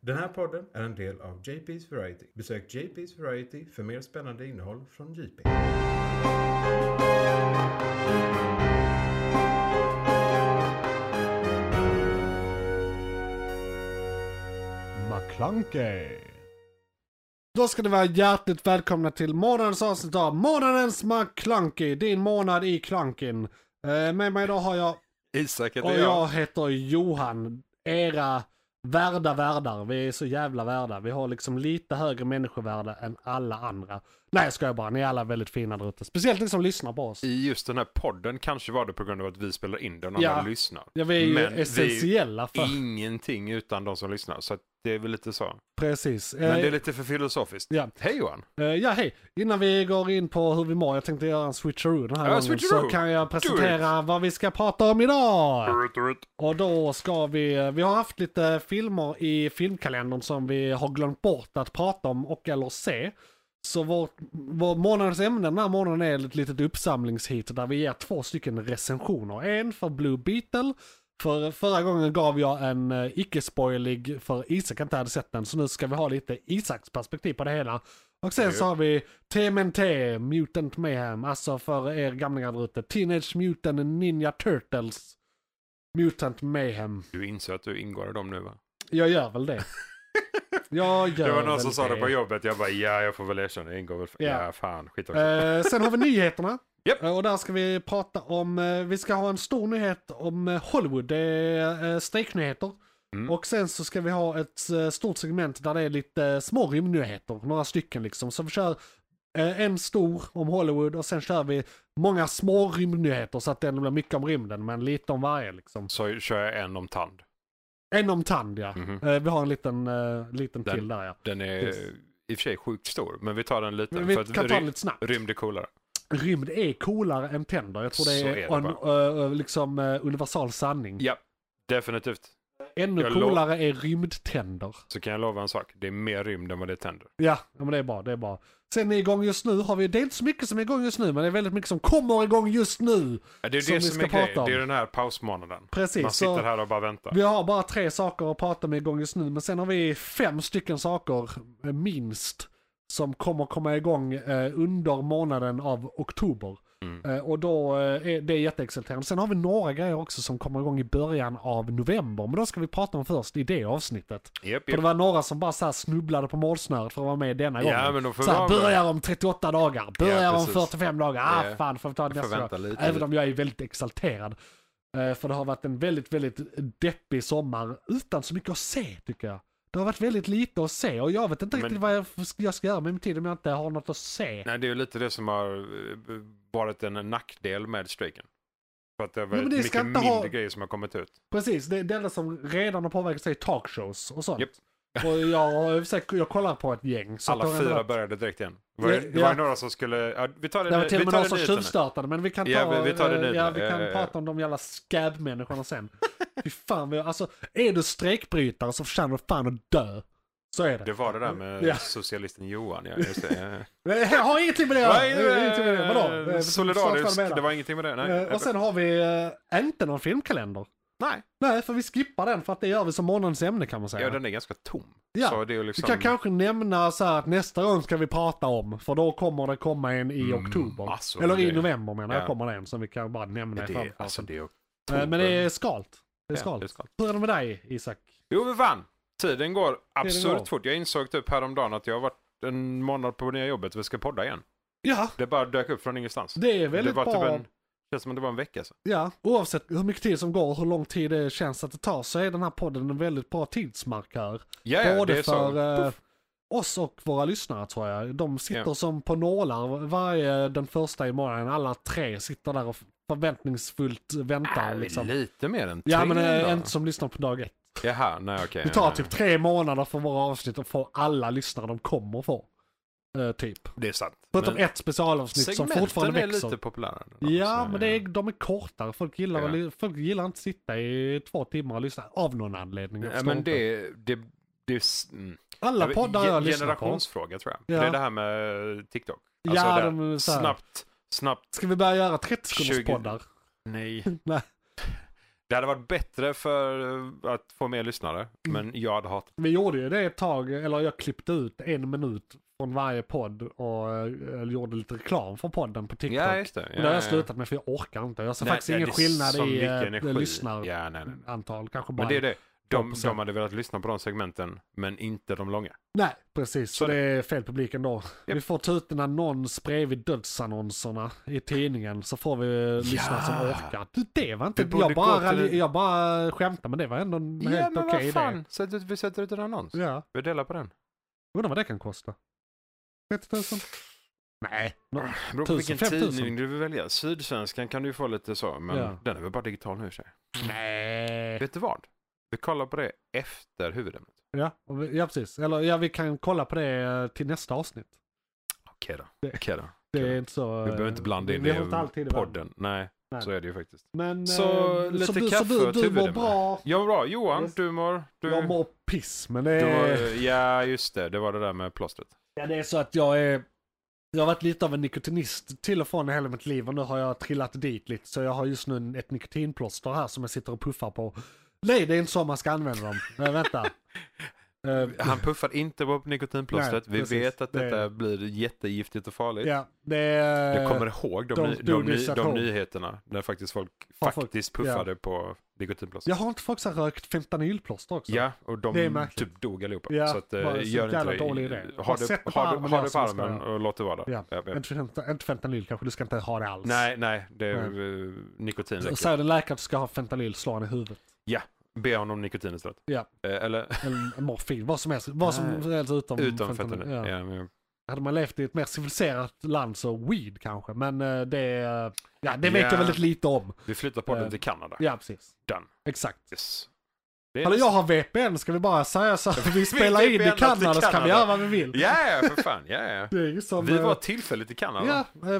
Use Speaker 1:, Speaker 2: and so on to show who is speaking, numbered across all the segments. Speaker 1: Den här podden är en del av JP's Variety. Besök JP's Variety för mer spännande innehåll från JP.
Speaker 2: McClunkey. Då ska ni vara hjärtligt välkomna till månadens avsnitt av månadens McClunkey. Din månad i klanken. Eh, med mig idag har jag,
Speaker 3: Isak heter
Speaker 2: och
Speaker 3: jag.
Speaker 2: jag heter Johan. Era värda värdar. Vi är så jävla värda. Vi har liksom lite högre människovärde än alla andra. Nej jag skojar bara, ni är alla väldigt fina där ute. Speciellt ni som lyssnar på oss.
Speaker 3: I just den här podden kanske var det på grund av att vi spelar in den och
Speaker 2: Ja.
Speaker 3: alla lyssnar.
Speaker 2: Ja, vi är ju
Speaker 3: Men vi-
Speaker 2: essentiella för...
Speaker 3: Ingenting utan de som lyssnar. Så att det är väl lite så.
Speaker 2: Precis. Eh,
Speaker 3: Men det är lite för filosofiskt.
Speaker 2: Ja.
Speaker 3: Hej Johan!
Speaker 2: Eh, ja, hej. Innan vi går in på hur vi mår, jag tänkte göra en switcheroo den här
Speaker 3: Ja,
Speaker 2: gången.
Speaker 3: switcheroo.
Speaker 2: Så kan jag presentera vad vi ska prata om idag.
Speaker 3: Rut, rut.
Speaker 2: Och då ska vi, vi har haft lite filmer i filmkalendern som vi har glömt bort att prata om och eller se. Så vårt, vår månadens ämne den här månaden är ett litet uppsamlingshit där vi ger två stycken recensioner. En för Blue Beetle, för förra gången gav jag en eh, icke-spoilig för Isak inte hade sett den. Så nu ska vi ha lite Isaks perspektiv på det hela. Och sen så har vi TMNT, Mutant Mayhem, alltså för er gamlingar där ute. Teenage Mutant Ninja Turtles. Mutant Mayhem.
Speaker 3: Du inser att du ingår i dem nu va?
Speaker 2: Jag gör väl det. Jag gör
Speaker 3: Det var någon
Speaker 2: väl
Speaker 3: som sa det på
Speaker 2: det.
Speaker 3: jobbet. Jag bara ja, jag får väl erkänna. Jag ingår väl. för-
Speaker 2: Ja.
Speaker 3: Ja, fan. Skit också.
Speaker 2: Eh, sen har vi nyheterna.
Speaker 3: Japp.
Speaker 2: Eh, Och där ska vi prata om, eh, vi ska ha en stor nyhet om eh, Hollywood. Det är eh, strejknyheter.
Speaker 3: Mm.
Speaker 2: Och sen så ska vi ha ett eh, stort segment där det är lite eh, små rymdnyheter. Några stycken liksom. Så vi kör eh, en stor om Hollywood och sen kör vi många små rymdnyheter. Så att det ändå blir mycket om rymden men lite om varje liksom.
Speaker 3: Så kör jag en om tand.
Speaker 2: En om tand ja.
Speaker 3: Mhm.
Speaker 2: Eh, vi har en liten, eh, liten
Speaker 3: Den-
Speaker 2: till där ja.
Speaker 3: Den är
Speaker 2: Yes.
Speaker 3: eh, i och för sig sjukt stor. Men vi tar den lite.
Speaker 2: Men vi
Speaker 3: för
Speaker 2: kan
Speaker 3: att
Speaker 2: ta
Speaker 3: ry-
Speaker 2: det lite snabbt.
Speaker 3: Rymd är coolare.
Speaker 2: Rymd är coolare än tänder. Jag tror det
Speaker 3: Så
Speaker 2: är,
Speaker 3: är det
Speaker 2: en,
Speaker 3: bara.
Speaker 2: ö, ö, liksom, ö, universal sanning.
Speaker 3: Ja, definitivt.
Speaker 2: Ännu
Speaker 3: jag lo-
Speaker 2: coolare är rymdtänder.
Speaker 3: Så kan jag lova en sak. Det är mer rymd än vad det är tänder.
Speaker 2: Ja, ja, men det är bra. Det är bra. Sen är igång just nu har vi, det är inte så mycket som är igång just nu, men det är väldigt mycket som kommer igång just nu.
Speaker 3: Ja, det är
Speaker 2: Som
Speaker 3: det
Speaker 2: vi
Speaker 3: som
Speaker 2: ska
Speaker 3: är grejen.
Speaker 2: prata om.
Speaker 3: Det är den här pausmånaden.
Speaker 2: Precis,
Speaker 3: Man
Speaker 2: så-
Speaker 3: sitter här och bara väntar.
Speaker 2: Vi har bara tre saker att prata om igång just nu, men sen har vi fem stycken saker, eh, minst, som kommer komma igång eh, under månaden av oktober. Eh, och då eh, är det jätteexalterande. Sen har vi några grejer också som kommer igång i början av november, men då ska vi prata om först i det avsnittet.
Speaker 3: Japp,
Speaker 2: För det
Speaker 3: japp.
Speaker 2: var några som bara så här snubblade på målsnöret för att vara med denna
Speaker 3: Typ. Ja,
Speaker 2: gången.
Speaker 3: men de får
Speaker 2: så här,
Speaker 3: vara med.
Speaker 2: börjar om 38 dagar, börjar
Speaker 3: Ja,
Speaker 2: om
Speaker 3: precis.
Speaker 2: 45 dagar. Ah,
Speaker 3: Ja.
Speaker 2: fan, får vi ta det
Speaker 3: Jag får
Speaker 2: nästa
Speaker 3: vänta
Speaker 2: gång.
Speaker 3: lite.
Speaker 2: Även om jag är väldigt exalterad. Eh, För det har varit en väldigt, väldigt deppig sommar utan så mycket att se tycker jag. Det har varit väldigt lite att se och jag vet inte
Speaker 3: Men-
Speaker 2: riktigt vad jag f- jag ska göra med min tid om jag inte har något att se.
Speaker 3: Nej, det är ju lite det som har eh, varit en nackdel med strejken. För att det har
Speaker 2: men
Speaker 3: varit
Speaker 2: det
Speaker 3: mycket
Speaker 2: ska
Speaker 3: mindre
Speaker 2: inte ha-
Speaker 3: grejer som har kommit ut.
Speaker 2: Precis, det, det enda som redan har påverkat är talkshows och sånt.
Speaker 3: Japp.
Speaker 2: Och jag, har- jag, jag kollar på ett gäng. Så att det
Speaker 3: Alla
Speaker 2: har ändå
Speaker 3: fyra
Speaker 2: varit-
Speaker 3: började direkt igen. Det var,
Speaker 2: Ja,
Speaker 3: ju- det var
Speaker 2: ja.
Speaker 3: ju några som skulle... Ja, vi tar det,
Speaker 2: Det var till
Speaker 3: vi
Speaker 2: och med
Speaker 3: tar
Speaker 2: någon
Speaker 3: det
Speaker 2: som
Speaker 3: lite nu.
Speaker 2: tjuvstartade, men vi kan ta,
Speaker 3: Ja, vi- vi tar det
Speaker 2: eh,
Speaker 3: nu.
Speaker 2: ja, vi kan
Speaker 3: Eh,
Speaker 2: prata om de jävla skabb-människorna sen. Fy fan, vi, alltså är du strejkbrytare så förtjänar du fan att dö. Så är det.
Speaker 3: Det var det där med
Speaker 2: Ja.
Speaker 3: socialisten Johan. Ja, just det.
Speaker 2: Eh, Jag har ingenting med det att
Speaker 3: Nej,
Speaker 2: göra. Jag har ingenting med det. Vadå?
Speaker 3: eh,
Speaker 2: Eh,
Speaker 3: Solidarisk.
Speaker 2: snart vad du
Speaker 3: Det
Speaker 2: menar.
Speaker 3: var ingenting med det. Nej.
Speaker 2: Eh, Och sen har vi eh, inte någon filmkalender.
Speaker 3: nej.
Speaker 2: Nej, för vi skippar den för att det gör vi som månadens ämne kan man säga.
Speaker 3: Ja, den är ganska tom.
Speaker 2: Ja,
Speaker 3: Så det är ju
Speaker 2: Vi
Speaker 3: liksom...
Speaker 2: kan kanske nämna så här att nästa gång ska vi prata om, för då kommer det komma en i oktober.
Speaker 3: massor
Speaker 2: Eller
Speaker 3: med
Speaker 2: i
Speaker 3: grejer.
Speaker 2: november menar jag,
Speaker 3: Mm, alltså, Ja.
Speaker 2: kommer det en som vi kan bara nämna i
Speaker 3: det,
Speaker 2: framfarten.
Speaker 3: alltså, det är ju...
Speaker 2: Eh, Men det är skalt. Det är
Speaker 3: Ja,
Speaker 2: skalt.
Speaker 3: det är skalt.
Speaker 2: Hur är det med dig Isak?
Speaker 3: Jo, men fan. Tiden går absurt
Speaker 2: går.
Speaker 3: fort. Jag insåg typ häromdagen att jag har varit en månad på det nya jobbet. Vi ska podda igen.
Speaker 2: Ja,
Speaker 3: Det bara dök upp från ingenstans.
Speaker 2: det är väldigt
Speaker 3: det var
Speaker 2: bra.
Speaker 3: Typ en, känns som att det var en vecka sedan.
Speaker 2: Ja, oavsett hur mycket tid som går och hur lång tid det känns att det tar så är den här podden en väldigt bra tidsmarkör.
Speaker 3: Ja, ja, det
Speaker 2: Både
Speaker 3: är så.
Speaker 2: för eh,
Speaker 3: Puff.
Speaker 2: oss och våra lyssnare tror jag. De sitter
Speaker 3: Ja.
Speaker 2: som på nålar varje den första i morgonen. Alla tre sitter där och förväntningsfullt väntar.
Speaker 3: Äh,
Speaker 2: liksom.
Speaker 3: Lite mer än
Speaker 2: Ja men
Speaker 3: tre
Speaker 2: eh,
Speaker 3: då.
Speaker 2: inte som lyssnar på dag ett.
Speaker 3: Jaha, nej okej.
Speaker 2: Det tar typ tre månader för våra avsnitt att få alla lyssnare de kommer få. Eh, typ.
Speaker 3: Det är sant.
Speaker 2: Förutom
Speaker 3: Men
Speaker 2: ett specialavsnitt som
Speaker 3: segmenten
Speaker 2: fortfarande
Speaker 3: är
Speaker 2: växer.
Speaker 3: lite populärare.
Speaker 2: Ja,
Speaker 3: Så,
Speaker 2: men det är, de är kortare. Folk gillar,
Speaker 3: Ja.
Speaker 2: väl- folk gillar inte att sitta i två timmar och lyssna. Av någon anledning. Jag
Speaker 3: Ja,
Speaker 2: förstår
Speaker 3: men
Speaker 2: inte.
Speaker 3: det... det, det mm.
Speaker 2: Alla
Speaker 3: Jag vet-
Speaker 2: poddar jag
Speaker 3: ge-
Speaker 2: lyssnar på.
Speaker 3: Generationsfråga tror jag.
Speaker 2: Ja.
Speaker 3: Det är det här med eh, TikTok. Alltså,
Speaker 2: Ja,
Speaker 3: det här
Speaker 2: de är så här.
Speaker 3: Snabbt, snabbt.
Speaker 2: Ska vi börja göra 30 sekunders
Speaker 3: 20.
Speaker 2: poddar?
Speaker 3: Nej.
Speaker 2: Nej.
Speaker 3: Det hade varit bättre för eh, att få mer lyssnare,
Speaker 2: Mm.
Speaker 3: men jag hade hatat
Speaker 2: Vi gjorde ju det ett tag, eller jag klippte ut en minut från varje podd och eh, gjorde lite reklam för podden på TikTok.
Speaker 3: Ja, just det.
Speaker 2: Men det har jag slutat med för jag orkar inte. Jag ser faktiskt ingen skillnad i eh, lyssnarantal.
Speaker 3: Ja, nej, nej. nej.
Speaker 2: Kanske bara...
Speaker 3: Men det är det. De,
Speaker 2: 12%.
Speaker 3: de hade velat lyssna på de segmenten, men inte de långa.
Speaker 2: Nej, precis. Så
Speaker 3: Så
Speaker 2: det är fel publik ändå. Vi får ta ut en annons bredvid dödsannonserna i tidningen så får vi eh, lyssnare som orkar. Du, Det var inte...
Speaker 3: Vi borde
Speaker 2: Jag bara,
Speaker 3: gå till-
Speaker 2: rally- jag bara skämtade men det var ändå en helt okej idé.
Speaker 3: Sätt ut, vi sätter ut en annons.
Speaker 2: Ja.
Speaker 3: Vi delar på den.
Speaker 2: Undrar vad det kan kosta? 30 000? Nej. Nå-
Speaker 3: Det beror på
Speaker 2: Tusen,
Speaker 3: vilken
Speaker 2: fem tusen.
Speaker 3: tidning du vill välja. Sydsvenskan kan du ju få lite så, men
Speaker 2: Ja.
Speaker 3: den är väl bara digital nu i och för sig.
Speaker 2: Nej.
Speaker 3: Vet du vad? Vi kollar på det efter huvudämnet.
Speaker 2: Ja, och vi- ja, precis. Eller ja, vi kan kolla på det eh, till nästa avsnitt.
Speaker 3: Okej då.
Speaker 2: Det-
Speaker 3: Okej då.
Speaker 2: Det
Speaker 3: Okej.
Speaker 2: är inte så...
Speaker 3: Vi behöver inte blanda in det
Speaker 2: har inte alltid
Speaker 3: i
Speaker 2: det va?
Speaker 3: podden. Nej,
Speaker 2: Nej.
Speaker 3: så är det ju faktiskt.
Speaker 2: Men,
Speaker 3: Så,
Speaker 2: eh,
Speaker 3: lite
Speaker 2: så du,
Speaker 3: kaffe
Speaker 2: så
Speaker 3: och
Speaker 2: du, du mår
Speaker 3: huvudämne.
Speaker 2: bra.
Speaker 3: Ja, bra. Johan,
Speaker 2: Yes.
Speaker 3: du mår... Du,
Speaker 2: Jag mår piss, men det
Speaker 3: du
Speaker 2: är,
Speaker 3: mår- Ja, just det. Det var det där med plåstret.
Speaker 2: ja, det är så att jag är... Jag har varit lite av en nikotinist till och från i hela mitt liv och nu har jag trillat dit lite så jag har just nu en- ett nikotinplåster här som jag sitter och puffar på. Nej, det är inte så man ska använda dem. Men vänta. Eh,
Speaker 3: Han puffar inte på nikotinplåstret.
Speaker 2: Nej,
Speaker 3: Vi
Speaker 2: precis.
Speaker 3: vet att
Speaker 2: Det är
Speaker 3: detta blir jättegiftigt och farligt.
Speaker 2: ja, det är...
Speaker 3: Jag kommer ihåg de,
Speaker 2: don't
Speaker 3: ny,
Speaker 2: do
Speaker 3: de, ny,
Speaker 2: this at
Speaker 3: de
Speaker 2: home.
Speaker 3: nyheterna där faktiskt folk
Speaker 2: Har folk-
Speaker 3: faktiskt puffade på nikotinplåstret.
Speaker 2: Jag har inte folk som har rökt fentanylplåster också?
Speaker 3: Ja, och
Speaker 2: Det är
Speaker 3: de
Speaker 2: märkligt.
Speaker 3: typ dog allihopa.
Speaker 2: Ja,
Speaker 3: så att, eh,
Speaker 2: bara så
Speaker 3: gör inte
Speaker 2: jävla
Speaker 3: det.
Speaker 2: dålig idé. Bara
Speaker 3: Har du,
Speaker 2: sätt det på
Speaker 3: har
Speaker 2: armen
Speaker 3: du, har
Speaker 2: där
Speaker 3: du på
Speaker 2: så ska
Speaker 3: armen
Speaker 2: jag-
Speaker 3: och låt det vara där.
Speaker 2: Ja.
Speaker 3: Ja, ja.
Speaker 2: Inte, fenta, inte fentanyl kanske, du ska inte ha det alls.
Speaker 3: Nej, nej, det är eh, nikotin
Speaker 2: Så
Speaker 3: räcker.
Speaker 2: Säger en läkare att du ska ha fentanyl, slå han i huvudet.
Speaker 3: Be honom om nikotin istället.
Speaker 2: Ja.
Speaker 3: Eh, Eller
Speaker 2: Eller morfin, vad som helst. Vad som
Speaker 3: Nej.
Speaker 2: helst utom,
Speaker 3: utan fentanyl.
Speaker 2: Ja.
Speaker 3: Ja, men-
Speaker 2: Hade man levt i ett mer civiliserat land så weed kanske. Men eh, det, eh, ja, det vet
Speaker 3: Ja.
Speaker 2: jag väldigt lite om.
Speaker 3: Vi flyttar podden
Speaker 2: Eh,
Speaker 3: till Kanada.
Speaker 2: Ja, precis.
Speaker 3: Done.
Speaker 2: Exakt.
Speaker 3: Yes. Det är
Speaker 2: Hallå,
Speaker 3: nästan-
Speaker 2: jag har VPN, ska vi bara säga så att vi spelar in
Speaker 3: VPN
Speaker 2: i
Speaker 3: till
Speaker 2: Kanada så kan vi
Speaker 3: Kanada.
Speaker 2: göra vad vi vill.
Speaker 3: Ja, ja, för fan. Ja, ja.
Speaker 2: Det är ju som...
Speaker 3: Vi
Speaker 2: eh,
Speaker 3: var tillfälligt i Kanada.
Speaker 2: Ja,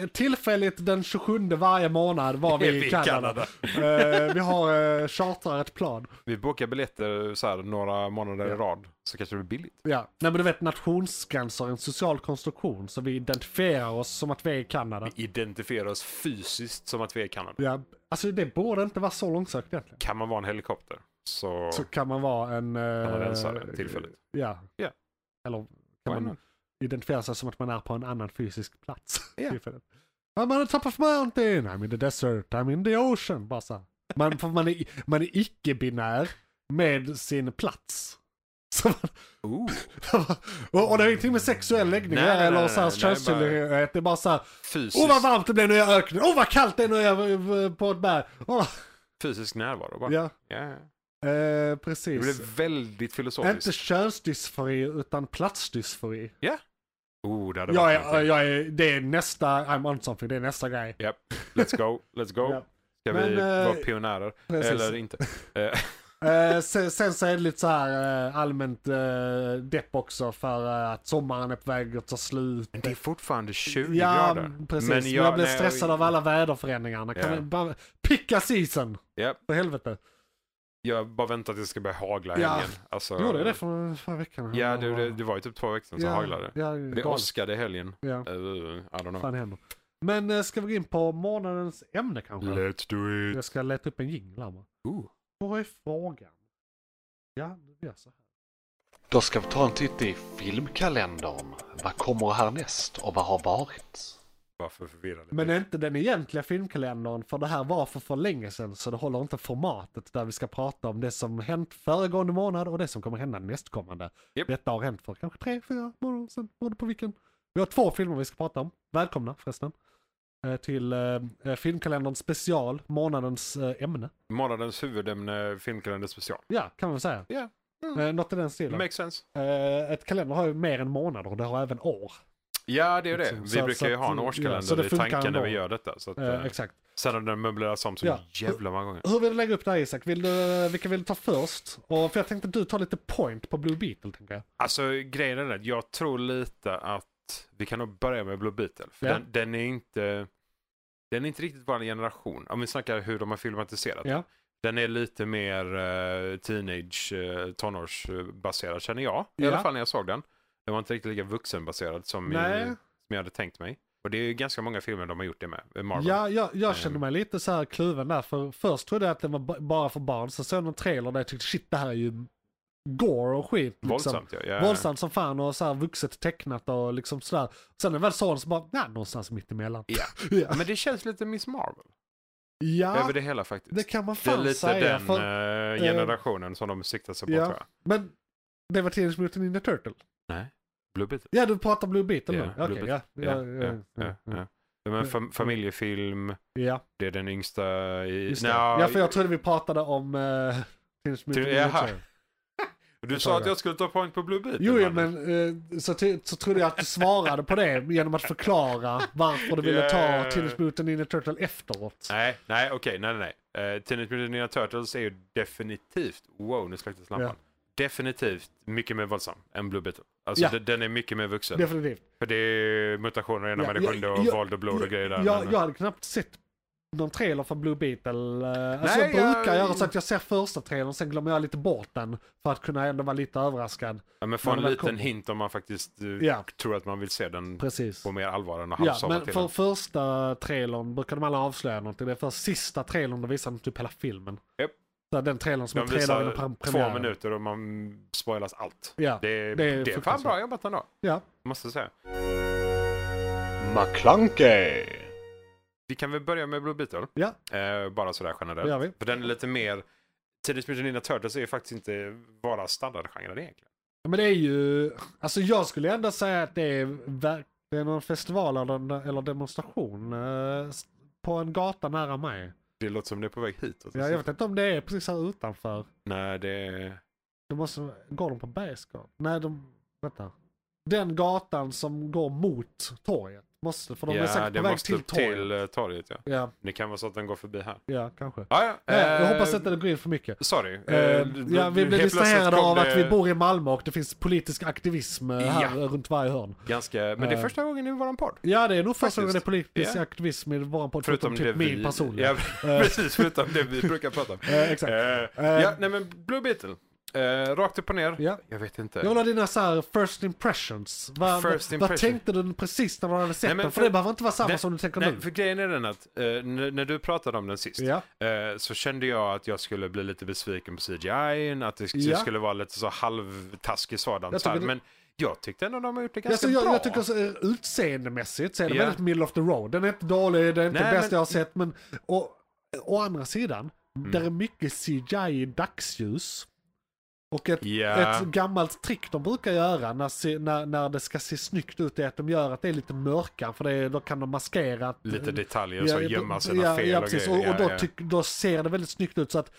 Speaker 2: eh, tillfälligt den 27 varje månad var vi
Speaker 3: Är vi
Speaker 2: i
Speaker 3: i
Speaker 2: Kanada. Eh, vi har eh, chartrar ett plan.
Speaker 3: Vi bokar biljetter så här några månader
Speaker 2: Ja.
Speaker 3: i rad så kanske det blir billigt.
Speaker 2: Ja. Nej men du vet nationsgränser är en social konstruktion så vi identifierar oss som att vi är i Kanada.
Speaker 3: Vi identifierar oss fysiskt som att vi är i Kanada.
Speaker 2: Ja. Alltså det borde inte vara så långsökt egentligen.
Speaker 3: Kan man vara en helikopter så,
Speaker 2: Så kan man vara en... eh,
Speaker 3: kanadensare tillfälligt.
Speaker 2: Ja.
Speaker 3: Ja.
Speaker 2: Eller kan
Speaker 3: Why
Speaker 2: man
Speaker 3: not?
Speaker 2: identifiera sig som att man är på en annan fysisk plats.
Speaker 3: Ja.
Speaker 2: tillfälligt. I'm on the top of mountain, I'm in the desert, I'm in the ocean. Bara så här. man, för man är, man är icke-binär med sin plats. Så man,
Speaker 3: Ooh.
Speaker 2: och, och det är ingenting med sexuell läggning
Speaker 3: Nej,
Speaker 2: här,
Speaker 3: nej,
Speaker 2: eller
Speaker 3: nej,
Speaker 2: så här
Speaker 3: nej, nej,
Speaker 2: könstillhörighet. Det är bara så här,
Speaker 3: Fysisk,
Speaker 2: åh Oh, vad varmt det blev när jag är i öknen, åh vad kallt det är när jag är eh, på ett berg. Åh,
Speaker 3: fysisk närvaro bara.
Speaker 2: ja,
Speaker 3: Ja, ja.
Speaker 2: eh,
Speaker 3: Det
Speaker 2: precis.
Speaker 3: blev väldigt filosofiskt.
Speaker 2: Inte könsdysfori utan platsdysfori.
Speaker 3: Oh, det hade
Speaker 2: Jag
Speaker 3: varit
Speaker 2: är,
Speaker 3: någonting.
Speaker 2: jag är, det är nästa, I'm on something, det är nästa grej.
Speaker 3: Japp. Let's go, let's go.
Speaker 2: Ja.
Speaker 3: Ska
Speaker 2: Men,
Speaker 3: vi
Speaker 2: eh,
Speaker 3: vara pionjärer?
Speaker 2: Precis.
Speaker 3: Eller inte? Eh,
Speaker 2: Eh, sen, sen så är det lite så här eh, allmänt eh, depp också för eh, att sommaren är på väg att ta slut.
Speaker 3: Men det är fortfarande 20
Speaker 2: ja,
Speaker 3: grader.
Speaker 2: precis. Men jag, blev
Speaker 3: nej,
Speaker 2: stressad av alla väderförändringarna. Kan
Speaker 3: Ja.
Speaker 2: vi bara, picka season!
Speaker 3: Ja.
Speaker 2: För helvete.
Speaker 3: Jag bara väntar tills det ska börja hagla i
Speaker 2: Ja.
Speaker 3: helgen. Alltså,
Speaker 2: Gjorde det för förra veckan?
Speaker 3: Ja, det, det, det var ju typ två veckor sedan som haglade.
Speaker 2: Ja,
Speaker 3: Det
Speaker 2: galet.
Speaker 3: åskade i helgen.
Speaker 2: Ja,
Speaker 3: Uh, I don't know.
Speaker 2: fan händer. Men eh, ska vi gå in på månadens ämne kanske?
Speaker 3: Let's do it.
Speaker 2: Jag ska leta upp en jingel här va?
Speaker 3: Ooh.
Speaker 2: Vad är frågan? Ja, nu gör jag så här.
Speaker 4: Då ska vi ta en titt i filmkalendern. Vad kommer härnäst och vad har varit?
Speaker 3: Varför förvirra lite?
Speaker 2: Men inte den egentliga filmkalendern, för det här var för för länge sedan, så det håller inte formatet där vi ska prata om det som hänt föregående månad och det som kommer hända nästkommande.
Speaker 3: Japp.
Speaker 2: Detta har hänt för kanske tre, fyra månader sedan, beroende på vilken. Vi har två filmer vi ska prata om. Välkomna förresten eh, till eh, eh, filmkalendern special, månadens eh, ämne.
Speaker 3: Månadens huvudämne, filmkalender special.
Speaker 2: Ja, kan man väl säga.
Speaker 3: Ja. Mm.
Speaker 2: Eh, Något i den stilen.
Speaker 3: Makes sense.
Speaker 2: Eh, Ett kalender har ju mer än månader och det har även år. Eh,
Speaker 3: Ja, det är det.
Speaker 2: Liksom,
Speaker 3: Vi
Speaker 2: så- så
Speaker 3: brukar ju
Speaker 2: att-
Speaker 3: ha en
Speaker 2: ja,
Speaker 3: årskalender
Speaker 2: så det
Speaker 3: i
Speaker 2: funkar
Speaker 3: tanken när vi
Speaker 2: ändå.
Speaker 3: gör detta. Så att,
Speaker 2: Eh,
Speaker 3: eh,
Speaker 2: exakt.
Speaker 3: sen har den möblerats om så
Speaker 2: Ja.
Speaker 3: jävla många gånger.
Speaker 2: Hur vill du lägga upp det här Isak? Vill du, vilka vill du ta först? Och, för jag tänkte att du tar lite point på Blue Beetle tänker jag.
Speaker 3: Alltså grejen är den att jag tror lite att vi kan nog börja med Blue Beetle. För
Speaker 2: Ja.
Speaker 3: den, den är inte den är inte riktigt vår generation. Om vi snackar hur de har filmatiserat
Speaker 2: Ja.
Speaker 3: den. är lite mer eh, teenage, eh, tonårsbaserad känner jag. I
Speaker 2: Ja.
Speaker 3: alla fall när jag såg den. Den var inte riktigt lika vuxenbaserad som, i,
Speaker 2: Nej.
Speaker 3: som jag hade tänkt mig. Och det är ju ganska många filmer de har gjort det med. Marvel.
Speaker 2: Ja, jag, jag kände
Speaker 3: Ehm.
Speaker 2: mig lite så här kluven där. För först trodde jag att den var ba- bara för barn. Sen såg jag någon trailer där jag tyckte shit det här är ju gore och skit. Liksom.
Speaker 3: Våldsamt Eh. ja. ja.
Speaker 2: Våldsamt som fan och så här vuxet tecknat och liksom sådär. Sen när jag väl såg den så bara, nej, någonstans mitt emellan.
Speaker 3: Ja.
Speaker 2: ja.
Speaker 3: Men det känns lite Miss Marvel.
Speaker 2: ja
Speaker 3: Över det hela faktiskt.
Speaker 2: det
Speaker 3: Det,
Speaker 2: kan man
Speaker 3: är
Speaker 2: fan
Speaker 3: lite
Speaker 2: säga.
Speaker 3: den
Speaker 2: för,
Speaker 3: eh, generationen som de siktar sig på
Speaker 2: ja.
Speaker 3: tror jag.
Speaker 2: Men det var Teenage Mutant Ninja Turtle.
Speaker 3: Blue Beetle.
Speaker 2: Ja, du pratar Blue Beetle
Speaker 3: Ja,
Speaker 2: nu.
Speaker 3: Blue
Speaker 2: Okej,
Speaker 3: Beetle.
Speaker 2: ja.
Speaker 3: Ja, ja, ja, ja. Det var en fam- familjefilm.
Speaker 2: ja,
Speaker 3: Det är den yngsta i...
Speaker 2: just det.
Speaker 3: Nja,
Speaker 2: ja, för jag trodde vi pratade om eh, Teenage Mutant Ninja
Speaker 3: Jaha.
Speaker 2: Turtle.
Speaker 3: Du sa att jag skulle ta poäng på Blue Beetle.
Speaker 2: Jo, jo,
Speaker 3: mannen.
Speaker 2: men eh, så, ty- så trodde jag att du svarade på det genom att förklara varför du ville
Speaker 3: Ja, ja, ja,
Speaker 2: ta
Speaker 3: ja.
Speaker 2: Teenage Mutant Ninja Turtle efteråt.
Speaker 3: Nej, nej, okej, nej, nej, nej. Uh, Teenage Mutant Ninja Turtles är ju definitivt, wow, nu släcktes lampan.
Speaker 2: Ja.
Speaker 3: Definitivt mycket mer våldsam än Blue Beetle. Alltså
Speaker 2: Ja.
Speaker 3: det- den är mycket mer vuxen.
Speaker 2: Definitivt.
Speaker 3: För det är mutationer genom
Speaker 2: Ja,
Speaker 3: människan
Speaker 2: jag-
Speaker 3: och
Speaker 2: jag-
Speaker 3: våld och blod och grejer där.
Speaker 2: Jag,
Speaker 3: men-
Speaker 2: jag hade knappt sett någon trailer för Blue Beetle. eh, Alltså
Speaker 3: Nej,
Speaker 2: jag brukar
Speaker 3: jag-
Speaker 2: göra så att jag ser första trailern, sen glömmer jag lite bort den. För att kunna ändå vara lite överraskad.
Speaker 3: ja, men få
Speaker 2: när
Speaker 3: en
Speaker 2: den väl
Speaker 3: liten
Speaker 2: kommer.
Speaker 3: hint om man faktiskt eh,
Speaker 2: Ja.
Speaker 3: tror att man vill se den
Speaker 2: Precis.
Speaker 3: på mer allvar än att
Speaker 2: Ja,
Speaker 3: halvsova
Speaker 2: men
Speaker 3: till
Speaker 2: för
Speaker 3: den.
Speaker 2: första trailern brukar de alla avslöja någonting. Det är för sista trailern, då visar de typ hela filmen.
Speaker 3: Japp.
Speaker 2: Så den trailern som
Speaker 3: De
Speaker 2: är tre dagar
Speaker 3: visar
Speaker 2: innan pre-
Speaker 3: två
Speaker 2: premiären.
Speaker 3: minuter och man spoilas allt.
Speaker 2: Ja,
Speaker 3: Det, är-
Speaker 2: det är
Speaker 3: det är fan
Speaker 2: fruktansvärt.
Speaker 3: bra jobbat ändå,
Speaker 2: ja.
Speaker 3: måste jag säga.
Speaker 4: McClunkey!
Speaker 3: Vi kan väl börja med Blue Beetle.
Speaker 2: Ja.
Speaker 3: Eh, bara sådär generellt.
Speaker 2: Det gör vi.
Speaker 3: För den är lite mer... Teenage Mutant Ninja Turtles är ju faktiskt inte bara standardgenren egentligen.
Speaker 2: Ja, Men det är ju, alltså jag skulle ändå säga att det är, verk- det är någon festival eller, eller demonstration eh, s- på en gata nära mig.
Speaker 3: Det låter som det är på väg hit.
Speaker 2: Ja, jag vet inte om det är precis här utanför.
Speaker 3: Nej, det är...
Speaker 2: Det måste, går de på Bergsgatan? Nej, de, vänta. Den gatan som går mot torget. Måste, för de är
Speaker 3: ja,
Speaker 2: säkert
Speaker 3: det
Speaker 2: på väg till
Speaker 3: måste upp
Speaker 2: torget.
Speaker 3: till eh, torget. Ja.
Speaker 2: Ja,
Speaker 3: Det kan vara så att den går förbi här.
Speaker 2: ja, kanske.
Speaker 3: Ah, ja,
Speaker 2: Nej, jag
Speaker 3: eh,
Speaker 2: hoppas inte det går in för mycket.
Speaker 3: Sorry. Eh,
Speaker 2: Eh, ja, vi blev
Speaker 3: helt plötsligt
Speaker 2: distraherade
Speaker 3: kom
Speaker 2: av
Speaker 3: det
Speaker 2: att vi bor i Malmö och det finns politisk aktivism eh, här
Speaker 3: Ja.
Speaker 2: runt varje hörn.
Speaker 3: Ganska... Men det är
Speaker 2: Eh.
Speaker 3: första gången i våran podd.
Speaker 2: Ja, det är nog första
Speaker 3: Faktiskt.
Speaker 2: gången det är politisk
Speaker 3: Ja.
Speaker 2: aktivism i våran podd, förutom typ min person.
Speaker 3: Ja,
Speaker 2: Eh.
Speaker 3: precis. Förutom det vi brukar prata om.
Speaker 2: Eh, exakt.
Speaker 3: Eh, ja, nej men Blue Beetle. Eh, rakt upp och ner.
Speaker 2: Ja.
Speaker 3: Jag vet inte.
Speaker 2: Jag vill ha dina så här first impressions. Vad,
Speaker 3: First
Speaker 2: vad- vad
Speaker 3: impression.
Speaker 2: tänkte du precis när du hade sett
Speaker 3: Nej, men
Speaker 2: den? För,
Speaker 3: för-
Speaker 2: det behöver inte vara samma
Speaker 3: Nej,
Speaker 2: som du tänker
Speaker 3: Nej,
Speaker 2: nu.
Speaker 3: för grejen är den att eh, n- när du pratade om den sist
Speaker 2: Ja,
Speaker 3: eh, så kände jag att jag skulle bli lite besviken på CGI, att det sk-
Speaker 2: Ja.
Speaker 3: skulle vara lite så halvtaskig sådant.
Speaker 2: Jag
Speaker 3: så här.
Speaker 2: tycker det-
Speaker 3: Men jag tyckte ändå de har gjort det ganska
Speaker 2: alltså, jag,
Speaker 3: bra.
Speaker 2: jag tycker så, eh, utseendemässigt så är det
Speaker 3: Ja.
Speaker 2: väldigt middle of the road. Den är inte dålig, den är inte
Speaker 3: Nej,
Speaker 2: det bästa
Speaker 3: men- Mm.
Speaker 2: jag har sett. Men å, å andra sidan, där är mycket CGI i dagsljus. Och ett,
Speaker 3: Ja.
Speaker 2: ett gammalt trick de brukar göra när, se- när, när det ska se snyggt ut är att de gör att det är lite mörkare för det, är- då kan de maskera. att-
Speaker 3: Lite detaljer, så alltså gömma sina
Speaker 2: ja,
Speaker 3: fel
Speaker 2: ja,
Speaker 3: och
Speaker 2: precis.
Speaker 3: grejer.
Speaker 2: Och, och då,
Speaker 3: Ja, ja.
Speaker 2: tyck- då ser det väldigt snyggt ut. Så att,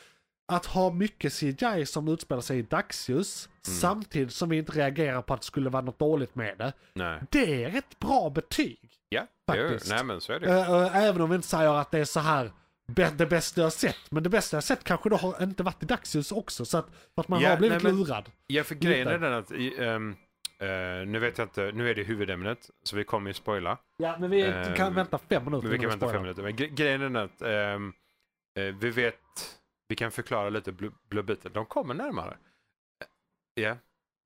Speaker 2: att ha mycket CGI som utspelar sig i dagsljus
Speaker 3: Mm.
Speaker 2: samtidigt som vi inte reagerar på att det skulle vara något dåligt med det.
Speaker 3: Nej.
Speaker 2: Det är ett bra betyg.
Speaker 3: Ja, det gör-
Speaker 2: Faktiskt.
Speaker 3: Nej men så är det ju.
Speaker 2: Eh, eh, Även om vi inte säger att det är så här bä- det bästa jag har sett. Men det bästa jag har sett kanske då har inte varit i dagsljus också. Så att, för att man
Speaker 3: Ja,
Speaker 2: har blivit
Speaker 3: nej, men-
Speaker 2: lurad.
Speaker 3: Ja, för grejen
Speaker 2: Lite.
Speaker 3: är den att i, ehm, eh, nu vet jag inte, nu är det huvudämnet, så vi kommer ju spoila.
Speaker 2: Ja, men vi
Speaker 3: Eh,
Speaker 2: kan vänta fem minuter.
Speaker 3: Men vi kan
Speaker 2: innan
Speaker 3: vänta fem
Speaker 2: spoilar.
Speaker 3: minuter. Men gre- grejen är den att ehm, eh, vi vet, vi kan förklara lite Blue, Blue Beetle. De kommer närmare. Eh, Ja,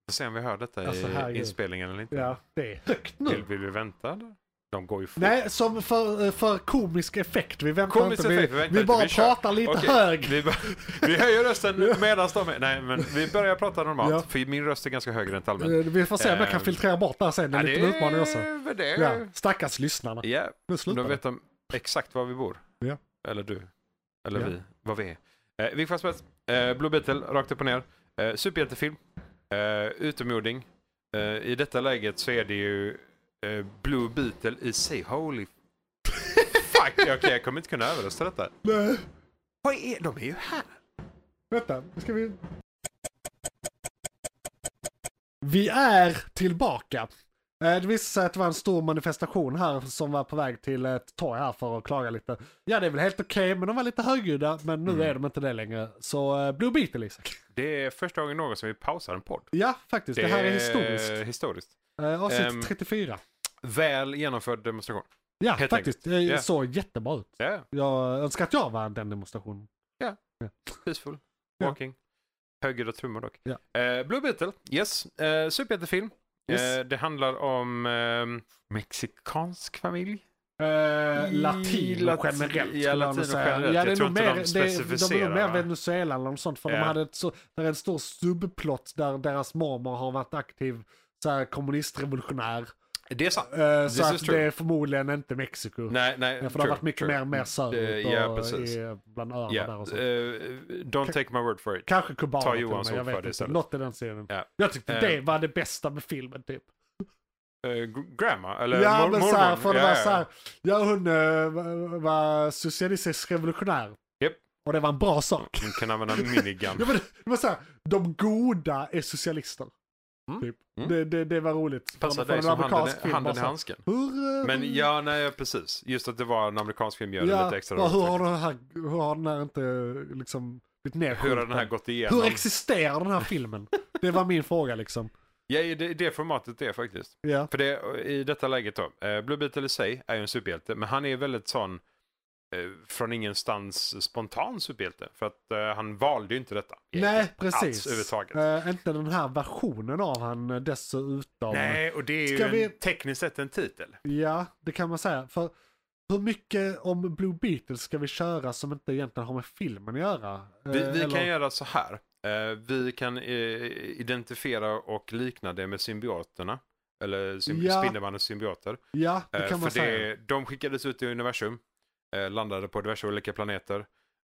Speaker 3: får se om vi hör detta
Speaker 2: Alltså,
Speaker 3: i
Speaker 2: herregud.
Speaker 3: inspelningen eller inte.
Speaker 2: Ja, det är högt nu.
Speaker 3: Vill, vill vi vänta eller? De går ju fort.
Speaker 2: Nej, som för, eh, för komisk effekt. Vi väntar
Speaker 3: Komiskt
Speaker 2: inte. Vi,
Speaker 3: effekt, vi väntar
Speaker 2: vi
Speaker 3: inte,
Speaker 2: bara
Speaker 3: vi kör.
Speaker 2: pratar lite
Speaker 3: Okej,
Speaker 2: hög.
Speaker 3: Vi, bör- vi höjer rösten medan de är... Nej, men vi börjar prata normalt.
Speaker 2: Ja.
Speaker 3: För min röst är ganska hög rent allmänt.
Speaker 2: Eh, Vi får se om jag kan
Speaker 3: Ehm,
Speaker 2: filtrera bort det här sen. Det är en
Speaker 3: Ja,
Speaker 2: liten utmaning också.
Speaker 3: Det, det,
Speaker 2: Ja, stackars lyssnarna.
Speaker 3: Ja,
Speaker 2: Nu
Speaker 3: då
Speaker 2: slutar det.
Speaker 3: vet de exakt var vi bor.
Speaker 2: Ja.
Speaker 3: Eller du. Eller
Speaker 2: Ja.
Speaker 3: vi. Var vi är. Eh, Vilket fall som helst. Eh, Blue Beetle, rakt upp och ner. Eh, superhjältefilm. Eh, utomjording. Eh, I detta läget så är det ju eh, Blue Beetle i sig. Holy fuck! Okej, jag kommer inte kunna överrösta detta.
Speaker 2: Nej,
Speaker 3: Vad är, de är ju här!
Speaker 2: vänta. Nu ska vi... Vi är tillbaka. Eh, Det visade sig att det var en stor manifestation här som var på väg till ett torg här för att klaga lite. Ja, det är väl helt okej, men de var lite högljudda. Men nu är de inte det längre. Så eh, Blue Beetle, Isak.
Speaker 3: Det är första gången någonsin vi pausar en podd.
Speaker 2: Ja, faktiskt. Det, här är historiskt.
Speaker 3: historiskt.
Speaker 2: Eh, avsnitt
Speaker 3: Ehm,
Speaker 2: 34.
Speaker 3: Väl genomförd demonstration.
Speaker 2: Ja,
Speaker 3: helt
Speaker 2: faktiskt. Det
Speaker 3: Ja.
Speaker 2: såg jättebra ut.
Speaker 3: Ja, yeah.
Speaker 2: Jag önskar att jag var den demonstrationen.
Speaker 3: peaceful.
Speaker 2: Ja.
Speaker 3: Walking. Högljudda trummor dock.
Speaker 2: Ja.
Speaker 3: Eh, Blue Beetle, yes. Eh, superhjältefilm.
Speaker 2: Yes.
Speaker 3: Eh, det handlar om eh, mexikansk familj.
Speaker 2: Eh,
Speaker 3: I
Speaker 2: latino
Speaker 3: Mm, latin-
Speaker 2: generellt.
Speaker 3: ja,
Speaker 2: skulle jag nog
Speaker 3: latino
Speaker 2: säga.
Speaker 3: generellt.
Speaker 2: Ja,
Speaker 3: Jag
Speaker 2: det är
Speaker 3: tror
Speaker 2: nog
Speaker 3: inte
Speaker 2: mer,
Speaker 3: de
Speaker 2: det, de är
Speaker 3: specificerar,
Speaker 2: nog mer
Speaker 3: va?
Speaker 2: Venezuela eller något sånt. För
Speaker 3: Ja.
Speaker 2: de hade ett så, där är en stor subplott där deras mormor har varit aktiv så här, kommunistrevolutionär.
Speaker 3: Det är sant.
Speaker 2: Eh,
Speaker 3: This
Speaker 2: så
Speaker 3: is
Speaker 2: att
Speaker 3: true.
Speaker 2: det är förmodligen inte Mexiko.
Speaker 3: Nej, nej.
Speaker 2: Ja, för det har varit mycket mer, mer söderut
Speaker 3: Eh, ja,
Speaker 2: och
Speaker 3: precis.
Speaker 2: i, bland öarna där
Speaker 3: Yeah.
Speaker 2: och sånt.
Speaker 3: Eh, don't take my word for it.
Speaker 2: Kanske kubaner
Speaker 3: ta
Speaker 2: till och med,
Speaker 3: Johans
Speaker 2: jag
Speaker 3: ord
Speaker 2: vet
Speaker 3: för det
Speaker 2: inte.
Speaker 3: istället.
Speaker 2: Något i den stilen.
Speaker 3: Ja.
Speaker 2: Jag tyckte
Speaker 3: Eh.
Speaker 2: det var det bästa med filmen typ.
Speaker 3: Eh, gr- grandma, eller
Speaker 2: ja
Speaker 3: mor-
Speaker 2: men
Speaker 3: mormor.
Speaker 2: så här, för det
Speaker 3: Ja,
Speaker 2: var
Speaker 3: ja.
Speaker 2: så här, ja hon eh, var- var socialistisk revolutionär.
Speaker 3: Japp.
Speaker 2: Och det var en bra sak.
Speaker 3: Hon kan använda minigun.
Speaker 2: Ja, men, det var så här, de goda är socialister.
Speaker 3: Mm.
Speaker 2: Typ.
Speaker 3: Mm.
Speaker 2: Det, det, det var roligt. Från-
Speaker 3: Passar
Speaker 2: från
Speaker 3: dig
Speaker 2: en
Speaker 3: som handen,
Speaker 2: amerikansk film, bara
Speaker 3: handen i
Speaker 2: så här,
Speaker 3: handsken.
Speaker 2: Hur, eh,
Speaker 3: Men
Speaker 2: hur-
Speaker 3: ja, nej, precis. Just att det var en amerikansk film gör det
Speaker 2: ja,
Speaker 3: lite extra
Speaker 2: bara,
Speaker 3: roligt.
Speaker 2: hur, har den här, hur har den här inte liksom blivit
Speaker 3: Hur har
Speaker 2: nedskjuten?
Speaker 3: den här gått igenom?
Speaker 2: Hur existerar den här filmen? Det var min fråga liksom.
Speaker 3: Ja, i det, det formatet det är faktiskt.
Speaker 2: Ja.
Speaker 3: För det, i detta läget då, eh, Blue Beetle i sig är ju en superhjälte, men han är väldigt sån eh, från ingenstans spontan superhjälte. För att eh, han valde ju inte detta.
Speaker 2: Nej,
Speaker 3: Alls
Speaker 2: precis.
Speaker 3: överhuvudtaget.
Speaker 2: Eh, inte den här versionen av han eh, dessutom.
Speaker 3: Nej, och det är ju
Speaker 2: Ska
Speaker 3: en,
Speaker 2: vi- Eh,
Speaker 3: tekniskt sett en titel.
Speaker 2: Ja, det kan man säga. För hur mycket om Blue Beatles ska vi köra som inte egentligen har med filmen att göra?
Speaker 3: Vi,
Speaker 2: Eh,
Speaker 3: vi
Speaker 2: eller-
Speaker 3: kan göra så här. Eh, vi kan eh, identifiera och likna det med symbioterna. Eller symb-
Speaker 2: Ja.
Speaker 3: Spindelmannens symbioter.
Speaker 2: Ja, det
Speaker 3: Eh,
Speaker 2: kan man
Speaker 3: för
Speaker 2: säga.
Speaker 3: det, de skickades ut i universum, eh, landade på diverse olika planeter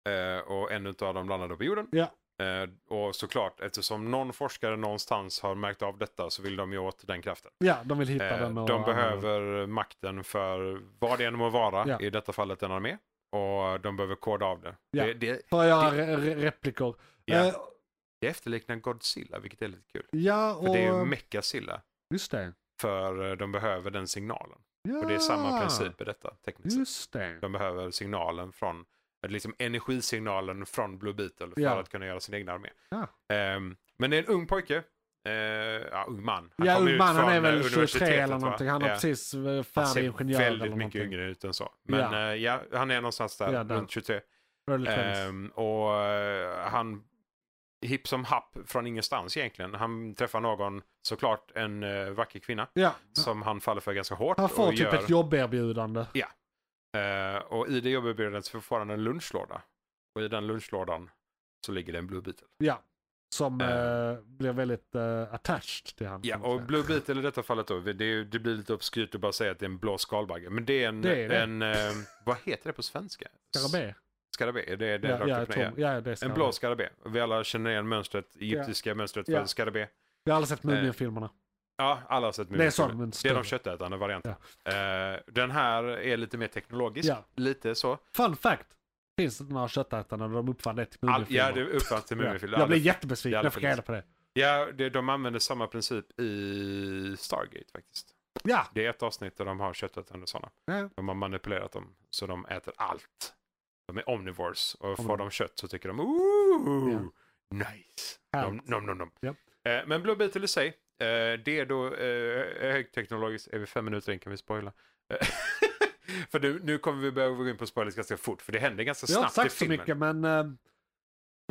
Speaker 3: eh, och en av dem landade på jorden.
Speaker 2: Ja.
Speaker 3: Eh, och såklart, eftersom någon forskare någonstans har märkt av detta så vill de ju åt den kraften.
Speaker 2: Ja, de vill hitta
Speaker 3: Eh,
Speaker 2: den. Och
Speaker 3: de behöver makten för vad det än må vara,
Speaker 2: Ja.
Speaker 3: i detta fallet en armé. Och de behöver koda av det.
Speaker 2: Ja.
Speaker 3: Det, det,
Speaker 2: För att göra re- re- repliker.
Speaker 3: ja,
Speaker 2: Eh,
Speaker 3: det efterliknar Godzilla, vilket är lite kul.
Speaker 2: ja, och...
Speaker 3: För det är ju Mechazilla,
Speaker 2: Just det.
Speaker 3: för eh, de behöver den signalen.
Speaker 2: Ja,
Speaker 3: Och det är
Speaker 2: Ah.
Speaker 3: samma princip i detta, tekniskt sett.
Speaker 2: Just det.
Speaker 3: De behöver signalen från, eller liksom energisignalen från Blue Beetle för
Speaker 2: Ja.
Speaker 3: att kunna göra sin egna armé.
Speaker 2: Ja.
Speaker 3: Ehm, men det är en ung pojke, eh, ja ung man.
Speaker 2: ja,
Speaker 3: kom ut
Speaker 2: ungman, han
Speaker 3: från,
Speaker 2: är
Speaker 3: eh,
Speaker 2: väl 23
Speaker 3: universitetet,
Speaker 2: eller
Speaker 3: va?
Speaker 2: någonting. Han är
Speaker 3: Ja.
Speaker 2: precis eh,
Speaker 3: Han
Speaker 2: färdig ingenjör
Speaker 3: ser
Speaker 2: eller
Speaker 3: väldigt mycket
Speaker 2: någonting.
Speaker 3: yngre ut än så. Men
Speaker 2: Ja.
Speaker 3: eh, ja, han är någonstans där,
Speaker 2: Ja, där.
Speaker 3: runt 23.
Speaker 2: Early 20s.
Speaker 3: Ehm, och eh, han, hipp som happ från ingenstans egentligen. Han träffar någon, såklart en eh, vacker kvinna,
Speaker 2: ja,
Speaker 3: som han faller för ganska hårt.
Speaker 2: han får
Speaker 3: och
Speaker 2: typ
Speaker 3: gör,
Speaker 2: ett jobberbjudande.
Speaker 3: Eh, och i det jobberbjudandet så får han en lunchlåda. Och i den lunchlådan så ligger det en Blue Beetle.
Speaker 2: Ja. Som
Speaker 3: Eh.
Speaker 2: eh, blir väldigt eh, attached till han.
Speaker 3: Ja,
Speaker 2: kan man
Speaker 3: och
Speaker 2: säga.
Speaker 3: Blue Beetle i detta fallet då, det, är, ju- det blir lite obskyrt att bara säga att det är en blå skalbagge. Men det är en,
Speaker 2: Det är det.
Speaker 3: en eh, vad heter det på svenska?
Speaker 2: Skarabé.
Speaker 3: Skarabé, är det det
Speaker 2: Ja,
Speaker 3: rakt
Speaker 2: ja,
Speaker 3: upp
Speaker 2: jag
Speaker 3: och ner?
Speaker 2: tror- ja, det är
Speaker 3: En
Speaker 2: skarabé.
Speaker 3: blå skarabé. Vi alla känner igen mönstret, egyptiska mönstret för
Speaker 2: Ja.
Speaker 3: skarabé.
Speaker 2: Jag har aldrig sett Mumien-filmerna.
Speaker 3: Ja, alla har sett
Speaker 2: Det är sån,
Speaker 3: Mumintrollen.
Speaker 2: men
Speaker 3: Det är
Speaker 2: större.
Speaker 3: de köttätande varianterna. Eh, den här är lite mer teknologisk,
Speaker 2: Ja.
Speaker 3: lite så.
Speaker 2: Fun fact. Finns det några köttätare när de uppfann det till
Speaker 3: All, ja,
Speaker 2: Mumien-filmer?
Speaker 3: det uppfanns till Muminfilmer.
Speaker 2: Jag
Speaker 3: Alla
Speaker 2: blev jättebesviken när jag fick
Speaker 3: funnits.
Speaker 2: reda på det.
Speaker 3: Ja, det, de använder samma princip i Stargate faktiskt.
Speaker 2: Ja,
Speaker 3: Det är ett avsnitt där de har köttätande sådana.
Speaker 2: Ja.
Speaker 3: De har manipulerat dem så de äter allt. De är omnivores och får
Speaker 2: Omnivore.
Speaker 3: de kött så tycker de ooh, nice. Nom,
Speaker 2: Härligt.
Speaker 3: nom, nom, nom.
Speaker 2: Ja.
Speaker 3: Eh, men Blue Beetle i sig, eh, det är då eh, högteknologiskt. Är vi fem minuter in kan vi spoila. Eh, för nu, nu kommer vi behöva gå in på spoilers ganska fort för det händer ganska
Speaker 2: jag har inte
Speaker 3: snabbt i
Speaker 2: sagt så
Speaker 3: filmen.
Speaker 2: mycket men... eh,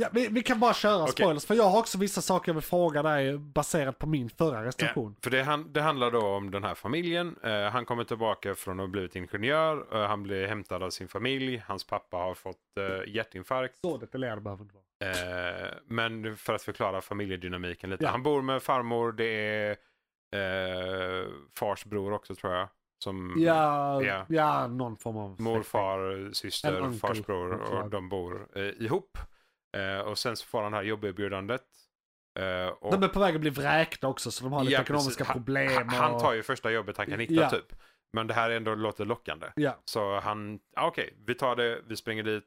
Speaker 2: Ja, vi, vi kan bara köra
Speaker 3: Okej.
Speaker 2: spoilers, för jag har också vissa saker jag vill fråga dig baserat på min förra recension.
Speaker 3: Ja, för det, han, det handlar då om den här familjen. Eh, han kommer tillbaka från att ha blivit ingenjör. Eh, han blir hämtad av sin familj. Hans pappa har fått eh, hjärtinfarkt.
Speaker 2: Så detaljerad behöver inte vara.
Speaker 3: Eh, men för att förklara familjedynamiken lite.
Speaker 2: Ja.
Speaker 3: Han bor med farmor. Det är eh, fars bror också tror jag. Som
Speaker 2: Ja,
Speaker 3: Mm. Ja.
Speaker 2: ja, någon form av...
Speaker 3: morfar,
Speaker 2: En
Speaker 3: syster,
Speaker 2: onkel,
Speaker 3: fars bror
Speaker 2: något
Speaker 3: och
Speaker 2: slag.
Speaker 3: de bor eh, ihop. Eh, och sen så får han det här jobberbjudandet. Eh, och
Speaker 2: De är på väg att bli vräkta också så de har lite
Speaker 3: Ja,
Speaker 2: ekonomiska
Speaker 3: precis. Han-
Speaker 2: problem.
Speaker 3: Han, han
Speaker 2: och-
Speaker 3: tar ju första jobbet han kan hitta
Speaker 2: Ja.
Speaker 3: typ. Men det här ändå låter lockande.
Speaker 2: Ja.
Speaker 3: Så han, ah, okej, vi tar det, vi springer dit,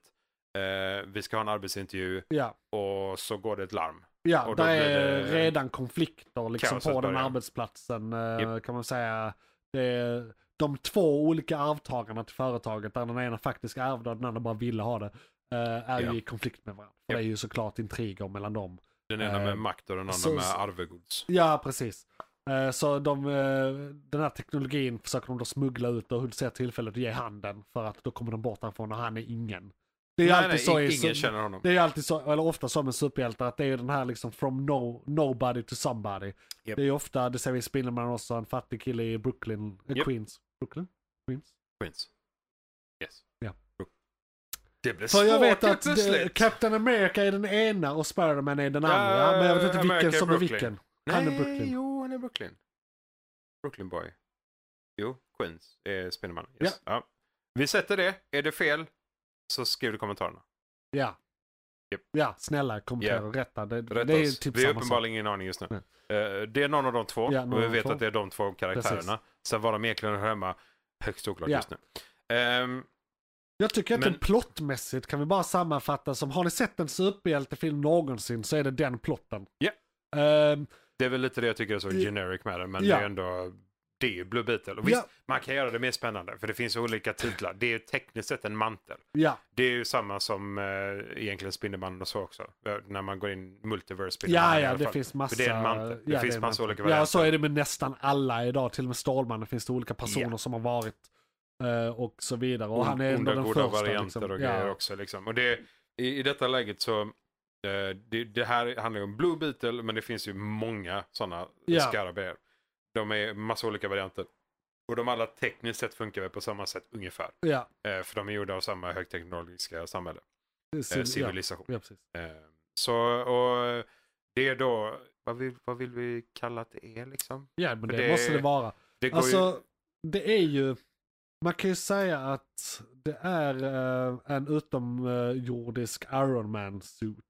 Speaker 3: eh, vi ska ha en arbetsintervju
Speaker 2: Ja,
Speaker 3: och så går det ett larm.
Speaker 2: ja
Speaker 3: Och då
Speaker 2: där
Speaker 3: blir
Speaker 2: är
Speaker 3: det-
Speaker 2: redan konflikter liksom
Speaker 3: Kaoset
Speaker 2: på den
Speaker 3: börjar.
Speaker 2: arbetsplatsen eh, kan man säga. Det är de två olika arvtagarna till företaget, där den ena faktiskt ärvde och den andra bara ville ha det, eh, är
Speaker 3: Ja.
Speaker 2: ju i konflikt med varandra. För
Speaker 3: Ja.
Speaker 2: Det är ju såklart intriger mellan dem.
Speaker 3: Den ena med
Speaker 2: Eh,
Speaker 3: makt och den andra
Speaker 2: så-
Speaker 3: med arvegods.
Speaker 2: Ja, precis. Eh, Så de, eh, den här teknologin försöker de då smuggla ut och Hultz ser tillfället att ge handen för att då kommer de bort därifrån och han är ingen. Det är ju
Speaker 3: nej,
Speaker 2: alltid
Speaker 3: nej,
Speaker 2: så i
Speaker 3: ingen
Speaker 2: sup-
Speaker 3: känner honom.
Speaker 2: Det är ju alltid så, eller ofta så med superhjältar, att det är ju den här liksom from no, nobody to somebody.
Speaker 3: Japp.
Speaker 2: Det är ju ofta, det ser vi i Spindelmannen också, en fattig kille i Brooklyn, eh,
Speaker 3: Japp.
Speaker 2: Queens. Brooklyn? Queens?
Speaker 3: Queens. Yes.
Speaker 2: Ja.
Speaker 3: Det blev
Speaker 2: För
Speaker 3: svårt
Speaker 2: jag vet
Speaker 3: helt
Speaker 2: att eh,
Speaker 3: plötsligt.
Speaker 2: Captain America är den ena och Spiderman är den
Speaker 3: Ja,
Speaker 2: andra. men jag vet inte
Speaker 3: America
Speaker 2: vilken
Speaker 3: är
Speaker 2: som
Speaker 3: Brooklyn.
Speaker 2: är vilken.
Speaker 3: Nej,
Speaker 2: han är Brooklyn.
Speaker 3: jo, han är Brooklyn. Brooklyn boy. Jo, Queens är Spindelmannen. Yes. Ja. Vi sätter det. Är det fel så skriv det i kommentarerna.
Speaker 2: Ja.
Speaker 3: Japp.
Speaker 2: Ja, snälla kommentera
Speaker 3: Ja.
Speaker 2: och rätta. Det,
Speaker 3: Rätta
Speaker 2: det är ju
Speaker 3: oss.
Speaker 2: typ
Speaker 3: vi har
Speaker 2: samma sak.
Speaker 3: uppenbarligen ingen aning just nu.
Speaker 2: Nej.
Speaker 3: Eh, det är någon av de två.
Speaker 2: Ja, någon
Speaker 3: och vi
Speaker 2: av
Speaker 3: vet
Speaker 2: två.
Speaker 3: att det är de två karaktärerna.
Speaker 2: Precis.
Speaker 3: Sen var de egentligen hör hemma högst oklart
Speaker 2: Ja.
Speaker 3: just nu. Ehm,
Speaker 2: Jag tycker att
Speaker 3: Men-
Speaker 2: den plottmässigt kan vi bara sammanfatta som har ni sett en superhjältefilm någonsin så är det den plotten.
Speaker 3: Ja.
Speaker 2: Ehm,
Speaker 3: det är väl lite det jag tycker är så
Speaker 2: Ja.
Speaker 3: generic med den. Men
Speaker 2: Ja.
Speaker 3: det är ändå... Det är ju Blue Beetle. Och visst,
Speaker 2: Ja.
Speaker 3: man kan göra det mer spännande. För det finns olika titlar. Det är ju tekniskt sett en mantel.
Speaker 2: ja.
Speaker 3: Det är ju samma som eh, egentligen Spindelmannen och så också. Eh, När man går in multiverse
Speaker 2: Ja,
Speaker 3: Spindelmannen i
Speaker 2: ja,
Speaker 3: alla
Speaker 2: det
Speaker 3: fall.
Speaker 2: finns massa.
Speaker 3: För det är en mantel. Det
Speaker 2: ja,
Speaker 3: finns
Speaker 2: är en
Speaker 3: massa
Speaker 2: mantel.
Speaker 3: olika varianter.
Speaker 2: Ja, så är det med nästan alla idag. Till och med Stålmannen finns det olika personer som har varit. eh, och så vidare. Och han är ändå
Speaker 3: Onda,
Speaker 2: den
Speaker 3: goda
Speaker 2: första.
Speaker 3: varianter
Speaker 2: liksom.
Speaker 3: och
Speaker 2: ja.
Speaker 3: grejer också. Liksom. Och det, i, I detta läget så, eh, det, det här handlar ju om Blue Beetle men det finns ju många sådana
Speaker 2: Ja.
Speaker 3: skarabéer. De är massa olika varianter. Och de alla tekniskt sett funkar väl på samma sätt ungefär.
Speaker 2: Ja,
Speaker 3: Eh, för de är gjorda av samma högteknologiska samhälle.
Speaker 2: det är
Speaker 3: Eh,
Speaker 2: civil-
Speaker 3: civilisation.
Speaker 2: ja, ja, precis.
Speaker 3: Eh, så och det är då, vad vill, vad vill vi kalla att det är liksom?
Speaker 2: ja men
Speaker 3: För
Speaker 2: det,
Speaker 3: det-
Speaker 2: måste det vara.
Speaker 3: Det går ju,
Speaker 2: Alltså, det är ju... Man kan ju säga att det är eh, en utomjordisk Iron Man-suit.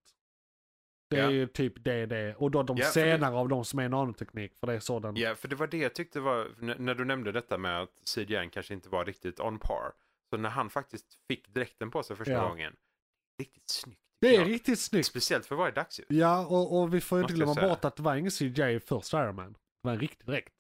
Speaker 2: Det är
Speaker 3: Ja.
Speaker 2: ju typ det det är. Och då de
Speaker 3: Ja, för det-
Speaker 2: senare av de som är nanoteknik, för det är sådan.
Speaker 3: Ja, för det var det jag tyckte var, n- när du nämnde detta med att Sid Yang kanske inte var riktigt on par. Så när han faktiskt fick dräkten på sig första
Speaker 2: Ja.
Speaker 3: gången, riktigt snyggt.
Speaker 2: Det är
Speaker 3: Ja.
Speaker 2: riktigt snyggt.
Speaker 3: Speciellt för varje dagsljus.
Speaker 2: Ja, och, och vi får ju inte
Speaker 3: Måste jag
Speaker 2: glömma
Speaker 3: säga.
Speaker 2: bort att det var ingen CGI i första Iron Man. Det var en riktig dräkt.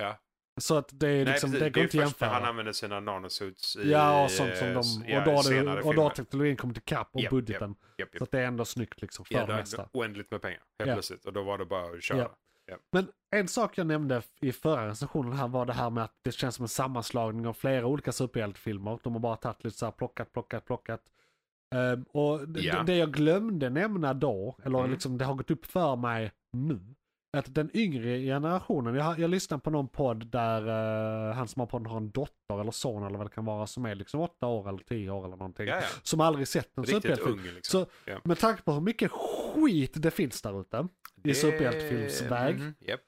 Speaker 3: Ja.
Speaker 2: Så att det är liksom,
Speaker 3: precis,
Speaker 2: det går inte
Speaker 3: är först när
Speaker 2: jämföra.
Speaker 3: Han använder sina nanosuits i
Speaker 2: Ja, och sånt som
Speaker 3: eh,
Speaker 2: de,
Speaker 3: s-
Speaker 2: och då,
Speaker 3: i
Speaker 2: har
Speaker 3: senare
Speaker 2: det, och då typ har
Speaker 3: filmer.
Speaker 2: teknologin kommit ikapp och
Speaker 3: Japp,
Speaker 2: budgeten.
Speaker 3: Japp,
Speaker 2: Så
Speaker 3: japp.
Speaker 2: att det är ändå snyggt liksom för
Speaker 3: Ja,
Speaker 2: det
Speaker 3: då är
Speaker 2: mesta.
Speaker 3: det oändligt med pengar, helt
Speaker 2: Ja.
Speaker 3: plötsligt. Och då var det bara att köra.
Speaker 2: Ja. Men en sak jag nämnde i förra recensionen här var det här med att det känns som en sammanslagning av flera olika superhjältefilmer. De har bara tagit lite så här plockat, plockat, plockat. Ehm, och d-
Speaker 3: Ja.
Speaker 2: det jag glömde nämna då, eller
Speaker 3: Mm.
Speaker 2: liksom det har gått upp för mig nu, att den yngre generationen, jag, har- jag lyssnade på någon podd där eh, han som har podden har en dotter eller son eller vad det kan vara som är liksom åtta år eller tio år eller någonting.
Speaker 3: Ja, ja.
Speaker 2: Som aldrig sett en
Speaker 3: Riktigt
Speaker 2: superhjältefilm.
Speaker 3: ung liksom.
Speaker 2: Så med tanke på hur mycket skit det finns där ute. i superhjältefilmsväg.
Speaker 3: Mhm, japp.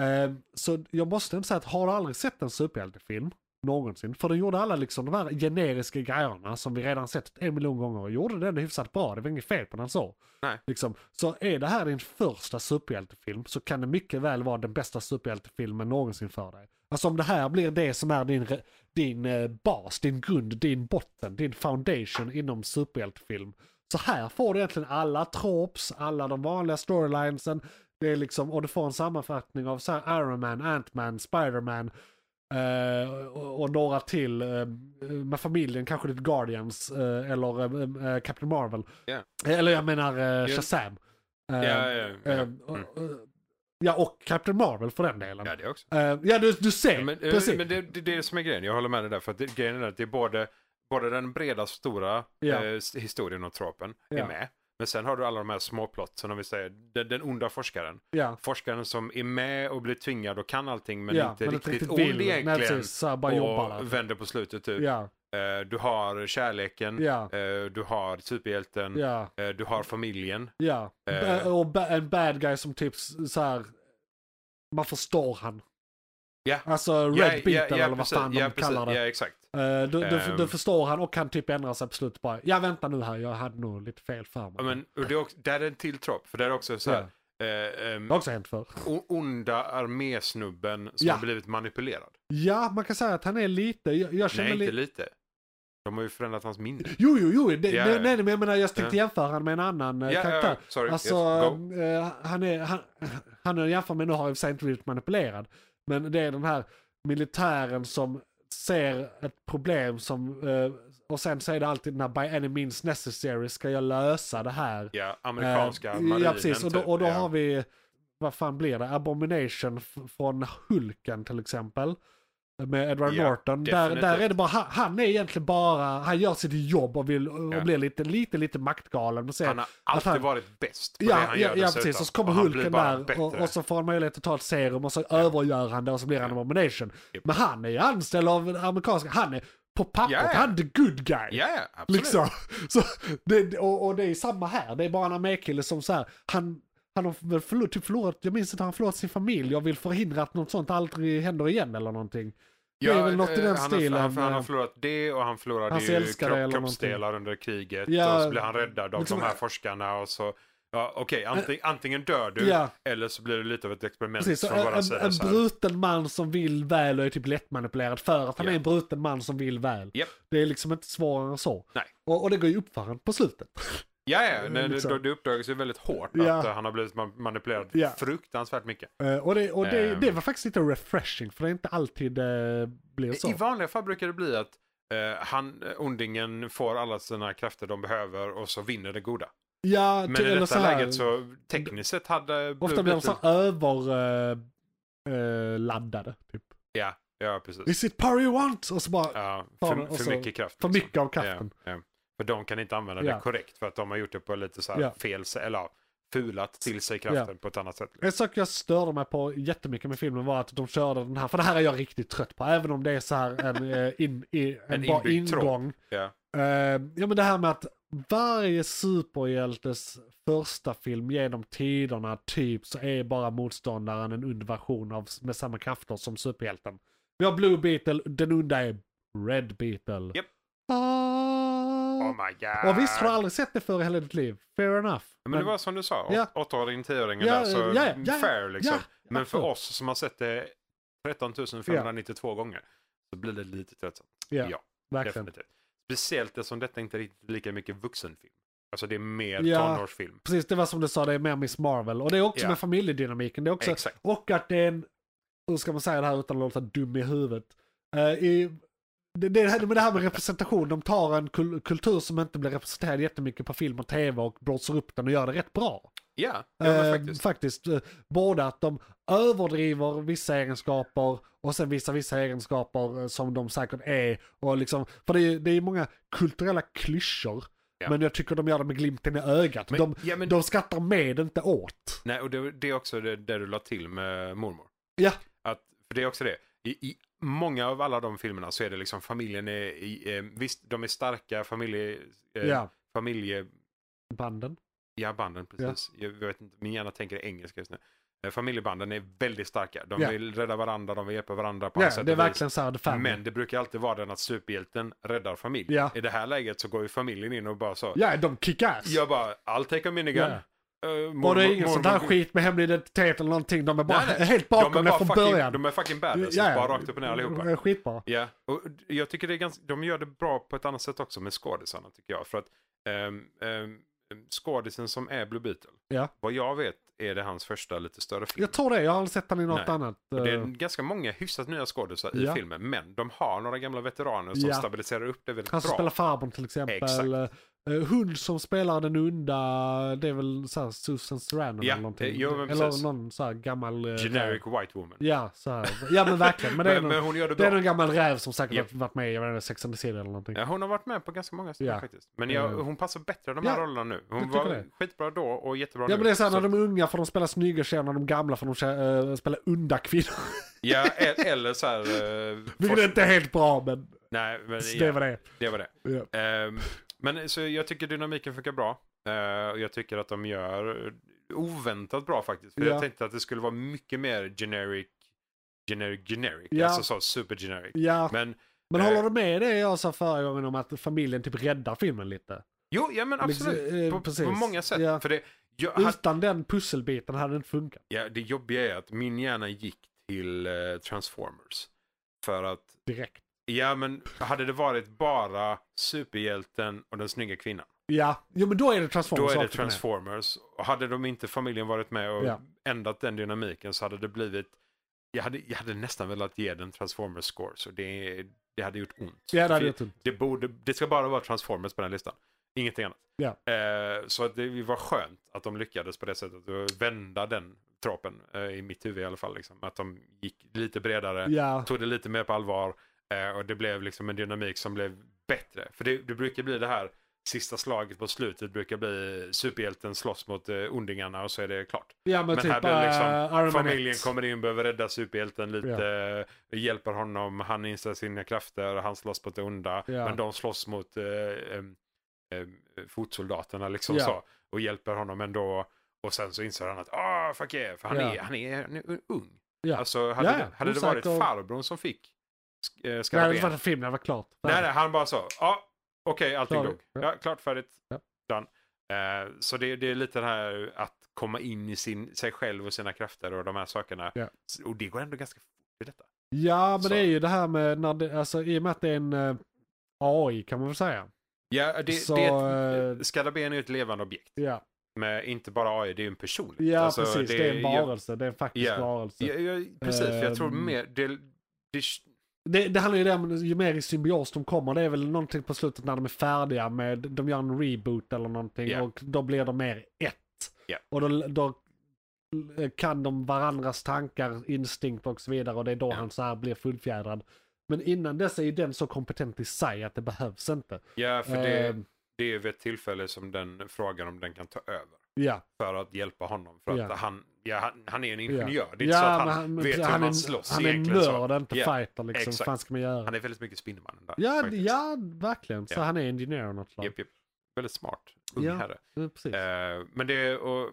Speaker 2: Eh, Så jag måste ändå säga att har du aldrig sett en superhjältefilm någonsin, för den gjorde alla liksom de här generiska grejerna som vi redan sett en miljon gånger och gjorde den hyfsat bra, det var inget fel på den så.
Speaker 3: Nej.
Speaker 2: Liksom. Så är det här din första superhjältefilm så kan det mycket väl vara den bästa superhjältefilmen någonsin för dig. Alltså om det här blir det som är din, re- din eh, bas, din grund, din botten, din foundation inom superhjältefilm. Så här får du egentligen alla tropes, alla de vanliga storylinesen. Det är liksom, och du får en sammanfattning av så här Iron Man, Ant-Man, Spider-Man eh, och, och några till. eh, med familjen, kanske lite Guardians eh, eller eh, eh, Captain Marvel.
Speaker 3: Ja.
Speaker 2: Eller jag menar eh, Shazam. Eh,
Speaker 3: Ja, ja, ja.
Speaker 2: eh,
Speaker 3: Mm.
Speaker 2: och- och- Ja, och Captain Marvel för den delen.
Speaker 3: Ja, det också.
Speaker 2: Eh, ja, du, du ser.
Speaker 3: Ja, Men, eh,
Speaker 2: Precis.
Speaker 3: men det, det, det är det som är grejen, jag håller med dig där. För att det, grejen är att det är både, både den breda stora
Speaker 2: Ja.
Speaker 3: eh, s- historien och tropen är
Speaker 2: Ja.
Speaker 3: med. Men sen har du alla de här småplotsen, om vi säger den, den onda forskaren.
Speaker 2: ja.
Speaker 3: Forskaren som är med och blir tvingad och kan allting men
Speaker 2: ja,
Speaker 3: inte
Speaker 2: men
Speaker 3: riktigt, ond
Speaker 2: vill. Nej,
Speaker 3: egentligen.
Speaker 2: precis. Så här, bara jobbar där.
Speaker 3: och vänder på slutet ut.
Speaker 2: Ja,
Speaker 3: Eh, du har kärleken,
Speaker 2: ja,
Speaker 3: eh, du har superhjälten,
Speaker 2: ja,
Speaker 3: eh, du har familjen.
Speaker 2: ja.
Speaker 3: Eh.
Speaker 2: Ba- och ba- en bad guy som typ s- så här. Man förstår han.
Speaker 3: Ja.
Speaker 2: Alltså red
Speaker 3: Ja,
Speaker 2: beaten
Speaker 3: ja, ja,
Speaker 2: eller vad
Speaker 3: precis.
Speaker 2: fan de
Speaker 3: ja, precis.
Speaker 2: kallar det.
Speaker 3: Ja, exakt.
Speaker 2: Eh, du, du,
Speaker 3: Ehm.
Speaker 2: du förstår han och han typ ändrar sig på slutet bara. Ja vänta nu här, jag hade nog lite fel för
Speaker 3: Ja,
Speaker 2: mig.
Speaker 3: Men, och det är också, där är en till trop, för där är också så här, eh, ehm,
Speaker 2: det har också hänt förr.
Speaker 3: O- onda armésnubben som
Speaker 2: Ja.
Speaker 3: har blivit manipulerad.
Speaker 2: Ja, man kan säga att han är lite, jag, jag känner
Speaker 3: Nej,
Speaker 2: lite...
Speaker 3: inte lite. De har ju förändrat hans minne.
Speaker 2: Jo, jo, jo. Det,
Speaker 3: Ja, ja.
Speaker 2: nej, nej, men jag menar jag tänkte jämföra han med en annan eh,
Speaker 3: Ja, ja,
Speaker 2: karaktär.
Speaker 3: ja, sorry.
Speaker 2: Alltså,
Speaker 3: Yes, go.
Speaker 2: eh, han är, han, han är jämför med, nu har jag i och för sig inte blivit manipulerad, men det är den här militären som ser ett problem som, eh, och sen så är det alltid den här by any means necessary, ska jag lösa det här?
Speaker 3: Ja, amerikanska
Speaker 2: Eh,
Speaker 3: marinen.
Speaker 2: Ja, precis. Och då, och då
Speaker 3: typ.
Speaker 2: har
Speaker 3: ja.
Speaker 2: vi, vad fan blir det? Abomination f- från Hulken till exempel. med Edward
Speaker 3: Ja,
Speaker 2: Norton. Där, där
Speaker 3: definitivt.
Speaker 2: är det bara, han, han är egentligen bara, han gör sitt jobb och, vill, och
Speaker 3: Ja.
Speaker 2: blir lite, lite, lite maktgalen. Och ser,
Speaker 3: Han har
Speaker 2: att
Speaker 3: alltid
Speaker 2: han-
Speaker 3: varit bäst på det
Speaker 2: Ja,
Speaker 3: han
Speaker 2: ja,
Speaker 3: gör
Speaker 2: ja
Speaker 3: dessutom.
Speaker 2: precis. Och så kommer
Speaker 3: Och han blir
Speaker 2: Hulken
Speaker 3: bara
Speaker 2: där
Speaker 3: bättre.
Speaker 2: och, och så får han möjlighet att ta ett serum och så övergör han det och så blir han en abomination. Men han är ju anställd av amerikanska, han är på pappret,
Speaker 3: Ja, ja.
Speaker 2: han är the good guy.
Speaker 3: Ja, ja, absolut.
Speaker 2: Liksom. Så, det, och, och det är samma här, det är bara en armékille som så här, han, han har väl förlor, typ förlorat, jag minns inte, han har förlorat sin familj, jag vill förhindra att något sånt aldrig händer igen eller någonting.
Speaker 3: Ja,
Speaker 2: det är väl något i
Speaker 3: eh,
Speaker 2: den
Speaker 3: han
Speaker 2: stilen.
Speaker 3: Har, han, han har
Speaker 2: eh,
Speaker 3: förlorat det och han förlorade
Speaker 2: Hans
Speaker 3: ju
Speaker 2: älskare eller
Speaker 3: kropp,
Speaker 2: någonting.
Speaker 3: kroppsdelar under kriget.
Speaker 2: Ja,
Speaker 3: och så blir han räddad av
Speaker 2: liksom- Eh,
Speaker 3: de här forskarna. Och så, ja, okej, anting, antingen dör du
Speaker 2: Ja.
Speaker 3: eller så blir det lite av ett experiment
Speaker 2: Precis, så
Speaker 3: från våran
Speaker 2: en,
Speaker 3: sida.
Speaker 2: en, en
Speaker 3: så här.
Speaker 2: bruten man som vill väl och är typ lättmanipulerad för att han
Speaker 3: Ja.
Speaker 2: är en bruten man som vill väl.
Speaker 3: Japp.
Speaker 2: Det är liksom inte svårare än så.
Speaker 3: Nej.
Speaker 2: Och, och det går ju upp för han på slutet.
Speaker 3: Ja, ja, nej,
Speaker 2: liksom.
Speaker 3: det, det uppdagas ju väldigt hårt
Speaker 2: Ja.
Speaker 3: att eh, han har blivit ma- manipulerad
Speaker 2: Ja.
Speaker 3: fruktansvärt mycket.
Speaker 2: Eh, och det, och det,
Speaker 3: Ehm.
Speaker 2: det var faktiskt lite refreshing för det är inte alltid eh, blir så.
Speaker 3: I vanliga fall brukar det bli att eh, han, eh, ondingen får alla sina krafter de behöver och så vinner det goda.
Speaker 2: ja,
Speaker 3: Men
Speaker 2: ty-
Speaker 3: i
Speaker 2: eller
Speaker 3: detta
Speaker 2: så här,
Speaker 3: läget så tekniskt sett hade...
Speaker 2: Ofta blir de så överladdade. Eh, eh, laddade, typ.
Speaker 3: Ja, ja precis.
Speaker 2: Is it power you want? Och så bara
Speaker 3: Ja,
Speaker 2: Tar
Speaker 3: för,
Speaker 2: den och
Speaker 3: för
Speaker 2: så-
Speaker 3: mycket kraft.
Speaker 2: för
Speaker 3: liksom.
Speaker 2: mycket av kraften.
Speaker 3: Ja, ja. För de kan inte använda
Speaker 2: Ja.
Speaker 3: det korrekt för att de har gjort det på lite så här
Speaker 2: Ja.
Speaker 3: fel, sä- eller ja, fulat till sig kraften på ett annat sätt. liksom.
Speaker 2: En sak jag störde mig på jättemycket med filmen var att de körde den här, för det här är jag riktigt trött på, även om det är så här en, eh, in, i, en,
Speaker 3: En
Speaker 2: bra
Speaker 3: inbyggd tråd.
Speaker 2: ingång.
Speaker 3: Ja.
Speaker 2: Eh, ja men det här med att varje superhjältes första film genom tiderna typ så är bara motståndaren en ond version av, med samma krafter som superhjälten. Vi har Blue Beetle, den onda är Red Beetle.
Speaker 3: Japp.
Speaker 2: Ah.
Speaker 3: Oh my god.
Speaker 2: och visst har du aldrig sett det förr i hela ditt liv, fair enough.
Speaker 3: men, det var som du sa,
Speaker 2: Ja.
Speaker 3: ja. 8-åring, 10-åringen
Speaker 2: Ja,
Speaker 3: där, så
Speaker 2: ja, ja, ja,
Speaker 3: fair liksom.
Speaker 2: ja,
Speaker 3: men för
Speaker 2: absolut.
Speaker 3: oss som har sett det 13 592 gånger så blir det lite tröttsamt.
Speaker 2: ja,
Speaker 3: ja,
Speaker 2: verkligen.
Speaker 3: definitivt. Speciellt eftersom detta inte är riktigt lika mycket vuxenfilm. Alltså det är mer
Speaker 2: Ja.
Speaker 3: tonårsfilm.
Speaker 2: Precis, det var som du sa, det är mer Miss Marvel. Och det är också
Speaker 3: Ja.
Speaker 2: med familjedynamiken. Det är också,
Speaker 3: Exakt.
Speaker 2: och att det är en, hur ska man säga det här utan att låta dum i huvudet? Eh, i, det, det, här- men det här med representation, de tar en kul, kultur som inte blir representerad jättemycket på film och tv och blåser upp den och gör det rätt bra.
Speaker 3: Ja, ja men
Speaker 2: Eh,
Speaker 3: faktiskt.
Speaker 2: eh, både att de överdriver vissa egenskaper och sen vissa vissa egenskaper eh, som de säkert är. Och liksom, för det är ju det är många kulturella klyschor.
Speaker 3: Ja.
Speaker 2: Men jag tycker de gör det med glimten i ögat.
Speaker 3: Men-
Speaker 2: de,
Speaker 3: ja, men-
Speaker 2: de skrattar med, inte åt.
Speaker 3: Nej, och det, det är också det, det du la till med mormor.
Speaker 2: Ja,
Speaker 3: Att, för det är också det. I, I många av alla de filmerna så är det liksom familjen är, i, eh, visst de är starka, familje, eh,
Speaker 2: Ja.
Speaker 3: familje,
Speaker 2: banden.
Speaker 3: ja banden precis. Jag vet inte, min hjärna tänker engelska just nu. Eh, Familjebanden är väldigt starka. De
Speaker 2: Ja.
Speaker 3: vill rädda varandra, de vill hjälpa varandra på alla
Speaker 2: Ja,
Speaker 3: sätt
Speaker 2: det är
Speaker 3: och vis.
Speaker 2: verkligen så här, the family.
Speaker 3: Men det brukar alltid vara den att superhjälten räddar familjen.
Speaker 2: Ja.
Speaker 3: I det här läget så går ju familjen in och bara så.
Speaker 2: Ja, de kick-ass.
Speaker 3: Jag bara, I'll take a minigun.
Speaker 2: Ja.
Speaker 3: Eh,
Speaker 2: och det
Speaker 3: mormor-
Speaker 2: är ingen sånt här
Speaker 3: mormor-
Speaker 2: skit med hemlig identitet eller någonting. De är bara
Speaker 3: Nej, nej.
Speaker 2: helt
Speaker 3: de är
Speaker 2: bakom det
Speaker 3: bara
Speaker 2: från
Speaker 3: fucking,
Speaker 2: början.
Speaker 3: De är fucking badass, bara rakt upp och ner allihopa.
Speaker 2: de är Skitbra.
Speaker 3: Ja, och jag tycker det är ganska, de gör det bra på ett annat sätt också med skådisarna tycker jag. För att ehm, ehm, skådisen som är Blue Beetle,
Speaker 2: Ja.
Speaker 3: vad jag vet är det hans första lite större film.
Speaker 2: Jag tror det, jag har aldrig sett den i något
Speaker 3: Nej.
Speaker 2: annat.
Speaker 3: Och det
Speaker 2: eh,
Speaker 3: är ganska många hyfsat nya skådisar i
Speaker 2: Ja.
Speaker 3: filmen, men de har några gamla veteraner som
Speaker 2: Ja.
Speaker 3: stabiliserar upp det väldigt
Speaker 2: Han som
Speaker 3: bra.
Speaker 2: spelar farbrorn till exempel.
Speaker 3: Exakt.
Speaker 2: Eh, hund som spelar den onda, det är väl såhär Susan Sarandon
Speaker 3: Ja,
Speaker 2: eller någonting.
Speaker 3: eh, jo, men
Speaker 2: eller
Speaker 3: precis.
Speaker 2: någon såhär gammal... eh,
Speaker 3: Generic
Speaker 2: räv.
Speaker 3: white woman.
Speaker 2: Ja, såhär. ja men verkligen. Men det är,
Speaker 3: Men,
Speaker 2: någon,
Speaker 3: men hon gör det
Speaker 2: det
Speaker 3: bra.
Speaker 2: är någon gammal räv som säkert
Speaker 3: Ja.
Speaker 2: har varit med i jag vet inte, Sex and the City eller någonting.
Speaker 3: Ja, hon har varit med på ganska många ställen
Speaker 2: Ja.
Speaker 3: faktiskt. Men jag,
Speaker 2: Mm.
Speaker 3: hon passar bättre i de här
Speaker 2: Ja,
Speaker 3: rollerna nu.
Speaker 2: jag
Speaker 3: Hon
Speaker 2: tycker
Speaker 3: var
Speaker 2: det.
Speaker 3: skitbra då och jättebra
Speaker 2: Ja
Speaker 3: nu.
Speaker 2: men det är såhär
Speaker 3: Så-
Speaker 2: när de är unga får de spela snygga tjejer, när de är gamla får de tje- eh, spela onda kvinnor.
Speaker 3: ja, e- eller så här... eh,
Speaker 2: Vilket
Speaker 3: forsk-
Speaker 2: inte är helt bra men
Speaker 3: Nej, men,
Speaker 2: så
Speaker 3: ja,
Speaker 2: det var det.
Speaker 3: det var det.
Speaker 2: Ja.
Speaker 3: Ehm, men så jag tycker dynamiken funkar bra. Eh, och jag tycker att de gör oväntat bra faktiskt. För
Speaker 2: Ja.
Speaker 3: jag tänkte att det skulle vara mycket mer generic, generic, generic.
Speaker 2: Ja.
Speaker 3: Alltså så super generic.
Speaker 2: Ja,
Speaker 3: Men
Speaker 2: men
Speaker 3: eh,
Speaker 2: håller du med det jag sa förra gången om att familjen typ räddar filmen lite?
Speaker 3: jo, ja men
Speaker 2: Liksom,
Speaker 3: absolut.
Speaker 2: eh,
Speaker 3: på,
Speaker 2: precis.
Speaker 3: på många sätt.
Speaker 2: Ja.
Speaker 3: För det, jag, hade,
Speaker 2: Utan den pusselbiten hade det inte funkat.
Speaker 3: ja, det jobbiga är att min hjärna gick till eh, Transformers. För att,
Speaker 2: Direkt.
Speaker 3: ja men hade det varit bara superhjälten och den snygga kvinnan.
Speaker 2: Ja, jo men då är det
Speaker 3: Då
Speaker 2: Transformers.
Speaker 3: är det
Speaker 2: rakt upp och ner.
Speaker 3: Transformers. Och hade de inte familjen varit med och
Speaker 2: Ja.
Speaker 3: ändrat den dynamiken så hade det blivit... Jag hade, jag hade nästan velat ge den Transformers score, så det, det hade gjort ont.
Speaker 2: Ja, det hade
Speaker 3: För
Speaker 2: gjort ont.
Speaker 3: det, borde, det ska bara vara Transformers på den listan. Ingenting annat.
Speaker 2: Ja.
Speaker 3: Eh, så att det var skönt att de lyckades på det sättet och vända den tropen, eh, i mitt huvud i alla fall. Liksom. Att de gick lite bredare,
Speaker 2: Ja,
Speaker 3: tog det lite mer på allvar eh, och det blev liksom en dynamik som blev bättre. För det, det brukar bli det här sista slaget på slutet brukar bli eh, superhjälten slåss mot eh, ondingarna och så är det klart.
Speaker 2: ja men,
Speaker 3: Men
Speaker 2: typ
Speaker 3: här blir det liksom
Speaker 2: eh, Iron Man
Speaker 3: Familjen
Speaker 2: 1.
Speaker 3: kommer in, behöver rädda superhjälten lite, eh, hjälper honom, han inser sina krafter, han slåss mot det onda.
Speaker 2: Ja.
Speaker 3: Men de slåss mot eh, em, em, fotsoldaterna liksom
Speaker 2: Ja.
Speaker 3: så, och hjälper honom ändå. Och sen så inser han att ah, fuck yeah, för han,
Speaker 2: Ja.
Speaker 3: är, han, är, han är ung.
Speaker 2: Ja.
Speaker 3: Alltså hade,
Speaker 2: Ja,
Speaker 3: det, hade det varit
Speaker 2: osäker.
Speaker 3: farbrorn som fick sk- eh,
Speaker 2: Det hade
Speaker 3: skarven?
Speaker 2: inte varit en film, det hade varit klart.
Speaker 3: Nej, nej, han bara så. Ja, okej, allting
Speaker 2: Klar.
Speaker 3: dog.
Speaker 2: Ja.
Speaker 3: Ja, klart färdigt.
Speaker 2: Ja.
Speaker 3: Done. Eh, så det, det är lite det här att komma in i sin, sig själv och sina krafter och de här sakerna.
Speaker 2: Ja.
Speaker 3: S- Och det går ändå ganska fort i detta.
Speaker 2: Ja, men
Speaker 3: Så.
Speaker 2: det är ju det här med, när det, alltså, i och med att det är en eh, AI kan man väl säga.
Speaker 3: Ja, det,
Speaker 2: Så,
Speaker 3: det är ett,
Speaker 2: eh,
Speaker 3: Skaraben är ju ett levande objekt.
Speaker 2: Ja,
Speaker 3: Men inte bara AI, det är ju en person.
Speaker 2: ja
Speaker 3: Alltså,
Speaker 2: precis. Det, är en
Speaker 3: jag-
Speaker 2: varelse, det är en faktisk
Speaker 3: Ja.
Speaker 2: varelse.
Speaker 3: Ja, ja, precis, för jag tror
Speaker 2: Ehm.
Speaker 3: mer... Det, det,
Speaker 2: Det, det handlar ju om, ju mer i symbios de kommer, det är väl någonting på slutet när de är färdiga med, de gör en reboot eller någonting
Speaker 3: Ja.
Speaker 2: och då blir de mer ett.
Speaker 3: Ja.
Speaker 2: Och då, då kan de varandras tankar, instinkter och så vidare och det är då
Speaker 3: Ja.
Speaker 2: han så här blir fullfjädrad. Men innan dess är ju den så kompetent i sig att det behövs inte.
Speaker 3: ja, för det,
Speaker 2: Ehm,
Speaker 3: det är ju ett tillfälle som den frågar om den kan ta över.
Speaker 2: ja.
Speaker 3: för att hjälpa honom. För att
Speaker 2: Ja.
Speaker 3: han, ja, han, han är en
Speaker 2: Ja.
Speaker 3: ingenjör. Det är inte
Speaker 2: Ja,
Speaker 3: så att han,
Speaker 2: men
Speaker 3: vet hur
Speaker 2: han är-
Speaker 3: man slåss
Speaker 2: Han är
Speaker 3: egentligen. så.
Speaker 2: nörd, inte
Speaker 3: Ja,
Speaker 2: fighter liksom. Vad
Speaker 3: exakt.
Speaker 2: fan ska man göra?
Speaker 3: Han är väldigt mycket Spindelmannen där.
Speaker 2: ja,
Speaker 3: faktiskt.
Speaker 2: ja, verkligen. Så
Speaker 3: Ja.
Speaker 2: han är ingenjör av något slag.
Speaker 3: Japp, japp. Väldigt smart. Ung
Speaker 2: Ja.
Speaker 3: herre.
Speaker 2: Ja, Precis.
Speaker 3: Eh, men det är, och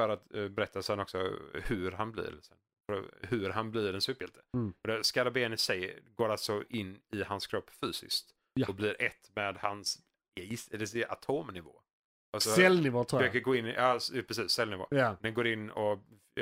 Speaker 3: för att eh, berätta sen också hur han blir. Sen. För Hur han blir en superhjälte.
Speaker 2: Mm.
Speaker 3: Och det- Skarabén i sig går alltså in i hans kropp fysiskt.
Speaker 2: Ja.
Speaker 3: Och blir ett med hans, jag gissar- det är atomnivå. Alltså,
Speaker 2: Cellnivå tror jag.
Speaker 3: försöker gå in i, ja, precis, cellnivå.
Speaker 2: Ja,
Speaker 3: Den går in och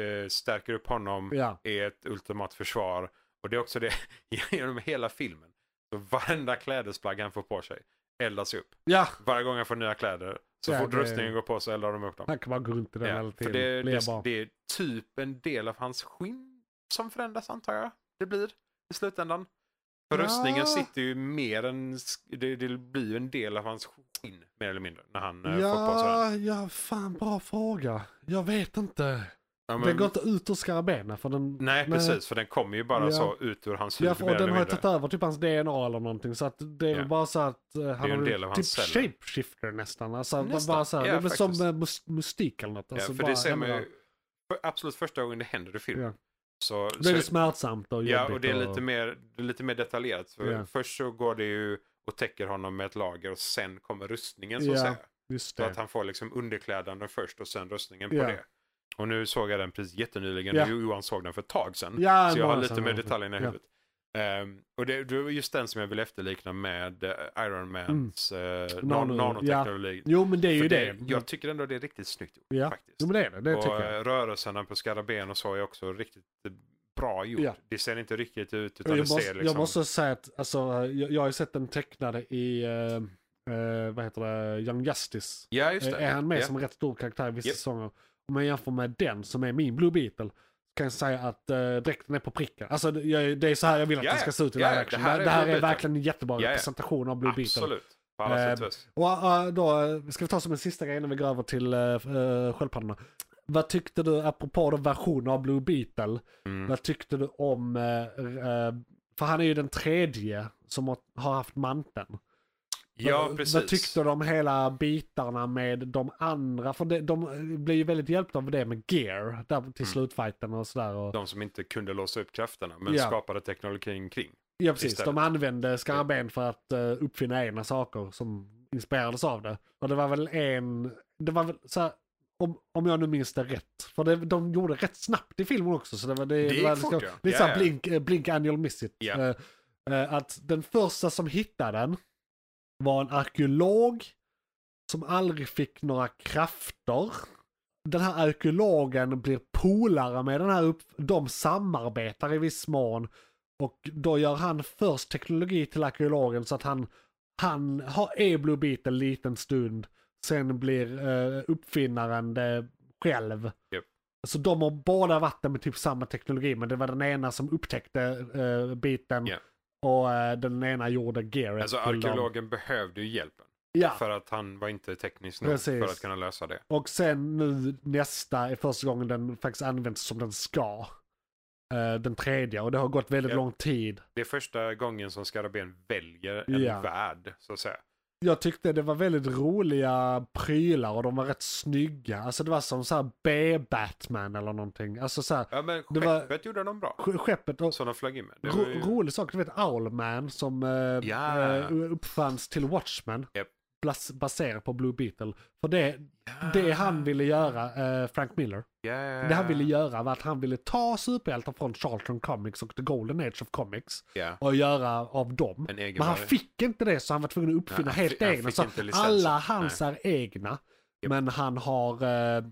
Speaker 3: eh, stärker upp honom.
Speaker 2: ja.
Speaker 3: är ett ultimat försvar. Och det är också det genom hela filmen. Så varenda klädesplagg han får på sig eldas upp.
Speaker 2: ja.
Speaker 3: Varje gång han får nya kläder så
Speaker 2: Ja,
Speaker 3: fort
Speaker 2: det-
Speaker 3: rustningen går på så eldar de upp dem.
Speaker 2: Han kan bara gå runt i den hela
Speaker 3: Ja, för
Speaker 2: tiden.
Speaker 3: det,
Speaker 2: Blir
Speaker 3: det,
Speaker 2: bra.
Speaker 3: det är typ en del av hans skinn som förändras antar jag det blir i slutändan. För
Speaker 2: Ja.
Speaker 3: rustningen sitter ju mer än, sk- det, det blir ju en del av hans skinn mer eller mindre när han eh, får på sig den.
Speaker 2: ja, ja, fan bra fråga. Jag vet inte.
Speaker 3: Ja,
Speaker 2: Den
Speaker 3: men-
Speaker 2: går inte ut ur skarabenen för den...
Speaker 3: nej, precis för den kommer ju bara
Speaker 2: Ja.
Speaker 3: så ut ur hans huvud
Speaker 2: Ja, för,
Speaker 3: mer
Speaker 2: och den
Speaker 3: eller
Speaker 2: har ju
Speaker 3: mindre.
Speaker 2: tagit över typ hans DNA eller någonting så att det är
Speaker 3: Ja.
Speaker 2: väl bara så att eh, han
Speaker 3: ju
Speaker 2: har
Speaker 3: en
Speaker 2: väl
Speaker 3: del av
Speaker 2: typ
Speaker 3: hans celler.
Speaker 2: shapeshifter nästan. Alltså,
Speaker 3: Nästan.
Speaker 2: Bara så här,
Speaker 3: Ja,
Speaker 2: det är väl som
Speaker 3: faktiskt.
Speaker 2: eh, mus- mystik eller något. Alltså,
Speaker 3: ja, för
Speaker 2: bara
Speaker 3: det ser man
Speaker 2: ändra.
Speaker 3: ju, för absolut första gången det händer i filmen.
Speaker 2: Ja.
Speaker 3: Så,
Speaker 2: Då är det
Speaker 3: så,
Speaker 2: smärtsamt och
Speaker 3: ja,
Speaker 2: jobbigt
Speaker 3: och det är lite mer, det är lite mer detaljerat. För
Speaker 2: Ja.
Speaker 3: Först så går det ju och täcker honom med ett lager och sen kommer rustningen så att
Speaker 2: Ja,
Speaker 3: säga.
Speaker 2: Just
Speaker 3: Så
Speaker 2: det.
Speaker 3: att han får liksom underkläderna först och sen rustningen på
Speaker 2: Ja.
Speaker 3: det. Och nu såg jag den precis jättenyligen,
Speaker 2: Ja.
Speaker 3: och Johan såg den för ett tag sedan.
Speaker 2: Ja,
Speaker 3: Så jag har
Speaker 2: bara
Speaker 3: lite
Speaker 2: här-
Speaker 3: mer detaljerna i
Speaker 2: Ja.
Speaker 3: huvudet. Ehm, och det, det var just den som jag vill efterlikna med eh, Iron Mans eh, nan-
Speaker 2: Mm. Nano-
Speaker 3: nanoteknologi.
Speaker 2: Jo, men det är
Speaker 3: För
Speaker 2: ju det.
Speaker 3: det, jag tycker ändå det är riktigt snyggt gjort
Speaker 2: Ja.
Speaker 3: faktiskt.
Speaker 2: Jo, men det är det. Det
Speaker 3: och
Speaker 2: tycker jag.
Speaker 3: eh, rörelserna på skarabén och så är också riktigt eh, bra gjort.
Speaker 2: Ja.
Speaker 3: Det ser inte riktigt ut utan
Speaker 2: Jag
Speaker 3: det
Speaker 2: måste,
Speaker 3: ser
Speaker 2: jag
Speaker 3: liksom...
Speaker 2: måste säga att alltså, jag, jag har ju sett den tecknade i, eh, eh, vad heter det, Young Justice. Eh,
Speaker 3: Ja, just det.
Speaker 2: Är han med
Speaker 3: ja.
Speaker 2: som en rätt stor karaktär i vissa
Speaker 3: Japp.
Speaker 2: säsonger. Om jag jämför med den som är min Blue Beetle. Kan jag säga att eh, dräkten är på pricken. Alltså det, jag, det är så här jag vill att
Speaker 3: Ja,
Speaker 2: den
Speaker 3: ja.
Speaker 2: ska se ut i
Speaker 3: Ja,
Speaker 2: live
Speaker 3: ja.
Speaker 2: action.
Speaker 3: Det här
Speaker 2: Det,
Speaker 3: är
Speaker 2: det här
Speaker 3: Blue
Speaker 2: är
Speaker 3: Beetle.
Speaker 2: verkligen en jättebra
Speaker 3: Ja, ja.
Speaker 2: representation av Blue Beetle.
Speaker 3: Absolut. På alla
Speaker 2: Eh,
Speaker 3: sätt och vis.
Speaker 2: Och eh, då eh, ska vi ta som en sista grej innan vi går över till uh, sköldpaddorna. Vad tyckte du, apropå den versionen av Blue Beetle,
Speaker 3: Mm.
Speaker 2: vad tyckte du om, eh, eh, för han är ju den tredje som har- har haft manteln.
Speaker 3: Ja,
Speaker 2: Vad-
Speaker 3: precis.
Speaker 2: Vad tyckte du om hela bitarna med de andra? För de, de blev ju väldigt hjälpta av det med gear där
Speaker 3: Mm.
Speaker 2: till slutfighten och sådär. Och,
Speaker 3: De som inte kunde låsa upp krafterna men
Speaker 2: Ja.
Speaker 3: skapade teknologin kring.
Speaker 2: ja precis,
Speaker 3: istället.
Speaker 2: de använde skarben för att eh, uppfinna egna saker som inspirerades av det. Och det var väl en, det var väl såhär, om, om jag nu minns det rätt. För det, de gjorde rätt snabbt i filmen också. Så det var, det,
Speaker 3: Det gick
Speaker 2: var
Speaker 3: fort, ja.
Speaker 2: lite
Speaker 3: Ja,
Speaker 2: såhär
Speaker 3: ja.
Speaker 2: blink, eh, blink and you'll miss it.
Speaker 3: Ja.
Speaker 2: Eh, eh, att den första som hittade den var en arkeolog som aldrig fick några krafter. Den här arkeologen blir polare med den här upp... De samarbetar i viss mån. Och då gör han först teknologi till arkeologen så att han, han har Eblo bit en liten stund. Sen blir eh, uppfinnaren det själv.
Speaker 3: Japp.
Speaker 2: Så de har båda varit där med typ samma teknologi men det var den ena som upptäckte eh, biten
Speaker 3: Ja.
Speaker 2: och eh, den ena gjorde gearet.
Speaker 3: Alltså
Speaker 2: till dem.
Speaker 3: arkeologen behövde ju hjälpen.
Speaker 2: Ja,
Speaker 3: För att han var inte teknisk nog
Speaker 2: Precis.
Speaker 3: för att kunna lösa det.
Speaker 2: och sen nu nästa är första gången den faktiskt används som den ska. Eh, den tredje och det har gått väldigt
Speaker 3: Ja.
Speaker 2: lång tid.
Speaker 3: Det är första gången som Skarabén väljer en
Speaker 2: Ja.
Speaker 3: värld, så att säga.
Speaker 2: Jag tyckte det var väldigt roliga prylar och de var rätt snygga. Alltså det var som så här B-Batman eller någonting. Alltså så här,
Speaker 3: Ja, men
Speaker 2: Det var-
Speaker 3: skeppet gjorde de bra.
Speaker 2: sk- skeppet och
Speaker 3: Som de flög in med. Det var
Speaker 2: ro,
Speaker 3: ju...
Speaker 2: rolig sak, du vet Owlman som eh,
Speaker 3: Ja.
Speaker 2: eh, uppfanns till Watchmen.
Speaker 3: Japp.
Speaker 2: Blas, baserat på Blue Beetle. För det, det han ville göra, eh, Frank Miller.
Speaker 3: Ja.
Speaker 2: Det han ville göra var att han ville ta superhjältar från Charlton Comics och The Golden Age of Comics
Speaker 3: Ja.
Speaker 2: och göra av dem.
Speaker 3: En egen
Speaker 2: Men han
Speaker 3: varje.
Speaker 2: fick inte det så han var tvungen att uppfinna
Speaker 3: Nej, han
Speaker 2: helt
Speaker 3: fi- han
Speaker 2: egna.
Speaker 3: fick
Speaker 2: Så
Speaker 3: inte licensen.
Speaker 2: alla hans är egna.
Speaker 3: Japp.
Speaker 2: Men han har... Eh, eh,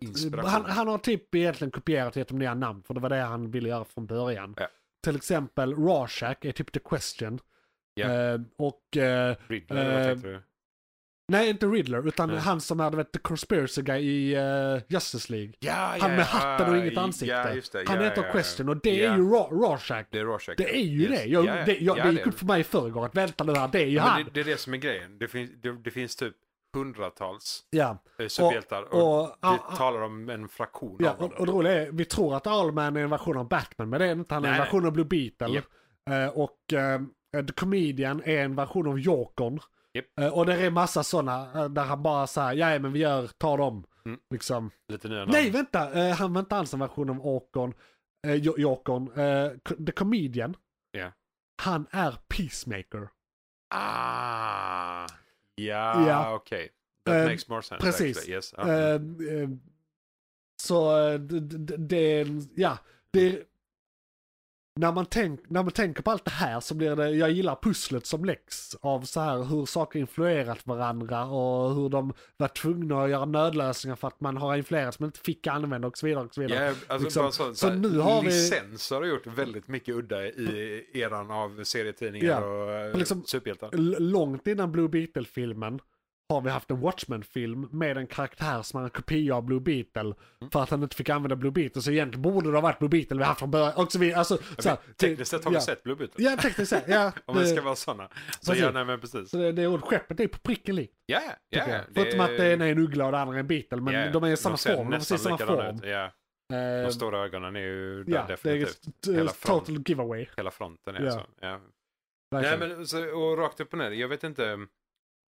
Speaker 3: Inspiration.
Speaker 2: han, han har typ egentligen kopierat och gett dem nya namn. För det var det han ville göra från början.
Speaker 3: Ja.
Speaker 2: Till exempel Rorschach är typ the question.
Speaker 3: Ja.
Speaker 2: Eh, och... Eh,
Speaker 3: Riddler, vad
Speaker 2: Eh,
Speaker 3: tänkte du?
Speaker 2: nej, inte Riddler. Utan
Speaker 3: Nej.
Speaker 2: han som är du vet, the conspiracy guy i eh, Justice League.
Speaker 3: Ja,
Speaker 2: Han
Speaker 3: Ah, ja,
Speaker 2: med hatten och
Speaker 3: ja,
Speaker 2: inget
Speaker 3: ja,
Speaker 2: ansikte.
Speaker 3: just det.
Speaker 2: Han
Speaker 3: Ja,
Speaker 2: heter
Speaker 3: ja, ja.
Speaker 2: question och det
Speaker 3: Ja.
Speaker 2: är ju Ro- Rorschach.
Speaker 3: Det är Rorschach.
Speaker 2: Det är ju
Speaker 3: Yes.
Speaker 2: det. Jag,
Speaker 3: Ja, ja.
Speaker 2: det, jag,
Speaker 3: Ja,
Speaker 2: det
Speaker 3: det
Speaker 2: gick
Speaker 3: är
Speaker 2: upp för mig i förrgår att vänta nu här, det är ju han.
Speaker 3: Men det, det är det som är grejen. Det finns, det, det finns typ hundratals
Speaker 2: ja.
Speaker 3: eh, superhjältar och,
Speaker 2: och-
Speaker 3: vi
Speaker 2: ah, ah.
Speaker 3: talar om en fraktion
Speaker 2: Ja,
Speaker 3: av
Speaker 2: och,
Speaker 3: dem.
Speaker 2: och det roliga är, vi tror att Allman är en version av Batman, men det är det inte. Han är
Speaker 3: Nej,
Speaker 2: en
Speaker 3: nej.
Speaker 2: version av Blue Beetle.
Speaker 3: Japp.
Speaker 2: Eh, och eh, The Comedian är en version av Jokern.
Speaker 3: Japp.
Speaker 2: Eh, och det är massa sådana där han bara säger, ja men vi gör, tar dem.
Speaker 3: Mm.
Speaker 2: Liksom.
Speaker 3: Lite nya
Speaker 2: Nej
Speaker 3: namn.
Speaker 2: vänta, eh, han var inte alls en version av Åkern, eh, Jo- Jokern. Eh, co- The Comedian,
Speaker 3: Ja.
Speaker 2: han är Peacemaker.
Speaker 3: Ah, ja,
Speaker 2: Ja.
Speaker 3: okej. That
Speaker 2: Eh,
Speaker 3: makes more sense.
Speaker 2: precis.
Speaker 3: Actually. Yes. ja.
Speaker 2: Eh, eh, så eh, d- d- det, är en- ja, det är, när man, tänk, när man tänker på allt det här så blir det, jag gillar pusslet som läggs av så här hur saker influerat varandra och hur de var tvungna att göra nödlösningar för att man har influerats men inte fick använda och så vidare. Och så vidare.
Speaker 3: Ja, alltså
Speaker 2: liksom.
Speaker 3: bara så, så,
Speaker 2: Så
Speaker 3: här,
Speaker 2: nu har vi-
Speaker 3: licenser har gjort väldigt mycket udda i eran av serietidningar
Speaker 2: Ja,
Speaker 3: och eh,
Speaker 2: och liksom-
Speaker 3: superhjältar.
Speaker 2: L- långt innan Blue Beetle-filmen har vi haft en Watchmen-film med en karaktär som är en kopia av Blue
Speaker 3: Mm.
Speaker 2: Beetle för att han inte fick använda Blue Beetle. Så egentligen borde det ha varit Blue Beetle vi haft från början. Och så vidare. Alltså, så här, det-
Speaker 3: Tekniskt sett har vi
Speaker 2: ja.
Speaker 3: sett Blue Beetle.
Speaker 2: Ja, tekniskt sett. Ja,
Speaker 3: Om vi
Speaker 2: det-
Speaker 3: ska vara sådana. Så ja,
Speaker 2: Precis.
Speaker 3: nej men precis.
Speaker 2: så det, det är ordet skeppet är på pricken likt.
Speaker 3: Ja, ja.
Speaker 2: tycker jag. Förutom att det ena är en uggla och det andra är en Beetle. Men
Speaker 3: ja,
Speaker 2: de är i samma
Speaker 3: ser
Speaker 2: form. De har
Speaker 3: nästan
Speaker 2: precis samma
Speaker 3: likadana
Speaker 2: form.
Speaker 3: ut. Ja,
Speaker 2: Eh,
Speaker 3: de stora ögonen är ju där
Speaker 2: ja, det är
Speaker 3: definitivt.
Speaker 2: eh,
Speaker 3: Hela fram.
Speaker 2: total giveaway.
Speaker 3: Hela fronten är
Speaker 2: Ja.
Speaker 3: så. Ja. Nej,
Speaker 2: verkligen.
Speaker 3: men, så, och rakt upp och ner. Jag vet inte.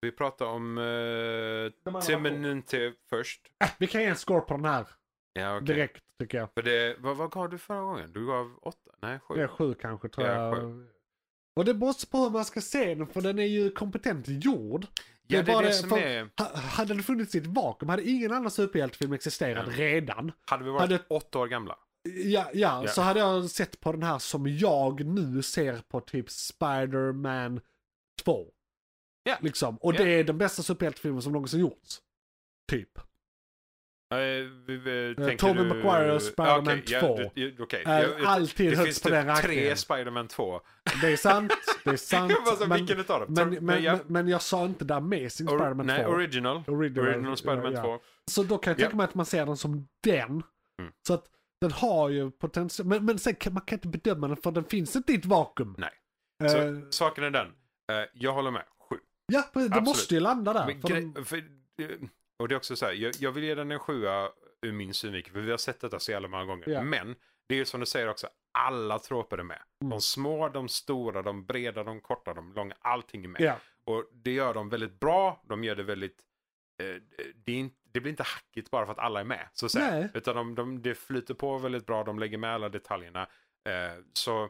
Speaker 3: Vi pratar om uh,
Speaker 2: andra
Speaker 3: Temenente först.
Speaker 2: Äh, vi kan ge en score på den här
Speaker 3: Ja, okej.
Speaker 2: direkt tycker jag.
Speaker 3: För det, vad, vad gav du förra gången? Du gav åtta? Nej, sju.
Speaker 2: Det är sju kanske tror
Speaker 3: Ja,
Speaker 2: jag. Och det beror på hur man ska se den för den är ju kompetent gjord. det
Speaker 3: ja,
Speaker 2: är
Speaker 3: det är
Speaker 2: bara
Speaker 3: det
Speaker 2: det-
Speaker 3: som
Speaker 2: för-
Speaker 3: är.
Speaker 2: Ha- Hade det funnits i ett vakuum hade ingen annan superhjältefilm existerat
Speaker 3: Ja.
Speaker 2: redan.
Speaker 3: Hade vi varit
Speaker 2: hade-
Speaker 3: åtta år gamla?
Speaker 2: Ja, ja,
Speaker 3: Ja.
Speaker 2: så hade jag sett på den här som jag nu ser på typ Spider-Man 2.
Speaker 3: Ja.
Speaker 2: Liksom. Och
Speaker 3: Ja.
Speaker 2: det är den bästa superhjältefilmen som någonsin gjorts. Typ.
Speaker 3: Eh, vi- vi- tänker
Speaker 2: Tobey
Speaker 3: du-
Speaker 2: Maguire och Spider-Man
Speaker 3: Ah, okej, ja,
Speaker 2: 2.
Speaker 3: du- ju- Okej.
Speaker 2: Är
Speaker 3: Jag- jag-
Speaker 2: alltid
Speaker 3: det
Speaker 2: högst
Speaker 3: finns
Speaker 2: på
Speaker 3: typ
Speaker 2: den rankingen.
Speaker 3: tre Spider-Man 2.
Speaker 2: Det är sant, det är sant.
Speaker 3: Jag bara så,
Speaker 2: men,
Speaker 3: vilken utav dem?
Speaker 2: men,
Speaker 3: Tor-
Speaker 2: men,
Speaker 3: nej,
Speaker 2: men,
Speaker 3: ja.
Speaker 2: men jag sa inte The Amazing
Speaker 3: Or-
Speaker 2: Spider-Man 2.
Speaker 3: Nej, original.
Speaker 2: Original,
Speaker 3: Original, Spider-Man
Speaker 2: ja.
Speaker 3: 2.
Speaker 2: Så då kan jag
Speaker 3: Ja.
Speaker 2: tänka mig att man ser den som den.
Speaker 3: Mm.
Speaker 2: Så att den har ju potential. Men, men sen kan man kan inte bedöma den för den finns inte i ett vakuum.
Speaker 3: Nej.
Speaker 2: Eh,
Speaker 3: Så saken är den. Eh, jag håller med. Sju.
Speaker 2: ja, det
Speaker 3: absolut.
Speaker 2: måste ju landa där.
Speaker 3: Men
Speaker 2: för
Speaker 3: gre-
Speaker 2: den-
Speaker 3: för, eh, och det är också så här, jag, jag vill ge den en sjua ur min synvinkel, för vi har sett detta så jävla många gånger.
Speaker 2: Ja.
Speaker 3: Men det är ju som du säger också, alla troper är med. De
Speaker 2: Mm.
Speaker 3: små, de stora, de breda, de korta, de långa, allting är med.
Speaker 2: ja.
Speaker 3: Och det gör de väldigt bra, de gör det väldigt... Eh, det, är inte, det blir inte hackigt bara för att alla är med, så att säga.
Speaker 2: Nej.
Speaker 3: Utan de, de, det flyter på väldigt bra, de lägger med alla detaljerna. Eh, så...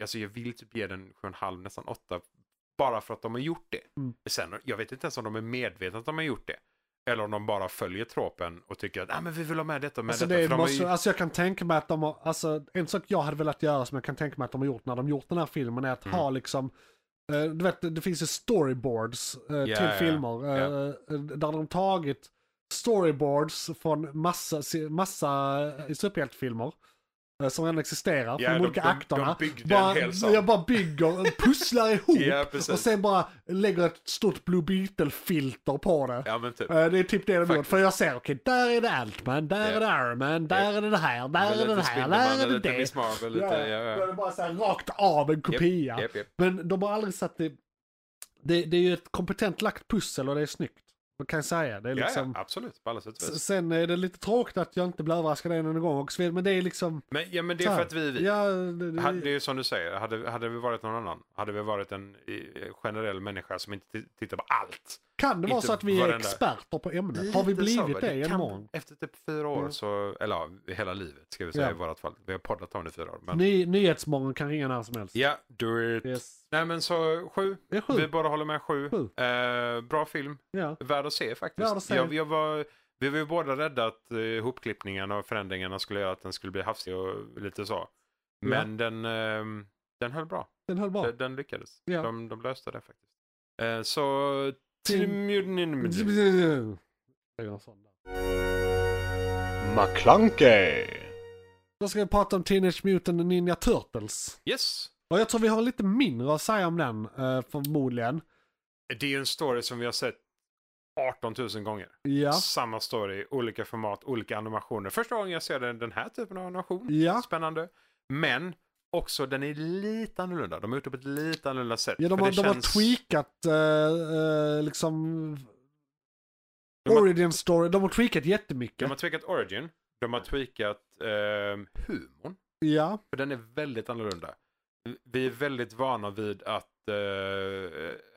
Speaker 3: Alltså jag vill typ ge den 7,5, nästan 8. Bara för att de har gjort det.
Speaker 2: Mm.
Speaker 3: Sen, jag vet inte ens om de är medvetna att de har gjort det. Eller om de bara följer tropen och tycker att ah, men vi vill ha med detta och med
Speaker 2: Alltså,
Speaker 3: detta.
Speaker 2: det
Speaker 3: för de har
Speaker 2: måste, alltså jag kan tänka mig att de har, alltså en sak jag hade velat göra som jag kan tänka mig att de har gjort när de gjort den här filmen är att
Speaker 3: Mm.
Speaker 2: ha liksom, eh, du vet det finns ju storyboards eh,
Speaker 3: Ja,
Speaker 2: till
Speaker 3: ja,
Speaker 2: filmer.
Speaker 3: ja.
Speaker 2: eh, Där de tagit storyboards från massa, se- massa eh, superhjältefilmer. eh, Som redan existerar,
Speaker 3: Ja,
Speaker 2: från de
Speaker 3: de-
Speaker 2: olika
Speaker 3: de- de
Speaker 2: akterna.
Speaker 3: byggde en
Speaker 2: bara,
Speaker 3: hel sak.
Speaker 2: jag bara bygger, pusslar ihop
Speaker 3: Ja, precis.
Speaker 2: och sen bara lägger ett stort Blue Beetle-filter på det.
Speaker 3: Ja, men typ.
Speaker 2: Eh, Det är typ det de gjort.
Speaker 3: Faktiskt.
Speaker 2: För jag ser, okej, där är det Altman, där
Speaker 3: Ja.
Speaker 2: är det Iron Man, där
Speaker 3: Ja.
Speaker 2: är det det här, där är det det här, där är det
Speaker 3: Lite
Speaker 2: det.
Speaker 3: Miss Marvel, lite...
Speaker 2: Ja,
Speaker 3: ja,
Speaker 2: ja.
Speaker 3: ja.
Speaker 2: Då är det bara så här rakt av en
Speaker 3: Japp,
Speaker 2: kopia.
Speaker 3: japp, japp.
Speaker 2: Men de har aldrig satt det Det, det är ju ett kompetent lagt pussel och det är snyggt. Det kan jag säga. Det är liksom...
Speaker 3: Ja, ja, absolut. På alla sätt och
Speaker 2: S-
Speaker 3: vis.
Speaker 2: Sen är det lite tråkigt att jag inte blir överraskad en enda gång också. Men det är liksom...
Speaker 3: Men, ja, men det
Speaker 2: så
Speaker 3: är
Speaker 2: här.
Speaker 3: för att vi är vi.
Speaker 2: Ja, det, det,
Speaker 3: Ha- Det är ju som du säger, hade, hade vi varit någon annan, hade vi varit en eh, generell människa som inte t- tittar på allt.
Speaker 2: kan det vara
Speaker 3: inte
Speaker 2: så att vi är
Speaker 3: varenda-
Speaker 2: experter på ämnet? Har vi
Speaker 3: Lite så,
Speaker 2: blivit
Speaker 3: va?
Speaker 2: det i en
Speaker 3: kan-
Speaker 2: morgon?
Speaker 3: Efter typ fyra år
Speaker 2: Mm.
Speaker 3: så, eller ja, hela livet ska vi säga
Speaker 2: Ja.
Speaker 3: i vårat fall. Vi har poddat om det i fyra år. Men...
Speaker 2: Ny, nyhetsmorgon kan ringa när som helst.
Speaker 3: Ja, do it.
Speaker 2: Yes.
Speaker 3: Nej men så sju.
Speaker 2: Det är
Speaker 3: Vi
Speaker 2: sjukt.
Speaker 3: bara håller med sju.
Speaker 2: Sju.
Speaker 3: Eh, bra film.
Speaker 2: Ja.
Speaker 3: Värd att se faktiskt.
Speaker 2: Värd att se.
Speaker 3: Jag, jag var, vi var ju båda rädda att eh, hopklippningarna och förändringarna skulle göra att den skulle bli hafsig och lite så. Men den, ehm, den höll bra.
Speaker 2: Den höll bra.
Speaker 3: Den, den lyckades.
Speaker 2: Ja.
Speaker 3: De, de löste det faktiskt. Eh, så... Tim-
Speaker 2: Det är någon sån där.
Speaker 4: McClunkey!
Speaker 2: Då ska vi prata om Teenage Mutant Ninja Turtles.
Speaker 3: Yes!
Speaker 2: Och jag tror vi har lite mindre att säga om den, eh, förmodligen.
Speaker 3: Det är ju en story som vi har sett 18 000 gånger.
Speaker 2: Ja.
Speaker 3: Samma story, olika format, olika animationer. Första gången jag ser den, den här typen av animation.
Speaker 2: Ja.
Speaker 3: Spännande. Men också den är lite annorlunda. De har gjort det på ett lite annorlunda sätt.
Speaker 2: Ja, de
Speaker 3: För
Speaker 2: har,
Speaker 3: det
Speaker 2: de
Speaker 3: känns-
Speaker 2: har tweakat eh, eh, liksom...
Speaker 3: De har-
Speaker 2: Origin story, de har tweakat
Speaker 3: De
Speaker 2: jättemycket.
Speaker 3: har tweakat origin. De har tweakat ehm, humorn.
Speaker 2: Ja,
Speaker 3: För den är väldigt annorlunda. Vi är väldigt vana vid att eh,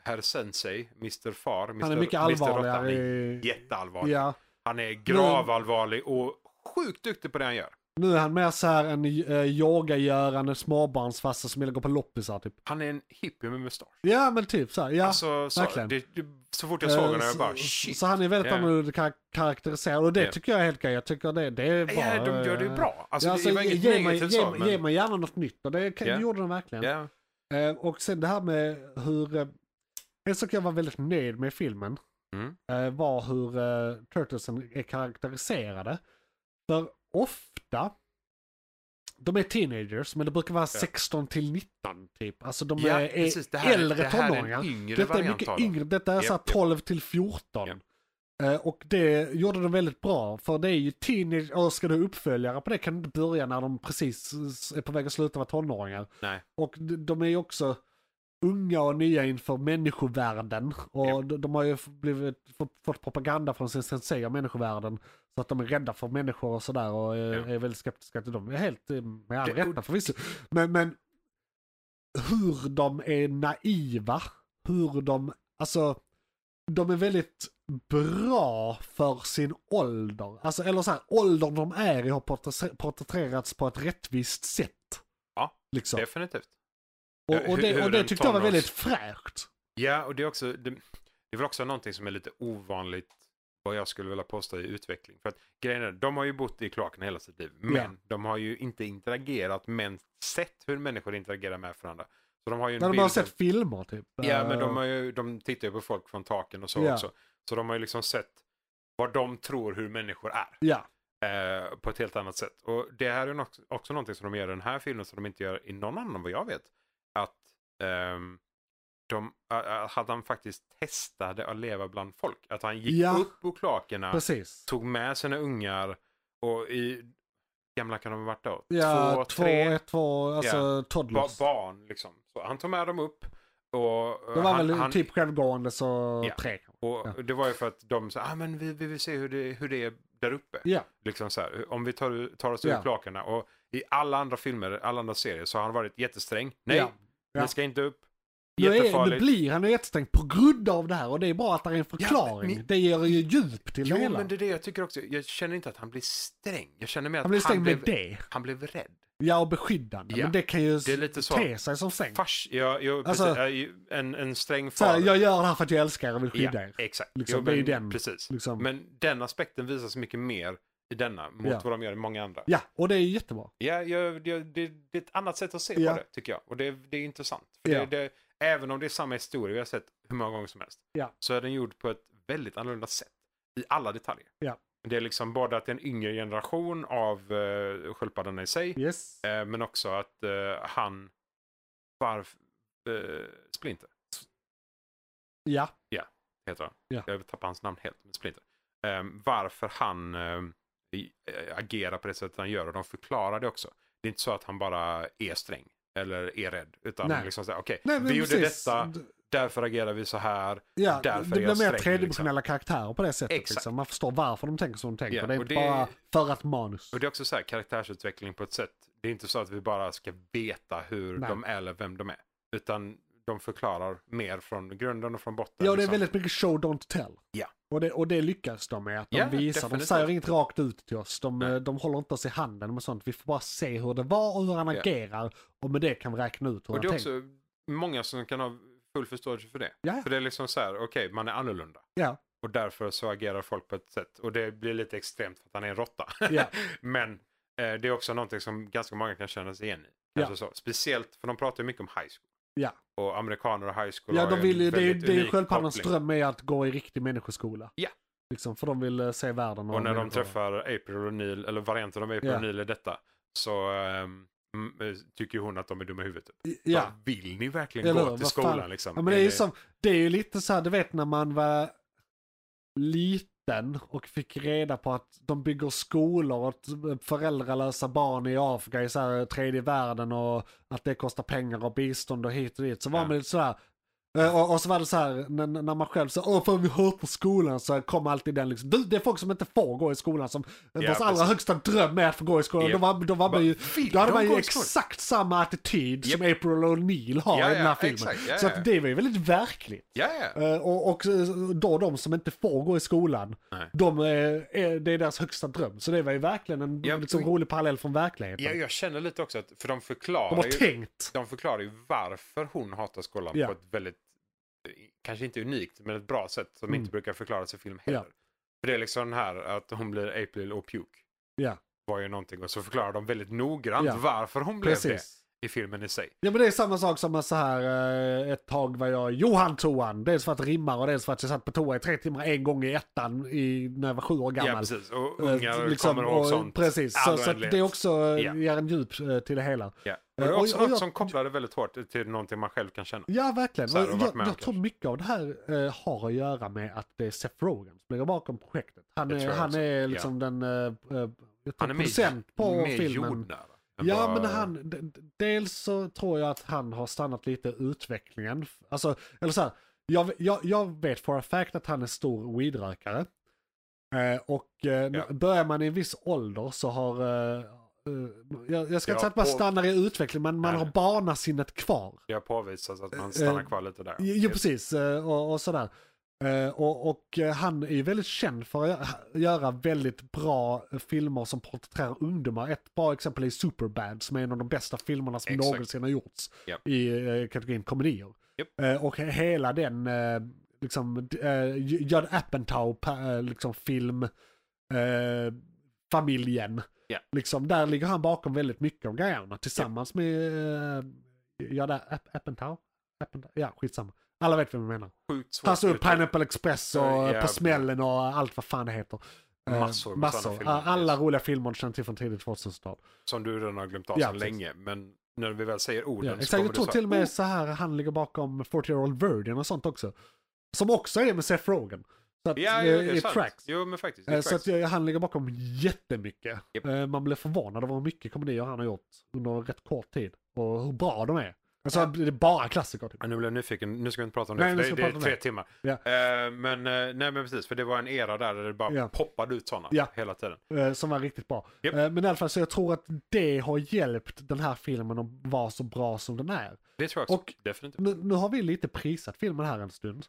Speaker 3: herr Sensei, Mr. Far, Mr.
Speaker 2: han är mycket
Speaker 3: Mr. Råtta, han
Speaker 2: allvarligare.
Speaker 3: är
Speaker 2: i-
Speaker 3: jätteallvarlig.
Speaker 2: Ja,
Speaker 3: Han är gravallvarlig och sjukt duktig på det han gör.
Speaker 2: nu är han mer så här en uh, yogagörande småbarnsfarsa som gillar att gå på loppisar typ.
Speaker 3: Han är en hippie med mustasch.
Speaker 2: Ja men typ så här, ja.
Speaker 3: alltså, så,
Speaker 2: verkligen.
Speaker 3: det, det, så fort jag såg honom
Speaker 2: Eh,
Speaker 3: jag bara
Speaker 2: så-
Speaker 3: shit.
Speaker 2: Så han är väldigt
Speaker 3: Ja.
Speaker 2: annorlunda kar- karaktäriserad och det
Speaker 3: Ja.
Speaker 2: tycker jag är helt okej. Jag tycker det, det är bra.
Speaker 3: ja, de gör det
Speaker 2: eh,
Speaker 3: bra. Alltså,
Speaker 2: ja, alltså,
Speaker 3: det var inget
Speaker 2: ge, mig,
Speaker 3: negativt så.
Speaker 2: ge,
Speaker 3: Men,
Speaker 2: ge mig gärna något nytt och det, kan,
Speaker 3: Ja.
Speaker 2: det gjorde de verkligen.
Speaker 3: ja.
Speaker 2: Eh, och sen det här med hur... Eh, en sak jag var väldigt nöjd med i filmen
Speaker 3: Mm.
Speaker 2: eh, var hur eh, Turtlesen är karaktäriserade. För ofta, de är teenagers men det brukar vara 16 till 19 typ. Alltså de
Speaker 3: ja,
Speaker 2: är,
Speaker 3: precis. Det
Speaker 2: är
Speaker 3: här,
Speaker 2: äldre
Speaker 3: det här
Speaker 2: tonåringar.
Speaker 3: är en yngre
Speaker 2: Detta är
Speaker 3: variant
Speaker 2: mycket
Speaker 3: av dem.
Speaker 2: yngre, detta är
Speaker 3: Japp,
Speaker 2: så här
Speaker 3: japp.
Speaker 2: 12 till 14.
Speaker 3: Japp.
Speaker 2: Eh, Och det gjorde de väldigt bra, för det är ju teenage, och ska du ha uppföljare på det kan du inte börja när de precis eh, är på väg att sluta vara tonåringar.
Speaker 3: Nej.
Speaker 2: Och d- de är ju också unga och nya inför människovärlden. Och
Speaker 3: Ja.
Speaker 2: d- de har ju f- blivit, fått, fått propaganda från sin sensei om människovärlden. Så att de är rädda för människor och sådär och eh,
Speaker 3: Ja.
Speaker 2: är väldigt skeptiska till dem. Helt eh, med all
Speaker 3: Det-
Speaker 2: rätta förvisso. Men, men hur de är naiva, hur de, alltså de är väldigt bra för sin ålder. Alltså, eller så här, åldern de är i har porträtter- porträtterats på ett rättvist sätt.
Speaker 3: Ja,
Speaker 2: liksom.
Speaker 3: Definitivt.
Speaker 2: och, och,
Speaker 3: hur-
Speaker 2: det,
Speaker 3: hur
Speaker 2: och det
Speaker 3: den
Speaker 2: tyckte jag var
Speaker 3: tonårs-
Speaker 2: väldigt fräscht.
Speaker 3: Ja, och det är också, det, det är väl också någonting som är lite ovanligt vad jag skulle vilja påstå i utveckling. För att grejen är, de har ju bott i kloakerna hela sitt liv, men
Speaker 2: Ja.
Speaker 3: de har ju inte interagerat, men sett hur människor interagerar med varandra. Så de har ju en
Speaker 2: När de
Speaker 3: bild
Speaker 2: bara
Speaker 3: av-
Speaker 2: sett filmer typ.
Speaker 3: Ja, men de, har ju, de tittar ju på folk från taken och så
Speaker 2: Ja.
Speaker 3: också. Så de har ju liksom sett vad de tror hur människor är
Speaker 2: Ja,
Speaker 3: eh, på ett helt annat sätt. Och det här är nog- också någonting som de gör i den här filmen som de inte gör i någon annan vad jag vet. Att ehm, de, a- a- att han faktiskt testade att leva bland folk. Att han gick
Speaker 2: Ja.
Speaker 3: upp ur klakerna,
Speaker 2: precis.
Speaker 3: tog med sina ungar och i gamla kan de ha varit då?
Speaker 2: Ja,
Speaker 3: två,
Speaker 2: två,
Speaker 3: tre
Speaker 2: ett, två, alltså
Speaker 3: ba-
Speaker 2: toddlers.
Speaker 3: barn liksom. Så han tog med dem upp och eh,
Speaker 2: det var
Speaker 3: han,
Speaker 2: väl
Speaker 3: han,
Speaker 2: typ självgående så
Speaker 3: Ja.
Speaker 2: tre.
Speaker 3: och
Speaker 2: Ja.
Speaker 3: det var ju för att de sa, ah, men vi, vi vill se hur det, hur det är där uppe.
Speaker 2: Ja,
Speaker 3: Liksom så här, om vi tar, tar oss ur
Speaker 2: Ja.
Speaker 3: klakarna. Och i alla andra filmer, alla andra serier så har han varit jättesträng. Nej,
Speaker 2: Ja. Ja.
Speaker 3: ni ska inte upp.
Speaker 2: nu, är, nu
Speaker 3: Jättefarligt.
Speaker 2: blir han ju jättestängd på grund av det här och det är bra att det är en förklaring.
Speaker 3: men-
Speaker 2: Det ger ju djup till det
Speaker 3: Jo,
Speaker 2: hela.
Speaker 3: men det är det jag tycker också. Jag känner inte att han blir sträng. Jag känner mer att
Speaker 2: han blir stängd
Speaker 3: blev,
Speaker 2: med det.
Speaker 3: han blev rädd.
Speaker 2: Ja, och beskyddande.
Speaker 3: Ja,
Speaker 2: Men det kan ju
Speaker 3: det är lite så.
Speaker 2: te sig som stängt.
Speaker 3: Fars, ja, jo,
Speaker 2: Alltså-
Speaker 3: precis, Ja, ju- en, en sträng
Speaker 2: Så här,
Speaker 3: far.
Speaker 2: jag gör det här för att jag älskar er och vill skydda
Speaker 3: ja,
Speaker 2: er.
Speaker 3: exakt.
Speaker 2: Liksom,
Speaker 3: jo,
Speaker 2: det är ju
Speaker 3: men-
Speaker 2: den,
Speaker 3: Precis.
Speaker 2: Liksom.
Speaker 3: Men den aspekten visas mycket mer i denna mot
Speaker 2: Ja.
Speaker 3: vad de gör i många andra.
Speaker 2: Ja, och det är jättebra.
Speaker 3: Ja, jag, jag, det, det är ett annat sätt att se
Speaker 2: Ja.
Speaker 3: på det, tycker jag. Och det, det är intressant. För
Speaker 2: Ja.
Speaker 3: det, det, även om det är samma historia vi har sett hur många gånger som helst,
Speaker 2: Ja.
Speaker 3: så är den gjord på ett väldigt annorlunda sätt. I alla detaljer.
Speaker 2: Ja.
Speaker 3: Det är liksom både att det är en yngre generation av uh, sköldpaddan i sig,
Speaker 2: Yes.
Speaker 3: eh, men också att eh, han... Varf... eh, Splinter
Speaker 2: Ja,
Speaker 3: heter han.
Speaker 2: Ja.
Speaker 3: Jag tappar hans namn helt, men Splinter. Eh, varför han eh, i- eh, agerar på det sättet han gör och de förklarar det också. Det är inte så att han bara är sträng eller är rädd, utan
Speaker 2: Nej.
Speaker 3: liksom säger okej,
Speaker 2: Nej, men
Speaker 3: vi gjorde
Speaker 2: precis.
Speaker 3: detta,
Speaker 2: D-
Speaker 3: Därför agerar vi så här.
Speaker 2: Ja,
Speaker 3: därför
Speaker 2: det
Speaker 3: är jag
Speaker 2: blir mer
Speaker 3: sträng, liksom.
Speaker 2: tredimensionella karaktärer på det sättet.
Speaker 3: Exakt.
Speaker 2: Liksom. Man förstår varför de tänker som de tänker.
Speaker 3: Ja,
Speaker 2: det är
Speaker 3: och
Speaker 2: inte
Speaker 3: det-
Speaker 2: bara för att manus.
Speaker 3: Och det är också så här karaktärsutveckling på ett sätt. Det är inte så att vi bara ska veta hur
Speaker 2: Nej.
Speaker 3: de är eller vem de är. Utan de förklarar mer från grunden och från botten.
Speaker 2: Ja, det är
Speaker 3: liksom.
Speaker 2: väldigt mycket show don't tell.
Speaker 3: Ja.
Speaker 2: Och det, och det lyckas de med. Att de
Speaker 3: Ja,
Speaker 2: visar, de
Speaker 3: definitivt.
Speaker 2: säger inget rakt ut till oss. De,
Speaker 3: Nej.
Speaker 2: eh, de håller inte oss i handen med sånt. Vi får bara se hur det var och hur han
Speaker 3: Ja.
Speaker 2: agerar. Och med det kan vi räkna ut hur
Speaker 3: Och det
Speaker 2: han
Speaker 3: är
Speaker 2: tänker.
Speaker 3: också många som kan ha full förståelse för det.
Speaker 2: Ja.
Speaker 3: För det är liksom så här, okej, man är annorlunda.
Speaker 2: Ja.
Speaker 3: Och därför så agerar folk på ett sätt. Och det blir lite extremt för att han är en råtta.
Speaker 2: Ja.
Speaker 3: Men eh, det är också någonting som ganska många kan känna sig igen i.
Speaker 2: Ja.
Speaker 3: Alltså så. Speciellt, för de pratar ju mycket om high school.
Speaker 2: Ja.
Speaker 3: Och amerikaner och high school
Speaker 2: Ja,
Speaker 3: har
Speaker 2: de
Speaker 3: en
Speaker 2: vill ju, det är ju
Speaker 3: väldigt
Speaker 2: det är ju
Speaker 3: unik
Speaker 2: sköldpaddans
Speaker 3: koppling.
Speaker 2: dröm är att gå i riktig människoskola.
Speaker 3: Ja.
Speaker 2: Liksom, för de vill eh, se världen.
Speaker 3: Och när de
Speaker 2: människor.
Speaker 3: träffar April O'Neill, eller varianten av April
Speaker 2: Ja.
Speaker 3: O'Neill i detta, så ehm, m- eh, tycker hon att de är dumma i huvudet. Typ.
Speaker 2: Ja.
Speaker 3: Vad Vill ni verkligen
Speaker 2: Eller hur?
Speaker 3: gå till
Speaker 2: Vad
Speaker 3: skolan
Speaker 2: fan?
Speaker 3: liksom?
Speaker 2: Ja, men det är ju som, det är ju lite så här, du vet när man var liten och fick reda på att de bygger skolor åt föräldralösa barn i Afrika i så här, eh, tredje världen och att det kostar pengar och bistånd och hit och dit. Så var
Speaker 3: Ja.
Speaker 2: man lite så här, eh, och, och så var det så här, när, när man själv sa åh fan vi hör på skolan så kom alltid den liksom, du det är folk som inte får gå i skolan som eh, vars allra
Speaker 3: precis.
Speaker 2: högsta dröm är att få gå i skolan.
Speaker 3: Ja.
Speaker 2: Då var, då var
Speaker 3: Bara,
Speaker 2: man ju,
Speaker 3: "Vill
Speaker 2: då hade
Speaker 3: de
Speaker 2: man ju
Speaker 3: gå i skolan?"
Speaker 2: exakt samma attityd som
Speaker 3: Japp.
Speaker 2: April O'Neill har
Speaker 3: Ja,
Speaker 2: i den här
Speaker 3: ja,
Speaker 2: filmen.
Speaker 3: exakt. Ja,
Speaker 2: Så
Speaker 3: ja.
Speaker 2: att det var ju väldigt verkligt.
Speaker 3: Ja, ja.
Speaker 2: Eh, Och, och eh, då de som inte får gå i skolan,
Speaker 3: Nej.
Speaker 2: de, eh, är, det är deras högsta dröm. Så det var ju verkligen en
Speaker 3: Ja,
Speaker 2: liksom,
Speaker 3: och-
Speaker 2: rolig parallell från verkligheten.
Speaker 3: ja, jag känner lite också att, för de
Speaker 2: de
Speaker 3: förklarar
Speaker 2: har
Speaker 3: ju,
Speaker 2: tänkt.
Speaker 3: de förklarar ju varför hon hatar skolan
Speaker 2: Ja.
Speaker 3: på ett väldigt, eh, kanske inte unikt, men ett bra sätt som
Speaker 2: Mm.
Speaker 3: inte brukar förklaras i film
Speaker 2: Ja.
Speaker 3: heller. För det är liksom den här att hon blir April och Puke.
Speaker 2: Ja.
Speaker 3: Var ju någonting och så förklarar de väldigt noggrant
Speaker 2: Ja.
Speaker 3: varför hon blev
Speaker 2: Precis.
Speaker 3: det i filmen i sig.
Speaker 2: Ja men det är samma sak som att så här, eh, ett tag var jag Johan Toan. Dels för att det rimmar och dels för att jag satt på toa i tre timmar en gång i ettan i, när jag var sju år
Speaker 3: Ja,
Speaker 2: gammal.
Speaker 3: precis. Och
Speaker 2: Eh,
Speaker 3: ungar kommer ihåg
Speaker 2: och-
Speaker 3: sånt.
Speaker 2: Precis, så,
Speaker 3: all
Speaker 2: så att
Speaker 3: oändlighet.
Speaker 2: det också
Speaker 3: Ja.
Speaker 2: yeah. ger en djup eh, till det hela.
Speaker 3: Ja. Och
Speaker 2: Eh,
Speaker 3: det är
Speaker 2: och-
Speaker 3: också
Speaker 2: och jag-
Speaker 3: något som kopplar det väldigt hårt till någonting man själv kan känna.
Speaker 2: Ja, verkligen.
Speaker 3: Så här har
Speaker 2: Och
Speaker 3: det varit
Speaker 2: jag
Speaker 3: med om,
Speaker 2: jag tror mycket av det här eh, har att göra med att det är Seth Rogen som ligger bakom projektet. Han
Speaker 3: Det
Speaker 2: är,
Speaker 3: tror jag
Speaker 2: han
Speaker 3: också.
Speaker 2: är liksom den eh, eh, jag tror
Speaker 3: Han är mer,
Speaker 2: producent på
Speaker 3: mer
Speaker 2: filmen.
Speaker 3: jordnära. än
Speaker 2: Ja,
Speaker 3: vad-
Speaker 2: men han, d- d- dels så tror jag att han har stannat lite i utvecklingen. Alltså, eller så här, jag, jag, jag vet for a fact att han är stor weedrökare. Eh, och eh,
Speaker 3: Ja.
Speaker 2: börjar man i en viss ålder så har, eh, eh, jag, jag ska
Speaker 3: Ja,
Speaker 2: inte säga att man
Speaker 3: på-
Speaker 2: stannar i utvecklingen, men man
Speaker 3: Nej.
Speaker 2: har barnasinnet kvar.
Speaker 3: Det har påvisats att man
Speaker 2: Eh,
Speaker 3: stannar kvar lite där.
Speaker 2: Jo, precis. eh, Och, och sådär. Eh, Och, och eh, han är ju väldigt känd för att gö- göra väldigt bra eh, filmer som porträtterar ungdomar. Ett bra exempel är Superbad som är en av de bästa filmerna som
Speaker 3: Exakt.
Speaker 2: någonsin har gjorts
Speaker 3: Japp.
Speaker 2: i eh, kategorin komedier.
Speaker 3: Japp.
Speaker 2: Eh, Och he- hela den, eh, liksom, d- eh, Judd Apatow, pa- eh, liksom film, eh, familjen.
Speaker 3: Ja.
Speaker 2: Liksom, där ligger han bakom väldigt mycket av grejerna tillsammans med eh, Judd Ap- Apatow. Apatow? Ja, skitsamma. Alla vet vem jag menar.
Speaker 3: Sjukt svårt
Speaker 2: Han står upp
Speaker 3: uttryck.
Speaker 2: Pineapple Express och eh,
Speaker 3: Ja,
Speaker 2: På
Speaker 3: jävlar.
Speaker 2: smällen och allt vad fan det heter. Eh,
Speaker 3: Massor med sådana filmer.
Speaker 2: Alla roliga filmer du känner till från tidigt 2000-tal.
Speaker 3: Som du redan har glömt av
Speaker 2: Ja,
Speaker 3: sedan
Speaker 2: precis.
Speaker 3: länge. Men när vi väl säger orden
Speaker 2: Ja,
Speaker 3: så
Speaker 2: exakt,
Speaker 3: kommer
Speaker 2: jag
Speaker 3: det
Speaker 2: tror
Speaker 3: så här,
Speaker 2: till och med så här han ligger bakom 40 year old virgin och sånt också. Som också är med Seth Rogen. Så att,
Speaker 3: "Oh, Ja,
Speaker 2: eh,
Speaker 3: ja, det är
Speaker 2: i
Speaker 3: sant.
Speaker 2: tracks.
Speaker 3: Jo, men faktiskt.
Speaker 2: Eh,
Speaker 3: Det
Speaker 2: Så att
Speaker 3: jag...
Speaker 2: eh, han ligger bakom jättemycket.
Speaker 3: Japp.
Speaker 2: Eh, Man blir förvånad över hur mycket komedier han har gjort under en rätt kort tid. Och hur bra de är. Alltså
Speaker 3: Ja.
Speaker 2: det är bara klassiker. Typ.
Speaker 3: Nu blev jag nyfiken. Nu ska vi inte prata om
Speaker 2: Nej,
Speaker 3: det.
Speaker 2: nu
Speaker 3: för
Speaker 2: ska
Speaker 3: Det,
Speaker 2: vi
Speaker 3: det är
Speaker 2: prata om
Speaker 3: tre
Speaker 2: det.
Speaker 3: timmar.
Speaker 2: Ja.
Speaker 3: Eh, men, eh, nej, men precis. För det var en era där, där det bara
Speaker 2: Ja.
Speaker 3: poppade ut sådana
Speaker 2: Ja.
Speaker 3: hela tiden.
Speaker 2: Eh, Som var riktigt bra.
Speaker 3: Japp.
Speaker 2: Eh, Men i alla fall så jag tror att det har hjälpt den här filmen att vara så bra som den är.
Speaker 3: Det tror jag också.
Speaker 2: Och-
Speaker 3: Definitivt.
Speaker 2: Nu, nu har vi lite prisat filmen här en stund.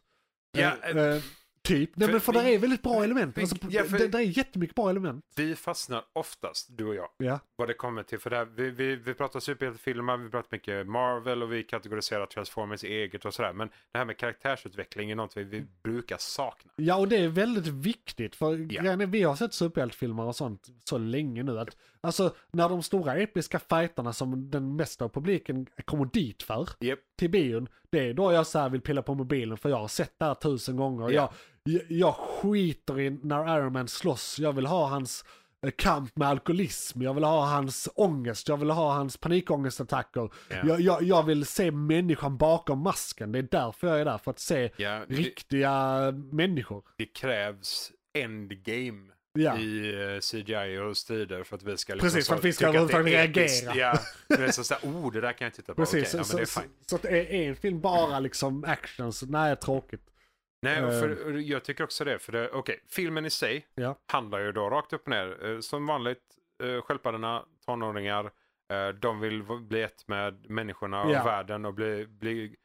Speaker 3: Ja,
Speaker 2: Eh, eh, typ. Nej
Speaker 3: för-
Speaker 2: men för det är väldigt bra element.
Speaker 3: vi-
Speaker 2: Alltså,
Speaker 3: ja, för-
Speaker 2: det, det är jättemycket bra element.
Speaker 3: Vi fastnar oftast, du och jag,
Speaker 2: Ja.
Speaker 3: vad det kommer till. För det här, vi, vi, vi pratar superhjältefilmer, vi pratar mycket Marvel och vi kategoriserar Transformers i eget och sådär. Men det här med karaktärsutveckling är något vi, vi brukar sakna.
Speaker 2: Ja, och det är väldigt viktigt. För
Speaker 3: Ja.
Speaker 2: grejen är, vi har sett superhjältefilmer och sånt så länge nu. Att, alltså, när de stora episka fighterna som den mesta av publiken kommer dit för,
Speaker 3: Yep.
Speaker 2: till bion, det är då jag så här vill pilla på mobilen för jag har sett det här tusen gånger.
Speaker 3: Ja.
Speaker 2: Jag, jag, jag skiter i när Iron Man slåss, jag vill ha hans eh, kamp med alkoholism, jag vill ha hans ångest, jag vill ha hans panikångestattacker.
Speaker 3: Ja.
Speaker 2: Jag, jag, jag vill se människan bakom masken, det är därför jag är där, för att se
Speaker 3: Ja, det,
Speaker 2: riktiga människor.
Speaker 3: det krävs endgame
Speaker 2: Ja.
Speaker 3: i eh, CGI och strider för att vi ska
Speaker 2: Precis,
Speaker 3: så
Speaker 2: för att vi ska
Speaker 3: tycka det är
Speaker 2: överhuvudtaget
Speaker 3: episkt.
Speaker 2: reagera.
Speaker 3: Ja, men det är så såhär, oh det där kan jag titta på. Okej,
Speaker 2: Precis,
Speaker 3: ja, men det är
Speaker 2: så,
Speaker 3: fine.
Speaker 2: så, så att är en film bara liksom action, så nej tråkigt.
Speaker 3: Nej, och
Speaker 2: eh,
Speaker 3: för, och jag tycker också det. För det, okej, filmen i sig
Speaker 2: Ja.
Speaker 3: handlar ju då rakt upp och ner. eh, Som vanligt, eh, stjälpaddarna, tonåringar, eh, de vill v- bli ett med människorna och
Speaker 2: Ja.
Speaker 3: världen och bli, bli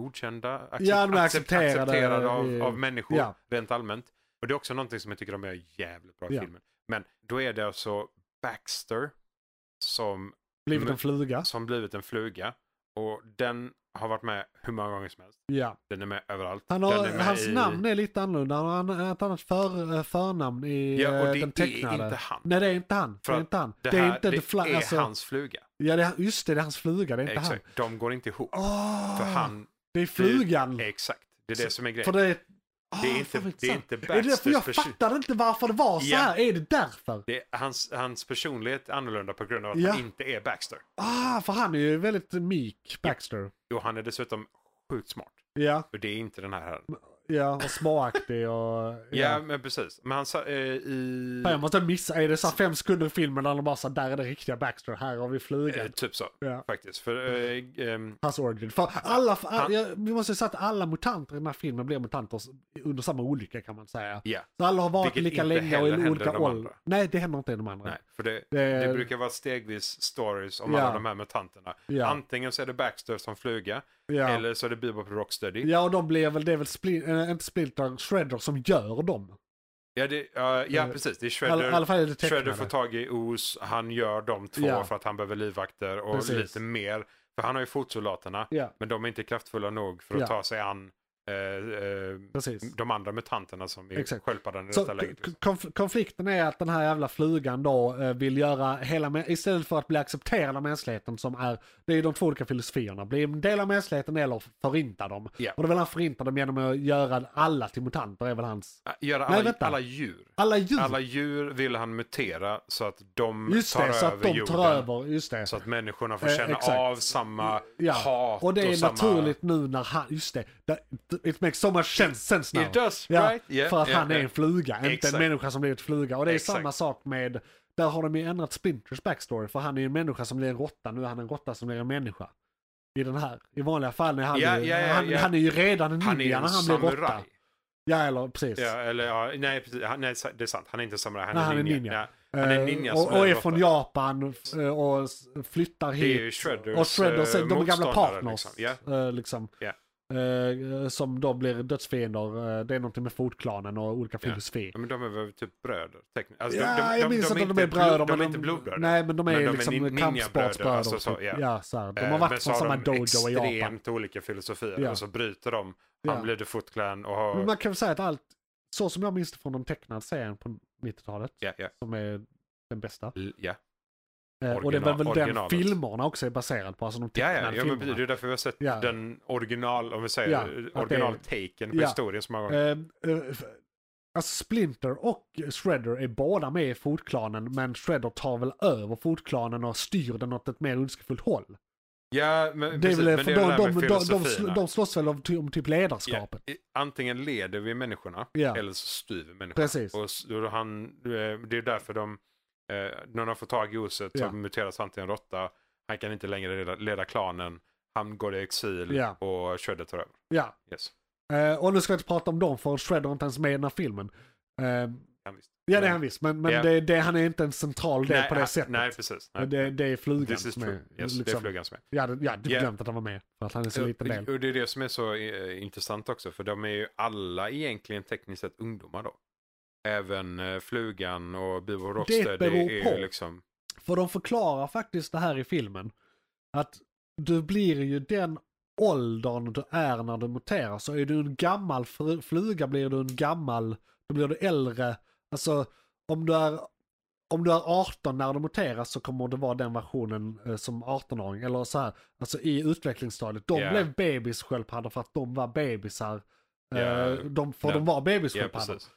Speaker 3: godkända, accep-
Speaker 2: Ja, de är
Speaker 3: accep-
Speaker 2: accepterade,
Speaker 3: accepterade av,
Speaker 2: eh,
Speaker 3: av människor
Speaker 2: ja.
Speaker 3: rent allmänt. Och det är också någonting som jag tycker de gör jävligt bra i
Speaker 2: Ja.
Speaker 3: filmen. Men då är det alltså Baxter som,
Speaker 2: Blivit
Speaker 3: Men-
Speaker 2: en fluga.
Speaker 3: som blivit en fluga och den har varit med hur många gånger som helst.
Speaker 2: Ja.
Speaker 3: Den är med överallt.
Speaker 2: Han har,
Speaker 3: den är med
Speaker 2: hans
Speaker 3: i-
Speaker 2: namn är lite annorlunda. Han har ett annat för, eh, förnamn i
Speaker 3: Ja, och
Speaker 2: eh,
Speaker 3: det
Speaker 2: den
Speaker 3: är
Speaker 2: tecknade.
Speaker 3: inte han.
Speaker 2: Nej, det är inte han.
Speaker 3: För
Speaker 2: det är
Speaker 3: att
Speaker 2: inte han.
Speaker 3: Det, här,
Speaker 2: är inte
Speaker 3: det
Speaker 2: The Fly-
Speaker 3: är
Speaker 2: alltså-
Speaker 3: hans fluga.
Speaker 2: Ja, det är, just det, det är hans fluga. Det är inte
Speaker 3: Exakt. De går inte ihop.
Speaker 2: han. Åh!
Speaker 3: För han,
Speaker 2: det är Ah, flugan.
Speaker 3: exakt. Det är det
Speaker 2: Så-
Speaker 3: som är grejen.
Speaker 2: för det är...
Speaker 3: Det är
Speaker 2: Åh,
Speaker 3: inte-
Speaker 2: fan, vad
Speaker 3: det är
Speaker 2: intressant.
Speaker 3: inte
Speaker 2: Är det därför jag
Speaker 3: Baxters förtjust-
Speaker 2: fattade inte varför det var så
Speaker 3: Ja.
Speaker 2: här? Är det därför?
Speaker 3: Det är, hans, hans personlighet är annorlunda på grund av att
Speaker 2: Ja.
Speaker 3: han inte är Baxter.
Speaker 2: Ah, för han är ju väldigt mik, Baxter.
Speaker 3: Och han är dessutom sjukt smart.
Speaker 2: Ja,
Speaker 3: Och det är inte den här herren.
Speaker 2: ja och småaktig och...
Speaker 3: Ja, men precis. Men han sa eh, i...
Speaker 2: Fan, Jag måste missa, är det så här fem sekunder i filmen där de bara så här, där är det riktiga Baxter, här har vi
Speaker 3: eh,
Speaker 2: flugan.
Speaker 3: typ så,
Speaker 2: Ja.
Speaker 3: faktiskt. För eh, ehm,
Speaker 2: Hans origin. För alla, för,
Speaker 3: Han-
Speaker 2: jag, vi måste ju säga att alla mutanter i den här filmen blir mutanter s- under samma olycka kan man säga.
Speaker 3: ja.
Speaker 2: Så alla har varit
Speaker 3: Vilket
Speaker 2: lika
Speaker 3: inte
Speaker 2: länge och
Speaker 3: heller
Speaker 2: i
Speaker 3: händer
Speaker 2: olika
Speaker 3: de
Speaker 2: ålder.
Speaker 3: andra.
Speaker 2: Nej, det händer inte i de andra.
Speaker 3: Nej, för det,
Speaker 2: Det-
Speaker 3: det... brukar vara stegvis stories om
Speaker 2: Ja.
Speaker 3: alla de här mutanterna.
Speaker 2: Ja.
Speaker 3: Antingen så är det Baxter som fluga,
Speaker 2: Ja.
Speaker 3: eller så är det Bebop och Rocksteady.
Speaker 2: Ja, och de blir väl, det är väl spli, äh, inte Splinter, Shredder som gör dem.
Speaker 3: Ja, det, ja, ja
Speaker 2: Eh,
Speaker 3: precis. Det är
Speaker 2: I
Speaker 3: Shredder,
Speaker 2: alla, i alla fall är det
Speaker 3: Shredder får
Speaker 2: tecknade.
Speaker 3: tag i Oz, han gör de två
Speaker 2: Ja.
Speaker 3: för att han behöver livvakter och
Speaker 2: Precis.
Speaker 3: lite mer. För han har ju fotsoldaterna,
Speaker 2: Ja,
Speaker 3: men de är inte kraftfulla nog för att
Speaker 2: Ja.
Speaker 3: ta sig an eh, eh,
Speaker 2: precis.
Speaker 3: de andra mutanterna som är
Speaker 2: Exakt.
Speaker 3: sköldpaddan i
Speaker 2: Så
Speaker 3: detta läget.
Speaker 2: k- konf- konflikten är att den här jävla flugan då eh, vill göra hela, mä- istället för att bli accepterad av mänskligheten som är, det är ju de två olika filosofierna, bli en del av mänskligheten eller förinta dem.
Speaker 3: Ja.
Speaker 2: Och då vill han förinta dem genom att göra alla till mutanter, är väl hans...
Speaker 3: Äh, Göra
Speaker 2: Nej,
Speaker 3: alla,
Speaker 2: vänta.
Speaker 3: alla djur.
Speaker 2: Alla djur!
Speaker 3: Alla djur vill han mutera så att de
Speaker 2: just
Speaker 3: tar
Speaker 2: det, så
Speaker 3: över
Speaker 2: att de
Speaker 3: jorden.
Speaker 2: tar över, just det.
Speaker 3: Så att människorna får
Speaker 2: Eh,
Speaker 3: känna
Speaker 2: exakt.
Speaker 3: av samma
Speaker 2: Ja,
Speaker 3: hat
Speaker 2: och det är
Speaker 3: samma...
Speaker 2: naturligt nu när han, just det, that- it makes so much sense, sense now.
Speaker 3: It does,
Speaker 2: Ja,
Speaker 3: right? Yeah,
Speaker 2: för att
Speaker 3: yeah,
Speaker 2: han är
Speaker 3: yeah.
Speaker 2: en fluga, inte en
Speaker 3: Exakt.
Speaker 2: människa som blivit fluga. Och det är
Speaker 3: Exakt.
Speaker 2: samma sak med, där har de ju ändrat Splinters backstory, för han är ju en människa som blir en råtta, nu är han en råtta som blir en människa. I den här, i vanliga fall är han,
Speaker 3: Ja,
Speaker 2: ju,
Speaker 3: ja, ja,
Speaker 2: han,
Speaker 3: ja.
Speaker 2: han är ju redan en
Speaker 3: Han är
Speaker 2: ninja
Speaker 3: en
Speaker 2: när han blir råtta.
Speaker 3: samuraj.
Speaker 2: Ja, eller precis.
Speaker 3: Ja, eller, ja, nej, precis, han, nej, det är sant. Han är inte samuraj, han,
Speaker 2: Nej,
Speaker 3: är
Speaker 2: han är
Speaker 3: ninja.
Speaker 2: ninja.
Speaker 3: Nej, han är ninja
Speaker 2: Eh,
Speaker 3: som
Speaker 2: och, och är
Speaker 3: råtta.
Speaker 2: från Japan f- eh, och s- flyttar
Speaker 3: Det är ju
Speaker 2: hit.
Speaker 3: Shredders,
Speaker 2: och Shredders,
Speaker 3: eh,
Speaker 2: är de är gamla
Speaker 3: motståndare,
Speaker 2: partners.
Speaker 3: liksom.
Speaker 2: eh, liksom.
Speaker 3: Ja.
Speaker 2: Eh, som då blir dödsfiender. Eh, Det är någonting med fotklanen och olika filosofier.
Speaker 3: Ja, men de är väl typ bröder? tekniskt. Alltså,
Speaker 2: Ja, jag minns
Speaker 3: de,
Speaker 2: inte om de
Speaker 3: inte
Speaker 2: är bröder.
Speaker 3: blod-
Speaker 2: men
Speaker 3: De är inte blodbröder.
Speaker 2: Nej, men de är
Speaker 3: Men de är
Speaker 2: liksom
Speaker 3: nin-
Speaker 2: kampsportsbröder.
Speaker 3: ninjabröder, alltså så,
Speaker 2: typ.
Speaker 3: ja.
Speaker 2: ja, så här. De har
Speaker 3: Eh,
Speaker 2: varit
Speaker 3: men så
Speaker 2: från
Speaker 3: har
Speaker 2: samma
Speaker 3: de
Speaker 2: dojo i Japan.
Speaker 3: extremt olika filosofier
Speaker 2: Ja.
Speaker 3: och så bryter de. Han
Speaker 2: Ja.
Speaker 3: blir The Foot Clan och har...
Speaker 2: Men man kan väl säga att allt, så som jag minns det från de tecknade serien på 90-talet,
Speaker 3: Ja, ja.
Speaker 2: som är den bästa.
Speaker 3: L- ja.
Speaker 2: Eh, och det
Speaker 3: Original-
Speaker 2: är väl den
Speaker 3: originalet.
Speaker 2: filmerna också är baserad på, alltså de
Speaker 3: Ja,
Speaker 2: tecknade
Speaker 3: ja, ja men
Speaker 2: filmerna.
Speaker 3: precis. det är därför vi har sett
Speaker 2: Ja.
Speaker 3: den original, om vi säger eh,
Speaker 2: Ja, att det är-
Speaker 3: original-taken på
Speaker 2: Ja.
Speaker 3: historien så många gånger.
Speaker 2: Eh, eh, f- alltså Splinter och Shredder är båda med i Fotklanen men Shredder tar väl över Fotklanen och styr den åt ett mer ondskefullt håll.
Speaker 3: Ja, men
Speaker 2: Det är
Speaker 3: precis,
Speaker 2: väl, för
Speaker 3: men det är det
Speaker 2: de,
Speaker 3: där
Speaker 2: de,
Speaker 3: med
Speaker 2: de, de,
Speaker 3: filosofierna.
Speaker 2: sl- de slåss väl om, ty- om typ ledarskapet.
Speaker 3: Ja, i- Antingen leder vi människorna
Speaker 2: Ja.
Speaker 3: eller så styr vi människorna.
Speaker 2: Precis.
Speaker 3: Och s- och han, eh, det är därför de, eh, när de får tag i oset
Speaker 2: Ja.
Speaker 3: så muteras han till en råtta. Han kan inte längre leda, leda klanen. Han går i exil
Speaker 2: Ja.
Speaker 3: och Shredder tar över.
Speaker 2: Ja.
Speaker 3: Yes.
Speaker 2: Eh, och nu ska jag inte prata om dem för Shredder är inte ens med i den här filmen. Eh,
Speaker 3: Han visst.
Speaker 2: ja det är han visst men, men
Speaker 3: Ja.
Speaker 2: det, det, han är inte en central del
Speaker 3: nej,
Speaker 2: på det
Speaker 3: han-
Speaker 2: sättet.
Speaker 3: Nej, precis. Nej.
Speaker 2: det, det är liksom- flugan
Speaker 3: This is
Speaker 2: som
Speaker 3: true.
Speaker 2: är...
Speaker 3: Yes, Det är flugan som är.
Speaker 2: Jag hade, jag hade
Speaker 3: Ja.
Speaker 2: glömt att han var med för att han är så liten del.
Speaker 3: Och det är det som är så eh, intressant också. För de är ju alla egentligen tekniskt sett ungdomar då. Även eh, flugan och Bibo Rocksteady
Speaker 2: beror
Speaker 3: är
Speaker 2: på.
Speaker 3: ju liksom...
Speaker 2: För de förklarar faktiskt det här i filmen. Att du blir ju den åldern du är när du muterar. Så är du en gammal fru- fluga blir du en gammal, då blir du äldre. Alltså om du är, om du är 18 när du muteras så kommer det vara den versionen eh, som 18-åring. Eller så här, alltså i utvecklingsstadiet. De
Speaker 3: Ja.
Speaker 2: blev bebissköldpaddor för att de var bebisar.
Speaker 3: Ja.
Speaker 2: Eh, De, för
Speaker 3: Ja.
Speaker 2: de var
Speaker 3: Ja,
Speaker 2: bebissköldpaddor.
Speaker 3: precis.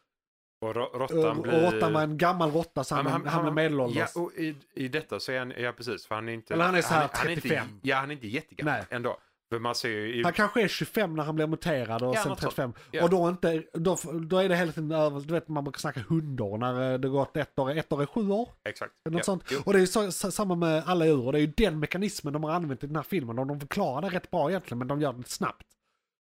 Speaker 3: Och rå-
Speaker 2: Eh,
Speaker 3: råttan
Speaker 2: och
Speaker 3: blir...
Speaker 2: råttan var en gammal råtta så han, han, han blev medelålders.
Speaker 3: Ja, och i, i detta så är han, ja precis, för han är inte...
Speaker 2: Eller han är så här
Speaker 3: han, är
Speaker 2: 35.
Speaker 3: inte, ja, han är inte jättegammal
Speaker 2: Nej.
Speaker 3: ändå. För man ser ju...
Speaker 2: Han kanske är 25 när han blir muterad och
Speaker 3: Typ. Ja,
Speaker 2: sen
Speaker 3: något sånt.
Speaker 2: 35.
Speaker 3: Ja.
Speaker 2: Och då, inte, då, då är det hela tiden över, du vet man brukar snacka hundår när eh, det gått ett år, ett år är sju år.
Speaker 3: Exakt.
Speaker 2: Något
Speaker 3: Ja.
Speaker 2: sånt.
Speaker 3: Jo.
Speaker 2: Och det är ju så, så, samma med alla djur. Och det är ju den mekanismen de har använt i den här filmen. Och de förklarar det rätt bra egentligen, men de gör det lite snabbt.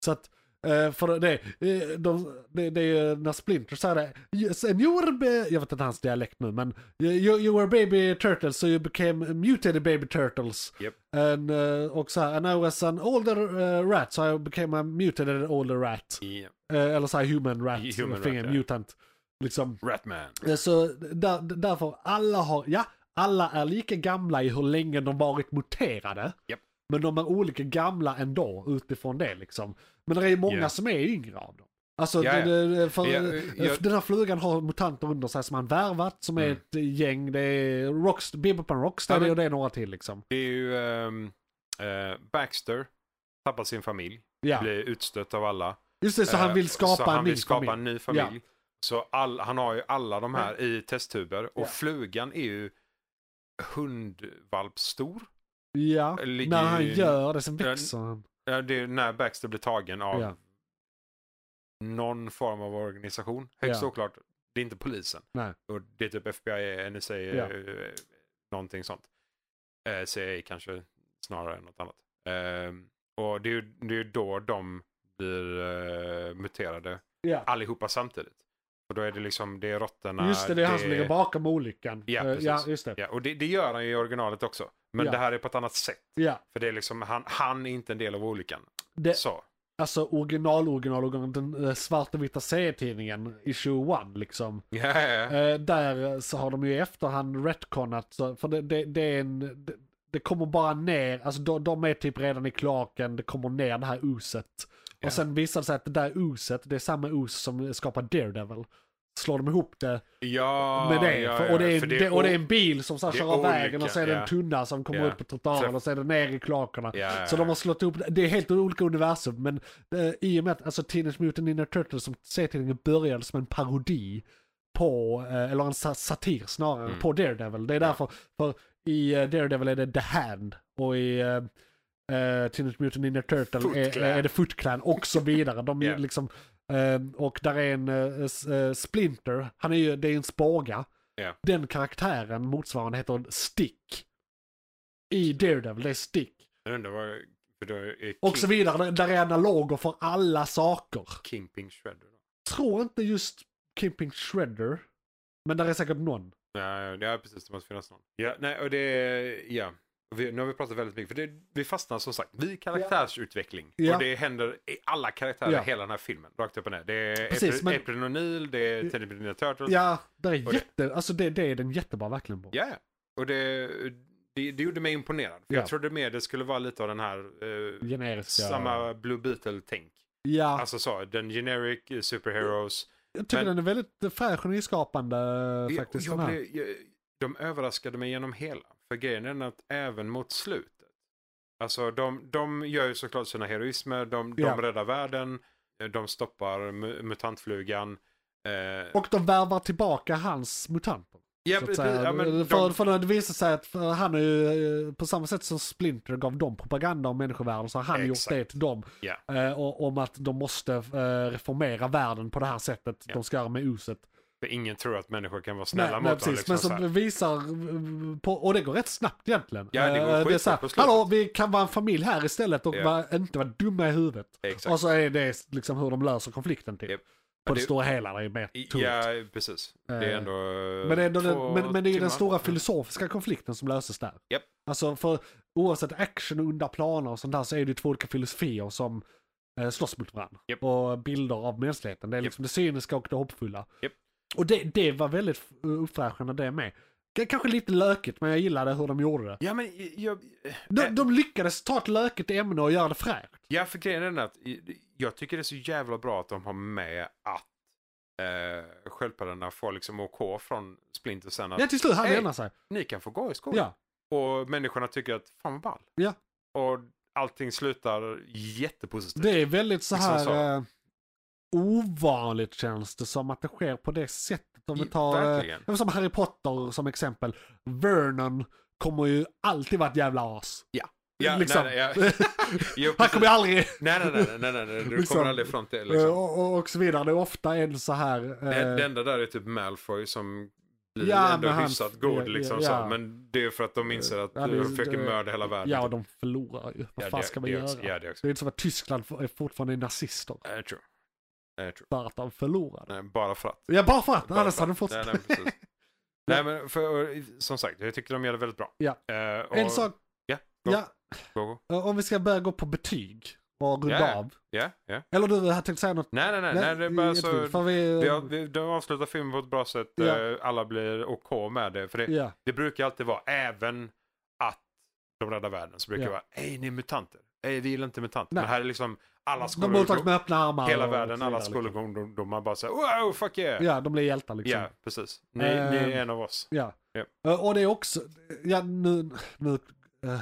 Speaker 2: Så att, eh, för det, eh, de, det, det är ju när Splinter säger det. Yes, and you were, a ba-" jag vet inte hans dialekt nu, men you, you you were baby turtles, so you became mutated baby turtles.
Speaker 3: Japp.
Speaker 2: And, eh, och så här, and I was an older eh, rat, so I became a mutated older rat.
Speaker 3: Ja.
Speaker 2: Eh, eller så här human rat,
Speaker 3: Human
Speaker 2: thing,
Speaker 3: rat,
Speaker 2: a
Speaker 3: ja.
Speaker 2: mutant. Liksom.
Speaker 3: Ratman.
Speaker 2: Så där, därför alla har, ja, alla är lika gamla i hur länge de varit muterade.
Speaker 3: Japp.
Speaker 2: Men de är olika gamla ändå utifrån det liksom. Men det är ju många
Speaker 3: Ja.
Speaker 2: som är yngre av dem. Alltså
Speaker 3: Ja, ja.
Speaker 2: det- det- för, eh,
Speaker 3: Ja, ja.
Speaker 2: för den här flugan har mutanter under sig som han värvat, som är
Speaker 3: Mm.
Speaker 2: ett gäng, det är Rocks, Bibberpan Rocksteady
Speaker 3: Ja, men-
Speaker 2: och det är några till liksom.
Speaker 3: Det är ju ehm, eh, Baxter tappar sin familj,
Speaker 2: Ja.
Speaker 3: blir utstött av alla.
Speaker 2: Just det, så han
Speaker 3: Eh,
Speaker 2: vill skapa,
Speaker 3: så han
Speaker 2: en,
Speaker 3: vill
Speaker 2: ny
Speaker 3: skapa
Speaker 2: familj.
Speaker 3: en ny familj. Så all, han har ju alla de här i testtuber och
Speaker 2: Ja.
Speaker 3: flugan är ju hundvalpstor.
Speaker 2: Ja,
Speaker 3: Ligger
Speaker 2: när han
Speaker 3: ju-
Speaker 2: gör det, sen
Speaker 3: Ja,
Speaker 2: växer han.
Speaker 3: Ja, Det är när Baxter blir tagen av
Speaker 2: Ja.
Speaker 3: någon form av organisation. Högst
Speaker 2: Ja.
Speaker 3: oklart. Det är inte polisen.
Speaker 2: Nej.
Speaker 3: Och det är typ FBI, NSA,
Speaker 2: Ja.
Speaker 3: eh, någonting sånt. Eh, CIA kanske snarare än något annat. Eh, och det är, ju, det är ju då de blir eh, muterade
Speaker 2: Ja.
Speaker 3: allihopa samtidigt. Och då är det liksom, det är råttorna.
Speaker 2: Just det, det är han som ligger bakom olyckan.
Speaker 3: Ja,
Speaker 2: Eh,
Speaker 3: precis.
Speaker 2: ja just det.
Speaker 3: Ja, och det, det gör han ju i originalet också. Men
Speaker 2: Ja.
Speaker 3: det här är på ett annat sätt.
Speaker 2: Ja,
Speaker 3: För det är liksom, han, han är inte en del av olyckan.
Speaker 2: det,
Speaker 3: Så.
Speaker 2: Alltså original, original, original den eh, svartvita serietidningen, issue 1 liksom.
Speaker 3: Ja, ja, ja.
Speaker 2: Eh, där eh, så har de ju i efterhand retconat, så- för det, det, det är en... Det, det kommer bara ner, alltså de, de är typ redan i kloaken, det kommer ner det här oset.
Speaker 3: Ja.
Speaker 2: Och sen visar det sig att det där oset, det är samma os som skapar Daredevil. Slår de ihop det
Speaker 3: Ja,
Speaker 2: med det,
Speaker 3: ja,
Speaker 2: för,
Speaker 3: ja,
Speaker 2: och, det är,
Speaker 3: för
Speaker 2: det, och det är en
Speaker 3: o-
Speaker 2: bil som så här,
Speaker 3: det är
Speaker 2: kör av vägen och så är det en
Speaker 3: olika,
Speaker 2: tunna som kommer
Speaker 3: ja.
Speaker 2: upp på trottoaren
Speaker 3: Så-
Speaker 2: och så är det ner i kloakerna.
Speaker 3: Ja, ja,
Speaker 2: Så
Speaker 3: ja.
Speaker 2: de har slått ihop, det är helt olika universum men eh, i och med att alltså, Teenage Mutant Ninja Turtles som serietidningen började som en parodi på, eh, eller en sa- satir snarare,
Speaker 3: Mm.
Speaker 2: på Daredevil. Det är därför, för i eh, Daredevil är det The Hand och i eh, eh, Teenage Mutant Ninja Turtle
Speaker 3: Foot
Speaker 2: är,
Speaker 3: Clan.
Speaker 2: är det Foot Clan och så vidare. De är
Speaker 3: Ja.
Speaker 2: liksom, eh, och där är en eh, s- eh, Splinter, han är ju, det är en spaga.
Speaker 3: Ja.
Speaker 2: Den karaktären motsvarande heter Stick. I Daredevil, det är Stick.
Speaker 3: Jag undrar vad... För då är
Speaker 2: Och så
Speaker 3: King,
Speaker 2: vidare, där- där är analoger för alla saker.
Speaker 3: Kingpin Shredder. Då.
Speaker 2: Tror inte just Kimping Shredder, men där är säkert någon.
Speaker 3: Ja, ja, precis. Det måste finnas någon. Ja, nej, och det är... Ja. Vi, nu har vi pratat väldigt mycket, för det, vi fastnar som sagt vid karaktärsutveckling.
Speaker 2: Ja.
Speaker 3: Och det händer i alla karaktärer
Speaker 2: Ja.
Speaker 3: i hela den här filmen. Rakt upp och ner. Det är
Speaker 2: Precis,
Speaker 3: Precis,
Speaker 2: men-
Speaker 3: April O'Neil, det är Teddy Bear Turtles.
Speaker 2: Ja, där är
Speaker 3: Och det-
Speaker 2: jätte, alltså det, det är den jättebra verkligen på.
Speaker 3: Ja, ja. Och det, det, det gjorde mig imponerad. För
Speaker 2: Ja.
Speaker 3: Jag trodde mer det skulle vara lite av den här... eh,
Speaker 2: Generiska.
Speaker 3: samma Blue Beetle-tänk.
Speaker 2: Ja,
Speaker 3: Alltså så, den generic eh, superheroes.
Speaker 2: jag tycker
Speaker 3: men-
Speaker 2: den är väldigt eh, färg och nyskapande
Speaker 3: Ja, och
Speaker 2: faktiskt.
Speaker 3: Jag
Speaker 2: den här.
Speaker 3: blev, jag, de överraskade mig genom hela. För grejen är den att även mot slutet. Alltså de, de gör ju såklart sina heroismer. De, de
Speaker 2: Ja.
Speaker 3: räddar världen. eh, De stoppar mu- mutantflugan. Eh,
Speaker 2: Och de värvar tillbaka hans mutanter. så
Speaker 3: ja,
Speaker 2: att
Speaker 3: precis.
Speaker 2: säga.
Speaker 3: ja, men
Speaker 2: för,
Speaker 3: de,
Speaker 2: för det visar sig att för han är ju, eh, på samma sätt som Splinter gav dem propaganda om människovärlden så har han
Speaker 3: Exakt.
Speaker 2: gjort det till dem.
Speaker 3: ja,
Speaker 2: Eh, och, om att de måste eh, reformera världen på det här sättet
Speaker 3: Ja.
Speaker 2: de ska göra med oset.
Speaker 3: för ingen tror att människor kan vara snälla mot dem. Liksom,
Speaker 2: men
Speaker 3: så
Speaker 2: som
Speaker 3: här.
Speaker 2: visar, eh, på, och det går rätt snabbt egentligen.
Speaker 3: Ja, det går
Speaker 2: Eh, är
Speaker 3: skitfort
Speaker 2: så här,
Speaker 3: på slutet.
Speaker 2: hallå vi kan vara en familj här istället och
Speaker 3: Ja.
Speaker 2: vara, inte vara dumma i huvudet.
Speaker 3: Exakt.
Speaker 2: Och så är det liksom hur de löser konflikten typ.
Speaker 3: Japp.
Speaker 2: På det,
Speaker 3: det-
Speaker 2: stora hela, det är mer tungt.
Speaker 3: ja, precis. Det
Speaker 2: Eh,
Speaker 3: är ändå... eh,
Speaker 2: Men, det är ändå
Speaker 3: två
Speaker 2: den, men, men det är ju den
Speaker 3: timmar.
Speaker 2: stora
Speaker 3: Mm.
Speaker 2: filosofiska konflikten som löses där.
Speaker 3: Japp.
Speaker 2: Alltså för oavsett action och onda planer och sånt där så är det ju två olika filosofier som eh, slåss mot varandra.
Speaker 3: Japp.
Speaker 2: Och bilder av mänskligheten. Det är
Speaker 3: Japp.
Speaker 2: liksom det cyniska och det hoppfulla.
Speaker 3: Japp.
Speaker 2: Och det, det var väldigt eh, uppfräschande det med. K- Kanske lite lökigt men jag gillade hur de gjorde det.
Speaker 3: Ja, men eh, jag...
Speaker 2: De, de lyckades ta ett lökigt ämne och göra det fräscht.
Speaker 3: Ja, för grejen är den att i- jag tycker det är så jävla bra att de har med att eh, sköldpaddorna får liksom OK från Splinter sen att
Speaker 2: Ja till slut han
Speaker 3: Hej.
Speaker 2: ändrar sig.
Speaker 3: ni kan få gå i skolan.
Speaker 2: Ja.
Speaker 3: Och människorna tycker att fan vad ball.
Speaker 2: Ja.
Speaker 3: Och allting slutar jättepositivt.
Speaker 2: Det är väldigt så
Speaker 3: Liksom
Speaker 2: här
Speaker 3: så.
Speaker 2: eh, ovanligt känns det som att det sker på det sättet. Om vi
Speaker 3: I-
Speaker 2: tar eh,
Speaker 3: verkligen.
Speaker 2: ja, som Harry Potter som exempel. Vernon kommer ju alltid vara ett jävla as.
Speaker 3: Ja. Ja,
Speaker 2: liksom.
Speaker 3: nej, nej, ja. Jo,
Speaker 2: Han
Speaker 3: precis.
Speaker 2: kommer aldrig...
Speaker 3: Nej, nej, nej, nej, nej, nej. du
Speaker 2: Liksom.
Speaker 3: kommer aldrig fram till liksom.
Speaker 2: Och, och, och så vidare. Det är ofta en så här... eh,
Speaker 3: det, det enda där är typ Malfoy som blir
Speaker 2: Ja,
Speaker 3: ändå
Speaker 2: men han-
Speaker 3: hyfsat god
Speaker 2: ja,
Speaker 3: liksom
Speaker 2: ja.
Speaker 3: så. Men det är för att de inser att
Speaker 2: Ja, det-
Speaker 3: du försöker
Speaker 2: det-
Speaker 3: mörda hela världen.
Speaker 2: ja,
Speaker 3: typ.
Speaker 2: de förlorar ju. Vad
Speaker 3: Ja,
Speaker 2: fan
Speaker 3: det-
Speaker 2: ska man
Speaker 3: det
Speaker 2: göra?
Speaker 3: också. Ja, det också. Eh,
Speaker 2: Det är inte som att Tyskland är fortfarande är nazister.
Speaker 3: Nej, jag tror. Nej, jag tror.
Speaker 2: För att de förlorade.
Speaker 3: Nej, bara för att.
Speaker 2: Ja, bara för att.
Speaker 3: Bara
Speaker 2: Annars
Speaker 3: för
Speaker 2: hade de
Speaker 3: att.
Speaker 2: fortsatt.
Speaker 3: Nej, nej, precis. nej, men för, som sagt, jag tycker de gör det väldigt bra.
Speaker 2: Ja.
Speaker 3: Eh, och,
Speaker 2: en sak.
Speaker 3: Ja, go.
Speaker 2: ja,
Speaker 3: Go, go.
Speaker 2: eh, om vi ska börja gå på betyg och runda
Speaker 3: Ja, ja.
Speaker 2: av.
Speaker 3: Ja, ja.
Speaker 2: Eller du, jag tänkte säga något.
Speaker 3: Nej, nej, nej. nej, det är bara så...
Speaker 2: jättekul, för vi,
Speaker 3: Vi har, vi, de avslutar filmen på ett bra sätt.
Speaker 2: Ja.
Speaker 3: eh, Alla blir OK med det. För det,
Speaker 2: Ja,
Speaker 3: det brukar alltid vara, även att de räddar världen, så brukar
Speaker 2: Ja.
Speaker 3: det vara, ej ni är mutanter. Ej vi gillar inte mutanter.
Speaker 2: Nej.
Speaker 3: Men här är liksom alla
Speaker 2: de mottas
Speaker 3: skolor,
Speaker 2: med öppna armar.
Speaker 3: hela
Speaker 2: och så
Speaker 3: världen, alla
Speaker 2: vidare, liksom.
Speaker 3: skolungdomar bara säger wow, fuck yeah. Ja,
Speaker 2: Ja, de blir hjältar liksom.
Speaker 3: precis. Ni,
Speaker 2: Eh,
Speaker 3: ni är en av oss.
Speaker 2: Ja.
Speaker 3: Ja.
Speaker 2: Eh, Och det är också, ja nu, nu, eh,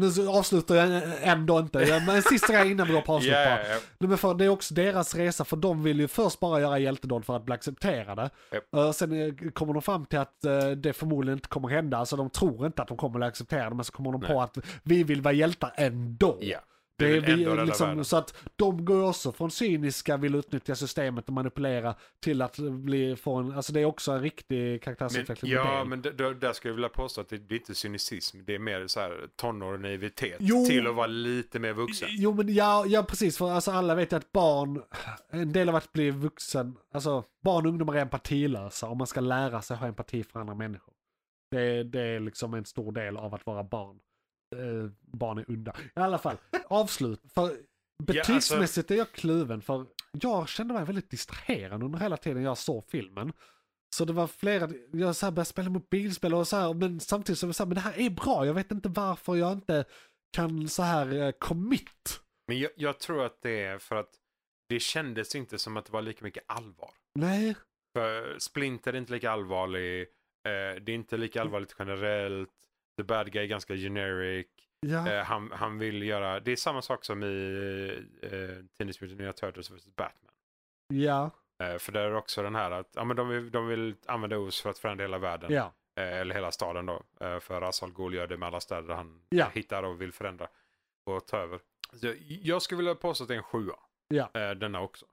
Speaker 2: nu så avslutar jag ändå inte. Ja, Men en sista grej innan vi går på avslut
Speaker 3: Ja,
Speaker 2: bara.
Speaker 3: ja, ja.
Speaker 2: Nej, men för det är också deras resa, för de vill ju först bara göra hjältedåd för att bli accepterade.
Speaker 3: Japp.
Speaker 2: Eh, Sen eh, kommer de fram till att eh, det förmodligen inte kommer hända, alltså de tror inte att de kommer bli accepterade, men så kommer de
Speaker 3: Nej.
Speaker 2: på att vi vill vara hjältar ändå.
Speaker 3: Ja. Vi
Speaker 2: Det är
Speaker 3: vill
Speaker 2: vi,
Speaker 3: ändå rädda
Speaker 2: liksom,
Speaker 3: världen.
Speaker 2: så att de går ju också från cyniska, vill utnyttja systemet och manipulera, till att bli, få en, alltså det är också en riktig
Speaker 3: Men,
Speaker 2: karaktärsutveckling. med
Speaker 3: ja,
Speaker 2: det.
Speaker 3: men d- d- där skulle jag vilja påstå att det, det är inte cynicism. Det är mer så här tonår och naivitet.
Speaker 2: Jo.
Speaker 3: Till att vara lite mer vuxen.
Speaker 2: Jo men ja, ja precis, för alltså, alla vet ju att barn, en del av att bli vuxen, alltså barn och ungdomar är empatilösa och man ska lära sig ha empati för andra människor. Det, det är liksom en stor del av att vara barn. Eh, barn är udda. I alla fall, avslut. För betygsmässigt
Speaker 3: alltså-
Speaker 2: är jag kluven för jag kände mig väldigt distraherad under hela tiden jag såg filmen. Så det var flera, jag så här började spela mobilspel och så här, men samtidigt så var jag så här, men det här är bra, jag vet inte varför jag inte kan så här eh, commit.
Speaker 3: Men jag, jag tror att det är för att det kändes inte som att det var lika mycket allvar.
Speaker 2: Nej,
Speaker 3: För Splinter är inte lika allvarlig. Eh, det är inte lika allvarligt generellt. The Bad Guy är ganska generic.
Speaker 2: ja,
Speaker 3: Eh, han, han vill göra... Det är samma sak som i eh, Teenage Mutant Ninja Turtles vs. Batman.
Speaker 2: ja,
Speaker 3: Eh, för där är också den här att ja, men de, vill, de vill använda OS för att förändra hela världen.
Speaker 2: ja,
Speaker 3: Eh, eller hela staden då. Eh, för Asal Ghul gör det med alla städer han
Speaker 2: Ja.
Speaker 3: hittar och vill förändra och ta över. Så jag- jag skulle vilja påstå att det är en sjua.
Speaker 2: Ja.
Speaker 3: Eh, denna också.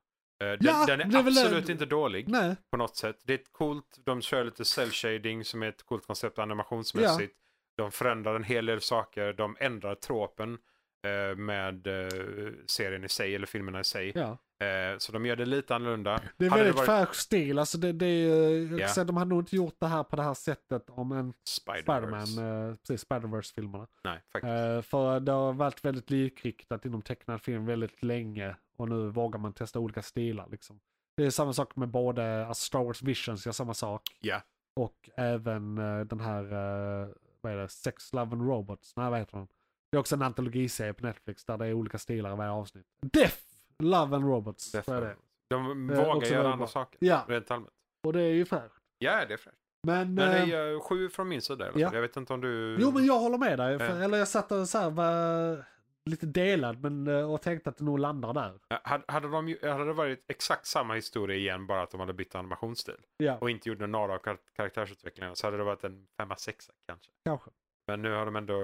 Speaker 3: Eh, den,
Speaker 2: Ja,
Speaker 3: den är,
Speaker 2: det är väl-
Speaker 3: absolut inte dålig
Speaker 2: nej,
Speaker 3: på något sätt. Det är ett coolt, de kör lite cell shading som är ett coolt koncept animationsmässigt. De förändrar en hel del saker, de ändrar tropen eh, med eh, serien i sig eller filmerna i sig.
Speaker 2: ja.
Speaker 3: Eh, så de gör det lite annorlunda.
Speaker 2: Det är
Speaker 3: Hade
Speaker 2: väldigt
Speaker 3: varit
Speaker 2: fräsch stil, alltså det, det är,
Speaker 3: Ja.
Speaker 2: yeah. de hade nog inte gjort det här på det här sättet om en
Speaker 3: Spider-Man.
Speaker 2: Spiderman, eh, precis, Spiderverse-filmerna.
Speaker 3: Nej, faktiskt.
Speaker 2: Eh, för det har varit väldigt likriktat inom tecknad film väldigt länge och nu vågar man testa olika stilar liksom. Det är samma sak med både alltså Star Wars Visions gör samma sak
Speaker 3: Ja.
Speaker 2: och även eh, den här, eh, vad är det, Sex, Love and Robots, nej vad heter den? Det är också en antologiserie på Netflix där det är olika stilar i varje avsnitt. Death, Love and Robots,
Speaker 3: Death
Speaker 2: eh, så är det.
Speaker 3: Note. De
Speaker 2: Eh,
Speaker 3: vågar
Speaker 2: också
Speaker 3: göra
Speaker 2: väldigt
Speaker 3: andra
Speaker 2: bra.
Speaker 3: saker.
Speaker 2: Ja,
Speaker 3: Rent allmänt.
Speaker 2: och det är ju fräscht.
Speaker 3: Ja, det är fräscht.
Speaker 2: Men,
Speaker 3: Men
Speaker 2: eh,
Speaker 3: det är eh, sju från min sida i alla fall.
Speaker 2: ja.
Speaker 3: Jag vet inte om du...
Speaker 2: Jo men jag håller med dig. För,
Speaker 3: Ja.
Speaker 2: Eller jag satt och så här, var lite delad men, eh, och tänkte att det nog landar där.
Speaker 3: Eh, Hade, hade, de, ju- hade det varit exakt samma historia igen bara att de hade bytt animationsstil
Speaker 2: Ja,
Speaker 3: och inte gjort några av kar- karaktärsutvecklingarna så hade det varit en femma sexa kanske.
Speaker 2: kanske.
Speaker 3: Men nu har de ändå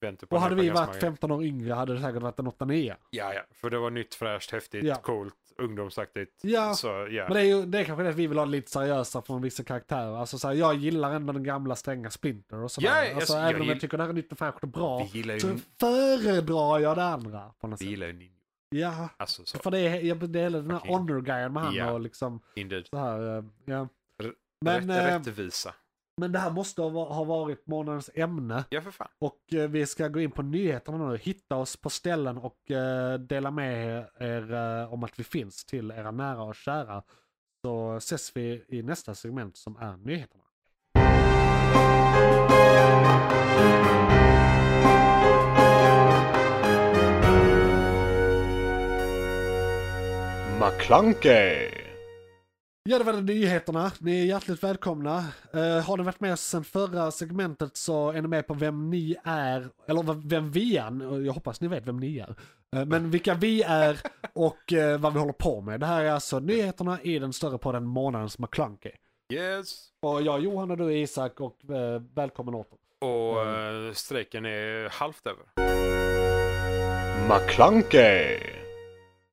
Speaker 3: vänt upp
Speaker 2: Och hade
Speaker 3: ner på
Speaker 2: vi
Speaker 3: ganska
Speaker 2: varit
Speaker 3: många-
Speaker 2: 15 år yngre hade det säkert varit en 8-9.
Speaker 3: Ja, ja. För det var nytt, fräscht, häftigt,
Speaker 2: Ja.
Speaker 3: coolt, ungdomsaktigt.
Speaker 2: Ja.
Speaker 3: Så, ja.
Speaker 2: Men det är, ju, det är kanske det att vi vill ha det lite seriösa från vissa karaktärer. Alltså så här, jag gillar ändå den gamla stränga Splinter och sådär.
Speaker 3: Ja, jag-
Speaker 2: alltså,
Speaker 3: jag
Speaker 2: även om jag
Speaker 3: gill-
Speaker 2: tycker det här är nytt och fräscht och bra.
Speaker 3: Vi gillar ju-
Speaker 2: Så föredrar jag det andra på något
Speaker 3: Vi
Speaker 2: sätt.
Speaker 3: gillar ju ninjor.
Speaker 2: Ja.
Speaker 3: Alltså så.
Speaker 2: För det är, jag, det är hela den här
Speaker 3: Fucking-
Speaker 2: honor-grejen med han
Speaker 3: Ja.
Speaker 2: och liksom
Speaker 3: Indeed.
Speaker 2: så här, eh, ja.
Speaker 3: R-
Speaker 2: Men, eh,
Speaker 3: Rätt, rättvisa.
Speaker 2: men det här måste ha va- ha varit månadens ämne.
Speaker 3: Ja, för fan.
Speaker 2: Och eh, vi ska gå in på nyheterna nu. Hitta oss på ställen och eh, dela med er eh, om att vi finns till era nära och kära. Så ses vi i nästa segment som är nyheterna.
Speaker 4: McClunkey!
Speaker 2: Ja, det var det nyheterna. Ni är hjärtligt välkomna. Eh, har ni varit med oss sedan förra segmentet så är ni med på vem ni är, eller v- vem vi är. Jag hoppas ni vet vem ni är. Eh, men vilka vi är och eh, vad vi håller på med. Det här är alltså nyheterna i den större podden Månadens McClunky.
Speaker 3: Yes.
Speaker 2: Och jag är Johan och du är Isak och eh, välkommen åter.
Speaker 3: Och eh, eh, strejken är halvt över.
Speaker 4: McClunkey!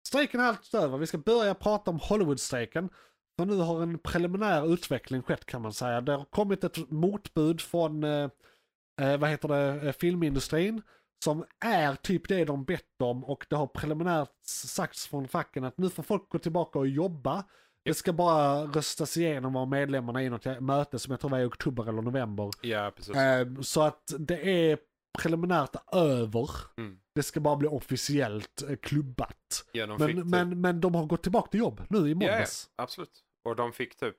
Speaker 2: Strejken är allt över. Vi ska börja prata om Hollywood-strejken. För nu har en preliminär utveckling skett kan man säga. Det har kommit ett motbud från, eh, eh, vad heter det, eh, filmindustrin. Som är typ det de bett om och det har preliminärt sagts från facken att nu får folk gå tillbaka och jobba. Det ska bara röstas igenom av medlemmarna i något möte som jag tror var i oktober eller november.
Speaker 3: Ja, precis.
Speaker 2: Eh, Så att det är preliminärt över.
Speaker 3: Mm.
Speaker 2: Det ska bara bli officiellt eh, klubbat.
Speaker 3: Ja, de fick
Speaker 2: Men,
Speaker 3: typ-
Speaker 2: men, men de har gått tillbaka till jobb nu i
Speaker 3: Ja, ja,
Speaker 2: måndags.
Speaker 3: absolut. Och de fick typ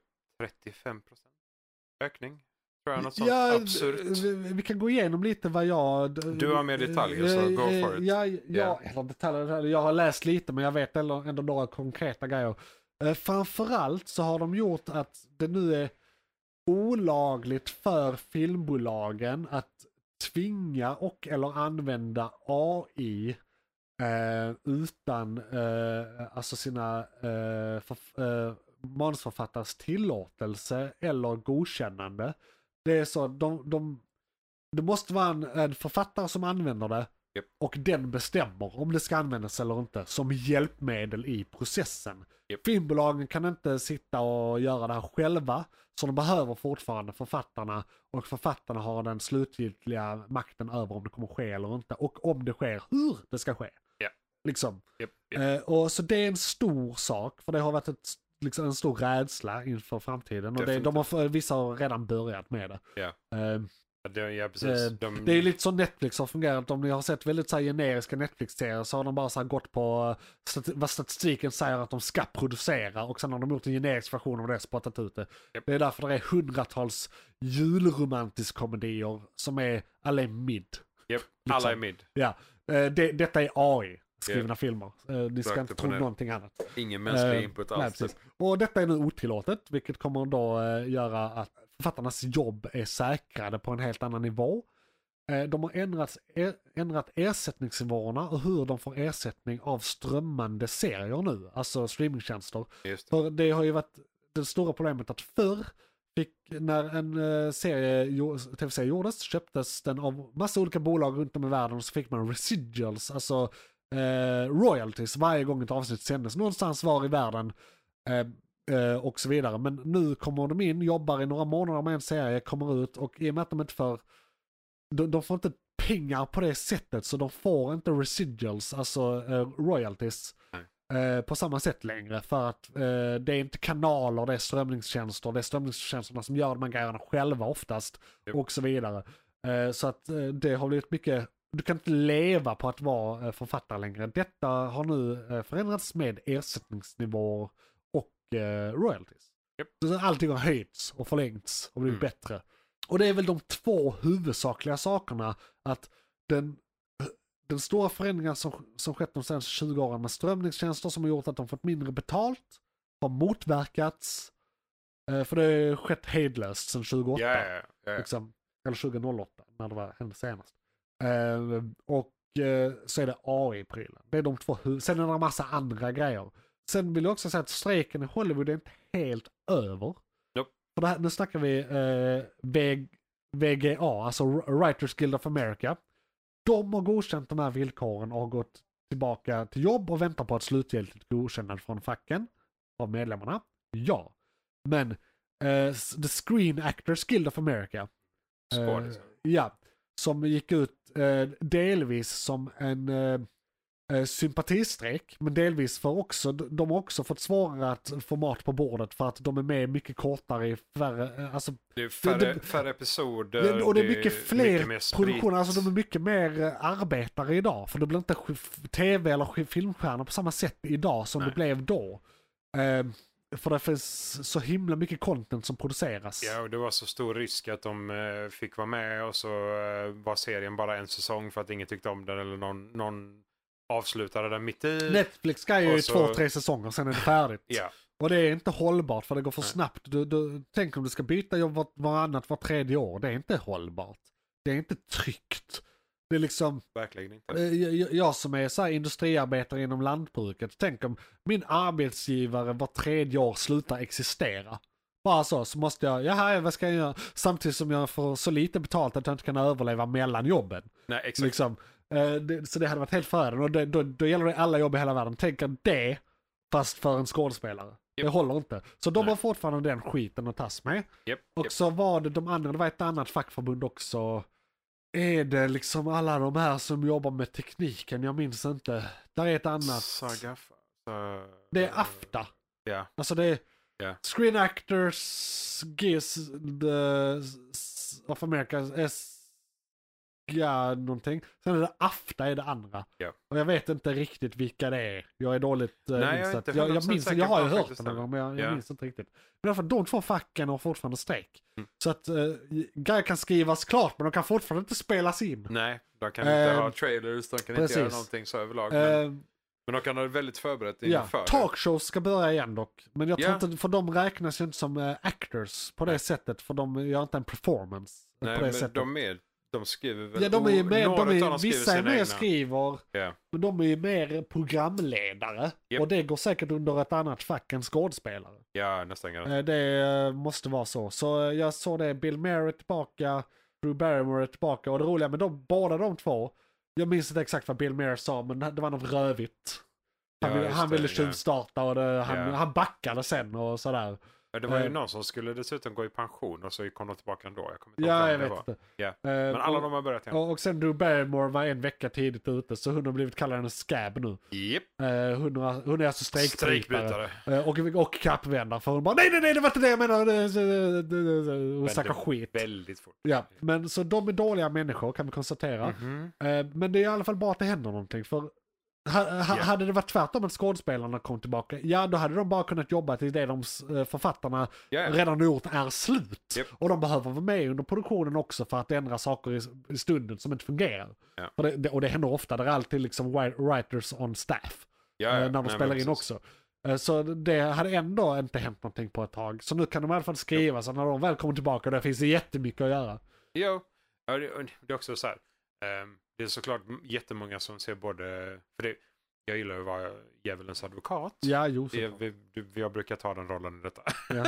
Speaker 3: 35 procent ökning. Tror jag, något sånt
Speaker 2: Ja, eh,
Speaker 3: absurt.
Speaker 2: vi, vi kan gå igenom lite vad jag...
Speaker 3: Du har mer detaljer, så
Speaker 2: Eh,
Speaker 3: go
Speaker 2: eh,
Speaker 3: for it.
Speaker 2: Ja, ja,
Speaker 3: Ja.
Speaker 2: eller detaljer, detaljer. Jag har läst lite men jag vet ändå, ändå några konkreta grejer. Eh, Framförallt så har de gjort att det nu är olagligt för filmbolagen att tvinga och eller använda AI eh, utan eh, alltså sina eh, förf- eh, manusförfattares tillåtelse eller godkännande. Det är så, de, de, det måste vara en, en författare som använder det
Speaker 3: Japp.
Speaker 2: och den bestämmer om det ska användas eller inte som hjälpmedel i processen.
Speaker 3: Japp.
Speaker 2: Filmbolagen kan inte sitta och göra det här själva så de behöver fortfarande författarna och författarna har den slutgiltiga makten över om det kommer ske eller inte och om det sker hur det ska ske.
Speaker 3: Ja.
Speaker 2: Liksom.
Speaker 3: Japp, japp.
Speaker 2: Eh, och så det är en stor sak, för det har varit ett, liksom, en stor rädsla inför framtiden. Och det, de har, vissa har redan börjat med det.
Speaker 3: Ja.
Speaker 2: Eh,
Speaker 3: Ja, det- Ja,
Speaker 2: eh,
Speaker 3: precis. De,
Speaker 2: Det är ju lite som Netflix har fungerat. Om ni har sett väldigt så här, generiska Netflix-serier så har de bara så här, gått på eh, stati- vad statistiken säger att de ska producera och sen har de gjort en generisk version av det och spottat ut det.
Speaker 3: Japp.
Speaker 2: Det är därför det är hundratals julromantisk-komedier som är alla är mid.
Speaker 3: Japp, alla är
Speaker 2: liksom.
Speaker 3: mid.
Speaker 2: Ja, eh, det, detta är AI skrivna filmer. Eh, Ni ska
Speaker 3: Rakt
Speaker 2: inte
Speaker 3: upp och
Speaker 2: tro
Speaker 3: ner.
Speaker 2: någonting annat.
Speaker 3: Ingen mänsklig
Speaker 2: Eh,
Speaker 3: input
Speaker 2: nej,
Speaker 3: alls. typ.
Speaker 2: precis. Och detta är nu otillåtet, vilket kommer då eh, göra att författarnas jobb är säkrade på en helt annan nivå. Eh, de har ändrats, er, ändrat ersättningsnivåerna och hur de får ersättning av strömmande serier nu, alltså streamingtjänster.
Speaker 3: Just det.
Speaker 2: För det har ju varit det stora problemet att förr fick, när en eh, serie, gjo- tv-serie gjordes, köptes den av massa olika bolag runt om i världen och så fick man residuals, alltså eh, royalties varje gång ett avsnitt sändes någonstans var i världen. Eh, eh, och så vidare. Men nu kommer de in, jobbar i några månader med en serie, kommer ut och i och med att de inte får, de, de får inte pengar på det sättet så de får inte residuals, alltså eh, royalties eh, på samma sätt längre. För att eh, det är inte kanaler, det är strömningstjänster, det är strömningstjänsterna som gör de här grejerna själva oftast.
Speaker 3: Japp.
Speaker 2: Och så vidare. Eh, så att eh, det har blivit mycket, du kan inte leva på att vara eh, författare längre. Detta har nu eh, förändrats med ersättningsnivåer och eh, royalties.
Speaker 3: Japp.
Speaker 2: Så allting har höjts och förlängts och blivit
Speaker 3: Mm.
Speaker 2: bättre. Och det är väl de två huvudsakliga sakerna. Att den eh, den stora förändringen som, som skett de senaste 20 åren med strömningstjänster som har gjort att de fått mindre betalt har motverkats. Eh, för det har ju skett hejdlöst sedan 2008.
Speaker 3: Ja, ja, ja, ja.
Speaker 2: Liksom, eller 2008 när det var, hände senast. Eh, och eh, så är det AI-prylen. Det är de två hu- Sen är det en massa andra grejer. Sen vill jag också säga att strejken i Hollywood är inte helt över.
Speaker 3: Nope.
Speaker 2: För det här, nu snackar vi eh, VG, VGA, alltså Writers Guild of America. De har godkänt de här villkoren och har gått tillbaka till jobb och väntar på ett slutgiltigt godkännande från facken av medlemmarna. Ja. Men eh, s- The Screen Actors Guild of America.
Speaker 3: Skådisar.
Speaker 2: Eh, ja. Som gick ut eh, delvis som en eh, eh, sympatistrejk, men delvis för också, d- de har också fått svårare att få mat på bordet för att de är med mycket kortare i färre, eh, alltså
Speaker 3: Det är färre,
Speaker 2: det-
Speaker 3: färre episoder.
Speaker 2: det, och det är mycket fler
Speaker 3: mycket mer sprit.
Speaker 2: produktioner, alltså de är mycket mer eh, arbetare idag. För det blir inte sk- tv eller sk- filmstjärnor på samma sätt idag som
Speaker 3: Nej.
Speaker 2: det blev då. Ehm, för det finns så himla mycket content som produceras.
Speaker 3: Ja, och det var så stor risk att de eh, fick vara med och så eh, var serien bara en säsong för att ingen tyckte om den eller någon, någon avslutade den mitt i.
Speaker 2: Netflix ska ju
Speaker 3: Och
Speaker 2: i
Speaker 3: så-
Speaker 2: två, tre säsonger, sen är det färdigt.
Speaker 3: Ja,
Speaker 2: Och det är inte hållbart för det går för
Speaker 3: Nej.
Speaker 2: snabbt. Du, du, tänk om du ska byta jobb var, varannat, var tredje år. Det är inte hållbart. Det är inte tryggt. Det är liksom,
Speaker 3: verkligen inte.
Speaker 2: Eh, jag- jag- Jag som är så här industriarbetare inom lantbruket, tänk om min arbetsgivare var tredje år slutar existera. Bara så, så måste jag, jaha, vad ska jag göra? Samtidigt som jag får så lite betalt att jag inte kan överleva mellan jobben.
Speaker 3: Nej, exakt.
Speaker 2: Liksom. Eh, det, så det hade varit helt förödande. Och det, då, då gäller det alla jobb i hela världen. Tänk er det, fast för en skådespelare. Det
Speaker 3: Japp.
Speaker 2: håller inte. Så de
Speaker 3: Nej.
Speaker 2: har fortfarande den skiten att tas med.
Speaker 3: Japp,
Speaker 2: Och
Speaker 3: japp.
Speaker 2: så var det de andra, det var ett annat fackförbund också. Är det liksom alla de här som jobbar med tekniken? Jag minns inte. Där är ett annat.
Speaker 3: Saga... Sa-
Speaker 2: Det är AFTA.
Speaker 3: eh, Ja.
Speaker 2: Alltså det är
Speaker 3: Ja.
Speaker 2: Screen Actors Guild eh, s- of America. S, ja, någonting. Sen är det AFTA är det andra.
Speaker 3: Ja.
Speaker 2: Och jag vet inte riktigt vilka det är. Jag är dåligt eh,
Speaker 3: Nej, jag är
Speaker 2: insatt.
Speaker 3: inte
Speaker 2: Jag, jag,
Speaker 3: 100%
Speaker 2: minns,
Speaker 3: säker
Speaker 2: jag har
Speaker 3: på
Speaker 2: ju
Speaker 3: att
Speaker 2: hört det
Speaker 3: faktiskt
Speaker 2: någon
Speaker 3: det.
Speaker 2: gång men jag,
Speaker 3: Ja.
Speaker 2: jag minns inte riktigt. Men i alla fall, de två facken har fortfarande strejk.
Speaker 3: Mm.
Speaker 2: Så att eh, grejer kan skrivas klart men de kan fortfarande inte spelas in.
Speaker 3: Nej, de kan inte
Speaker 2: Eh,
Speaker 3: ha trailers, de kan
Speaker 2: precis.
Speaker 3: inte göra någonting så överlag. men,
Speaker 2: Eh,
Speaker 3: men de kan ha det väldigt förberett
Speaker 2: Ja,
Speaker 3: inför. det.
Speaker 2: talkshows ska börja igen dock. Men jag tror
Speaker 3: Ja.
Speaker 2: inte, för de räknas ju inte som eh, actors på det sättet. För de gör inte en performance
Speaker 3: Nej,
Speaker 2: på det
Speaker 3: men
Speaker 2: sättet.
Speaker 3: de är... De skriver väl...
Speaker 2: ja, de är ju
Speaker 3: o-
Speaker 2: mer,
Speaker 3: några
Speaker 2: de är,
Speaker 3: utav dem skriver
Speaker 2: vissa är
Speaker 3: sina
Speaker 2: mer
Speaker 3: egna.
Speaker 2: skriver,
Speaker 3: Ja.
Speaker 2: men de är ju mer programledare.
Speaker 3: Japp.
Speaker 2: Och det går säkert under ett annat fack än skådespelare.
Speaker 3: Ja, nästan garanterat.
Speaker 2: Eh, Det eh, måste vara så. Så eh, jag såg det, Bill Murray är tillbaka, Drew Barrymore är tillbaka. Och det roliga med de, båda de två, jag minns inte exakt vad Bill Murray sa, men det var något rövigt. Han,
Speaker 3: Ja,
Speaker 2: ville-
Speaker 3: just
Speaker 2: han
Speaker 3: det,
Speaker 2: ville
Speaker 3: ja.
Speaker 2: tjuvstarta och det, han,
Speaker 3: Ja.
Speaker 2: han backade sen och sådär.
Speaker 3: Ja, det var ju
Speaker 2: Eh.
Speaker 3: någon som skulle dessutom gå i pension och så kom de tillbaka ändå. Jag kommer inte ihåg
Speaker 2: Ja,
Speaker 3: vem
Speaker 2: jag
Speaker 3: det
Speaker 2: vet
Speaker 3: var.
Speaker 2: inte.
Speaker 3: Ja.
Speaker 2: Eh,
Speaker 3: Men alla
Speaker 2: och-
Speaker 3: de har börjat igen.
Speaker 2: och, och sen Drew Barrymore var en vecka tidigt ute, så hon har blivit kallad en scab nu.
Speaker 3: Japp,
Speaker 2: Eh, hon, har- hon är alltså strejkbrytare.
Speaker 3: strejkbrytare.
Speaker 2: Eh, och, och kappvändare, för hon bara nej, nej, nej, det var inte det jag Eh, menade. Hon
Speaker 3: Väldigt-
Speaker 2: snackar skit.
Speaker 3: Väldigt fort.
Speaker 2: Ja, men så de är dåliga människor kan vi konstatera.
Speaker 3: Mm. Mhm.
Speaker 2: Eh, Men det är i alla fall bra att det händer någonting. För ha, ha,
Speaker 3: Ja.
Speaker 2: hade det varit tvärtom att skådespelarna kom tillbaka, ja då hade de bara kunnat jobba till det de s- eh, författarna
Speaker 3: Ja, ja.
Speaker 2: redan gjort är slut.
Speaker 3: Japp.
Speaker 2: Och de behöver vara med under produktionen också för att ändra saker i, i stunden som inte fungerar.
Speaker 3: Ja.
Speaker 2: För det, det, och det händer ofta, det är alltid liksom wri- writers on staff
Speaker 3: Ja,
Speaker 2: eh,
Speaker 3: ja.
Speaker 2: när de
Speaker 3: Nej,
Speaker 2: spelar
Speaker 3: men
Speaker 2: in
Speaker 3: precis.
Speaker 2: också. Eh, Så det hade ändå inte hänt någonting på ett tag. Så nu kan de i alla fall skriva, så när de väl kommer tillbaka, där finns det jättemycket att göra.
Speaker 3: Jo, ja, det, och det är också så här. ehm, det är såklart m- jättemånga som ser både... För det, jag gillar ju att vara djävulens advokat.
Speaker 2: Ja, jo,
Speaker 3: Det,
Speaker 2: såklart.
Speaker 3: vi, du- jag brukar ta den rollen i detta.
Speaker 2: Ja.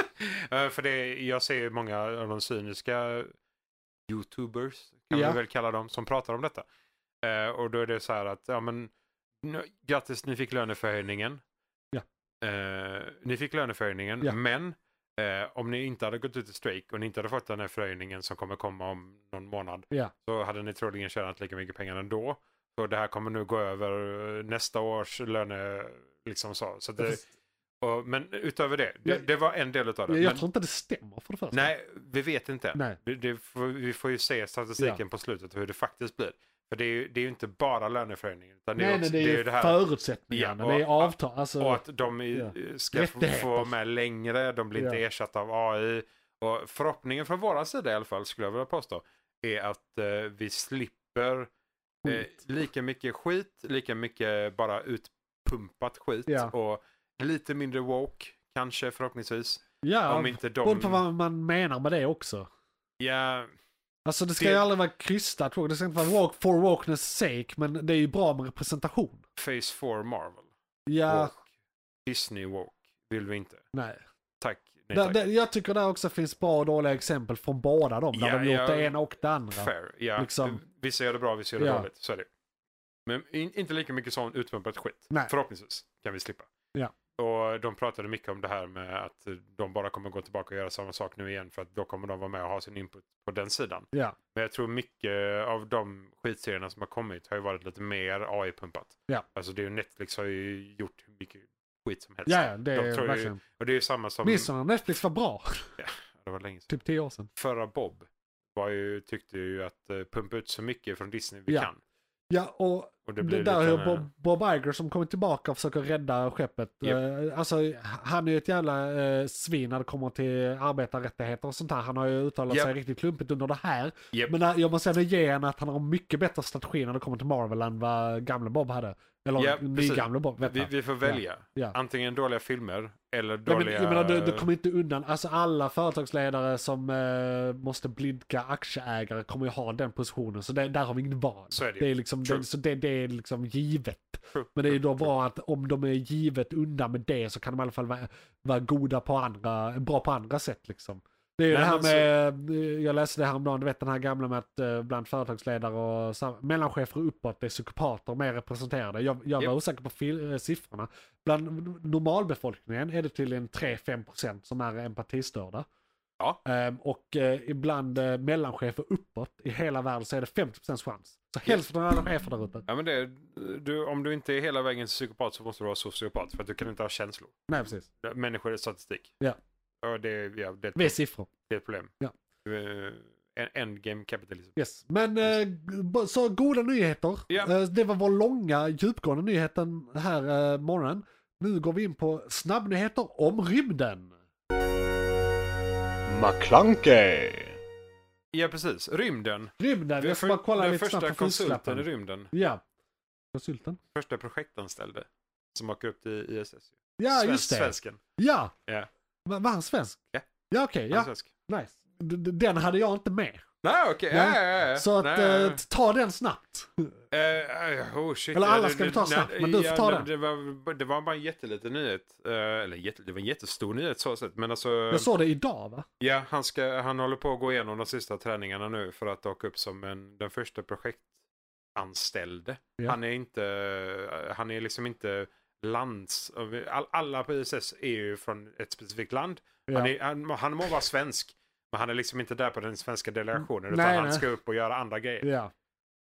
Speaker 3: Eh, för det, jag ser ju många av de cyniska youtubers, kan
Speaker 2: Ja.
Speaker 3: vi väl kalla dem, som pratar om detta. Eh, och då är det så här att, ja men, nu, grattis ni fick löneförhöjningen.
Speaker 2: Ja.
Speaker 3: Eh, ni fick löneförhöjningen,
Speaker 2: Ja.
Speaker 3: men eh, om ni inte hade gått ut i strejk och ni inte hade fått den här förhöjningen som kommer komma om någon månad,
Speaker 2: Ja.
Speaker 3: så hade ni troligen tjänat lika mycket pengar ändå. Så det här kommer nu gå över eh, nästa års löne, liksom så. så att det, och, men utöver det, det,
Speaker 2: Ja.
Speaker 3: det var en del utav det.
Speaker 2: Jag, jag
Speaker 3: men,
Speaker 2: tror inte det stämmer för det första.
Speaker 3: Nej, vi vet inte.
Speaker 2: Nej.
Speaker 3: Det, det, får- vi får ju se statistiken på slutet och hur det faktiskt blir. För det är ju, det är ju inte bara löneförhöjningen. Utan det är,
Speaker 2: Nej,
Speaker 3: också,
Speaker 2: nej, det är ju
Speaker 3: det här
Speaker 2: förutsättningarna,
Speaker 3: Ja, och-
Speaker 2: det är avtal. Alltså,
Speaker 3: och att de i- ska f-
Speaker 2: Rättigheter.
Speaker 3: få vara med längre, de blir inte
Speaker 2: Ja.
Speaker 3: ersatta av AI. Och förhoppningen från våra sida i alla fall, skulle jag vilja påstå, är att eh, vi slipper eh,
Speaker 2: Skit.
Speaker 3: lika mycket skit, lika mycket bara utpumpat skit
Speaker 2: Ja.
Speaker 3: och lite mindre woke, kanske förhoppningsvis.
Speaker 2: ja,
Speaker 3: Om inte de...
Speaker 2: beroende på vad man menar med det också.
Speaker 3: Ja,
Speaker 2: Alltså det ska
Speaker 3: Det-
Speaker 2: ju aldrig vara krystat, det ska inte vara walk for walkness sake, men det är ju bra med representation.
Speaker 3: Phase 4 Marvel.
Speaker 2: Ja,
Speaker 3: Woke. Disney woke. Vill vi inte.
Speaker 2: nej.
Speaker 3: Tack. Nej,
Speaker 2: Där-
Speaker 3: tack.
Speaker 2: där- jag tycker där också finns bra och dåliga exempel från båda dem, där
Speaker 3: Ja,
Speaker 2: de gjort
Speaker 3: ja.
Speaker 2: det ena och det andra.
Speaker 3: Fair. Ja.
Speaker 2: Liksom-
Speaker 3: Vissa gör det bra, vissa gör det
Speaker 2: Ja.
Speaker 3: dåligt. Så är det. Men in, inte lika mycket sån utpumpat skit.
Speaker 2: Nej.
Speaker 3: Förhoppningsvis kan vi slippa.
Speaker 2: Ja.
Speaker 3: Och de pratade mycket om det här med att de bara kommer gå tillbaka och göra samma sak nu igen för att då kommer de vara med och ha sin input på den sidan.
Speaker 2: Ja,
Speaker 3: Men jag tror mycket av de skitserierna som har kommit har ju varit lite mer AI-pumpat.
Speaker 2: Ja.
Speaker 3: Alltså det är ju Netflix har ju gjort hur mycket skit som helst.
Speaker 2: ja, ja, det
Speaker 3: De
Speaker 2: är
Speaker 3: tror ju-
Speaker 2: verkligen.
Speaker 3: Och det är ju samma som...
Speaker 2: Minns du när Netflix var bra?
Speaker 3: Det var länge sedan.
Speaker 2: typ tio år sedan.
Speaker 3: förra Bob var ju, tyckte ju att eh, pumpa ut så mycket från Disney vi
Speaker 2: Ja.
Speaker 3: kan.
Speaker 2: Ja, och
Speaker 3: Och det
Speaker 2: Det,
Speaker 3: blir liksom
Speaker 2: där
Speaker 3: lite,
Speaker 2: hur Bob, Bob Iger som kommer tillbaka och försöker rädda skeppet. Eh, Alltså, han är ju ett jävla eh, svin när det kommer till arbetarrättigheter och sånt här. Han har ju uttalat
Speaker 3: Japp.
Speaker 2: sig riktigt klumpigt under det här.
Speaker 3: Japp.
Speaker 2: Men eh, jag måste ändå ge henne att han har en mycket bättre strategi när det kommer till Marvel än vad gamle Bob hade. Eller
Speaker 3: Ja, precis.
Speaker 2: nygamle Bob. Vet
Speaker 3: vi,
Speaker 2: jag.
Speaker 3: vi får välja.
Speaker 2: Ja.
Speaker 3: Antingen dåliga filmer eller
Speaker 2: Ja, men,
Speaker 3: dåliga...
Speaker 2: jag menar, du, du kommer inte undan. Alltså alla företagsledare som eh, måste blidka aktieägare kommer ju ha den positionen. Så det, där har vi inget val.
Speaker 3: Så är det ju.
Speaker 2: är liksom,
Speaker 3: True.
Speaker 2: det, så det, det är liksom givet. Men det är ju då bra att om de är givet undan med det så kan de i alla fall vara, vara goda på andra, bra på andra sätt liksom. Det är ju
Speaker 3: Nej,
Speaker 2: det här
Speaker 3: men
Speaker 2: med, eh, jag läste det här om dagen, du vet den här gamla med att eh, bland företagsledare och sam- mellanchefer och uppåt det är psykopater mer representerade. Jag, jag var
Speaker 3: Japp.
Speaker 2: osäker på fil- eh, siffrorna. Bland normalbefolkningen är det tydligen 3-5% som är empatistörda.
Speaker 3: Ja.
Speaker 2: Ehm, och eh, ibland eh, mellanchefer uppåt i hela världen så är det 50% chans. Så hälften av alla chefer där ute.
Speaker 3: Ja, men det, du, om du inte är hela vägen till psykopat så måste du vara sociopat för att du kan inte ha känslor.
Speaker 2: Nej precis.
Speaker 3: Människor är statistik.
Speaker 2: Ja.
Speaker 3: Ja, det, ja, det,
Speaker 2: Vi är
Speaker 3: det
Speaker 2: siffror.
Speaker 3: är ett problem.
Speaker 2: Ja.
Speaker 3: Eh, en- Endgame kapitalism.
Speaker 2: Yes. Men eh, b- så goda nyheter.
Speaker 3: Ja.
Speaker 2: Eh, det var vår långa djupgående nyheten här eh, morgonen. Nu går vi in på snabbnyheter om rymden.
Speaker 4: McClunkey!
Speaker 3: Ja, precis. Rymden.
Speaker 2: Rymden,
Speaker 3: Vi
Speaker 2: jag ska bara kolla
Speaker 3: den
Speaker 2: lite
Speaker 3: första
Speaker 2: snabbt på
Speaker 3: konsulten i
Speaker 2: prislappen.
Speaker 3: rymden.
Speaker 2: Ja. Konsulten?
Speaker 3: Första projektanställde. Som åker upp till ISS.
Speaker 2: Ja,
Speaker 3: Svensk-
Speaker 2: just det.
Speaker 3: Svensken.
Speaker 2: Ja.
Speaker 3: Ja.
Speaker 2: Va- Var han svensk?
Speaker 3: Ja. Alltså-
Speaker 2: Ja, okej.
Speaker 3: Han är
Speaker 2: ja.
Speaker 3: svensk.
Speaker 2: Nice. D- d- Den hade jag inte med.
Speaker 3: Nej, okej.
Speaker 2: Ja.
Speaker 3: Ja. Ja, ja, ja.
Speaker 2: Så att,
Speaker 3: Nej,
Speaker 2: eh,
Speaker 3: ja, ja.
Speaker 2: ta den snabbt.
Speaker 3: Eh, eh, oh shit.
Speaker 2: Eller alla
Speaker 3: Eh,
Speaker 2: ska vi
Speaker 3: det-
Speaker 2: ta
Speaker 3: nej,
Speaker 2: snabbt, men du får ta den.
Speaker 3: Det var, det var bara en jätteliten nyhet. Eh, eller jätte, det var en jättestor nyhet så sett. Men alltså.
Speaker 2: Jag såg det idag va?
Speaker 3: Ja, han, ska, han håller på att gå igenom de sista träningarna nu för att åka upp som en, den första projektanställde.
Speaker 2: Ja.
Speaker 3: Han är inte, han är liksom inte lands... All, alla på ISS är ju från ett specifikt land.
Speaker 2: Ja.
Speaker 3: Han, är, han, han må vara svensk, men han är liksom inte där på den svenska delegationen. Utan
Speaker 2: Nej,
Speaker 3: han
Speaker 2: nej.
Speaker 3: ska upp och göra andra grejer.
Speaker 2: Ja.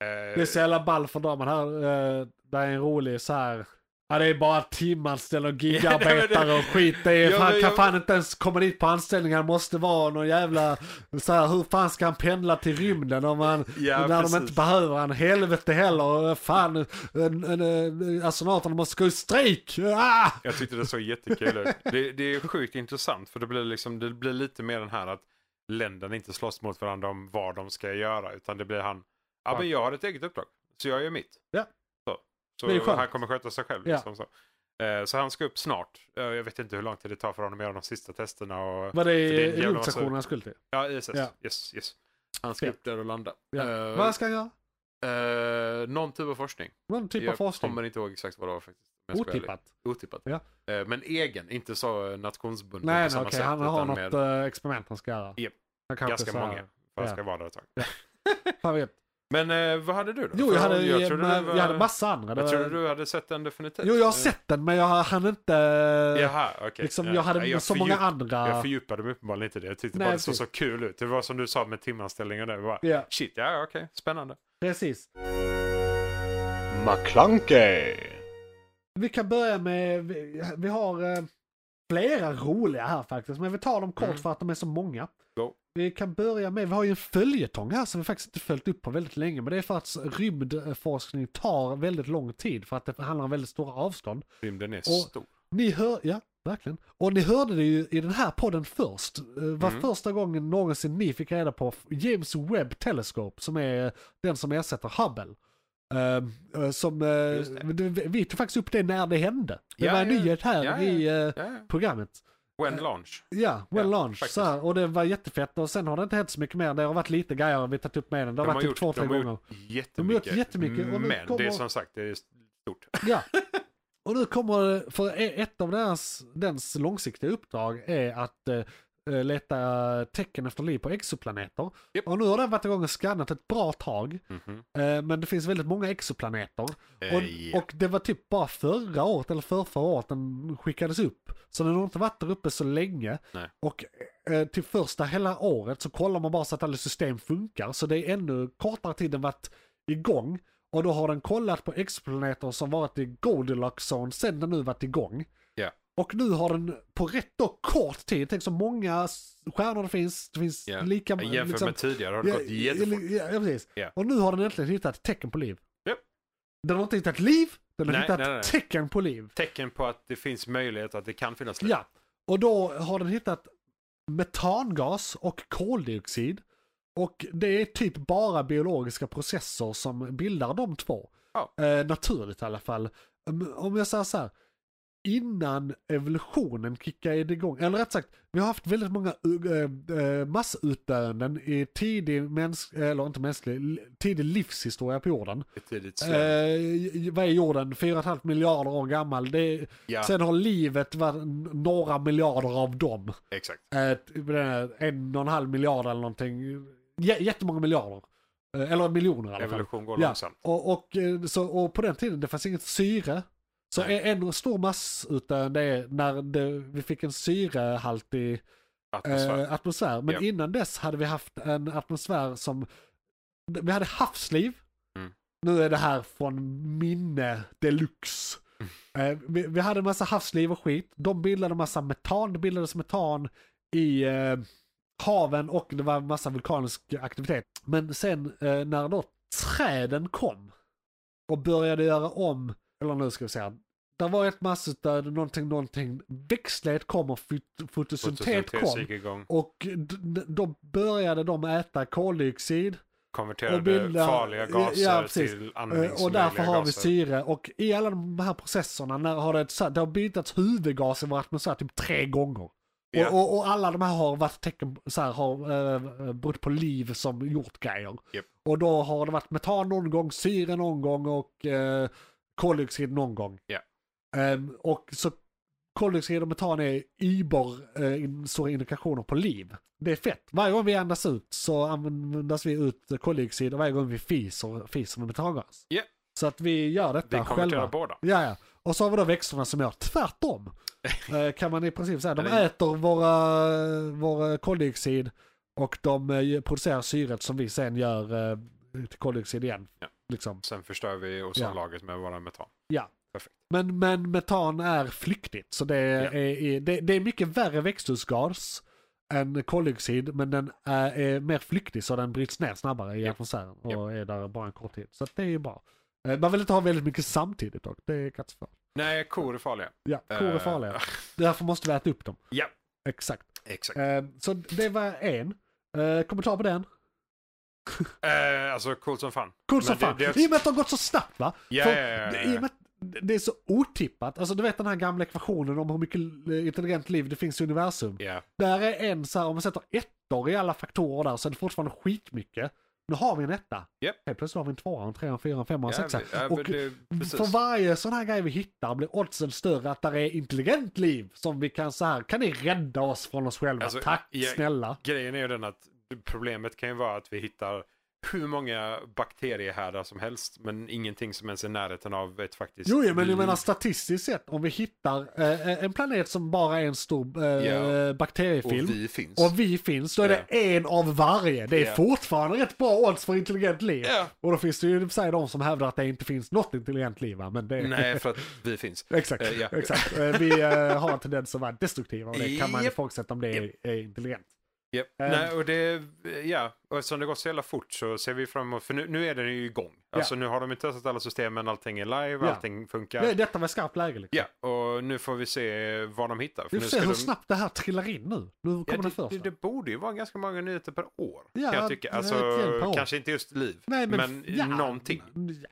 Speaker 3: Eh,
Speaker 2: Det är så jävla ball för dem. Här, eh, det är en rolig så här. Ja det är bara timanställd och
Speaker 3: Ja, men
Speaker 2: gigarbetare
Speaker 3: det-
Speaker 2: och skit. Det är,
Speaker 3: Ja,
Speaker 2: han
Speaker 3: men
Speaker 2: kan
Speaker 3: jag-
Speaker 2: fan inte ens komma dit på anställning. Han måste vara någon jävla... Så här, hur fan ska han pendla till rymden om han...
Speaker 3: Ja,
Speaker 2: när de
Speaker 3: precis.
Speaker 2: inte behöver han. Helvete heller. Eh, Fan. En, en, en, eh, astronauterna måste gå i strejk. Ah!
Speaker 3: Jag tyckte det såg jättekul ut. Det, det är sjukt intressant för det blir, liksom, det blir lite mer den här att länderna inte slåss mot varandra om vad de ska göra utan det blir han, ja
Speaker 2: Ja.
Speaker 3: men jag har ett eget uppdrag så jag gör mitt.
Speaker 2: Ja.
Speaker 3: Så,
Speaker 2: Det är
Speaker 3: så
Speaker 2: skönt.
Speaker 3: han kommer sköta sig själv.
Speaker 2: Ja.
Speaker 3: Liksom, så. Eh, så han ska upp snart. Eh, Jag vet inte hur lång tid det tar för honom att göra de sista testerna. Och...
Speaker 2: Var det
Speaker 3: För det är en jävla massa-
Speaker 2: rymdstationen han skulle till?
Speaker 3: Ja, ISS.
Speaker 2: Ja.
Speaker 3: Yes, yes. Han ska
Speaker 2: Ja.
Speaker 3: upp där och landa.
Speaker 2: Ja.
Speaker 3: Eh,
Speaker 2: Vad ska han göra?
Speaker 3: eh, någon typ av forskning.
Speaker 2: Någon typ av
Speaker 3: jag
Speaker 2: forskning?
Speaker 3: kommer inte ihåg exakt vad det var faktiskt. om jag ska vara ärlig.
Speaker 2: Otippat.
Speaker 3: Otippat.
Speaker 2: Ja.
Speaker 3: Eh, Men egen, inte så eh, nationsbunden
Speaker 2: Nej,
Speaker 3: på
Speaker 2: nej
Speaker 3: samma
Speaker 2: okej.
Speaker 3: sätt.
Speaker 2: Han har
Speaker 3: utan
Speaker 2: något
Speaker 3: med
Speaker 2: eh, experiment han ska göra.
Speaker 3: Japp.
Speaker 2: Han kanske
Speaker 3: ganska
Speaker 2: så här-
Speaker 3: många. För att
Speaker 2: ja.
Speaker 3: ska vara där ett tag.
Speaker 2: Fan vet.
Speaker 3: Men eh, vad hade du då?
Speaker 2: Jo, jag
Speaker 3: För
Speaker 2: hade, jag,
Speaker 3: trodde du var-
Speaker 2: jag hade massa andra. Det
Speaker 3: Jag trodde
Speaker 2: var-
Speaker 3: du hade sett den definitivt.
Speaker 2: Jo, jag har sett den, men jag hann inte...
Speaker 3: Eh, Jaha, okej.
Speaker 2: liksom,
Speaker 3: Ja,
Speaker 2: jag hade
Speaker 3: nej,
Speaker 2: så många
Speaker 3: fördjup-
Speaker 2: andra...
Speaker 3: Jag fördjupade mig uppenbarligen inte i det. Jag tyckte
Speaker 2: Nej,
Speaker 3: bara det såg så
Speaker 2: precis.
Speaker 3: kul ut. Det var som du sa med timanställningen där. Bara,
Speaker 2: Ja,
Speaker 3: Shit, ja ja, okej, spännande.
Speaker 2: precis.
Speaker 4: McClunkey!
Speaker 2: Vi kan börja med... Vi, vi har eh, flera roliga här faktiskt, men vi tar dem kort
Speaker 3: Mm.
Speaker 2: för att de är så många.
Speaker 3: Go.
Speaker 2: Vi kan börja med, vi har ju en följetong här som vi faktiskt inte följt upp på väldigt länge, men det är för att rymdforskning tar väldigt lång tid för att det handlar om väldigt stora avstånd.
Speaker 3: Rymden är
Speaker 2: Och-
Speaker 3: stor.
Speaker 2: Ni hör, ja, verkligen. Och ni hörde det ju i den här podden först. Eh, var
Speaker 3: Mm.
Speaker 2: första gången någonsin ni fick reda på James Webb Telescope, som är den som ersätter Hubble. Eh, eh, som, eh,
Speaker 3: Just det.
Speaker 2: det- vi tog faktiskt upp det när det hände. Det
Speaker 3: Ja,
Speaker 2: var en
Speaker 3: ja,
Speaker 2: nyhet här
Speaker 3: ja,
Speaker 2: i eh,
Speaker 3: Ja, ja.
Speaker 2: programmet. Eh.
Speaker 3: When launch.
Speaker 2: Ja, well
Speaker 3: Ja,
Speaker 2: launch.
Speaker 3: faktiskt.
Speaker 2: Så här, och det var jättefett och sen har det inte hänt så mycket mer. Det har varit lite grejer vi tagit upp med den. Det har varit typ två, tre
Speaker 3: de har
Speaker 2: gånger.
Speaker 3: gjort jättemycket.
Speaker 2: De har gjort jättemycket, och nu
Speaker 3: men det
Speaker 2: kommer-
Speaker 3: är som sagt, det är stort.
Speaker 2: Ja. Och nu kommer det- för e- ett av deras, dens långsiktiga uppdrag är att eh, leta tecken efter liv på exoplaneter.
Speaker 3: Japp.
Speaker 2: Och nu har den varit igång och skannat ett bra tag.
Speaker 3: Mhm.
Speaker 2: Eh, men det finns väldigt många exoplaneter.
Speaker 3: Eh,
Speaker 2: Och,
Speaker 3: ja.
Speaker 2: och det var typ bara förra året eller förrförra året den skickades upp. Så den har inte varit där uppe så länge.
Speaker 3: Nej.
Speaker 2: Och eh, till första hela året så kollar man bara så att alla system funkar. Så det är ännu kortare tid än varit igång. Och då har den kollat på exoplaneter som varit i Goldilocks zone sen den nu varit igång.
Speaker 3: Ja.
Speaker 2: Och nu har den på rätt då kort tid, tänk så många stjärnor det finns, det finns
Speaker 3: Ja.
Speaker 2: lika
Speaker 3: Jämfört
Speaker 2: liksom-
Speaker 3: med tidigare har det gått jättefort.
Speaker 2: Ja, ja, precis.
Speaker 3: Ja.
Speaker 2: Och nu har den äntligen hittat tecken på liv.
Speaker 3: Japp.
Speaker 2: Den har inte hittat liv, den har
Speaker 3: Nej,
Speaker 2: hittat
Speaker 3: nej, nej.
Speaker 2: tecken på liv.
Speaker 3: Tecken på att det finns möjlighet att det kan finnas liv.
Speaker 2: Ja, och då har den hittat metangas och koldioxid. Och det är typ bara biologiska processer som bildar de två.
Speaker 3: Ja.
Speaker 2: Eh, naturligt i alla fall. Om- Om jag säger så här, innan evolutionen kickade igång. Eller rätt sagt, vi har haft väldigt många eh, eh, massutdöenden i tidig, mäns- eller inte mänsklig, li- tidig livshistoria på jorden.
Speaker 3: Ett tidigt
Speaker 2: Eh,
Speaker 3: släpp.
Speaker 2: j- vad är jorden? 4,5 miljarder år gammal. Det är,
Speaker 3: Ja,
Speaker 2: Sen har livet varit n- några miljarder av dem.
Speaker 3: exakt.
Speaker 2: Eh, typ, eh, en och en halv miljard eller någonting. J- jättemånga miljarder. Eh, eller miljoner i alla fall.
Speaker 3: Evolution går
Speaker 2: Ja.
Speaker 3: långsamt.
Speaker 2: Och, och, eh, så, och på den tiden det fanns inget syre. Så
Speaker 3: Nej.
Speaker 2: en en stor massutdöende är när det, vi fick en syrehaltig
Speaker 3: Atmosfär.
Speaker 2: eh, atmosfär. Men
Speaker 3: Ja.
Speaker 2: innan dess hade vi haft en atmosfär som, vi hade havsliv.
Speaker 3: Mm.
Speaker 2: Nu är det här från minne deluxe.
Speaker 3: Mm.
Speaker 2: Eh, vi, vi hade en massa havsliv och skit. De bildade en massa metan, det bildades metan i eh, haven och det var en massa vulkanisk aktivitet. Men sen eh, när då träden kom och började göra om, eller nu ska vi säga, där var ett massutdöende, någonting, någonting, växtlighet kom och fot- fotosyntet kom.
Speaker 3: gick igång.
Speaker 2: Och d- d- då började de äta koldioxid
Speaker 3: Konverterade
Speaker 2: och bilda-
Speaker 3: farliga
Speaker 2: Ja,
Speaker 3: gaser
Speaker 2: precis.
Speaker 3: till
Speaker 2: eh,
Speaker 3: andningsmöjliga
Speaker 2: och därför har vi
Speaker 3: gaser.
Speaker 2: syre. Och i alla de här processerna när har det, så här- det har bytts huvudgas i vår atmosfär typ tre gånger.
Speaker 3: Ja.
Speaker 2: Och, och, och alla de här har varit tecken, så här, har eh, berott på liv som gjort grejer.
Speaker 3: Japp.
Speaker 2: Och då har det varit metan någon gång, syre någon gång och eh, koldioxid någon gång.
Speaker 3: Ja.
Speaker 2: Ehm, och så koldioxid och metan är iber eh, in- stora indikationer på liv. Det är fett. Varje gång vi andas ut så andas vi ut koldioxid och varje gång vi fiser, fiser vi metangas.
Speaker 3: Ja.
Speaker 2: Så att vi gör detta
Speaker 3: Vi konverterar
Speaker 2: själva.
Speaker 3: båda.
Speaker 2: Ja, ja. Och så har vi då växterna som gör tvärtom. Eh, kan man i princip säga. De
Speaker 3: Eller-
Speaker 2: äter våra, våra koldioxid och de eh, producerar syret som vi sen gör eh, till koldioxid igen.
Speaker 3: Ja.
Speaker 2: Liksom.
Speaker 3: Sen förstör vi ozonlagret med våra metan.
Speaker 2: Ja.
Speaker 3: Perfekt.
Speaker 2: Men, men metan är flyktigt, så det är,
Speaker 3: Ja.
Speaker 2: är, det, det är mycket värre växthusgas än koldioxid, men den är, är mer flyktig så den bryts ner snabbare i
Speaker 3: Ja.
Speaker 2: atmosfären och
Speaker 3: Ja.
Speaker 2: är där bara en kort tid. Så att det är ju bra. Eh, Man vill inte ha väldigt mycket samtidigt dock, det är katastrofalt.
Speaker 3: Nej, kor är farliga.
Speaker 2: Ja, kor är
Speaker 3: Eh,
Speaker 2: farliga. Därför måste vi äta upp dem.
Speaker 3: Ja,
Speaker 2: Exakt.
Speaker 3: exakt.
Speaker 2: Eh, Så det var en. Eh, Kommentar på den?
Speaker 3: Eh, alltså coolt som fan.
Speaker 2: Coolt som
Speaker 3: Men det-
Speaker 2: fan.
Speaker 3: det-
Speaker 2: I och med att det har gått så snabbt va?
Speaker 3: Ja,
Speaker 2: För
Speaker 3: ja, ja, ja.
Speaker 2: I och med att det är så otippat. Alltså du vet den här gamla ekvationen om hur mycket eh, intelligent liv det finns i universum.
Speaker 3: Ja,
Speaker 2: Där är en så här, om man sätter ettor i alla faktorer där så är det fortfarande skitmycket. Nu har vi en etta.
Speaker 3: Japp.
Speaker 2: Helt plötsligt har vi en tvåa, en trea, en fyra, en femma, en
Speaker 3: ja,
Speaker 2: sexa.
Speaker 3: ja, men
Speaker 2: Alltså, Och
Speaker 3: det, precis.
Speaker 2: för varje sån här grej vi hittar blir oddsen större att där är intelligent liv som vi kan så här, kan ni rädda oss från oss själva?
Speaker 3: Alltså,
Speaker 2: Tack
Speaker 3: jag-
Speaker 2: snälla.
Speaker 3: Grejen är ju den att problemet kan ju vara att vi hittar hur många bakteriehärdar som helst men ingenting som ens är i närheten av ett faktiskt
Speaker 2: Jo, jo, men
Speaker 3: liv.
Speaker 2: jag menar statistiskt sett om vi hittar eh, en planet som bara är en stor eh,
Speaker 3: Ja. Och
Speaker 2: bakteriefilm.
Speaker 3: vi finns.
Speaker 2: Och vi finns, då är det en av varje. Det är
Speaker 3: Ja.
Speaker 2: fortfarande rätt bra odds för intelligent liv.
Speaker 3: Ja.
Speaker 2: Och då finns det ju i och för sig de som hävdar att det inte finns något intelligent liv. Va? Men det
Speaker 3: Nej, för att vi finns.
Speaker 2: Exakt,
Speaker 3: Eh, ja.
Speaker 2: exakt. Eh, Vi eh, har en tendens att vara destruktiva och det kan man
Speaker 3: Japp.
Speaker 2: ifrågasätta om det är, är intelligent.
Speaker 3: Japp.
Speaker 2: Ehm.
Speaker 3: Nej, och det, ja, och eftersom det går så jävla fort så ser vi fram emot, för nu, nu är den ju igång. Alltså nu har de ju testat alla systemen, allting är live,
Speaker 2: Ja.
Speaker 3: allting funkar.
Speaker 2: Det, detta var skarpt läge. Liksom.
Speaker 3: Ja, och nu får vi se vad de hittar. För
Speaker 2: Vi
Speaker 3: nu
Speaker 2: får se
Speaker 3: ska
Speaker 2: hur
Speaker 3: de...
Speaker 2: snabbt det här trillar in nu. Nu kommer
Speaker 3: Ja,
Speaker 2: den
Speaker 3: det, det,
Speaker 2: första.
Speaker 3: det borde ju vara ganska många nyheter per år.
Speaker 2: Ja,
Speaker 3: kan jag tycka.
Speaker 2: det är ett gäng per
Speaker 3: Alltså,
Speaker 2: år.
Speaker 3: kanske inte just liv,
Speaker 2: Nej,
Speaker 3: men,
Speaker 2: ja,
Speaker 3: någonting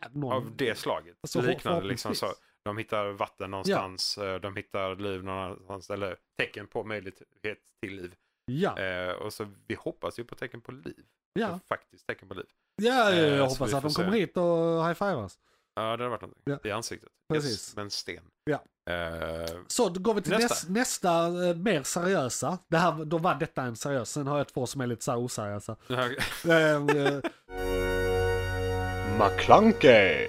Speaker 2: Ja, någon-
Speaker 3: av det slaget.
Speaker 2: Alltså, för-
Speaker 3: liknande liksom så.
Speaker 2: förhoppningsvis.
Speaker 3: De hittar vatten någonstans, eh, de hittar liv någon annanstans, eller tecken på möjlighet till liv.
Speaker 2: Ja,
Speaker 3: Eh, och så vi hoppas ju på tecken på liv. Alltså,
Speaker 2: ja.
Speaker 3: Faktiskt tecken på liv.
Speaker 2: ja
Speaker 3: eh,
Speaker 2: jag
Speaker 3: så vi
Speaker 2: hoppas
Speaker 3: får
Speaker 2: att de
Speaker 3: se.
Speaker 2: kommer hit och high-fiveas.
Speaker 3: Ja, det hade varit någonting.
Speaker 2: Ja.
Speaker 3: I ansiktet.
Speaker 2: Precis.
Speaker 3: Yes, med en sten.
Speaker 2: Ja.
Speaker 3: Eh,
Speaker 2: Så då går vi till nästa,
Speaker 3: Nästa.
Speaker 2: näs, nästa eh, mer seriösa. Det här, då var detta en seriös, sen har jag två som är lite så här oseriösa.
Speaker 3: den här-
Speaker 2: Eh, eh,
Speaker 4: McClunkey!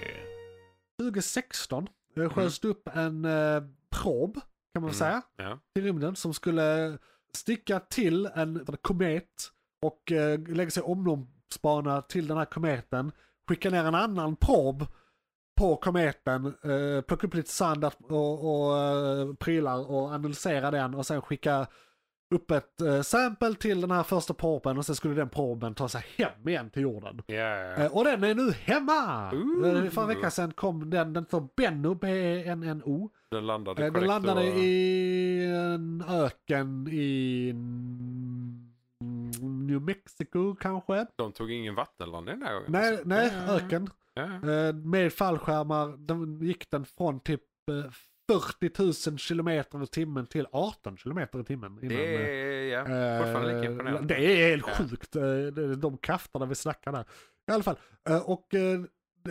Speaker 2: 2016 eh, sköts det upp en eh, prob, kan man
Speaker 3: Mm.
Speaker 2: säga,
Speaker 3: ja.
Speaker 2: till rymden som skulle sticka till en komet och eh, lägga sig i omloppsbana till den här kometen, skicka ner en annan prob på kometen, eh, plocka upp lite sand att- och, och eh, prylar och analysera den och sen skicka upp ett eh, sample till den här första proben och sen skulle den proben ta sig hem igen till jorden.
Speaker 3: Ja, ja, ja.
Speaker 2: Eh, Och den är nu hemma!
Speaker 3: Ooh.
Speaker 2: Eh, För en vecka sedan kom den, den står Benno, E B-E-N-N-O.
Speaker 3: Den landade
Speaker 2: Eh, Den
Speaker 3: korrekt
Speaker 2: landade
Speaker 3: och-
Speaker 2: i en öken i mm, New Mexico kanske?
Speaker 3: De tog ingen vattenlandning den här gången.
Speaker 2: Nej,
Speaker 3: alltså.
Speaker 2: nej
Speaker 3: Ja, ja, ja.
Speaker 2: öken.
Speaker 3: Ja, ja.
Speaker 2: Eh, Med fallskärmar, den gick den från typ eh, 40 000 kilometer i timmen till 18 kilometer i timmen. Innan,
Speaker 3: Det
Speaker 2: eh,
Speaker 3: är ja, fortfarande lika
Speaker 2: Eh,
Speaker 3: imponerande.
Speaker 2: Det är helt
Speaker 3: Ja.
Speaker 2: sjukt, eh, det- de krafterna vi snackar där. I alla fall, eh, och eh,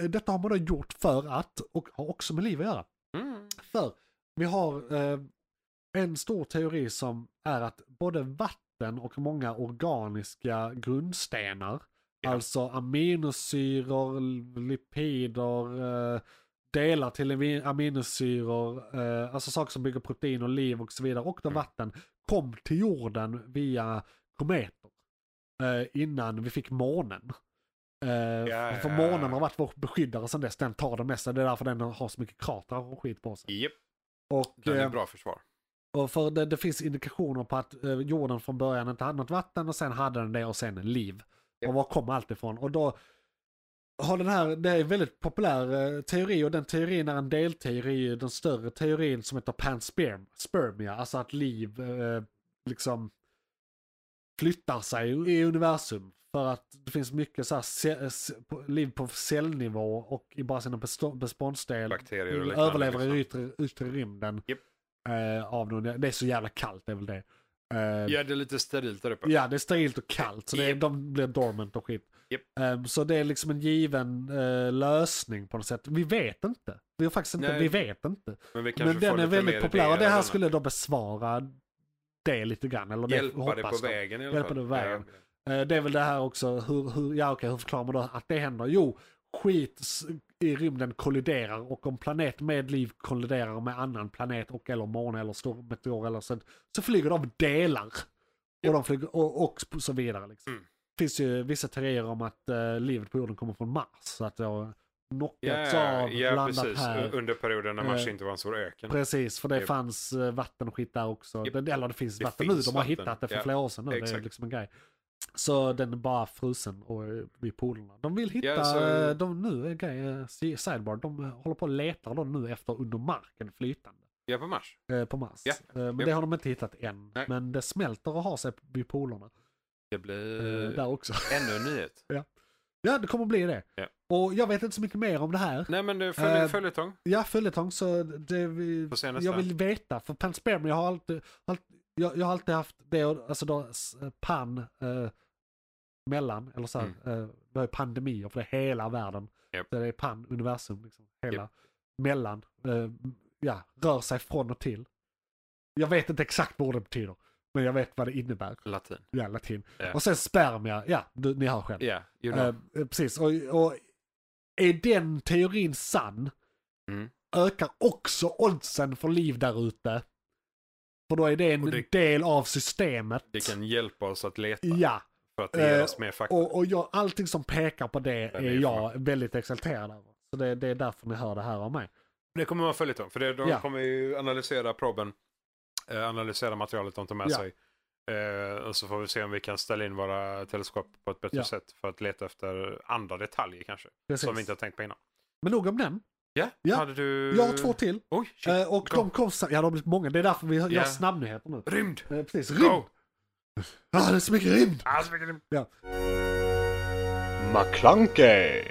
Speaker 2: detta har man då gjort för att, och har också med liv att göra.
Speaker 3: Mm.
Speaker 2: För vi har eh, en stor teori som är att både vatten och många organiska grundstenar,
Speaker 3: Ja.
Speaker 2: alltså aminosyror, lipider, eh, delar till ami- aminosyror, eh, alltså saker som bygger protein och liv och så vidare, och då
Speaker 3: Mm.
Speaker 2: vatten, kom till jorden via kometer eh, innan vi fick månen. Eh,
Speaker 3: ja,
Speaker 2: för
Speaker 3: ja.
Speaker 2: månen har varit vår beskyddare sedan dess, den tar det mesta, det är därför den har så mycket kratrar och skit på sig.
Speaker 3: Japp,
Speaker 2: Och,
Speaker 3: den är
Speaker 2: eh,
Speaker 3: bra försvar.
Speaker 2: och för det, det finns indikationer på att eh, jorden från början inte hade något vatten och sen hade den det och sen liv.
Speaker 3: Ja.
Speaker 2: Och var kom allt ifrån? Och då har den här, det är en väldigt populär eh, teori och den teorin är en delteori, den större teorin som heter panspermia, alltså att liv eh, liksom flyttar sig i universum. För att det finns mycket så här, se- se- på- liv på cellnivå och i bara sina bestå- beståndsdel
Speaker 3: Bakterier och liknande.
Speaker 2: överlever i
Speaker 3: liksom.
Speaker 2: yttre, yttre rymden.
Speaker 3: Japp.
Speaker 2: Eh, av någon, det är så jävla kallt, det är väl det. Eh,
Speaker 3: Ja, det är lite sterilt där uppe.
Speaker 2: Ja, det är sterilt och kallt, så det, är-
Speaker 3: Japp.
Speaker 2: de blir dormant och skit.
Speaker 3: Japp.
Speaker 2: Ehm, så det är liksom en given eh, lösning på något sätt. Vi vet inte. Vi har faktiskt inte,
Speaker 3: Nej.
Speaker 2: vi vet inte.
Speaker 3: Men vi kanske
Speaker 2: Men
Speaker 3: får
Speaker 2: den är
Speaker 3: lite mer
Speaker 2: väldigt populär och det
Speaker 3: idéer av
Speaker 2: här
Speaker 3: den.
Speaker 2: skulle då besvara det lite grann. Eller det
Speaker 3: Hjälpa dig på
Speaker 2: hoppas de.
Speaker 3: vägen i alla
Speaker 2: Hjälpa
Speaker 3: fall.
Speaker 2: dig på vägen.
Speaker 3: Ja.
Speaker 2: Eh, Det är väl det här också, hur, hur, ja, okej, hur förklarar man då att det händer? Jo, skit s- i rymden kolliderar och om planet med liv kolliderar med annan planet och eller måne eller stor meteor eller sånt, så flyger de delar. Och, de flyger, och, och så vidare. Liksom.
Speaker 3: Mm.
Speaker 2: Det finns ju vissa teorier om att eh, livet på jorden kommer från Mars. Så att det har knockats
Speaker 3: Ja,
Speaker 2: av,
Speaker 3: ja
Speaker 2: landat
Speaker 3: precis.
Speaker 2: här.
Speaker 3: Under perioden när Mars
Speaker 2: Eh,
Speaker 3: inte var en stor öken.
Speaker 2: Precis, för det
Speaker 3: Japp.
Speaker 2: fanns eh, vatten och skit där också.
Speaker 3: Japp.
Speaker 2: Det, eller det finns
Speaker 3: Det
Speaker 2: vatten
Speaker 3: finns
Speaker 2: nu, de har
Speaker 3: vatten.
Speaker 2: hittat det för
Speaker 3: Ja,
Speaker 2: flera år sedan nu. Det är
Speaker 3: exakt.
Speaker 2: liksom en grej. Så den är bara frusen och eh, vid polerna. De vill hitta,
Speaker 3: så-
Speaker 2: eh, de nu, eh, grej, eh, si- sidebar, de eh, håller på och letar dem nu efter under marken flytande
Speaker 3: Ja, på Mars.
Speaker 2: eh, på Mars.
Speaker 3: Ja,
Speaker 2: Eh, Men
Speaker 3: japp.
Speaker 2: det har de inte hittat än.
Speaker 3: Nej.
Speaker 2: Men det smälter och har sig vid polerna
Speaker 3: Det
Speaker 2: eh,
Speaker 3: blir
Speaker 2: där också.
Speaker 3: ännu en nyhet.
Speaker 2: ja, det kommer bli det.
Speaker 3: Ja.
Speaker 2: Och jag vet inte så mycket mer om det här.
Speaker 3: Nej men det är
Speaker 2: Eh,
Speaker 3: följ, följetong.
Speaker 2: Ja, följetong. Så det, vi,
Speaker 3: Får se nästa.
Speaker 2: jag vill veta. För panspermia, jag har alltid, alltid, jag, jag har alltid haft det, och- alltså då s- pan, eh, mellan, eller så här, eh, det är pandemier för det är hela världen.
Speaker 3: Mm. Japp.
Speaker 2: Så Det är pan, universum, liksom, hela, mellan, eh, ja, rör sig från och till. Jag vet inte exakt vad det betyder, men jag vet vad det innebär.
Speaker 3: Latin.
Speaker 2: Ja, latin.
Speaker 3: Ja.
Speaker 2: Och sen spermia, ja, du, ni hör själv.
Speaker 3: Ja, you know.
Speaker 2: Eh, eh, precis, och, och är den teorin sann
Speaker 3: Mm.
Speaker 2: ökar också oddsen för liv där ute. För då är det en
Speaker 3: Och det-
Speaker 2: del av systemet.
Speaker 3: det kan hjälpa oss att leta
Speaker 2: Ja,
Speaker 3: för att det ger
Speaker 2: eh,
Speaker 3: oss mer fakta.
Speaker 2: och, och jag, allting som pekar på det
Speaker 3: det
Speaker 2: är
Speaker 3: är
Speaker 2: jag väldigt exalterad över. Så det, det är därför ni hör det här av mig.
Speaker 3: det kommer vara en följetong. För det, de
Speaker 2: Ja.
Speaker 3: kommer ju analysera proben. eh, Analysera materialet de tar med
Speaker 2: Ja.
Speaker 3: sig. Eh, och så får vi se om vi kan ställa in våra teleskop på ett bättre
Speaker 2: Ja.
Speaker 3: sätt. För att leta efter andra detaljer kanske.
Speaker 2: Precis.
Speaker 3: Som vi inte har tänkt på innan.
Speaker 2: Men nog om den.
Speaker 3: Ja,
Speaker 2: Ja.
Speaker 3: hade du...
Speaker 2: Jag har två till.
Speaker 3: Oj, shit.
Speaker 2: Eh, och
Speaker 3: Go.
Speaker 2: de kom, sa- ja de har blivit många, det är därför vi gör
Speaker 3: Ja.
Speaker 2: snabbnyheter nu.
Speaker 3: Rymd!
Speaker 2: Eh, precis, rymd!
Speaker 3: Go!
Speaker 2: Ah, det är så mycket rymd!
Speaker 3: Ah, så mycket rymd.
Speaker 4: McClunkey!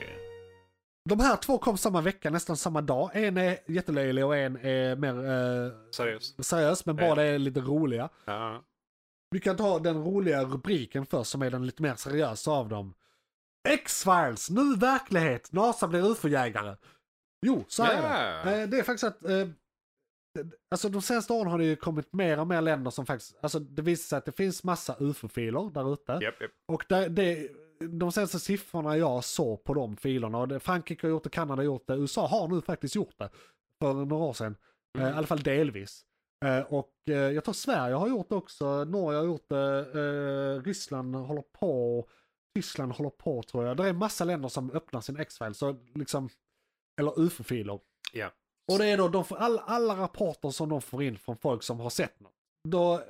Speaker 2: De här två kom samma vecka, nästan samma dag. En är jättelöjlig och en är mer eh,
Speaker 3: Seriöst.
Speaker 2: seriös, men
Speaker 3: Ja.
Speaker 2: båda är lite roliga.
Speaker 3: Ja.
Speaker 2: Vi kan ta den roliga rubriken först som är den lite mer seriösa av dem. X-Files, nu verklighet, NASA blir ufo-jägare. Jo, så här är
Speaker 3: Ja.
Speaker 2: det. Eh, Det är faktiskt att, eh, det- alltså de senaste åren har det ju kommit mer och mer länder som faktiskt, alltså det visar sig att det finns massa ufo-filer där ute.
Speaker 3: Japp, japp.
Speaker 2: Och där, det, de senaste siffrorna jag såg på de filerna, och det, Frankrike har gjort det, Kanada har gjort det, USA har nu faktiskt gjort det för några år sedan.
Speaker 3: Mm.
Speaker 2: Eh, I alla fall delvis. Eh, och eh, jag tror Sverige har gjort det också, Norge har gjort det, eh, Ryssland håller på, Tyskland håller på tror jag. Det är massa länder som öppnar sin X-file, så liksom, eller ufo-filer.
Speaker 3: Ja.
Speaker 2: Och det är då, de får all, alla rapporter som de får in från folk som har sett något. Då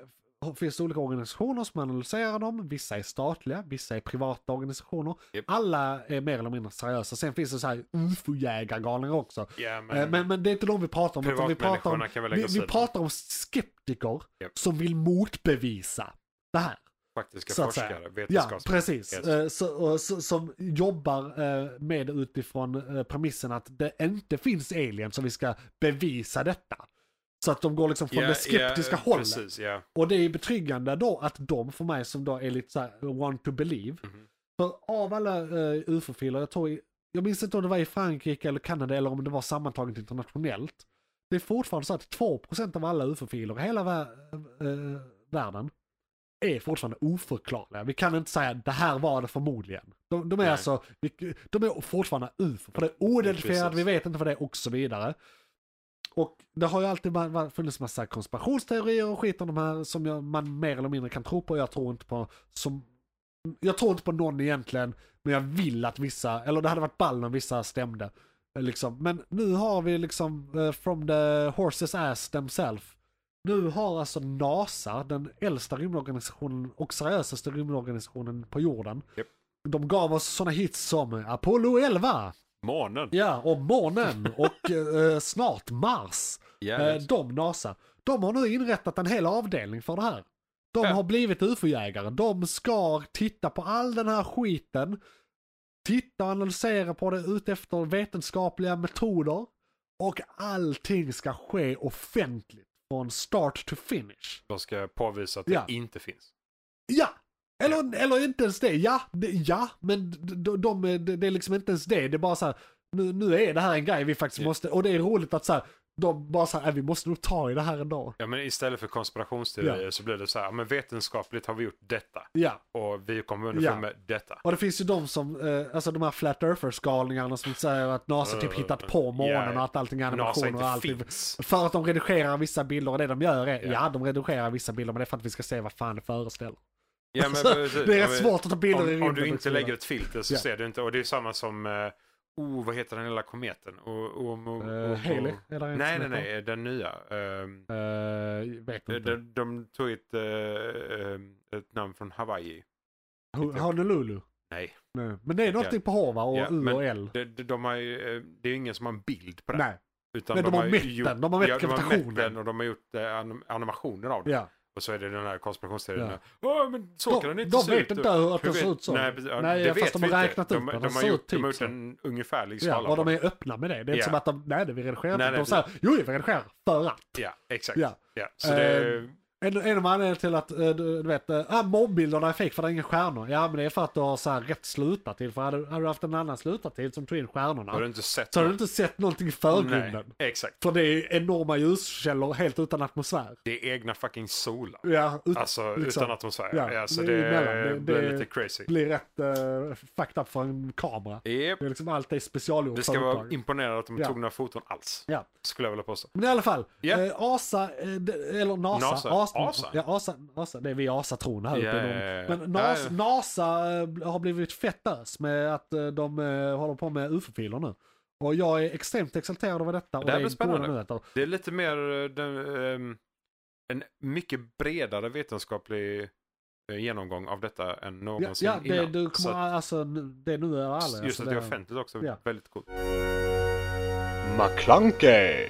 Speaker 2: finns det olika organisationer som analyserar dem, vissa är statliga, vissa är privata organisationer.
Speaker 3: Japp.
Speaker 2: Alla är mer eller mindre seriösa. Sen finns det så här ufo-jägargalningar också.
Speaker 3: Ja,
Speaker 2: Men, Eh, men, men det är inte de vi pratar om. Utan vi pratar om,
Speaker 3: Privatmänniskorna kan väl lägga
Speaker 2: vi,
Speaker 3: åt
Speaker 2: vi
Speaker 3: sidan.
Speaker 2: pratar om skeptiker
Speaker 3: Japp.
Speaker 2: som vill motbevisa det här.
Speaker 3: faktiska
Speaker 2: så att
Speaker 3: forskare,
Speaker 2: säga.
Speaker 3: vetenskapsmän.
Speaker 2: Ja, precis.
Speaker 3: Yes.
Speaker 2: Eh, Så, och, så, som jobbar eh, med det utifrån eh, premissen att det inte finns aliens som vi ska bevisa detta. Så att de går liksom från
Speaker 3: Ja,
Speaker 2: det skeptiska
Speaker 3: ja,
Speaker 2: hållet.
Speaker 3: Precis, ja.
Speaker 2: Och det är betryggande då att de för mig som då är lite så här want to believe.
Speaker 3: Mhm.
Speaker 2: För av alla uh, ufo-filer, jag tror, i- jag minns inte om det var i Frankrike eller Kanada eller om det var sammantaget internationellt. Det är fortfarande så att 2% av alla ufo-filer i hela vä- eh, världen är fortfarande oförklarliga. Vi kan inte säga det här var det förmodligen. De, de är
Speaker 3: Nej.
Speaker 2: alltså, vi- de är fortfarande ufo, för det är oidentifierat,
Speaker 3: Precis.
Speaker 2: vi vet inte vad det är och så vidare. Och det har ju alltid va- va- funnits massa konspirationsteorier och skit om de här som jag, man mer eller mindre kan tro på. Jag tror inte på som, jag tror inte på någon egentligen, men jag vill att vissa, eller det hade varit ball om vissa stämde. eh, Liksom. Men nu har vi liksom eh, from the horses ass themselves. Nu har alltså NASA, den äldsta rymdorganisationen och seriösaste rymdorganisationen på jorden.
Speaker 3: Japp.
Speaker 2: De gav oss sådana hits som Apollo 11,
Speaker 3: Månen.
Speaker 2: ja, och månen och eh, snart Mars. Eh, de, NASA, de har nu inrättat en hel avdelning för det här. De
Speaker 3: Ja.
Speaker 2: har blivit ufo-jägare. De ska titta på all den här skiten. Titta och analysera på det utefter vetenskapliga metoder. Och allting ska ske offentligt. Från start to finish.
Speaker 3: De ska påvisa att det
Speaker 2: Ja.
Speaker 3: inte finns.
Speaker 2: Ja! Eller, eller inte ens det. Ja, det, ja. men d- de, de, är- det det är liksom inte ens det. Det är bara så här, nu, nu är det här en grej vi faktiskt
Speaker 3: Ja.
Speaker 2: måste, och det är roligt att så här, de bara så här, "Äh, vi måste nog ta i det här ändå.
Speaker 3: Ja, men istället för konspirationsteorier så blir det så här, ja, men vetenskapligt har vi gjort detta
Speaker 2: Ja,
Speaker 3: och vi kommer underfund
Speaker 2: Ja.
Speaker 3: med detta.
Speaker 2: och det finns ju de som, eh, alltså de här flat earthers-galningarna som säger att NASA typ hittat på månen
Speaker 3: Eh, Ja.
Speaker 2: och att allting är
Speaker 3: NASA
Speaker 2: animationer
Speaker 3: alltså, inte
Speaker 2: och allt.
Speaker 3: finns.
Speaker 2: För att de redigerar vissa bilder och det de gör är,
Speaker 3: Ja.
Speaker 2: ja de redigerar vissa bilder men det är för att vi ska se vad fan det föreställer.
Speaker 3: Ja, men, precis.
Speaker 2: Alltså, det är
Speaker 3: Ja,
Speaker 2: rätt
Speaker 3: men-
Speaker 2: svårt att ta bilder i
Speaker 3: Eh, Om,
Speaker 2: rymden.
Speaker 3: om du
Speaker 2: och så
Speaker 3: inte
Speaker 2: vidare.
Speaker 3: lägger ett filter så
Speaker 2: Ja.
Speaker 3: ser du inte. Och det är samma som, eh, oh, vad heter den lilla kometen? Och, och, och, och,
Speaker 2: Eh, Haley, är det en
Speaker 3: Nej,
Speaker 2: som
Speaker 3: nej,
Speaker 2: heter?
Speaker 3: nej, den nya. Ehm,
Speaker 2: Eh, vet inte.
Speaker 3: de, de tog ett, eh, ehm, ett namn från Hawaii.
Speaker 2: Ho- Honolulu?
Speaker 3: Typ. Nej.
Speaker 2: Nej. Men det är någonting på H va? Och
Speaker 3: Ja,
Speaker 2: U
Speaker 3: men-
Speaker 2: och L?
Speaker 3: De, de, de har ju, eh, det är ju ingen som har en bild på det.
Speaker 2: Nej.
Speaker 3: utan
Speaker 2: men de har
Speaker 3: ju
Speaker 2: mätt den. De har mätt
Speaker 3: de har
Speaker 2: gravitationen.
Speaker 3: mätt den och de har gjort eh, anim- animationer av den.
Speaker 2: Ja.
Speaker 3: Och så är det den här konspirationsteorin.
Speaker 2: Ja.
Speaker 3: Ja. Åh, men så
Speaker 2: De-
Speaker 3: kan den inte
Speaker 2: de
Speaker 3: se
Speaker 2: vet
Speaker 3: ut.
Speaker 2: inte hur- att
Speaker 3: Hur
Speaker 2: den ser
Speaker 3: vet-
Speaker 2: ut så.
Speaker 3: Nej, precis. Ja,
Speaker 2: Nej,
Speaker 3: det
Speaker 2: fast
Speaker 3: vet
Speaker 2: de
Speaker 3: vi
Speaker 2: har
Speaker 3: inte.
Speaker 2: räknat
Speaker 3: de,
Speaker 2: ut den.
Speaker 3: de,
Speaker 2: Den
Speaker 3: har
Speaker 2: ser
Speaker 3: gjort,
Speaker 2: ut
Speaker 3: de
Speaker 2: typ
Speaker 3: har gjort
Speaker 2: så.
Speaker 3: en ungefärlig
Speaker 2: ja.
Speaker 3: skala.
Speaker 2: Och
Speaker 3: på
Speaker 2: de är öppna med det. Det är inte
Speaker 3: Ja.
Speaker 2: som att de, nej det vi redigerar
Speaker 3: Nej,
Speaker 2: inte. De
Speaker 3: nej,
Speaker 2: säger, jo vi redigerar för att.
Speaker 3: Ja, exakt.
Speaker 2: Ja.
Speaker 3: Ja. Så det
Speaker 2: Eh, En, en av anledningarna till att, eh, du, du vet, eh, ah, mobbbilderna är fake för det är inga stjärnor. Ja men det är för att du har så här rätt slutartid. För hade, hade du haft en annan slutartid som tog in
Speaker 3: har du
Speaker 2: stjärnorna
Speaker 3: inte sett
Speaker 2: så hade du
Speaker 3: något?
Speaker 2: inte sett någonting i förgrunden.
Speaker 3: Nej, exakt.
Speaker 2: För det är enorma ljuskällor helt utan atmosfär.
Speaker 3: Det är egna fucking solar.
Speaker 2: Ja, ut,
Speaker 3: Alltså
Speaker 2: liksom.
Speaker 3: utan atmosfär.
Speaker 2: Ja,
Speaker 3: Ja, alltså,
Speaker 2: det är
Speaker 3: det,
Speaker 2: emellan. Det-
Speaker 3: blir
Speaker 2: det-
Speaker 3: lite crazy.
Speaker 2: blir rätt uh, fucked up för en kamera.
Speaker 3: Yep.
Speaker 2: Det är liksom allt är specialgjort
Speaker 3: Vi
Speaker 2: för
Speaker 3: ska vara
Speaker 2: uppdraget.
Speaker 3: imponerade att de
Speaker 2: Ja.
Speaker 3: tog några foton alls.
Speaker 2: Ja.
Speaker 3: Skulle jag vilja påstå.
Speaker 2: Men i alla fall,
Speaker 3: Ja.
Speaker 2: eh, ASA, eh, de- eller NASA,
Speaker 3: NASA. Asa?
Speaker 2: Ja, ASA, ASA, det är vi ASA-trogna här
Speaker 3: Ja,
Speaker 2: uppe. i
Speaker 3: ja,
Speaker 2: Norden.
Speaker 3: ja.
Speaker 2: Men NASA,
Speaker 3: Ja, ja.
Speaker 2: NASA eh, har blivit fett ös med att eh, de eh, håller på med ufo-filer nu. Och jag är extremt exalterad över detta. och
Speaker 3: Det här blir
Speaker 2: är goda
Speaker 3: spännande.
Speaker 2: nyheter.
Speaker 3: Det är lite mer eh, den, ehm, en mycket bredare vetenskaplig eh, genomgång av detta än
Speaker 2: Ja,
Speaker 3: någonsin
Speaker 2: ja det,
Speaker 3: innan.
Speaker 2: du
Speaker 3: Så
Speaker 2: kommer, alltså, nu- det är nu är alla.
Speaker 3: att-
Speaker 2: alltså,
Speaker 3: just att det är
Speaker 2: det-
Speaker 3: offentligt också.
Speaker 2: Ja.
Speaker 3: Väldigt coolt.
Speaker 4: McClunkey!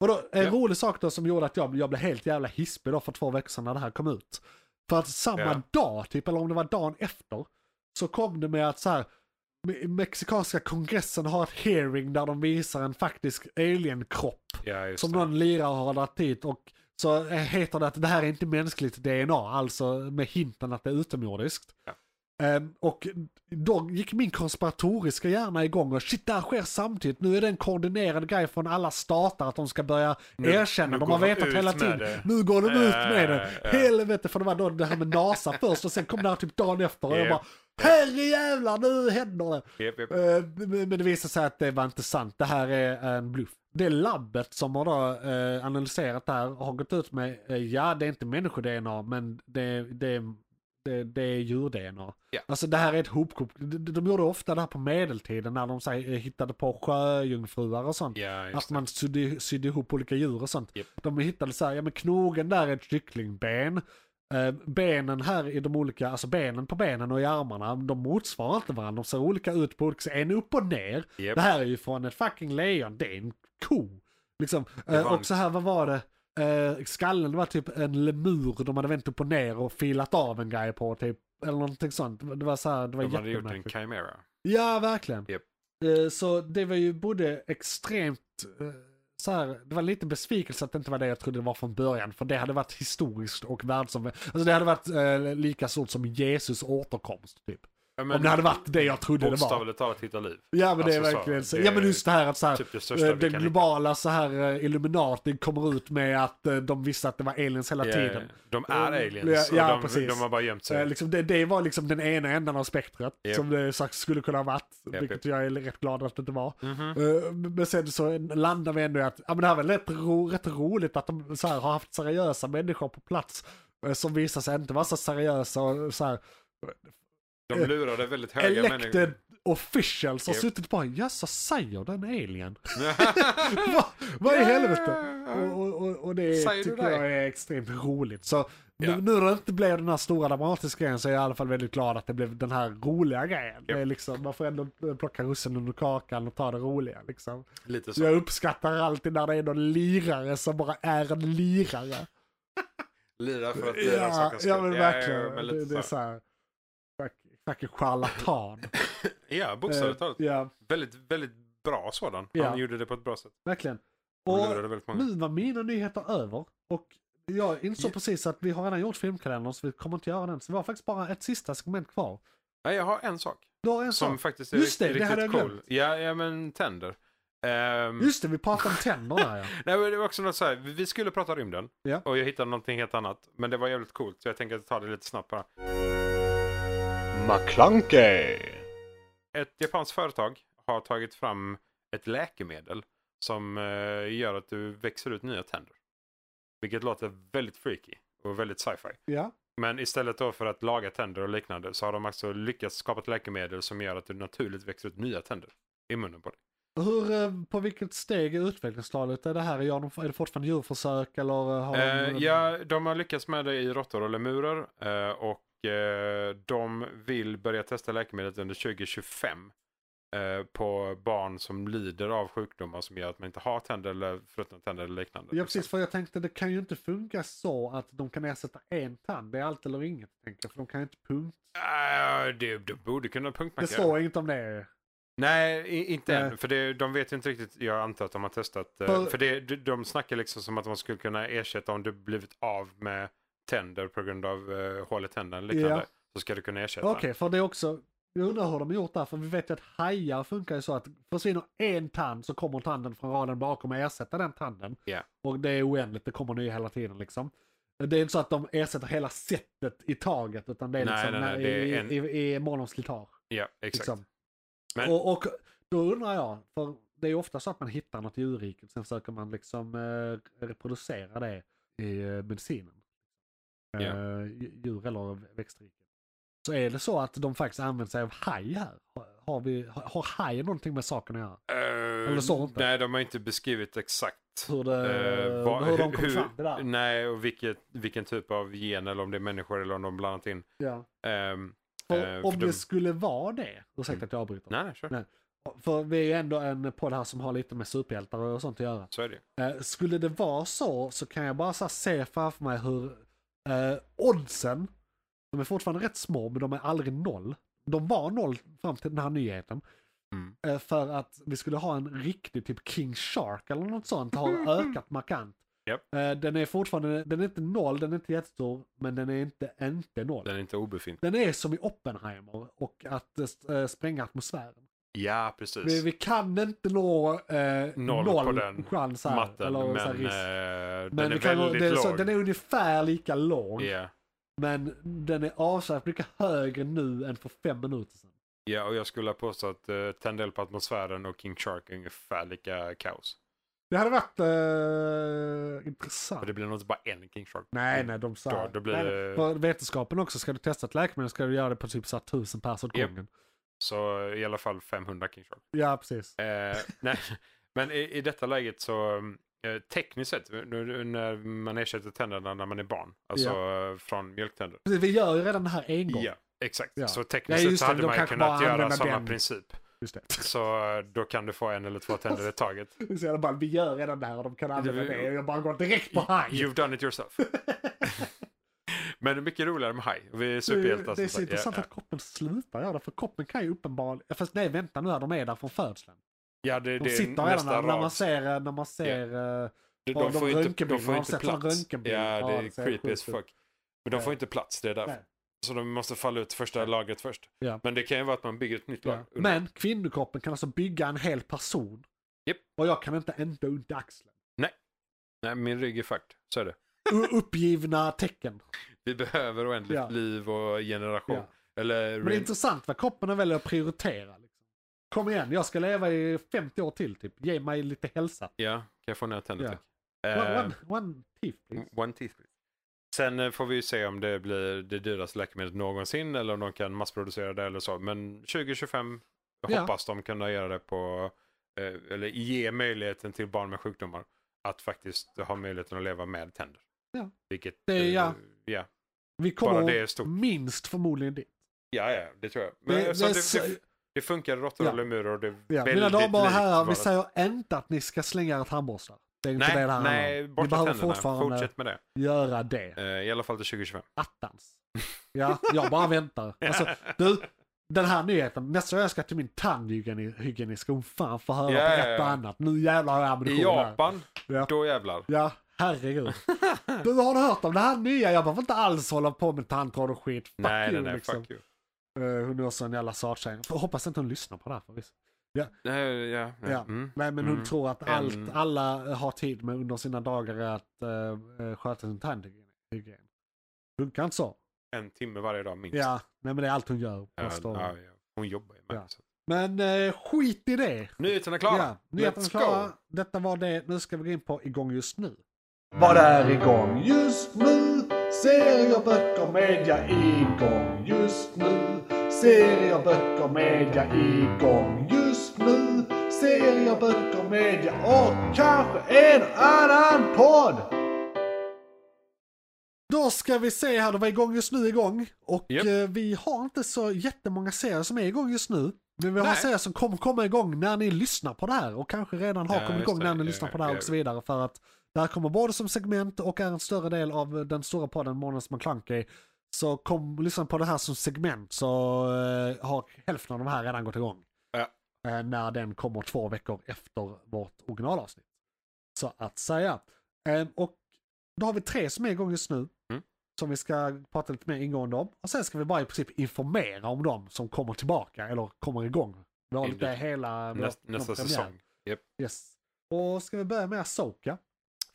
Speaker 2: Och då, en
Speaker 3: Ja.
Speaker 2: rolig sak då som gjorde att jag, jag blev helt jävla hispig då för två veckor sedan när det här kom ut. För att samma
Speaker 3: Ja.
Speaker 2: dag, typ, eller om det var dagen efter, så kom det med att så här, me- mexikanska kongressen har ett hearing där de visar en faktisk alienkropp
Speaker 3: Ja, just
Speaker 2: som
Speaker 3: det.
Speaker 2: någon lirare har dragit dit och så eh, heter det att det här är inte mänskligt DNA, alltså med hinten att det är utomjordiskt.
Speaker 3: Ja.
Speaker 2: Ehm, och då gick min konspiratoriska hjärna igång och shit, det här sker samtidigt. Nu är det en koordinerad grej från alla stater att de ska börja
Speaker 3: Nu-
Speaker 2: erkänna.
Speaker 3: nu
Speaker 2: De
Speaker 3: går
Speaker 2: har
Speaker 3: de
Speaker 2: vetat
Speaker 3: ut
Speaker 2: hela
Speaker 3: med
Speaker 2: tiden.
Speaker 3: det.
Speaker 2: Nu går de ut med det.
Speaker 3: Ja, ja.
Speaker 2: Helvete, för det var då det här med NASA först och sen kom det här typ dagen efter och jag
Speaker 3: Ja.
Speaker 2: bara herrejävlar, nu händer det.
Speaker 3: Japp, japp.
Speaker 2: Eh, Men men det visade sig att det var inte sant. Det här är en bluff. Det labbet som har då eh, analyserat det här har gått ut med, eh, ja det är inte människo-DNA men det, det, det, det är djur-DNA.
Speaker 3: Ja.
Speaker 2: Alltså det här är ett hopkok. De, de gjorde ofta det här på medeltiden när de så här, eh, hittade på sjöjungfruar och sånt.
Speaker 3: Ja, just
Speaker 2: Att
Speaker 3: det.
Speaker 2: man sydde, sydde ihop olika djur och sånt.
Speaker 3: Japp.
Speaker 2: De hittade så här, ja men knogen där är ett kycklingben. Eh, benen här i de olika, alltså benen på benen och i armarna, de motsvarar inte varandra. De ser olika ut på olika sätt. En upp och ner.
Speaker 3: Japp.
Speaker 2: Det här är ju från ett fucking lejon, det är en ko. Liksom. Eh,
Speaker 3: var en-
Speaker 2: och så här, vad var det? Eh, skallen det var typ en lemur de hade vänt upp och ner och filat av en grej på typ. Eller någonting sånt. Det var så här, det var
Speaker 3: De hade gjort en
Speaker 2: jättemärkligt.
Speaker 3: chimera.
Speaker 2: Ja, verkligen.
Speaker 3: Japp.
Speaker 2: Eh, Så det var ju både extremt eh, så här, det var lite besvikelse att det inte var det jag trodde det var från början. För det hade varit historiskt och världsomvälvande. Alltså det hade varit eh, lika stort som Jesus återkomst typ.
Speaker 3: Ja, men
Speaker 2: Om det hade varit det jag trodde det var.
Speaker 3: Bokstavligt talat hitta liv.
Speaker 2: Ja men det är
Speaker 3: Alltså, så,
Speaker 2: verkligen så.
Speaker 3: det
Speaker 2: Ja men
Speaker 3: är
Speaker 2: just det här att så här,
Speaker 3: typ det största
Speaker 2: eh,
Speaker 3: vi
Speaker 2: den
Speaker 3: kan
Speaker 2: globala så här eh, Illuminati kommer ut med att eh, de visste att det var aliens hela
Speaker 3: Ja,
Speaker 2: tiden.
Speaker 3: De är
Speaker 2: Eh,
Speaker 3: aliens.
Speaker 2: ja,
Speaker 3: och de,
Speaker 2: precis.
Speaker 3: de har bara gömt sig.
Speaker 2: Eh, liksom det, det var liksom den ena änden av spektrat
Speaker 3: Japp.
Speaker 2: som det sagt skulle kunna ha varit.
Speaker 3: Japp,
Speaker 2: vilket
Speaker 3: japp.
Speaker 2: jag är rätt glad att det inte var.
Speaker 3: Mhm.
Speaker 2: Eh, men sen så landar vi ändå i att ja, men det här var rätt, ro, rätt roligt att de så här, har haft seriösa människor på plats. eh, som visar sig inte vara så seriösa och så här.
Speaker 3: De lurade väldigt höga människor.
Speaker 2: Elected officials har
Speaker 3: Japp.
Speaker 2: suttit och bara jösses säger den alien? Vad vad i helvete? Och, och, och, och det
Speaker 3: Säger du
Speaker 2: tycker
Speaker 3: det?
Speaker 2: jag är extremt roligt. Så
Speaker 3: Ja.
Speaker 2: nu, nu när det inte blev den här stora dramatiska grejen så är jag i alla fall väldigt glad att det blev den här roliga grejen. Det är liksom, man får ändå plocka russinen ur kakan och ta det roliga liksom.
Speaker 3: Lite
Speaker 2: Så
Speaker 3: så.
Speaker 2: jag uppskattar alltid när det är någon lirare som bara är en lirare.
Speaker 3: Lira för att lira
Speaker 2: Ja,
Speaker 3: sakens
Speaker 2: ja
Speaker 3: skull.
Speaker 2: men
Speaker 3: Ja,
Speaker 2: verkligen.
Speaker 3: men
Speaker 2: det, det är
Speaker 3: lite så.
Speaker 2: så här. fuck- Fucking charlatan.
Speaker 3: ja bokstavligt talat.
Speaker 2: Eh, Ja,
Speaker 3: Väldigt, väldigt bra sådan. Han
Speaker 2: Ja.
Speaker 3: gjorde det på ett bra sätt.
Speaker 2: verkligen.
Speaker 3: Han
Speaker 2: Och
Speaker 3: lurade väldigt många.
Speaker 2: nu var mina nyheter över. Och jag insåg
Speaker 3: Ja.
Speaker 2: precis att vi har redan gjort filmkalendern så vi kommer inte göra den. Så vi har faktiskt bara ett sista segment kvar.
Speaker 3: Nej, jag har en sak.
Speaker 2: Du har en
Speaker 3: Som
Speaker 2: sak.
Speaker 3: faktiskt är
Speaker 2: Just det, det
Speaker 3: riktigt
Speaker 2: hade jag
Speaker 3: cool.
Speaker 2: glömt.
Speaker 3: Ja, ja, men tänder. Ehm,
Speaker 2: Just det, vi pratade om tänder där ja.
Speaker 3: Nej, men det var också något så här, vi vi skulle prata rymden
Speaker 2: Ja.
Speaker 3: och jag hittade någonting helt annat. Men det var jävligt coolt så jag tänker ta det lite snabbt bara.
Speaker 4: McClunkey!
Speaker 3: Ett japanskt företag har tagit fram ett läkemedel som eh, gör att du växer ut nya tänder. Vilket låter väldigt freaky och väldigt sci-fi.
Speaker 2: ja.
Speaker 3: Men istället då för att laga tänder och liknande så har de också lyckats skapa ett läkemedel som gör att du naturligt växer ut nya tänder i munnen på dig.
Speaker 2: Hur, eh, på vilket steg i utvecklingsstadiet är det här? Gör de, är det fortfarande djurförsök eller eh, har de...
Speaker 3: Eh, ja, de har lyckats med det i råttor och lemurer eh, och eh, de vill börja testa läkemedlet under 2025 eh, på barn som lider av sjukdomar som gör att man inte har tänder eller frutna tänder eller liknande.
Speaker 2: Ja precis, för jag tänkte det kan ju inte funka så att de kan ersätta en tand. Det är allt eller inget, tänker jag. För de kan ju inte punkt.
Speaker 3: Eh, det, du borde kunna
Speaker 2: Det
Speaker 3: punktmarkera.
Speaker 2: står inget om det.
Speaker 3: Nej, i- inte
Speaker 2: Nej.
Speaker 3: än. För det, de vet ju inte riktigt. Jag antar att de har testat. eh,
Speaker 2: För-
Speaker 3: För det, de, de snackar liksom som att man skulle kunna ersätta om du blivit av med tänder på grund av uh, hål i tänderna eller liknande.
Speaker 2: Ja.
Speaker 3: Så ska du kunna ersätta.
Speaker 2: Okej, för det är också... Jag undrar hur de har gjort där, för vi vet ju att hajar funkar ju så att försvinner en tand så kommer tanden från raden bakom och ersätter den tanden.
Speaker 3: Ja.
Speaker 2: Och det är oändligt, det kommer nya hela tiden liksom. Det är inte så att de ersätter hela sättet i taget, utan det är
Speaker 3: Nej,
Speaker 2: liksom
Speaker 3: nej, nej,
Speaker 2: när-
Speaker 3: det är
Speaker 2: i,
Speaker 3: en-
Speaker 2: i, i mån om slitage.
Speaker 3: Ja, exakt.
Speaker 2: Liksom.
Speaker 3: Men-
Speaker 2: Och, och då undrar jag, för det är ju ofta så att man hittar något i djurriket, sen försöker man liksom eh, reproducera det i eh, medicinen.
Speaker 3: Ja.
Speaker 2: Eh, djur eller växtriket. Så är det så att de faktiskt använder sig av haj här? Har- Har, vi, har, har haj någonting med saken att göra?
Speaker 3: Eh,
Speaker 2: Eller så inte.
Speaker 3: Nej, de har inte beskrivit exakt.
Speaker 2: Hur, det,
Speaker 3: eh, vad-
Speaker 2: hur de kom fram till det där?
Speaker 3: Nej, och vilket, vilken typ av gen eller om det är människor eller om de blandat in.
Speaker 2: Ja.
Speaker 3: Ehm,
Speaker 2: För
Speaker 3: eh,
Speaker 2: om
Speaker 3: för
Speaker 2: det
Speaker 3: de-
Speaker 2: skulle vara det, ursäkta
Speaker 3: Mm.
Speaker 2: att jag avbryter.
Speaker 3: nej, nej, sure.
Speaker 2: Nej. För vi är ju ändå en podd här som har lite med superhjältar och sånt att göra.
Speaker 3: Så är det ju.
Speaker 2: Eh, skulle det vara så så kan jag bara så här se framför mig hur eh, oddsen, de är fortfarande rätt små men de är aldrig noll. De var noll fram till den här nyheten.
Speaker 3: Mm.
Speaker 2: Eh, för att vi skulle ha en riktig typ King Shark eller något sånt har ökat markant.
Speaker 3: Japp.
Speaker 2: Eh, den är fortfarande, den är inte noll, den är inte jättestor men den är inte inte noll.
Speaker 3: Den är inte obefintlig.
Speaker 2: Den är som i Oppenheimer och att eh, spränga atmosfären.
Speaker 3: Ja, precis.
Speaker 2: Vi, vi kan inte nå eh, noll,
Speaker 3: Noll på den
Speaker 2: chans här.
Speaker 3: Matten,
Speaker 2: eller så
Speaker 3: men
Speaker 2: här
Speaker 3: eh,
Speaker 2: risk.
Speaker 3: den
Speaker 2: vi
Speaker 3: är
Speaker 2: kan-
Speaker 3: väldigt
Speaker 2: den,
Speaker 3: låg.
Speaker 2: så den är ungefär lika låg,
Speaker 3: Ja.
Speaker 2: men den är avsevärt mycket högre nu än för fem minuter sedan.
Speaker 3: ja, och jag skulle påstå att uh, Tändel på atmosfären och King Shark är ungefär lika kaos.
Speaker 2: Det hade varit eh,
Speaker 3: För
Speaker 2: intressant.
Speaker 3: det blir nog inte bara en King Shark.
Speaker 2: Nej, nej, de sa...
Speaker 3: Då- då blir
Speaker 2: nej,
Speaker 3: det-
Speaker 2: nej. För vetenskapen också, ska du testa ett läkemedel ska du göra det på typ så här tusen pers åt
Speaker 3: Japp.
Speaker 2: gången.
Speaker 3: Så eh, i alla fall 500 King Shark.
Speaker 2: Ja, precis.
Speaker 3: Eh, nej, men i, i detta läget så eh, tekniskt sett, nu- nu när man ersätter tänderna när man är barn, alltså eh, från mjölktänder.
Speaker 2: Precis, Vi gör ju redan det här en gång.
Speaker 3: Ja, exakt.
Speaker 2: Ja.
Speaker 3: Så
Speaker 2: Ja,
Speaker 3: tekniskt
Speaker 2: just
Speaker 3: sett så
Speaker 2: det,
Speaker 3: hade
Speaker 2: de
Speaker 3: man ju
Speaker 2: kanske
Speaker 3: kunnat
Speaker 2: bara
Speaker 3: göra
Speaker 2: använder
Speaker 3: samma
Speaker 2: den.
Speaker 3: princip.
Speaker 2: Just det.
Speaker 3: Så eh, då kan du få en eller två tänder i taget.
Speaker 2: Det är Så jävla ball. vi gör redan det här och de kan använda
Speaker 3: Det-
Speaker 2: det. Jag bara går direkt på haj.
Speaker 3: You've done it yourself. Men det är mycket roligare med haj. Vi är superhjältar.
Speaker 2: Det är
Speaker 3: som
Speaker 2: så
Speaker 3: sagt.
Speaker 2: intressant
Speaker 3: Ja,
Speaker 2: att koppen slutar göra det, för koppen kan ju uppenbarligen... Fast nej, vänta nu här, de är där från födseln.
Speaker 3: Ja, det,
Speaker 2: De
Speaker 3: det är
Speaker 2: sitter redan
Speaker 3: nästa
Speaker 2: där när man
Speaker 3: rad.
Speaker 2: ser, när man ser eh,
Speaker 3: De,
Speaker 2: Ja, de
Speaker 3: får ju inte,
Speaker 2: röntgenbilderna,
Speaker 3: de får
Speaker 2: har
Speaker 3: ju inte
Speaker 2: sett någon
Speaker 3: plats. Ja,
Speaker 2: röntgenbild?
Speaker 3: det
Speaker 2: Ja,
Speaker 3: är
Speaker 2: det ser
Speaker 3: creepy as
Speaker 2: sjukt ut.
Speaker 3: fuck. Men de
Speaker 2: Nej.
Speaker 3: får inte plats, det är därför.
Speaker 2: Nej.
Speaker 3: Så de måste falla ut första lagret först.
Speaker 2: Ja.
Speaker 3: Men det kan ju vara att man bygger ett nytt lager.
Speaker 2: Ja. Men kvinnokroppen kan alltså bygga en hel person.
Speaker 3: Japp.
Speaker 2: Och jag kan inte ändå under axeln.
Speaker 3: Nej, min rygg är fucked. Så är det.
Speaker 2: U- Uppgivna tecken.
Speaker 3: Vi behöver oändligt
Speaker 2: Ja.
Speaker 3: liv och generation.
Speaker 2: Ja.
Speaker 3: Eller
Speaker 2: Men det är
Speaker 3: re-
Speaker 2: intressant vad kroppen väljer att prioritera. Liksom. Kom igen, jag ska leva i 50 år till typ. Ge mig lite hälsa.
Speaker 3: Ja, kan jag få några tänder
Speaker 2: Ja.
Speaker 3: tack?
Speaker 2: One,
Speaker 3: Eh,
Speaker 2: one, one teeth please.
Speaker 3: One teeth please. Sen eh, får vi ju se om det blir det dyraste läkemedlet någonsin eller om de kan massproducera det eller så. Men 2025
Speaker 2: Ja.
Speaker 3: hoppas de kunna göra det på, eh, eller ge möjligheten till barn med sjukdomar att faktiskt ha möjligheten att leva med tänder.
Speaker 2: Ja.
Speaker 3: Vilket,
Speaker 2: Det är-
Speaker 3: eh,
Speaker 2: ja.
Speaker 3: ja.
Speaker 2: Vi
Speaker 3: Bara
Speaker 2: kommer
Speaker 3: det är stort.
Speaker 2: minst förmodligen dit.
Speaker 3: Ja, ja, det tror jag. Men,
Speaker 2: Det,
Speaker 3: det, så
Speaker 2: det, är
Speaker 3: det,
Speaker 2: så-
Speaker 3: det, det funkar råttor
Speaker 2: Ja.
Speaker 3: och lemurer och det är
Speaker 2: ja. Mina
Speaker 3: väldigt
Speaker 2: damer och
Speaker 3: likt
Speaker 2: herrar, vi
Speaker 3: vad-
Speaker 2: säger inte att ni ska slänga er tandborstar. Det är inte det
Speaker 3: Nej,
Speaker 2: det handlar om.
Speaker 3: nej,
Speaker 2: Ni
Speaker 3: bort med
Speaker 2: behöver
Speaker 3: tänderna.
Speaker 2: fortfarande
Speaker 3: Fortsätt med det.
Speaker 2: göra det.
Speaker 3: Eh, I alla fall till 2025.
Speaker 2: attans. Ja, jag bara väntar. Alltså, du, den här nyheten. Nästa gång jag ska till min tandhygienist ska hon fan få höra
Speaker 3: Ja,
Speaker 2: på
Speaker 3: ja,
Speaker 2: ett och
Speaker 3: ja.
Speaker 2: annat. Nu jävlar har jag
Speaker 3: I
Speaker 2: ammunition här.
Speaker 3: Japan,
Speaker 2: Ja.
Speaker 3: då jävlar.
Speaker 2: Ja, herregud. Du, har du hört om det här nya? Jag behöver inte alls hålla på med tandtråd och skit. Fuck
Speaker 3: Nej, nej,
Speaker 2: you,
Speaker 3: nej,
Speaker 2: liksom.
Speaker 3: fuck you.
Speaker 2: Eh, hon är också en jävla sartjej. Får- Hoppas inte hon lyssnar på det här. För visst.
Speaker 3: Nej, ja, nej.
Speaker 2: Ja.
Speaker 3: Mm.
Speaker 2: Nej, men hon
Speaker 3: Mm.
Speaker 2: tror att
Speaker 3: En-
Speaker 2: allt alla har tid med under sina dagar är att eh, eh, sköta sin tandhygien. hygien. Funkar inte så?
Speaker 3: En timme varje dag minst.
Speaker 2: Ja, nej, men det är allt hon gör.
Speaker 3: Ja,
Speaker 2: Måste hon-
Speaker 3: ja, ja. Hon jobbar ju med
Speaker 2: Ja.
Speaker 3: det. så.
Speaker 2: Men eh, skit i det.
Speaker 3: Nyheterna är klara.
Speaker 2: Ja, nyheterna
Speaker 3: Let's
Speaker 2: klara.
Speaker 3: go.
Speaker 2: Detta var det. Nu ska vi gå in på igång just nu.
Speaker 5: Vad är igång just nu? Serier, böcker, media igång just nu. Serier, böcker, media igång just nu. Serier, böcker, media och kanske en annan podd.
Speaker 2: Då ska vi se här, det var igång just nu igång. Och
Speaker 3: Japp.
Speaker 2: eh, vi har inte så jättemånga serier som är igång just nu. Men vi har
Speaker 3: Nej.
Speaker 2: serier som kommer komma igång när ni lyssnar på det här. Och kanske redan har
Speaker 3: Ja,
Speaker 2: kommit
Speaker 3: just
Speaker 2: igång när
Speaker 3: det.
Speaker 2: ni
Speaker 3: Ja,
Speaker 2: lyssnar på det här
Speaker 3: ja.
Speaker 2: och så vidare. För att det här kommer både som segment och är en större del av eh, den stora podden Månadens McClunky. Så kom lyssna på det här som segment så eh, har hälften av de här redan gått igång.
Speaker 3: Ja.
Speaker 2: Eh, när den kommer två veckor efter vårt originalavsnitt. Så att säga. Eh, och då har vi tre som är igång just nu.
Speaker 3: Mm.
Speaker 2: Som vi ska prata lite mer ingående om. Och sen ska vi bara i princip informera om dem som kommer tillbaka eller kommer igång. Vi har lite
Speaker 3: Indeed.
Speaker 2: hela vår-
Speaker 3: Näst,
Speaker 2: vår
Speaker 3: nästa
Speaker 2: premiär.
Speaker 3: säsong. Yep.
Speaker 2: Yes. Och ska vi börja med Asoka?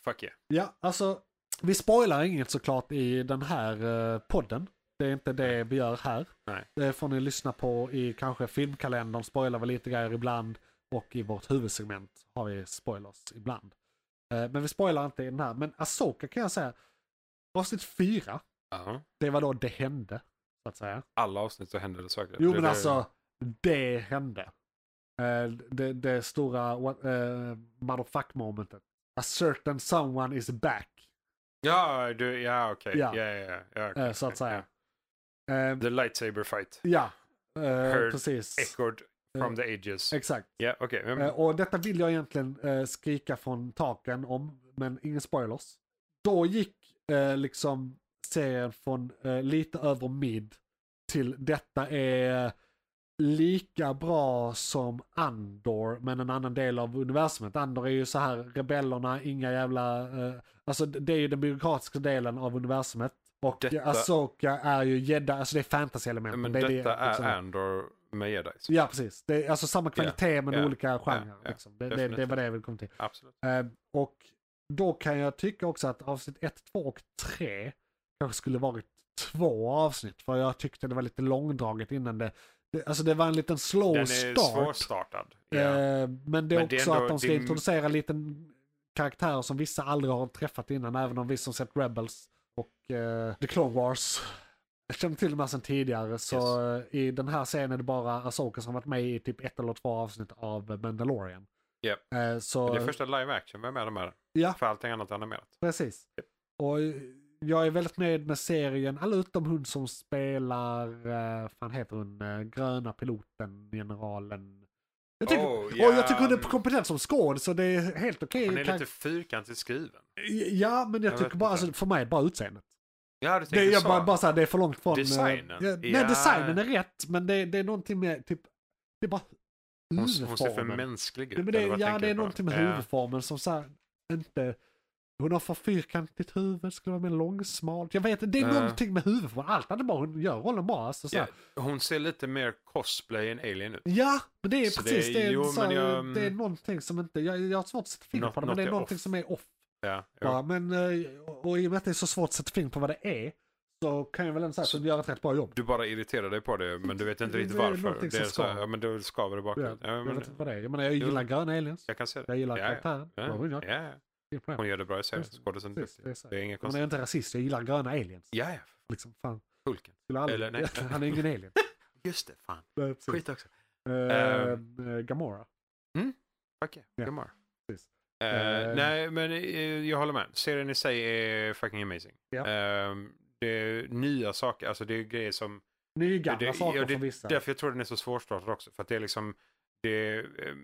Speaker 3: Fuck yeah.
Speaker 2: Ja, alltså vi spoilar inget såklart i den här eh, podden. Det är inte det vi gör här.
Speaker 3: Nej.
Speaker 2: Det får ni lyssna på i kanske filmkalendern, spoilar vi lite grejer ibland. Och i vårt huvudsegment har vi spoilers ibland. Eh, men vi spoilar inte i den här. Men Asoka kan jag säga, avsnitt fyra,
Speaker 3: Ja.
Speaker 2: det var då det hände. Så att säga.
Speaker 3: Alla avsnitt så händer det saker.
Speaker 2: Jo
Speaker 3: Det-
Speaker 2: men
Speaker 3: det-
Speaker 2: alltså, det hände. Eh, det, det stora uh, motherfuck momentet. A certain someone is back.
Speaker 3: Ja, du, ja okej.
Speaker 2: Ja.
Speaker 3: Ja, ja, ja, ja, okej,
Speaker 2: Eh, så att
Speaker 3: okej,
Speaker 2: säga. Eh,
Speaker 3: ja. The lightsaber fight.
Speaker 2: ja, eh,
Speaker 3: Heard
Speaker 2: precis.
Speaker 3: Echoed from
Speaker 2: Eh,
Speaker 3: the ages.
Speaker 2: Exakt.
Speaker 3: Ja, okej. men-
Speaker 2: Eh, och detta vill jag egentligen eh, skrika från taken om, men ingen spoilers. Då gick eh, liksom serien från eh, lite över mid till detta är lika bra som Andor, men en annan del av universumet. Andor är ju så här, rebellerna, inga jävla... Eh, alltså det det är ju den byråkratiska delen av universumet. Och
Speaker 3: Detta-
Speaker 2: Asoka är ju gädda, alltså det är fantasy-element.
Speaker 3: men
Speaker 2: det,
Speaker 3: detta
Speaker 2: det,
Speaker 3: är
Speaker 2: liksom-
Speaker 3: Andor med jedis.
Speaker 2: Ja, precis. Det är alltså samma kvalitet men
Speaker 3: ja,
Speaker 2: olika genrer.
Speaker 3: ja,
Speaker 2: liksom. det, det,
Speaker 3: definitivt.
Speaker 2: det var det jag ville komma till.
Speaker 3: Absolut.
Speaker 2: Eh, och då kan jag tycka också att avsnitt 1, 2 och 3 kanske skulle varit två avsnitt. För jag tyckte det var lite långdraget innan det. det alltså det var en liten slow
Speaker 3: Den är
Speaker 2: start.
Speaker 3: svårstartad. Ja.
Speaker 2: Eh, men det är
Speaker 3: Men det är
Speaker 2: också
Speaker 3: ändå-
Speaker 2: att de ska
Speaker 3: det är-
Speaker 2: introducera lite karaktärer som vissa aldrig har träffat innan. Även om vi som sett Rebels och eh, The Clone Wars känner till dem här sedan tidigare. Så eh, i den här scenen är det bara Asoka som varit med i typ ett eller två avsnitt av Mandalorian.
Speaker 3: Japp.
Speaker 2: Eh, så,
Speaker 3: Det är första live action. Vem är de här?
Speaker 2: Ja.
Speaker 3: För allting annat är animerat.
Speaker 2: Precis. Och eh, jag är väldigt nöjd med serien, alla utom hon som spelar, eh, fan heter hon, eh, gröna piloten, generalen. Jag tycker,
Speaker 3: Oh,
Speaker 2: och jag
Speaker 3: ja,
Speaker 2: tycker hon är
Speaker 3: mm.
Speaker 2: kompetent som skåd så det är helt okej.
Speaker 3: Han är
Speaker 2: Kan-
Speaker 3: lite fyrkantigt skriven.
Speaker 2: Ja, men jag,
Speaker 3: Jag vet
Speaker 2: tycker bara,
Speaker 3: inte.
Speaker 2: alltså, för mig är det bara utseendet.
Speaker 3: Ja, du
Speaker 2: Det,
Speaker 3: tänker
Speaker 2: jag
Speaker 3: så.
Speaker 2: bara, bara såhär, det är för långt från... eh,
Speaker 3: Designen.
Speaker 2: Ja, nej,
Speaker 3: Ja.
Speaker 2: designen är rätt, men det, det är någonting med typ... Det är bara
Speaker 3: Hon, hon ser för
Speaker 2: huvudformen.
Speaker 3: mänsklig ut.
Speaker 2: Nej, men det,
Speaker 3: eller vad
Speaker 2: ja,
Speaker 3: tänker
Speaker 2: det är
Speaker 3: du på?
Speaker 2: någonting med
Speaker 3: Ja.
Speaker 2: huvudformen som så här, inte... Hon har för fyrkantigt huvud, skulle vara mer långsmalt. Jag vet inte, det är
Speaker 3: Nej.
Speaker 2: någonting med huvudformen. Allt annat bara hon gör rollen bra. Alltså, så
Speaker 3: Ja,
Speaker 2: här.
Speaker 3: hon ser lite mer cosplay än alien ut.
Speaker 2: Ja, men det är
Speaker 3: Så det
Speaker 2: precis
Speaker 3: är-
Speaker 2: det. Är,
Speaker 3: jo,
Speaker 2: så här,
Speaker 3: men jag-
Speaker 2: det är någonting som inte... Jag, jag har svårt att sätta fingret
Speaker 3: Något-
Speaker 2: på det, men det är
Speaker 3: något är
Speaker 2: någonting
Speaker 3: off.
Speaker 2: som är off.
Speaker 3: Ja, jo.
Speaker 2: Bara. Men, eh, och, och i och med att det är så svårt att sätta fingret på vad det är, så kan jag väl ändå säga att
Speaker 3: Så-
Speaker 2: hon gör ett rätt bra jobb.
Speaker 3: Du bara irriterar dig på det, men du vet inte
Speaker 2: Det
Speaker 3: riktigt
Speaker 2: är
Speaker 3: varför.
Speaker 2: någonting
Speaker 3: Det är
Speaker 2: som
Speaker 3: så här,
Speaker 2: skaver.
Speaker 3: ja, men då skaver det
Speaker 2: Ja,
Speaker 3: bakåt. Ja,
Speaker 2: jag
Speaker 3: men,
Speaker 2: vet inte vad det är. Jag, menar, jag gillar gröna aliens.
Speaker 3: jag kan se det.
Speaker 2: Jag gillar
Speaker 3: Ja, ja.
Speaker 2: karaktären.
Speaker 3: Ja,
Speaker 2: Vad hon gör.
Speaker 3: Ja,
Speaker 2: Inget problem.
Speaker 3: hon gör det bra i serien.
Speaker 2: Precis,
Speaker 3: Skådisen
Speaker 2: Precis,
Speaker 3: duktig.
Speaker 2: det är så.
Speaker 3: Det är inget
Speaker 2: Men jag är
Speaker 3: konstigt.
Speaker 2: inte rasist, jag gillar gröna aliens.
Speaker 3: Ja, ja.
Speaker 2: Liksom, fan,
Speaker 3: Hulken.
Speaker 2: skulle aldrig...
Speaker 3: Eller, nej.
Speaker 2: Han är ingen alien.
Speaker 3: Just det, fan.
Speaker 2: Nej, precis.
Speaker 3: Skit Ehm. också.
Speaker 2: Eh, eh, Gamora.
Speaker 3: Okej,
Speaker 2: Ja.
Speaker 3: Gamora.
Speaker 2: Precis.
Speaker 3: Eh,
Speaker 2: Eh,
Speaker 3: nej, men eh, jag håller med. Serien i sig är fucking amazing.
Speaker 2: Ja.
Speaker 3: Eh, det är nya saker, alltså det är grejer som...
Speaker 2: Nygamla
Speaker 3: det,
Speaker 2: saker
Speaker 3: ja, det,
Speaker 2: för vissa.
Speaker 3: Därför jag tror den är så svårstartad också. För att det är liksom... Det är, eh,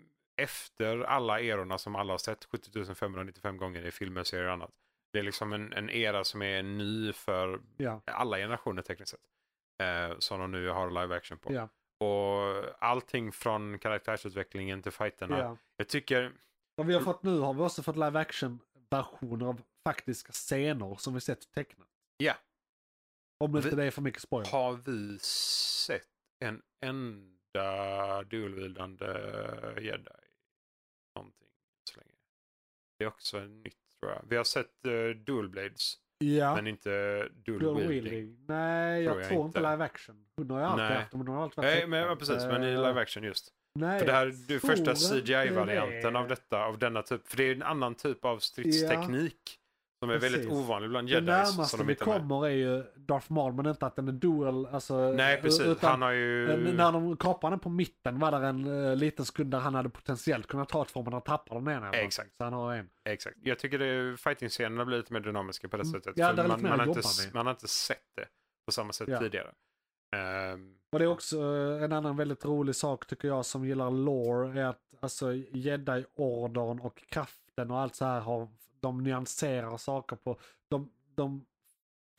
Speaker 3: efter alla erorna som alla har sett 70 595 gånger i filmer, serier och annat. Det är liksom en, en era som är ny för
Speaker 2: Ja.
Speaker 3: alla generationer tekniskt sett. Eh, som de nu har live action på.
Speaker 2: Ja.
Speaker 3: Och allting från karaktärsutvecklingen till fighterna.
Speaker 2: ja.
Speaker 3: Jag tycker...
Speaker 2: Mm. Vad vi har fått nu har vi också fått live action-versioner av faktiska scener som vi sett tecknat.
Speaker 3: Ja.
Speaker 2: Om inte
Speaker 3: Vi-
Speaker 2: det är för mycket spoiler.
Speaker 3: Har vi sett en enda dualvildande jedi? Någonting så länge. Det är också nytt tror jag. Vi har sett uh, dual blades
Speaker 2: Ja.
Speaker 3: men inte dual,
Speaker 2: Girl
Speaker 3: wielding.
Speaker 2: Wielding. Nej, jag
Speaker 3: Tror
Speaker 2: tror,
Speaker 3: jag
Speaker 2: inte
Speaker 3: inte.
Speaker 2: live action. Hon har ju alltid
Speaker 3: Nej.
Speaker 2: haft dem, hon har alltid varit
Speaker 3: Nej, men ja,
Speaker 2: tecknad.
Speaker 3: precis. Men i
Speaker 2: Eh,
Speaker 3: live action just.
Speaker 2: Nej,
Speaker 3: För det här
Speaker 2: jag
Speaker 3: är
Speaker 2: tror
Speaker 3: första
Speaker 2: inte
Speaker 3: CGI-varianten
Speaker 2: det.
Speaker 3: av detta, av denna typ. För det är en annan typ av stridsteknik. Som är väldigt
Speaker 2: Precis.
Speaker 3: ovanlig bland
Speaker 2: Det
Speaker 3: jedis.
Speaker 2: närmaste
Speaker 3: som de
Speaker 2: vi
Speaker 3: inte har med.
Speaker 2: kommer är ju Darth Maul, men inte att den är dual. Alltså,
Speaker 3: Nej, precis.
Speaker 2: Utan
Speaker 3: Han har ju...
Speaker 2: en- Eh, när de kapade den på mitten var det en eh, liten sekund där han hade potentiellt kunnat ta två, men han tappade den ena. eller någonting,
Speaker 3: Exakt.
Speaker 2: Så han har en.
Speaker 3: Exakt. Jag tycker det- fighting-scenerna blir lite mer dynamiska på det
Speaker 2: Mm.
Speaker 3: sättet.
Speaker 2: Ja,
Speaker 3: för
Speaker 2: det är lite
Speaker 3: man,
Speaker 2: mer
Speaker 3: man, har
Speaker 2: att
Speaker 3: inte,
Speaker 2: jobba
Speaker 3: s-
Speaker 2: med.
Speaker 3: man har inte sett det på samma sätt
Speaker 2: Ja.
Speaker 3: tidigare. Ehm,
Speaker 2: Och det är också eh, en annan väldigt rolig sak tycker jag som gillar lore är att alltså jedi-ordern och kraften och allt så här har, de nyanserar saker på, de, de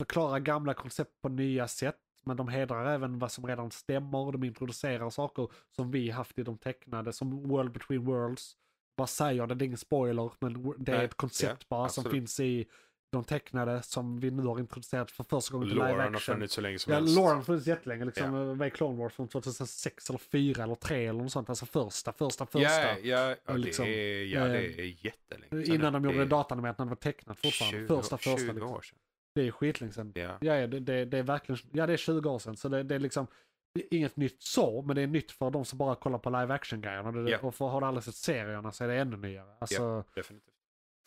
Speaker 2: förklarar gamla koncept på nya sätt. Men de hedrar även vad som redan stämmer och de introducerar saker som vi haft i de tecknade som World Between Worlds. Vad säger det? Det är ingen spoiler men det är
Speaker 3: Nej,
Speaker 2: ett koncept
Speaker 3: ja,
Speaker 2: bara som
Speaker 3: absolut.
Speaker 2: finns i de tecknade som vi nu har introducerat för första gången i live
Speaker 3: Lauren har
Speaker 2: action.
Speaker 3: funnits så länge som
Speaker 2: Ja,
Speaker 3: helst.
Speaker 2: Lauren har funnits jättelänge. Liksom, ja. Med Clone Wars från 2006 eller 4 eller 3 eller något sånt. Alltså första, första, första.
Speaker 3: Ja, ja, ja,
Speaker 2: liksom,
Speaker 3: det, är, ja det
Speaker 2: eh,
Speaker 3: är jättelänge sedan
Speaker 2: Innan de
Speaker 3: nu.
Speaker 2: gjorde
Speaker 3: Det
Speaker 2: det
Speaker 3: är
Speaker 2: datanimerat när det var tecknat fortfarande.
Speaker 3: 20,
Speaker 2: första, första.
Speaker 3: 20
Speaker 2: Liksom.
Speaker 3: år sedan.
Speaker 2: Det är skitlänge sedan.
Speaker 3: Ja.
Speaker 2: Ja, ja, det, det, det är verkligen, ja, det är 20 år sedan. Så det, det är liksom det är inget nytt så, men det är nytt för de som bara kollar på live action-grejerna. Det-
Speaker 3: Ja.
Speaker 2: Och för, har du aldrig sett serierna så är det ännu nyare. Alltså,
Speaker 3: Definitivt.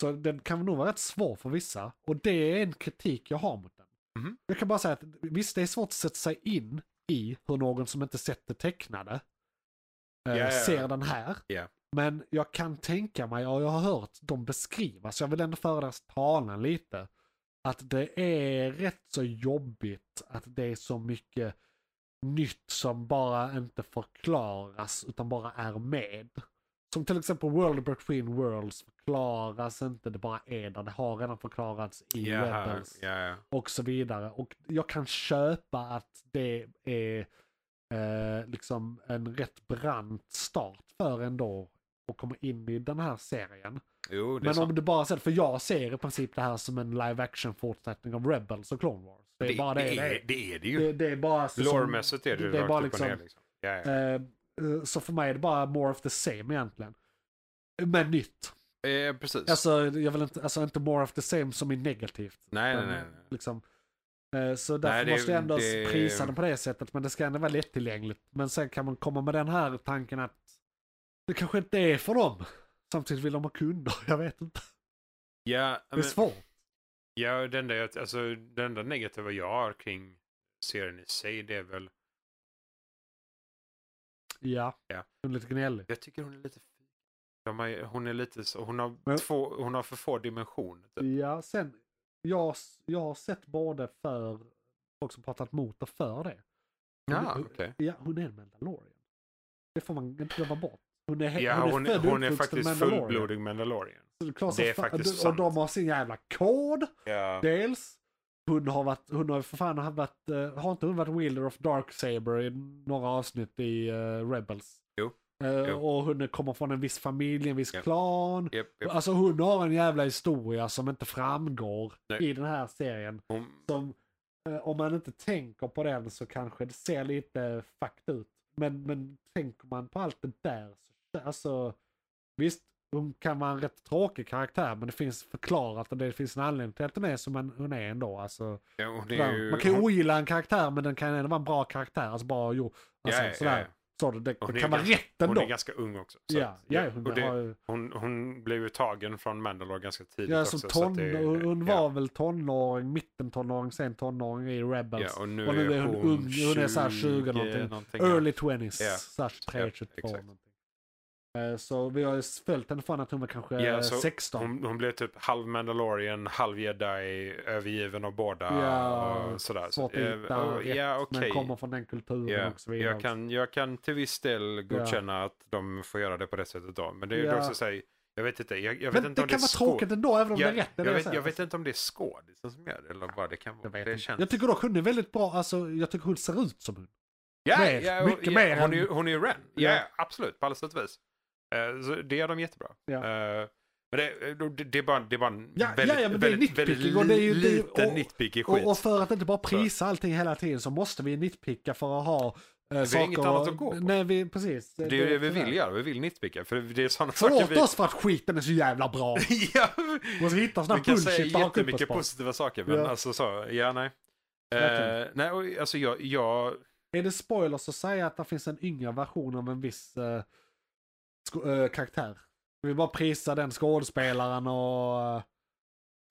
Speaker 2: Så den kan nog vara rätt svår för vissa. Och det är en kritik jag har mot den.
Speaker 3: Mhm.
Speaker 2: Jag kan bara säga att visst, det är svårt att sätta sig in i hur någon som inte sett det tecknade eh,
Speaker 3: Ja, ja, ja.
Speaker 2: ser den här.
Speaker 3: Ja.
Speaker 2: Men jag kan tänka mig, och jag har hört dem beskrivas, jag vill ändå föra deras talan lite. Att det är rätt så jobbigt att det är så mycket nytt som bara inte förklaras utan bara är med. Som till exempel World Between Worlds förklaras inte, det bara är där. Det har redan förklarats i
Speaker 3: Ja, här-
Speaker 2: Rebels
Speaker 3: ja, ja.
Speaker 2: och så vidare. Och jag kan köpa att det är eh, liksom en rätt brant start för en då och komma in i den här serien.
Speaker 3: Jo, det är
Speaker 2: Men
Speaker 3: sant.
Speaker 2: om du bara ser för jag ser i princip det här som en live action fortsättning av Rebels och Clone Wars. Det är bara det det,
Speaker 3: är,
Speaker 2: är.
Speaker 3: det är det
Speaker 2: Det,
Speaker 3: ju.
Speaker 2: det är bara så som-
Speaker 3: Lore-mässigt är det ju
Speaker 2: det är
Speaker 3: rakt
Speaker 2: bara
Speaker 3: upp och ner.
Speaker 2: liksom-
Speaker 3: Liksom. Ja, ja.
Speaker 2: Eh, eh, så för mig är det bara more of the same egentligen. Men nytt.
Speaker 3: Eh, precis.
Speaker 2: Alltså, jag vill inte, alltså inte more of the same som är negativt.
Speaker 3: nej, nej,
Speaker 2: Men,
Speaker 3: nej. nej.
Speaker 2: Liksom, eh, så därför
Speaker 3: Nej, det-
Speaker 2: måste jag ändå
Speaker 3: det-
Speaker 2: prisa den på det sättet. Men det ska ändå vara lättillgängligt. Men sen kan man komma med den här tanken att det kanske inte är för dem. Samtidigt vill de ha kunder, jag vet inte.
Speaker 3: Ja,
Speaker 2: det är
Speaker 3: men-
Speaker 2: svårt.
Speaker 3: Ja, det enda, jag- alltså, det enda negativa jag har kring serien i sig det är väl
Speaker 2: Ja,
Speaker 3: Ja.
Speaker 2: hon är lite gnällig.
Speaker 3: jag tycker hon är lite de har, hon är lite så, hon har,
Speaker 2: Men-
Speaker 3: två, hon har för få dimensioner. Typ.
Speaker 2: Ja, sen, jag, jag har sett både för folk som pratat mot och för det.
Speaker 3: Ja,
Speaker 2: hon,
Speaker 3: Ah, okej.
Speaker 2: ja, hon är en mandalorian. Det får man inte glömma bort. Hon är, he-
Speaker 3: Ja, hon,
Speaker 2: född
Speaker 3: är,
Speaker 2: och
Speaker 3: hon är
Speaker 2: uppvuxen
Speaker 3: faktiskt
Speaker 2: mandalorian.
Speaker 3: fullblodig mandalorian.
Speaker 2: Så det är, klart som
Speaker 3: Det är
Speaker 2: fan-
Speaker 3: faktiskt
Speaker 2: Och de
Speaker 3: sant.
Speaker 2: har sin jävla kod.
Speaker 3: Ja.
Speaker 2: Dels, hon har varit, hon har ju för fan har varit, eh, har inte hon varit wielder of Darksaber i några avsnitt i eh, Rebels?
Speaker 3: Jo.
Speaker 2: Eh,
Speaker 3: Jo.
Speaker 2: Och hon kommer från en viss familj, en viss
Speaker 3: Ja.
Speaker 2: klan.
Speaker 3: Japp, japp.
Speaker 2: Alltså hon har en jävla historia som inte framgår
Speaker 3: Nej.
Speaker 2: i den här serien.
Speaker 3: Hon,
Speaker 2: Som, eh, om man inte tänker på den så kanske det ser lite fucked ut. Men, men tänker man på allt det där, så, alltså visst, hon kan vara en rätt tråkig karaktär men det finns förklarat och det finns en anledning till att hon är som en, hon är ändå. Alltså,
Speaker 3: ja, hon är
Speaker 2: sådär.
Speaker 3: ju...
Speaker 2: man kan ju
Speaker 3: hon-
Speaker 2: ogilla en karaktär men den kan ändå vara en bra karaktär. Alltså bara jo, alltså,
Speaker 3: Ja, ja,
Speaker 2: sådär.
Speaker 3: ja.
Speaker 2: Så det, det
Speaker 3: Hon är
Speaker 2: kan vara
Speaker 3: ganska-
Speaker 2: rätt ändå.
Speaker 3: Hon är ganska ung också. så
Speaker 2: ja,
Speaker 3: att-
Speaker 2: ja, hon
Speaker 3: och det-
Speaker 2: har ju...
Speaker 3: Hon, hon blev ju tagen från Mandalore ganska tidigt
Speaker 2: Ja,
Speaker 3: också.
Speaker 2: som
Speaker 3: så
Speaker 2: ton,
Speaker 3: att det-
Speaker 2: hon
Speaker 3: ja.
Speaker 2: var väl tonåring, mitten tonåring, sen tonåring i Rebels.
Speaker 3: Ja, och nu,
Speaker 2: och nu
Speaker 3: är hon,
Speaker 2: ung, hon är såhär 20 någonting.
Speaker 3: någonting, ja.
Speaker 2: Early 20s,
Speaker 3: Ja.
Speaker 2: såhär 23,
Speaker 3: Ja,
Speaker 2: 22
Speaker 3: exakt.
Speaker 2: någonting. Eh, Så vi har ju följt henne från att hon var kanske
Speaker 3: Ja,
Speaker 2: eh,
Speaker 3: så
Speaker 2: 16.
Speaker 3: Hon, hon blev typ halv Mandalorian, halv jedi, övergiven av båda.
Speaker 2: Ja,
Speaker 3: och sådär.
Speaker 2: svårt att
Speaker 3: eh,
Speaker 2: hitta
Speaker 3: och-
Speaker 2: rätt,
Speaker 3: ja, okej.
Speaker 2: Men kommer från den kulturen
Speaker 3: Ja,
Speaker 2: och så vidare.
Speaker 3: jag, kan, jag kan till viss del godkänna att de får göra det på det sättet då. Men det är ju
Speaker 2: Ja.
Speaker 3: också så här, jag vet inte, jag, jag vet
Speaker 2: men
Speaker 3: inte
Speaker 2: det kan
Speaker 3: om det är
Speaker 2: vara
Speaker 3: skå-
Speaker 2: tråkigt ändå, även om det är rätt. det är
Speaker 3: jag,
Speaker 2: det
Speaker 3: vet,
Speaker 2: säger.
Speaker 3: jag vet inte om det är skådisen som gör det eller vad det kan vara.
Speaker 2: Jag vet
Speaker 3: det
Speaker 2: inte.
Speaker 3: känns...
Speaker 2: jag tycker dock hon är väldigt bra, alltså jag tycker hon ser ut som hon.
Speaker 3: Ja,
Speaker 2: Mer,
Speaker 3: ja, och-
Speaker 2: mycket
Speaker 3: ja,
Speaker 2: mer
Speaker 3: Hon är
Speaker 2: än-
Speaker 3: ju hon är ju Ren. Ja,
Speaker 2: Ja.
Speaker 3: absolut. På alla sätt och vis. Eh, så det gör de jättebra.
Speaker 2: Ja.
Speaker 3: Eh, men det, det, det, är bara, det är bara en
Speaker 2: Ja,
Speaker 3: väldigt,
Speaker 2: ja, ja, men det är
Speaker 3: väldigt,
Speaker 2: nitpicking
Speaker 3: väldigt
Speaker 2: och det är ju- det är ju-
Speaker 3: liten
Speaker 2: och-
Speaker 3: nitpicky skit.
Speaker 2: Och, och för att inte bara prisa allting hela tiden så måste vi nitpicka för att ha eh, saker...
Speaker 3: inget annat att gå på.
Speaker 2: Nej, vi, precis.
Speaker 3: det är ju det vi vill göra. Vi vill nitpicka. För det är sådana saker
Speaker 2: Förlåt
Speaker 3: vi...
Speaker 2: oss för att skiten är så jävla bra.
Speaker 3: ja,
Speaker 2: Vi måste hitta sådana
Speaker 3: vi kan säga
Speaker 2: bullshit och haka upp oss
Speaker 3: jättemycket
Speaker 2: på.
Speaker 3: positiva saker. Men
Speaker 2: Ja.
Speaker 3: alltså så, ja nej. Eh,
Speaker 2: Verkligen.
Speaker 3: nej, och, alltså jag, jag
Speaker 2: Är det spoilers att säga att det finns en yngre version av en viss eh, sko- eh, karaktär? Vi bara prisa den skådespelaren och... eh,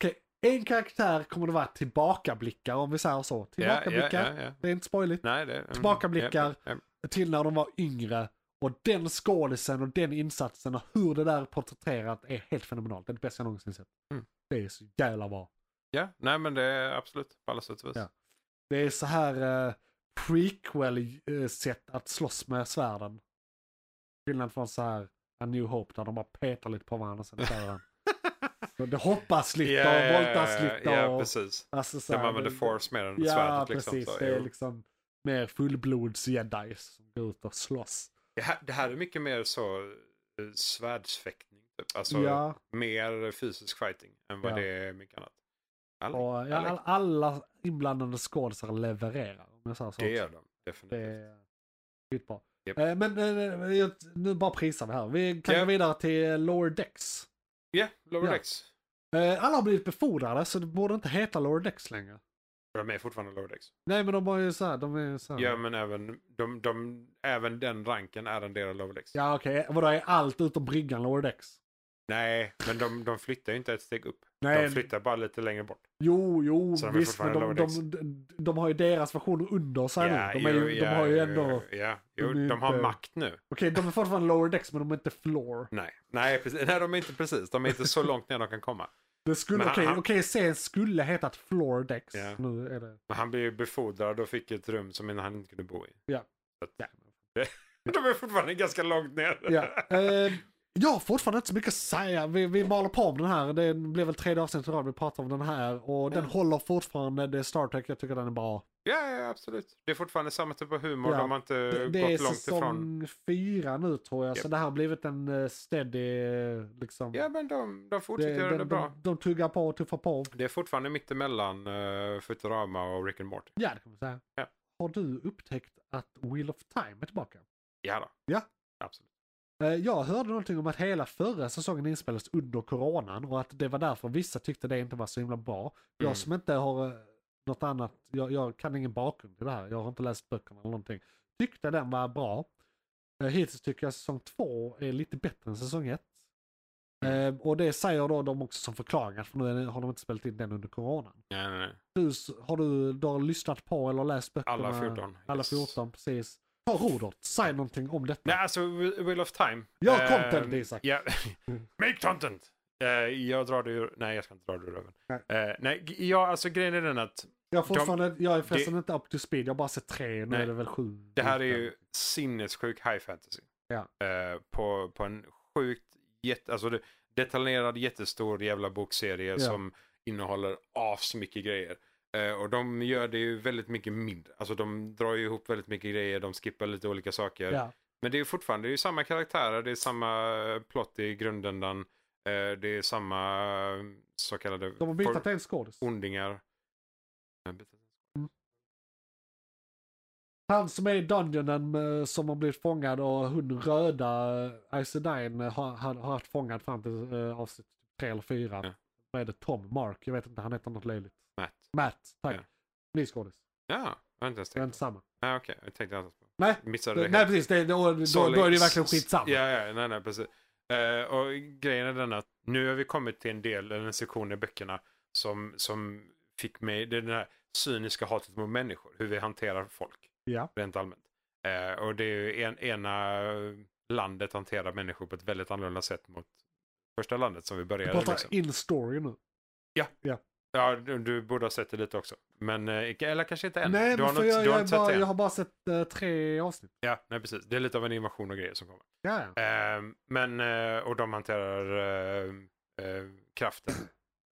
Speaker 2: Okej, en karaktär kommer det vara tillbakablickar om vi säger så.
Speaker 3: ja, ja,
Speaker 2: Tillbakablickar,
Speaker 3: ja, ja.
Speaker 2: det är inte spoiligt.
Speaker 3: Nej, det... mm,
Speaker 2: Tillbakablickar.
Speaker 3: ja, ja.
Speaker 2: till när de var yngre. Och den skådisen och den insatsen och hur det där är porträtterat är helt fenomenalt. Det är det bästa jag någonsin sett.
Speaker 3: Mm.
Speaker 2: Det är så jävla bra.
Speaker 3: Ja, nej men det är absolut på alla sätt och vis.
Speaker 2: Ja. Det är så här eh, prequel-sätt att slåss med svärden. Skillnad från så här A New Hope där de bara petar lite på varandra och sen kör den. Så Det hoppas lite
Speaker 3: Ja, ja, ja,
Speaker 2: och voltas
Speaker 3: ja,
Speaker 2: lite.
Speaker 3: Ja,
Speaker 2: och,
Speaker 3: precis.
Speaker 2: alltså så
Speaker 3: Där
Speaker 2: här,
Speaker 3: man använder
Speaker 2: det-
Speaker 3: force mer än
Speaker 2: Ja,
Speaker 3: svärdet. Liksom,
Speaker 2: precis.
Speaker 3: så,
Speaker 2: det är
Speaker 3: jo.
Speaker 2: liksom mer fullblods jedi som går ut och slåss.
Speaker 3: det, här, det här är mycket mer så eh, svärdsfäktning. Typ. Alltså
Speaker 2: ja.
Speaker 3: mer fysisk fighting än vad
Speaker 2: Ja.
Speaker 3: det är mycket annat. Alla,
Speaker 2: Och ja, all, alla inblandade skådisar levererar. Om jag säger så.
Speaker 3: det gör de
Speaker 2: det
Speaker 3: definitivt.
Speaker 2: är skitbra.
Speaker 3: Japp.
Speaker 2: Eh, Men eh, jag- nu bara prisar vi här. Vi kan
Speaker 3: Ja.
Speaker 2: gå vidare till Lower Decks.
Speaker 3: Ja, Lower
Speaker 2: Ja.
Speaker 3: Decks.
Speaker 2: Eh, Alla har blivit befordrade så det borde inte heta Lower Decks längre.
Speaker 3: De är fortfarande Lower Decks.
Speaker 2: Nej men de var ju såhär, de är ju såhär.
Speaker 3: Ja, men även, de, de, även den ranken är en del av Lower Decks.
Speaker 2: Ja okej, vadå är allt utom bryggan Lower Decks?
Speaker 3: Nej, men de, de flyttar ju inte ett steg upp.
Speaker 2: Nej.
Speaker 3: De flyttar bara lite längre bort.
Speaker 2: Jo, jo,
Speaker 3: Så de är
Speaker 2: visst men de,
Speaker 3: fortfarande
Speaker 2: de,
Speaker 3: Lower
Speaker 2: de, de har ju deras version under sig nu. De, är ju, de har ju ändå, okej
Speaker 3: Ja,
Speaker 2: de är
Speaker 3: jo,
Speaker 2: ju
Speaker 3: de har
Speaker 2: inte-
Speaker 3: makt nu.
Speaker 2: de är fortfarande Lower Decks men de är inte Floor.
Speaker 3: Nej, nej, precis. nej de är inte precis. De är inte så långt ner de kan komma.
Speaker 2: Det skulle,
Speaker 3: Men han-
Speaker 2: okej,
Speaker 3: han-
Speaker 2: okej, serien skulle hetat Floor Decks.
Speaker 3: Ja.
Speaker 2: Nu är det...
Speaker 3: Men han blev ju befordrad och fick ett rum som han inte kunde bo i.
Speaker 2: Ja.
Speaker 3: Så att, De är fortfarande ganska långt ner.
Speaker 2: Ja. Eh, jag har fortfarande inte så mycket att säga. Vi, vi maler på om den här. Det blev väl tredje avsnittet i rad vi pratar om den här. Och den håller fortfarande. Det är Star Trek. Jag tycker den är bra.
Speaker 3: ja, ja, absolut. Det är fortfarande samma typ av humor.
Speaker 2: Ja.
Speaker 3: De har inte
Speaker 2: Det, det är
Speaker 3: gått långt
Speaker 2: säsong
Speaker 3: ifrån.
Speaker 2: fyra nu tror jag. Så
Speaker 3: Japp.
Speaker 2: det här har blivit en eh, steady... eh, Liksom,
Speaker 3: Ja, men de, de
Speaker 2: det,
Speaker 3: fortsätter göra
Speaker 2: de,
Speaker 3: det
Speaker 2: de,
Speaker 3: bra.
Speaker 2: de tuggar på och tuffar på.
Speaker 3: Det är fortfarande mitt emellan eh, Futurama och Rick and Morty.
Speaker 2: Ja, det kan man säga.
Speaker 3: Ja.
Speaker 2: Har du upptäckt att Wheel of Time är tillbaka?
Speaker 3: Ja då.
Speaker 2: Ja.
Speaker 3: Absolut.
Speaker 2: Eh, Jag hörde någonting om att hela förra säsongen inspelades under coronan och att det var därför vissa tyckte det inte var så himla bra.
Speaker 3: Mm.
Speaker 2: Jag som inte har eh, något annat, jag, jag kan ingen bakgrund till det här, jag har inte läst böckerna eller någonting. Tyckte den var bra. Eh, Hittills tycker jag säsong två är lite bättre än säsong ett.
Speaker 3: Mm.
Speaker 2: Eh, Och det säger då de också som förklaring, att för nu är det- har de inte spelat in den under coronan.
Speaker 3: Nej, nej, nej.
Speaker 2: Du, s- har du, du har lyssnat på eller läst böckerna?
Speaker 3: Eh, Alla 14.
Speaker 2: eh, Alla
Speaker 3: Yes.
Speaker 2: 14, precis. Ta Rodert, säg någonting om detta.
Speaker 3: Nej, alltså Whe- Wheel of Time.
Speaker 2: Ja,
Speaker 3: Eh,
Speaker 2: content, Isak.
Speaker 3: Ja. Make content! Eh, jag drar det ur... Nej, jag ska inte dra det ur röven. Eh, nej, g- ja, alltså grejen är den att
Speaker 2: Jag, har fortfarande, jag är förresten
Speaker 3: det-
Speaker 2: inte up to speed, jag har bara sett tre, nu
Speaker 3: Nej.
Speaker 2: är det väl sju.
Speaker 3: Det här är ju sinnessjuk high fantasy.
Speaker 2: Ja.
Speaker 3: Eh, på, på en sjukt jätte, alltså det, detaljerad jättestor jävla bokserie som innehåller asmycket grejer. Eh, och de gör det ju väldigt mycket mindre. Alltså de drar ju ihop väldigt mycket grejer, de skippar lite olika saker.
Speaker 2: Ja.
Speaker 3: Men det är ju fortfarande det är ju samma karaktärer, det är samma eh, plott i grundändan. eh, Det är samma eh, så kallade
Speaker 2: De har
Speaker 3: for-
Speaker 2: bytt till en skådis.
Speaker 3: ondingar. Eh, byta-
Speaker 2: Han som är i dungeonen eh, som har blivit fångad och hon röda eh, Ice Nine har, har har haft fångad fram till eh, avsnitt tre eller fyra.
Speaker 3: Ja.
Speaker 2: Vad är det? Tom? Mark? Jag vet inte, han heter något löjligt.
Speaker 3: Matt.
Speaker 2: Matt, tack.
Speaker 3: Ja.
Speaker 2: Ny skådis.
Speaker 3: Ja, jag har inte ens
Speaker 2: Det är
Speaker 3: tänkt.
Speaker 2: inte samma.
Speaker 3: Nej Ah, okej, jag tänkte annars på.
Speaker 2: Nej,
Speaker 3: Missade det
Speaker 2: nej
Speaker 3: helt.
Speaker 2: precis. Det, då, då, då är det ju verkligen skitsamma.
Speaker 3: Ja, ja, nej, nej, precis. Eh, och grejen är den att nu har vi kommit till en del, eller en sektion i böckerna som, som fick mig, det är den här cyniska hatet mot människor, hur vi hanterar folk
Speaker 2: Ja.
Speaker 3: rent allmänt. Eh, och det är ju en, ena landet hanterar människor på ett väldigt annorlunda sätt mot första landet som vi
Speaker 2: Vi
Speaker 3: började.
Speaker 2: pratar
Speaker 3: liksom.
Speaker 2: in story nu.
Speaker 3: Ja, du, du borde ha sett det lite också. Men, eh, eller kanske inte än.
Speaker 2: Nej,
Speaker 3: du har
Speaker 2: men för
Speaker 3: nog-
Speaker 2: jag,
Speaker 3: du har
Speaker 2: jag, är
Speaker 3: inte sett
Speaker 2: bara,
Speaker 3: det
Speaker 2: jag
Speaker 3: än.
Speaker 2: har bara sett eh, tre avsnitt.
Speaker 3: Ja, nej, precis. Det är lite av en invasion och grejer som kommer.
Speaker 2: Ja, ja.
Speaker 3: Eh, men, eh, och de hanterar eh, eh, kraften, Ice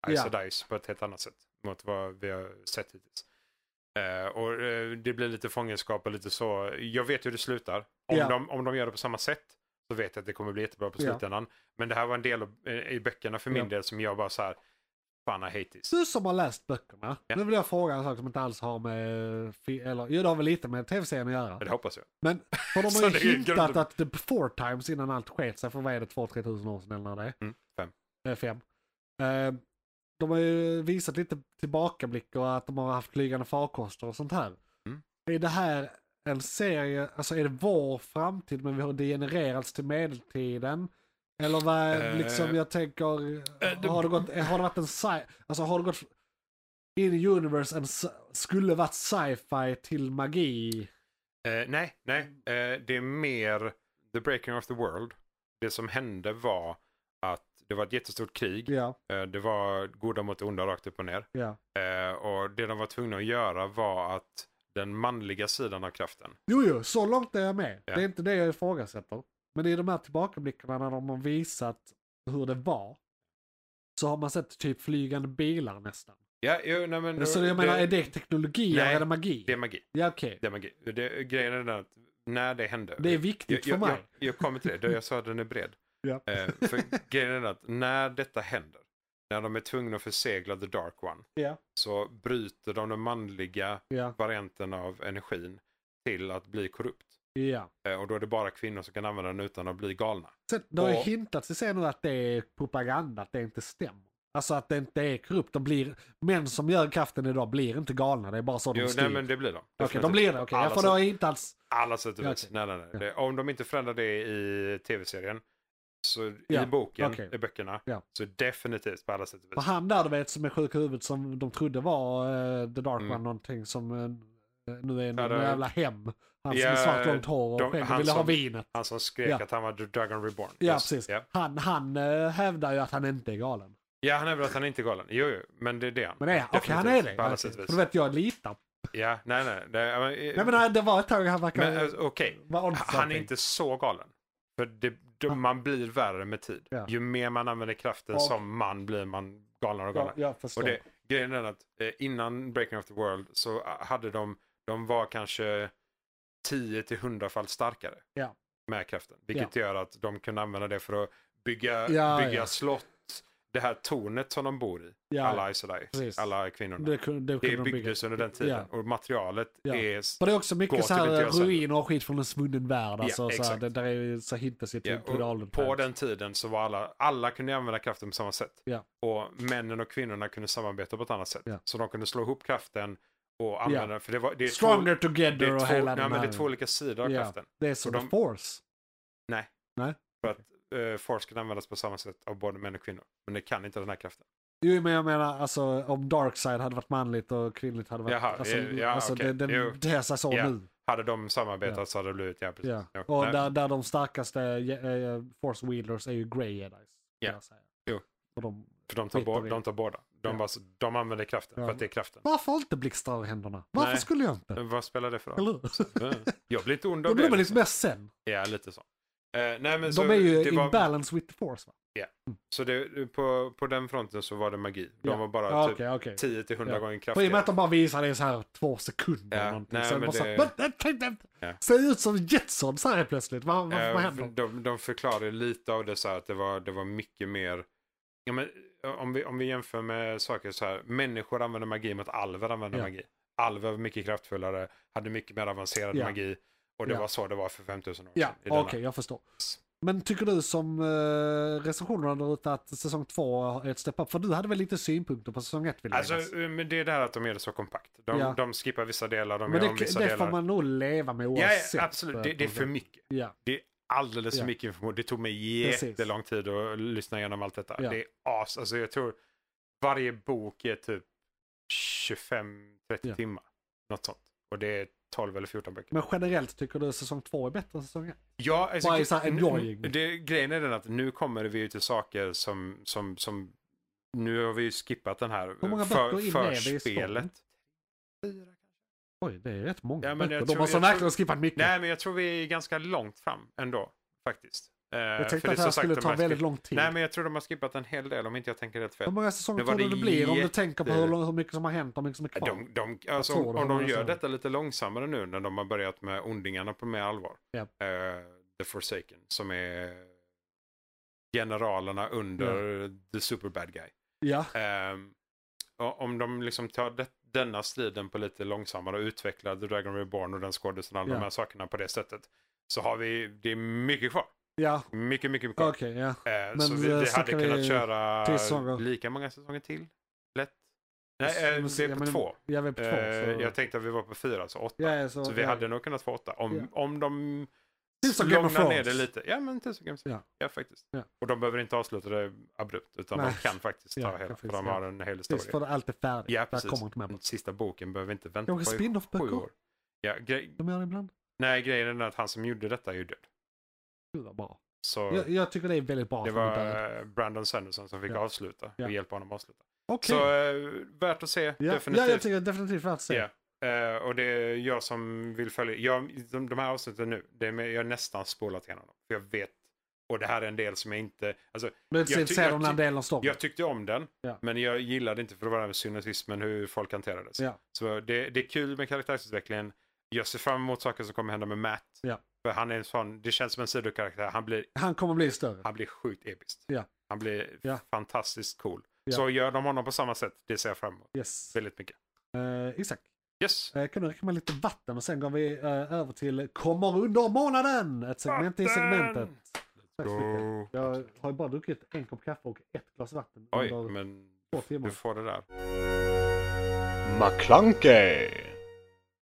Speaker 2: Ja.
Speaker 3: och Dice, på ett helt annat sätt mot vad vi har sett hittills. Eh, och eh, det blir lite fångenskap och lite så. Jag vet hur det slutar. Om,
Speaker 2: Ja.
Speaker 3: de, om de gör det på samma sätt så vet jag att det kommer bli jättebra på
Speaker 2: Ja.
Speaker 3: slutändan. Men det här var en del av, eh, i böckerna för min
Speaker 2: Ja.
Speaker 3: del som jag bara så här, fan I hate this.
Speaker 2: Du som har läst böckerna.
Speaker 3: Ja.
Speaker 2: Nu vill jag fråga en sak som inte alls har med... fi- Eller, jo, det har väl lite med tv-serien att göra.
Speaker 3: Det hoppas jag.
Speaker 2: Men för de
Speaker 3: Så
Speaker 2: har
Speaker 3: det är
Speaker 2: ju
Speaker 3: ju
Speaker 2: hintat
Speaker 3: grunden.
Speaker 2: att the four times innan allt sket sig för vad är det, 2-3 tusen år sedan eller när det är?
Speaker 3: Mm, fem.
Speaker 2: Eh, fem. Eh, de har ju visat lite tillbakablick och att de har haft flygande farkoster och sånt här.
Speaker 3: Mm.
Speaker 2: Är det här en serie, alltså är det vår framtid men vi har degenererats till medeltiden? Eller vad,
Speaker 3: Eh,
Speaker 2: liksom jag tänker,
Speaker 3: eh, det-
Speaker 2: har, det gått, har det varit en sci, alltså har det gått in i universe, en, sci- skulle varit sci-fi till magi?
Speaker 3: Eh, nej, nej. Eh, det är mer the breaking of the world. Det som hände var att det var ett jättestort krig.
Speaker 2: Ja,
Speaker 3: Eh, Det var goda mot onda rakt upp och ner.
Speaker 2: ja.
Speaker 3: Eh, Och det de var tvungna att göra var att den manliga sidan av kraften.
Speaker 2: Jo, jo, så långt är jag med.
Speaker 3: Ja.
Speaker 2: Det är inte det jag ifrågasätter. Men i de här tillbakablickarna när de har visat hur det var. Så har man sett typ flygande bilar nästan.
Speaker 3: Ja, jo, nej, men,
Speaker 2: så Alltså, jag menar, är det teknologi
Speaker 3: Nej,
Speaker 2: eller är det magi?
Speaker 3: det är magi.
Speaker 2: ja, okej.
Speaker 3: Det är magi. Det, grejen är den att när det hände.
Speaker 2: Det är viktigt
Speaker 3: jag,
Speaker 2: för mig.
Speaker 3: Jag, jag, jag kommer till det. det. Jag sa att den är bred.
Speaker 2: Ja.
Speaker 3: Eh, För grejen är den att när detta händer. När de är tvungna att försegla the dark one.
Speaker 2: Ja.
Speaker 3: Så bryter de den manliga
Speaker 2: Ja,
Speaker 3: varianten av energin till att bli korrupt.
Speaker 2: ja.
Speaker 3: Eh, Och då är det bara kvinnor som kan använda den utan att bli galna.
Speaker 2: Sen, det har ju
Speaker 3: Och-
Speaker 2: hintats i scenen att det är propaganda, att det inte stämmer. Alltså att det inte är korrupt. De blir, män som gör kraften idag blir inte galna, det är bara så de
Speaker 3: Jo,
Speaker 2: styr.
Speaker 3: nej, men det blir de.
Speaker 2: Okej, de blir det. Okej,
Speaker 3: Alla
Speaker 2: ja, för
Speaker 3: som-
Speaker 2: det har inte alls...
Speaker 3: Alla sätt och
Speaker 2: Ja,
Speaker 3: vis.
Speaker 2: okej.
Speaker 3: Nej, nej, nej. Det, om de inte förändrar det i tv-serien, så
Speaker 2: Ja,
Speaker 3: i boken,
Speaker 2: okej.
Speaker 3: i böckerna,
Speaker 2: Ja.
Speaker 3: så definitivt på alla sätt och
Speaker 2: För
Speaker 3: vis.
Speaker 2: han där du vet som är sjuk i huvudet som de trodde var eh, The Dark
Speaker 3: Mm.
Speaker 2: One någonting som eh, nu är en
Speaker 3: Ja, det-
Speaker 2: jävla hem. Han som
Speaker 3: Ja,
Speaker 2: är svart långt hår
Speaker 3: de-
Speaker 2: och skägg och
Speaker 3: han
Speaker 2: ville ha
Speaker 3: som-
Speaker 2: vinet.
Speaker 3: Han som skrek
Speaker 2: Ja.
Speaker 3: att han var The Dragon Reborn.
Speaker 2: Ja
Speaker 3: Just-
Speaker 2: precis.
Speaker 3: Ja.
Speaker 2: Han, han eh, hävdar ju att han inte är galen.
Speaker 3: ja, han är väl att han inte är galen. Jo, jo, men det är det han.
Speaker 2: Men det är han. Okej han är
Speaker 3: Definitivt,
Speaker 2: det.
Speaker 3: På alla
Speaker 2: Okej.
Speaker 3: sätt och
Speaker 2: För
Speaker 3: vis.
Speaker 2: du vet jag litar.
Speaker 3: Ja, nej, nej. Det, ja, men, eh,
Speaker 2: Nej men det var ett tag han
Speaker 3: men,
Speaker 2: verkade
Speaker 3: eh, okej.
Speaker 2: vara on
Speaker 3: Han är
Speaker 2: something.
Speaker 3: inte så galen. För det, de, man blir värre med tid.
Speaker 2: Ja.
Speaker 3: Ju mer man använder kraften
Speaker 2: Ja.
Speaker 3: som man blir man galnare och galnare.
Speaker 2: Ja, jag
Speaker 3: Och
Speaker 2: förstår.
Speaker 3: det, grejen är att eh, innan Breaking of the World så eh, hade de, de var kanske 10 till 100 fall starkare
Speaker 2: Ja.
Speaker 3: med kraften. Vilket gör att de kunde använda det för att bygga,
Speaker 2: Ja,
Speaker 3: bygga
Speaker 2: ja.
Speaker 3: slott, det här tornet som de bor i.
Speaker 2: Ja,
Speaker 3: alla Isolai,
Speaker 2: precis.
Speaker 3: alla kvinnorna.
Speaker 2: det kunde, det
Speaker 3: det
Speaker 2: kunde de bygga.
Speaker 3: byggdes under den tiden och materialet
Speaker 2: Ja.
Speaker 3: är...
Speaker 2: För det är också mycket
Speaker 3: Gåtor
Speaker 2: så
Speaker 3: vill inte
Speaker 2: här
Speaker 3: jag säga.
Speaker 2: ruiner och skit från en svunnen värld.
Speaker 3: Ja,
Speaker 2: Alltså, så här,
Speaker 3: exakt.
Speaker 2: det där är ju så hittas ju
Speaker 3: Ja,
Speaker 2: till
Speaker 3: och på den tiden så var alla, alla kunde använda kraften på samma sätt.
Speaker 2: Ja.
Speaker 3: Och männen och kvinnorna kunde samarbeta på ett annat sätt.
Speaker 2: Ja.
Speaker 3: Så de kunde slå ihop kraften och använda den. För det var, det är två-
Speaker 2: Stronger
Speaker 3: Det
Speaker 2: together
Speaker 3: är,
Speaker 2: och
Speaker 3: två,
Speaker 2: hela
Speaker 3: nej,
Speaker 2: den
Speaker 3: men
Speaker 2: här.
Speaker 3: det är två olika sidor av
Speaker 2: Ja.
Speaker 3: kraften.
Speaker 2: Det är som
Speaker 3: Och
Speaker 2: de...
Speaker 3: de-
Speaker 2: force.
Speaker 3: Nej.
Speaker 2: Nej.
Speaker 3: För att uh, force kan användas på samma sätt av både män och kvinnor. Men det kan inte den här kraften.
Speaker 2: Jo men jag menar alltså om Darkside hade varit manligt och kvinnligt hade varit...
Speaker 3: Jaha,
Speaker 2: alltså,
Speaker 3: ja, ja,
Speaker 2: alltså
Speaker 3: okej.
Speaker 2: det, den
Speaker 3: Jo.
Speaker 2: beter sig så
Speaker 3: Ja,
Speaker 2: nu.
Speaker 3: Hade de samarbetat
Speaker 2: Ja.
Speaker 3: så hade det blivit... Ja, precis.
Speaker 2: Ja.
Speaker 3: Ja,
Speaker 2: Och
Speaker 3: nej.
Speaker 2: där, där de starkaste eh, force wielders är ju Grey Jedis. kan
Speaker 3: Ja.
Speaker 2: jag säga.
Speaker 3: Jo.
Speaker 2: Och de...
Speaker 3: För de tar,
Speaker 2: skiter
Speaker 3: bo-
Speaker 2: vi.
Speaker 3: de tar båda. De,
Speaker 2: Ja.
Speaker 3: bara, s- de använder kraften
Speaker 2: Ja.
Speaker 3: för att det är kraften.
Speaker 2: Varför inte blixtar ur händerna? Varför
Speaker 3: Nej.
Speaker 2: skulle jag inte?
Speaker 3: Men Vad spelar det för roll?
Speaker 2: Eller hur?
Speaker 3: Jag blir inte ond
Speaker 2: Då
Speaker 3: av
Speaker 2: blir
Speaker 3: det.
Speaker 2: man lite
Speaker 3: Liksom.
Speaker 2: mer sen.
Speaker 3: Ja, lite så. Eh, nej, men så,
Speaker 2: De är ju
Speaker 3: det
Speaker 2: in
Speaker 3: var,
Speaker 2: balance with the force va?
Speaker 3: Så det, på, på den fronten så var det magi. De
Speaker 2: Ja.
Speaker 3: var bara
Speaker 2: Ja,
Speaker 3: typ
Speaker 2: Ah, Okej, okej.
Speaker 3: 10 till 100
Speaker 2: Ja.
Speaker 3: gånger
Speaker 2: För i och med
Speaker 3: kraftigare.
Speaker 2: att de bara visar det i så här två sekunder.
Speaker 3: Ja,
Speaker 2: eller någonting,
Speaker 3: nej,
Speaker 2: så är det
Speaker 3: men
Speaker 2: bara så
Speaker 3: det-
Speaker 2: här, "Men, nej, nej, nej."
Speaker 3: Ja.
Speaker 2: Ser ut som Jetson så här helt plötsligt. Vad, vad, vad
Speaker 3: Eh,
Speaker 2: händer?
Speaker 3: de, de förklarade lite av det så här att det var, det var mycket mer. Ja, men, eh, om, vi, om vi jämför med saker så här. Människor använder magi mot alver använder
Speaker 2: Ja.
Speaker 3: magi. Alver var mycket kraftfullare, hade mycket mer avancerad
Speaker 2: Ja.
Speaker 3: magi. Och det
Speaker 2: Ja.
Speaker 3: var så det var för 5000 år
Speaker 2: Ja,
Speaker 3: sedan. i
Speaker 2: okej,
Speaker 3: denna.
Speaker 2: jag förstår. Men tycker du som eh, recensionerna där ute att säsong två är ett step up? För du hade väl lite synpunkter på säsong ett vill jag
Speaker 3: Alltså,
Speaker 2: minnas.
Speaker 3: eh, men det är det här att de gör det så kompakt. De,
Speaker 2: Ja.
Speaker 3: de skippar vissa delar, de
Speaker 2: Men
Speaker 3: gör om
Speaker 2: det,
Speaker 3: vissa
Speaker 2: det får
Speaker 3: delar.
Speaker 2: man nog leva med
Speaker 3: Ja,
Speaker 2: oavsett. eh,
Speaker 3: ja, absolut. Det, det är för mycket.
Speaker 2: Ja,
Speaker 3: Det är alldeles för
Speaker 2: Ja.
Speaker 3: mycket information. Det tog mig
Speaker 2: Precis.
Speaker 3: jättelång tid att lyssna igenom allt detta.
Speaker 2: Ja.
Speaker 3: Det är as. Alltså jag tror varje bok är typ 25-30
Speaker 2: Ja.
Speaker 3: timmar. Något sånt. Och det är 12 eller 14 böcker.
Speaker 2: men generellt tycker du säsong två är bättre än säsong ett?
Speaker 3: Ja, alltså,
Speaker 2: Bara så här
Speaker 3: n-
Speaker 2: enjoying.
Speaker 3: n- det, grejen är den att nu kommer vi ju till saker som, som, som nu har vi ju skippat den här
Speaker 2: Hur många böcker in är vi i storyn?
Speaker 3: förspelet.
Speaker 2: Oj, det är rätt många.
Speaker 3: Ja, men jag
Speaker 2: böcker.
Speaker 3: tror-
Speaker 2: de måste
Speaker 3: jag
Speaker 2: verkligen skippat mycket.
Speaker 3: Nej, men jag tror vi är ganska långt fram ändå. Faktiskt. Eh,
Speaker 2: jag
Speaker 3: för
Speaker 2: tänkte att
Speaker 3: är
Speaker 2: det här
Speaker 3: som sagt,
Speaker 2: skulle
Speaker 3: de
Speaker 2: ta
Speaker 3: har
Speaker 2: väldigt
Speaker 3: skippat-
Speaker 2: lång tid.
Speaker 3: Nej, men jag tror de har skippat en hel del om inte jag tänker rätt fel.
Speaker 2: Hur många
Speaker 3: Nu
Speaker 2: säsonger
Speaker 3: var
Speaker 2: tror du
Speaker 3: det
Speaker 2: det blir om du
Speaker 3: jätte-
Speaker 2: tänker på hur, lång, hur mycket som har hänt och hur mycket som är kvar?
Speaker 3: De, de, alltså,
Speaker 2: tror
Speaker 3: om
Speaker 2: det
Speaker 3: om
Speaker 2: var
Speaker 3: de gör
Speaker 2: så.
Speaker 3: detta lite långsammare nu när de har börjat med ondingarna på mer allvar.
Speaker 2: Ja.
Speaker 3: Eh, The Forsaken som är generalerna under The Super Bad Guy.
Speaker 2: Ja,
Speaker 3: Ehm, och om de liksom tar det, denna striden på lite långsammare och utvecklar The Dragon Reborn och den skådisen och alla
Speaker 2: Ja.
Speaker 3: de här sakerna på det sättet. Så har vi, det är mycket kvar.
Speaker 2: ja,
Speaker 3: Mycket, mycket kvar.
Speaker 2: okej, ja.
Speaker 3: Eh,
Speaker 2: Men,
Speaker 3: så vi,
Speaker 2: eh,
Speaker 3: vi hade
Speaker 2: snackar vi
Speaker 3: kunnat
Speaker 2: tre
Speaker 3: köra
Speaker 2: säsonger?
Speaker 3: lika många säsonger till. Lätt. Nej, eh,
Speaker 2: Men-
Speaker 3: vi är
Speaker 2: ja,
Speaker 3: på
Speaker 2: men-
Speaker 3: två.
Speaker 2: Ja, vi är på två.
Speaker 3: Eh,
Speaker 2: så-
Speaker 3: Jag tänkte att vi var på fyra, alltså åtta.
Speaker 2: Ja, ja, så,
Speaker 3: så vi
Speaker 2: ja.
Speaker 3: hade nog kunnat få åtta. Om,
Speaker 2: Ja.
Speaker 3: om de
Speaker 2: Tills de Game of
Speaker 3: lugnar ner det
Speaker 2: Thrones.
Speaker 3: lite. Ja, men tills Game of Thrones.
Speaker 2: Ja.
Speaker 3: Ja. faktiskt.
Speaker 2: Ja.
Speaker 3: Och de behöver inte avsluta det abrupt, utan
Speaker 2: Nej.
Speaker 3: de kan faktiskt ta
Speaker 2: Ja,
Speaker 3: hela.
Speaker 2: precis,
Speaker 3: För de
Speaker 2: ja.
Speaker 3: har en hel historia.
Speaker 2: Precis, för allt är färdigt.
Speaker 3: Ja,
Speaker 2: Där
Speaker 3: precis.
Speaker 2: kommer inte med
Speaker 3: Den
Speaker 2: på.
Speaker 3: sista boken behöver inte vänta
Speaker 2: Kanske
Speaker 3: på i sju
Speaker 2: spin-off-böcker?
Speaker 3: år. Ja, grej...
Speaker 2: De gör det ibland.
Speaker 3: Nej, grejen är den att han som gjorde detta är ju död.
Speaker 2: Gud vad bra.
Speaker 3: Så
Speaker 2: Jag, jag tycker det är väldigt bra.
Speaker 3: det
Speaker 2: att de är
Speaker 3: var
Speaker 2: döda.
Speaker 3: eh, Brandon Sanderson som fick
Speaker 2: Ja.
Speaker 3: avsluta
Speaker 2: Ja.
Speaker 3: och hjälpa honom att avsluta.
Speaker 2: Okej.
Speaker 3: Så eh, värt att se,
Speaker 2: Ja,
Speaker 3: definitivt.
Speaker 2: ja, jag tycker definitivt värt att se.
Speaker 3: Ja. Eh, och det är jag som vill följa. Jag, de, de här avsnitten nu, det är med, jag har nästan spolat igenom dem. För jag vet, och det här är en del som jag inte... Alltså,
Speaker 2: Men jag,
Speaker 3: Jag
Speaker 2: jag,
Speaker 3: ty-
Speaker 2: ser
Speaker 3: jag
Speaker 2: de den
Speaker 3: ty-
Speaker 2: delen av storyn.
Speaker 3: jag tyckte om den,
Speaker 2: Ja.
Speaker 3: men jag gillade inte för det var den här cynismen hur folk hanterades.
Speaker 2: Ja.
Speaker 3: Så det, det är kul med karaktärsutvecklingen. Jag ser fram emot saker som kommer hända med Matt.
Speaker 2: Ja.
Speaker 3: För han är en sån, det känns som en sidokaraktär. Han blir,
Speaker 2: Han kommer bli större.
Speaker 3: han blir sjukt episkt.
Speaker 2: Ja.
Speaker 3: Han blir
Speaker 2: Ja.
Speaker 3: fantastiskt cool.
Speaker 2: Ja.
Speaker 3: Så gör de honom på samma sätt, det ser jag fram emot
Speaker 2: Yes.
Speaker 3: väldigt mycket.
Speaker 2: Eh, Isak,
Speaker 3: Yes!
Speaker 2: eh, kan du räcka med lite vatten och sen går vi eh, över till Kommer under månaden! Ett segment i segmentet.
Speaker 3: Vatten!
Speaker 2: Tack så mycket.
Speaker 3: Go.
Speaker 2: Jag har ju bara druckit en kopp kaffe och ett glas vatten
Speaker 3: Oj,
Speaker 2: under
Speaker 3: men
Speaker 2: två timmar.
Speaker 3: du får det där.
Speaker 4: McClunkey!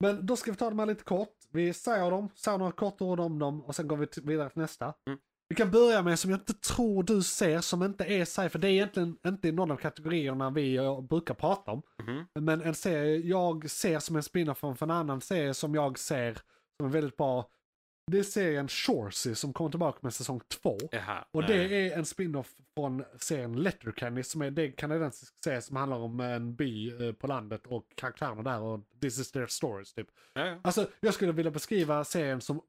Speaker 2: Men då ska vi ta dem här lite kort. Vi säger dem, säger några korta ord om dem och sen går vi t- vidare till nästa.
Speaker 3: Mm.
Speaker 2: Vi kan börja med som jag inte tror du ser, som inte är sci för det är egentligen inte i någon av kategorierna vi eh, brukar prata om.
Speaker 3: Mhm.
Speaker 2: Men en serie jag ser som en spin-off från en annan serie som jag ser som är väldigt bra. Det är serien Shoresy som kommer tillbaka med säsong två.
Speaker 3: Jaha,
Speaker 2: Och
Speaker 3: nej.
Speaker 2: det är en spin-off från serien Letterkenny som är det är en kanadensisk serie som handlar om en by eh, på landet och karaktärerna där och this is their stories typ.
Speaker 3: Ja, ja.
Speaker 2: Alltså jag skulle vilja beskriva serien som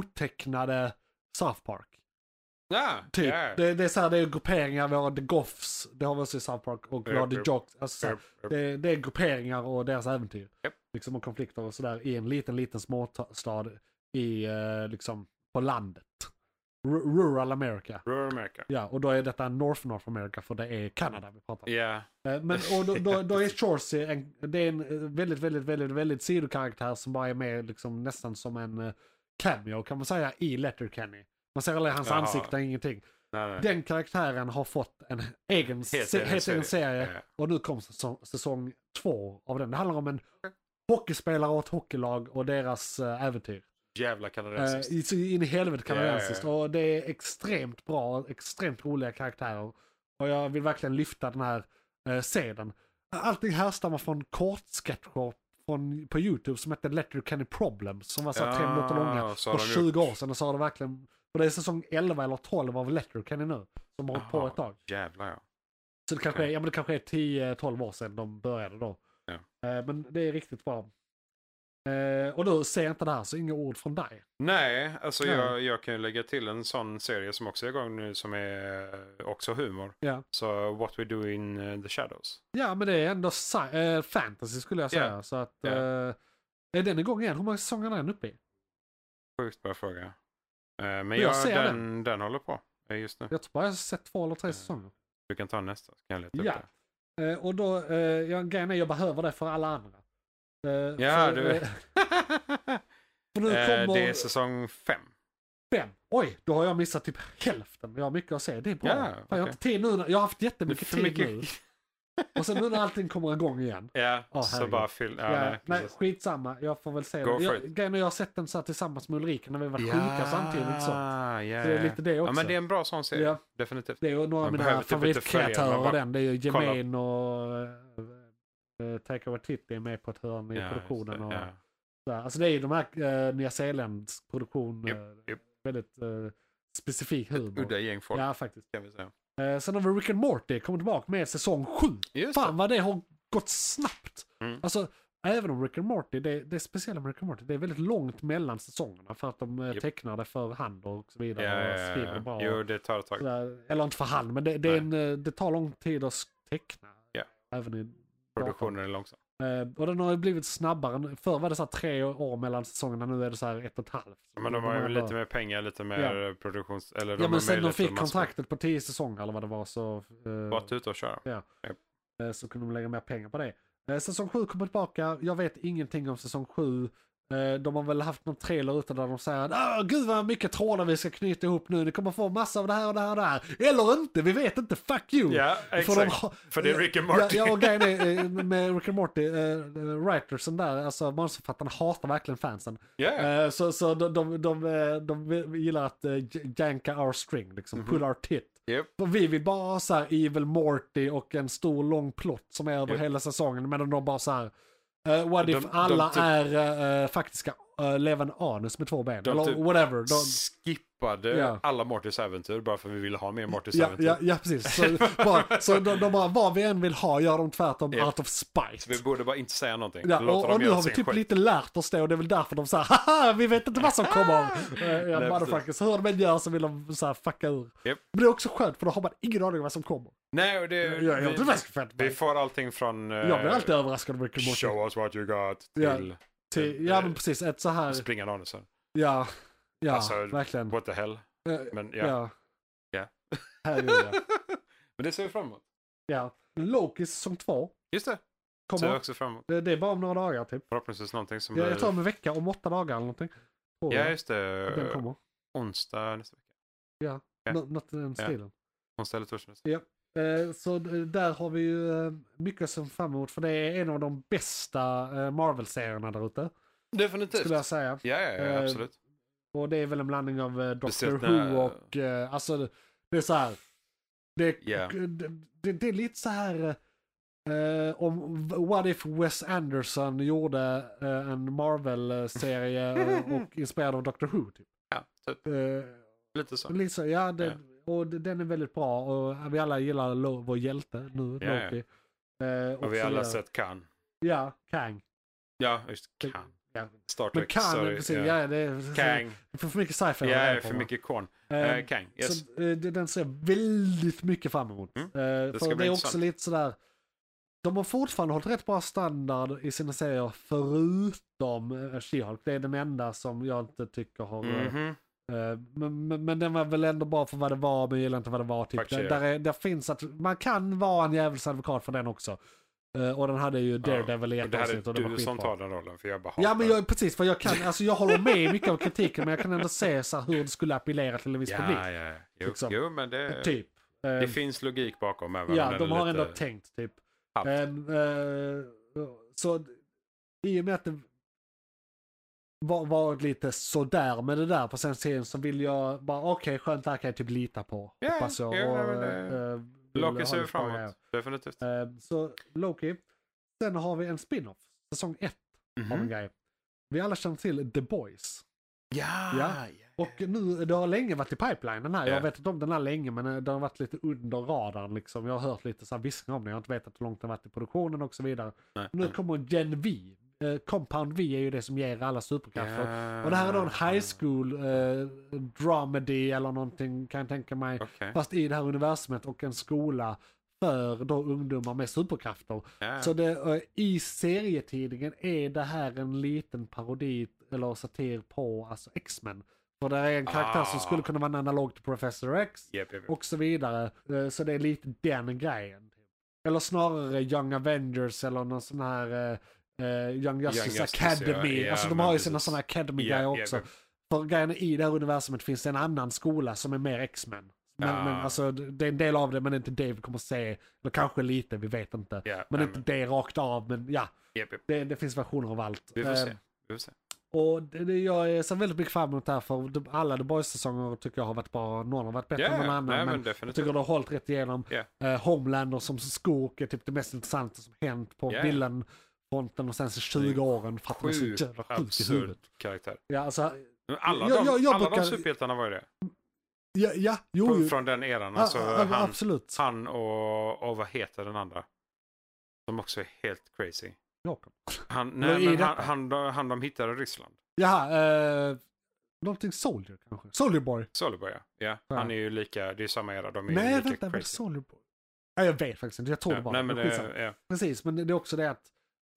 Speaker 2: otecknade South Park.
Speaker 3: Ja,
Speaker 2: Typ.
Speaker 3: ja.
Speaker 2: Det, det är så här, det är grupperingar, vi har The Goffs, det har vi också i South Park och vi har The
Speaker 3: Japp, japp.
Speaker 2: Jocks. Alltså, så här, det, det är grupperingar och deras äventyr.
Speaker 3: Japp.
Speaker 2: Liksom och konflikter och sådär i en liten, liten småstad i eh, liksom på landet. R- rural America.
Speaker 3: Rural America.
Speaker 2: Ja, och då är detta North North America för det är Kanada vi pratar om.
Speaker 3: Ja,
Speaker 2: Eh, Men, och då, då, då är Chorsey en, det är en eh, väldigt, väldigt, väldigt, väldigt sidokaraktär som bara är med liksom nästan som en eh, cameo kan man säga i Letterkenny. Man ser aldrig hans
Speaker 3: Jaha.
Speaker 2: ansikte, ingenting.
Speaker 3: nej, nej.
Speaker 2: Den karaktären har fått en egen, se,
Speaker 3: egen
Speaker 2: helt egen
Speaker 3: serie.
Speaker 2: serie
Speaker 3: Ja.
Speaker 2: och nu kom säsong, säsong två av den. Det handlar om en hockeyspelare och ett hockeylag och deras eh, äventyr.
Speaker 3: Jävla
Speaker 2: Eh,
Speaker 3: kanadensiskt.
Speaker 2: i- så in i helvete kanadensiskt.
Speaker 3: Ja, ja,
Speaker 2: Och det är extremt bra, extremt roliga karaktärer. Och jag vill verkligen lyfta den här eh, seden. Allting härstammar från kortsketcher från, på YouTube som hette Letterkenny Problems. Som var så här tre
Speaker 3: Ja,
Speaker 2: minuter långa
Speaker 3: Ah, så
Speaker 2: för
Speaker 3: har de
Speaker 2: 20
Speaker 3: gjort.
Speaker 2: år sedan. Och så har det verkligen, och det är säsong 11 eller 12 av Letterkenny nu. Som har hållit på
Speaker 3: Jaha,
Speaker 2: ett tag.
Speaker 3: Jävlar ja.
Speaker 2: Så det kanske, är,
Speaker 3: Okej.
Speaker 2: ja, men det kanske är 10-12 år sedan de började då.
Speaker 3: Ja.
Speaker 2: Eh, Men det är riktigt bra. Eh, och du ser inte det här, så inga ord från dig.
Speaker 3: Nej, alltså
Speaker 2: Nej.
Speaker 3: Jag, jag kan ju lägga till en sån serie som också är igång nu som är eh, också humor.
Speaker 2: Ja.
Speaker 3: Så What We Do In eh, The Shadows.
Speaker 2: Ja, men det är ändå sci- eh, fantasy skulle jag säga.
Speaker 3: Ja.
Speaker 2: Så att,
Speaker 3: Ja.
Speaker 2: eh, är den igång igen? Hur många säsonger är den uppe i?
Speaker 3: Sjukt bra fråga. Eh, Men
Speaker 2: jag
Speaker 3: jag,
Speaker 2: ser
Speaker 3: den, den håller på eh, just nu.
Speaker 2: Jag tror bara jag har sett två eller tre säsonger.
Speaker 3: Du kan ta nästa. Så kan jag leta
Speaker 2: Ja.
Speaker 3: upp Eh, typ det.
Speaker 2: Eh, och då, eh, jag, grejen är jag behöver det för alla andra. Eh,
Speaker 3: Ja, du
Speaker 2: eh,
Speaker 3: vet.
Speaker 2: För nu
Speaker 3: Eh,
Speaker 2: kommer
Speaker 3: Det är säsong fem.
Speaker 2: fem. Oj, då har jag missat typ hälften. Jag har mycket att se. Det är bra.
Speaker 3: Ja,
Speaker 2: Fan, Jag har
Speaker 3: okej.
Speaker 2: inte tid nu. när- Jag har haft jättemycket
Speaker 3: För
Speaker 2: tid
Speaker 3: mycket-
Speaker 2: nu. Och sen nu när allting kommer igång igen.
Speaker 3: Ja,
Speaker 2: Åh,
Speaker 3: så
Speaker 2: herregud.
Speaker 3: bara fyll... Ja,
Speaker 2: Ja,
Speaker 3: nej,
Speaker 2: nej,
Speaker 3: precis.
Speaker 2: skitsamma. Jag får väl se
Speaker 3: Go
Speaker 2: det.
Speaker 3: for
Speaker 2: Jag,
Speaker 3: it.
Speaker 2: grejen är jag har sett den så här tillsammans med Ulrika när vi var sjuka alltså, samtidigt. Så.
Speaker 3: Ja, ja,
Speaker 2: Så det är
Speaker 3: ja.
Speaker 2: lite det
Speaker 3: Eh, Ja,
Speaker 2: också.
Speaker 3: men det är en bra sån serie.
Speaker 2: Ja.
Speaker 3: Definitivt.
Speaker 2: Det är ju några av
Speaker 3: Man
Speaker 2: mina
Speaker 3: behöver typ inte följa
Speaker 2: favoritkreatörer
Speaker 3: den, man bara
Speaker 2: den. Det är ju
Speaker 3: kollar.
Speaker 2: Jemaine och uh, Taika Waititi är med på ett hörn i
Speaker 3: Ja, just
Speaker 2: produktionen.
Speaker 3: det,
Speaker 2: Och,
Speaker 3: ja.
Speaker 2: så här. Alltså det är ju de här uh, Nya Zeelands produktion.
Speaker 3: Japp,
Speaker 2: eh,
Speaker 3: japp.
Speaker 2: Väldigt eh, specifik
Speaker 3: Udda
Speaker 2: humor.
Speaker 3: gäng folk
Speaker 2: Ja, faktiskt.
Speaker 3: kan vi säga.
Speaker 2: Eh, sen har vi Rick and Morty kommit tillbaka med säsong 7.
Speaker 3: Just
Speaker 2: Fan vad det har gått snabbt.
Speaker 3: Mm.
Speaker 2: Alltså, även om Rick and Morty, det, det är speciella med Rick and Morty, det är väldigt långt mellan säsongerna för att de eh,
Speaker 3: Japp.
Speaker 2: tecknar det för hand och så vidare. och skriver bra.
Speaker 3: Jo, det tar ett tag.
Speaker 2: Sådär, eller inte för hand, men det, det, är en, eh, det tar lång tid att s- teckna.
Speaker 3: Ja.
Speaker 2: Även i
Speaker 3: Produktionen är långsam.
Speaker 2: datorn. Eh, och den har ju blivit snabbare. nu. Förr var det så här tre år mellan säsongerna, nu är det så här ett och ett halvt.
Speaker 3: Men de har ju
Speaker 2: bara-
Speaker 3: lite mer pengar, lite mer produktions... Eller de
Speaker 2: Ja
Speaker 3: har
Speaker 2: men sen de
Speaker 3: möjlighet
Speaker 2: fick
Speaker 3: att man ska
Speaker 2: kontraktet på tio säsonger eller vad det var så,
Speaker 3: Vara
Speaker 2: eh,
Speaker 3: ute och köra.
Speaker 2: eh, så kunde de lägga mer pengar på det. Eh, säsong 7 kommer tillbaka, jag vet ingenting om säsong 7. Eh, de har väl haft någon trailer ute där de säger att "Åh, gud vad mycket trådar vi ska knyta ihop nu, ni kommer få massa av det här och det här och det här. Eller inte, vi vet inte, fuck you!
Speaker 3: Ja,
Speaker 2: För, de
Speaker 3: exakt.
Speaker 2: har-
Speaker 3: För det är Rick and Morty.
Speaker 2: Ja, ja och grejen är eh, med Rick and Morty, eh, writersen där, alltså manusförfattarna hatar verkligen fansen.
Speaker 3: Ja,
Speaker 2: Eh, så så de, de, de, eh, de gillar att eh, j- janka our string, liksom,
Speaker 3: Mhm.
Speaker 2: pull our tit.
Speaker 3: Japp.
Speaker 2: För vi vill bara ha så här evil Morty och en stor lång plott som är över
Speaker 3: Japp.
Speaker 2: hela säsongen, medan de bara så här, eh, what
Speaker 3: De-
Speaker 2: if
Speaker 3: de
Speaker 2: alla
Speaker 3: typ-
Speaker 2: är eh, faktiska eh, levande anus med två ben,
Speaker 3: De
Speaker 2: eller
Speaker 3: typ-
Speaker 2: whatever. De,
Speaker 3: Skippade
Speaker 2: Ja.
Speaker 3: alla Mortys äventyr bara för vi ville ha mer Mortys
Speaker 2: Ja,
Speaker 3: äventyr.
Speaker 2: ja, ja, precis. Så, bara, så de, de bara, vad vi än vill ha gör de tvärtom
Speaker 3: Ja.
Speaker 2: out of spite.
Speaker 3: Så vi borde bara inte säga någonting.
Speaker 2: Ja,
Speaker 3: Låta
Speaker 2: och,
Speaker 3: dem
Speaker 2: och nu
Speaker 3: göra
Speaker 2: har vi
Speaker 3: sin
Speaker 2: typ
Speaker 3: skit.
Speaker 2: lite lärt oss det och det är väl därför de säger haha vi vet inte vad som kommer. Eh, ja,
Speaker 3: Nej,
Speaker 2: motherfuckers, hur de än gör så vill de så här fucka ur.
Speaker 3: Japp.
Speaker 2: Men det är också skönt för då har man ingen aning om vad som kommer.
Speaker 3: Nej, och det...
Speaker 2: Jag, jag, jag,
Speaker 3: vi,
Speaker 2: blir faktiskt fett-
Speaker 3: vi får allting från... eh,
Speaker 2: jag blir alltid överraskad av Rick and Morty.
Speaker 3: Show us what you got
Speaker 2: Ja.
Speaker 3: till eh,
Speaker 2: Till- Ja men precis, ett så här,
Speaker 3: springande anusar.
Speaker 2: ja, ja
Speaker 3: Alltså,
Speaker 2: verkligen.
Speaker 3: What the hell?
Speaker 2: Eh,
Speaker 3: Men ja.
Speaker 2: Ja.
Speaker 3: Ja.
Speaker 2: Herregud ja.
Speaker 3: Men det ser vi fram emot.
Speaker 2: ja. Loki säsong två
Speaker 3: Just det. Ser vi
Speaker 2: kommer.
Speaker 3: också fram emot.
Speaker 2: Det det är bara om några dagar typ.
Speaker 3: Förhoppningsvis någonting som...
Speaker 2: Jag,
Speaker 3: blir-
Speaker 2: jag tror om en vecka, om åtta dagar eller någonting. Tror
Speaker 3: Mm. Ja,
Speaker 2: jag
Speaker 3: just det.
Speaker 2: att den kommer.
Speaker 3: Onsdag nästa vecka. ja.
Speaker 2: Nå- Något i den
Speaker 3: Ja.
Speaker 2: stilen.
Speaker 3: Onsdag eller torsdag. nästa vecka.
Speaker 2: Eh, Så d- där har vi ju eh, mycket att se fram emot för det är en av de bästa eh, Marvel-serierna där ute.
Speaker 3: Definitivt.
Speaker 2: Skulle jag säga.
Speaker 3: Ja, ja, ja
Speaker 2: Eh,
Speaker 3: absolut.
Speaker 2: Och det är väl en blandning av eh, Doctor
Speaker 3: Speciellt
Speaker 2: Who
Speaker 3: när-
Speaker 2: och eh, alltså det är så här. Det, eh,
Speaker 3: Ja.
Speaker 2: det, det, det är lite så här eh, om What If Wes Anderson gjorde eh, en Marvel-serie eh, och inspirerad av Doctor Who. Typ.
Speaker 3: Ja, typ.
Speaker 2: Eh,
Speaker 3: Lite så.
Speaker 2: Lisa, ja, den, och d- den är väldigt bra och vi alla gillar Lo- vår hjälte nu,
Speaker 3: Ja, ja.
Speaker 2: Loki. Eh,
Speaker 3: Och vi
Speaker 2: så
Speaker 3: alla
Speaker 2: vidare.
Speaker 3: sett kan.
Speaker 2: Ja, Kang.
Speaker 3: Ja, just
Speaker 2: Det-
Speaker 3: kan.
Speaker 2: Ja.
Speaker 3: Star
Speaker 2: Men
Speaker 3: Trek,
Speaker 2: Kang,
Speaker 3: sorry.
Speaker 2: precis,
Speaker 3: ja.
Speaker 2: ja, det är
Speaker 3: Kang.
Speaker 2: För, för mycket sci-fi.
Speaker 3: Ja,
Speaker 2: har jag på
Speaker 3: för
Speaker 2: mig.
Speaker 3: mycket korn.
Speaker 2: Eh,
Speaker 3: Eh, Kang, yes.
Speaker 2: Så eh, det- den ser jag väldigt mycket fram emot.
Speaker 3: Mm,
Speaker 2: Eh, för
Speaker 3: ska
Speaker 2: det
Speaker 3: bli
Speaker 2: är också
Speaker 3: intressant.
Speaker 2: lite sådär, de har fortfarande hållit rätt bra standard i sina serier förutom eh, She-Hulk. Det är den enda som jag inte tycker har eh,
Speaker 3: Mhm.
Speaker 2: Eh, Men, men, men den var väl ändå bra för vad det var, men jag gillar inte vad det var. Typ.
Speaker 3: Faktiskt,
Speaker 2: Där,
Speaker 3: ja.
Speaker 2: där, är, där finns att man kan vara en djävulsadvokat för den också. Eh, Och den hade ju Daredevil i
Speaker 3: Och
Speaker 2: ett
Speaker 3: det här
Speaker 2: avsnitt och det
Speaker 3: är
Speaker 2: var
Speaker 3: du som
Speaker 2: skitbra.
Speaker 3: tar den rollen, för jag bara
Speaker 2: Ja
Speaker 3: hatar
Speaker 2: men jag, precis, för jag kan, alltså jag håller med i mycket av kritiken men jag kan ändå se så här hur det skulle appellera till en viss publik.
Speaker 3: Ja, ja, ja. Jo,
Speaker 2: liksom.
Speaker 3: jo, men det,
Speaker 2: Typ. Eh,
Speaker 3: det finns logik bakom. Även om
Speaker 2: ja,
Speaker 3: den
Speaker 2: de
Speaker 3: är
Speaker 2: har
Speaker 3: lite
Speaker 2: ändå tänkt typ.
Speaker 3: halvt.
Speaker 2: Ehm, eh, så i och med att det var, varit lite sådär med det där på sen serien så vill jag bara okej skönt det här kan jag typ lita på.
Speaker 3: Ja,
Speaker 2: hoppas jag.
Speaker 3: ja,
Speaker 2: och,
Speaker 3: nej, men det-
Speaker 2: eh, vill ha
Speaker 3: Loki ser
Speaker 2: lite
Speaker 3: vi fram emot.
Speaker 2: frågor.
Speaker 3: Definitivt.
Speaker 2: Ehm, så Loki. Sen har vi en spin-off. Säsong 1 av en
Speaker 3: Mhm.
Speaker 2: grej. Vi alla känner till The Boys.
Speaker 3: Ja,
Speaker 2: Ja.
Speaker 3: ja.
Speaker 2: Och nu, det har länge varit i pipeline den här. Jag
Speaker 3: Ja.
Speaker 2: har vetat om den här länge men eh, det har varit lite under radarn liksom. Jag har hört lite så här viskningar om den. Jag har inte vetat hur långt den varit i produktionen och så vidare.
Speaker 3: Nej,
Speaker 2: Nu
Speaker 3: nej.
Speaker 2: kommer Gen V. eh, Compound V är ju det som ger alla superkrafter.
Speaker 3: Ja. Mm.
Speaker 2: Och det här är då en high school eh, dramedy eller någonting kan jag tänka mig.
Speaker 3: Okej.
Speaker 2: Fast i det här universumet och en skola för då ungdomar med superkrafter.
Speaker 3: Ja.
Speaker 2: Så det, eh, i serietidningen är det här en liten parodi eller satir på alltså X-Men. För det är en karaktär som
Speaker 3: Ah.
Speaker 2: skulle kunna vara en analog till Professor X
Speaker 3: Japp, japp, japp.
Speaker 2: och så vidare. Eh, Så det är lite den grejen. typ. Eller snarare Young Avengers eller någon sån här eh, eh, Young Justice
Speaker 3: Justice,
Speaker 2: Academy.
Speaker 3: ja. Ja,
Speaker 2: alltså de
Speaker 3: men
Speaker 2: har ju sina
Speaker 3: precis.
Speaker 2: sådana Academy-grejer
Speaker 3: Ja, ja,
Speaker 2: också.
Speaker 3: ja.
Speaker 2: För grejen är, i det här universumet finns det en annan skola som är mer X-Men. Men,
Speaker 3: Ah.
Speaker 2: men alltså det det är en del av det men det är inte det vi kommer se. Eller kanske lite, vi vet inte.
Speaker 3: Ja,
Speaker 2: men
Speaker 3: nej,
Speaker 2: inte det rakt av. Men ja,
Speaker 3: Japp, japp.
Speaker 2: det, det finns versioner av allt.
Speaker 3: Vi får
Speaker 2: Eh,
Speaker 3: se. Vi får se.
Speaker 2: och det, det, jag ser väldigt mycket fram emot det här för de, alla The Boys-säsonger tycker jag har varit bra. Någon har varit bättre
Speaker 3: Ja,
Speaker 2: än någon
Speaker 3: ja.
Speaker 2: annan.
Speaker 3: Nej, men
Speaker 2: men jag
Speaker 3: definitivt.
Speaker 2: tycker det har hållit rätt igenom.
Speaker 3: Ja.
Speaker 2: Eh, Homelander som skurk är typ det mest intressanta som hänt på
Speaker 3: Ja.
Speaker 2: villain-fronten de senaste 20 åren. För att de är så
Speaker 3: Sjukt
Speaker 2: jävla sjuk i
Speaker 3: absurd
Speaker 2: huvudet.
Speaker 3: karaktär.
Speaker 2: Ja, alltså,
Speaker 3: Men Alla,
Speaker 2: Jag-
Speaker 3: de,
Speaker 2: jag- jag
Speaker 3: alla
Speaker 2: brukar-
Speaker 3: de superhjältarna var ju det.
Speaker 2: ja, ja, jo,
Speaker 3: Från-
Speaker 2: jo.
Speaker 3: Från den eran.
Speaker 2: Ja,
Speaker 3: Alltså,
Speaker 2: ja,
Speaker 3: han,
Speaker 2: absolut.
Speaker 3: han och, och vad heter den andra? Som också är helt crazy.
Speaker 2: Jakob.
Speaker 3: Han,
Speaker 2: Men
Speaker 3: nej,
Speaker 2: i
Speaker 3: men
Speaker 2: detta-
Speaker 3: han, han, de- han de hittade i Ryssland.
Speaker 2: Jaha, eh, någonting Soldier kanske? Soldier Boy?
Speaker 3: Solibor ja. ja.
Speaker 2: Ja.
Speaker 3: Han är ju lika, det är ju samma era. De är ju
Speaker 2: Nej,
Speaker 3: lika
Speaker 2: vänta, var det
Speaker 3: crazy.
Speaker 2: Soldier Boy? Ja, jag vet faktiskt inte, jag tror det
Speaker 3: ja.
Speaker 2: var
Speaker 3: Nej, men
Speaker 2: Skitsamma.
Speaker 3: det, ja.
Speaker 2: Precis, men det det är också det att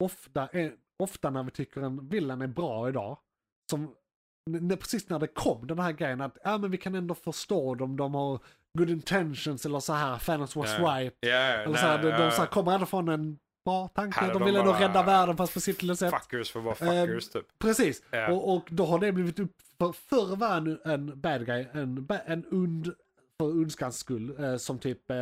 Speaker 2: ofta, eh, ofta när vi tycker en villan är bra idag, som n- när, precis när det kom den här grejen att ja men vi kan ändå förstå dem, de har good intentions eller så här, Thanos was
Speaker 3: Ja.
Speaker 2: right.
Speaker 3: Ja, ja,
Speaker 2: Eller så här,
Speaker 3: nej, eh,
Speaker 2: de, de
Speaker 3: ja.
Speaker 2: så här, kommer ändå från en bra tanke,
Speaker 3: Hade
Speaker 2: de
Speaker 3: de
Speaker 2: vill ändå
Speaker 3: bara-
Speaker 2: rädda världen fast på sitt lilla sätt.
Speaker 3: Fuckers för att vara
Speaker 2: Eh,
Speaker 3: fuckers typ.
Speaker 2: Precis,
Speaker 3: Ja.
Speaker 2: och, och då har det blivit upp, för, förr var en, en bad guy, en, ba- en und för ondskans skull, eh, som typ eh,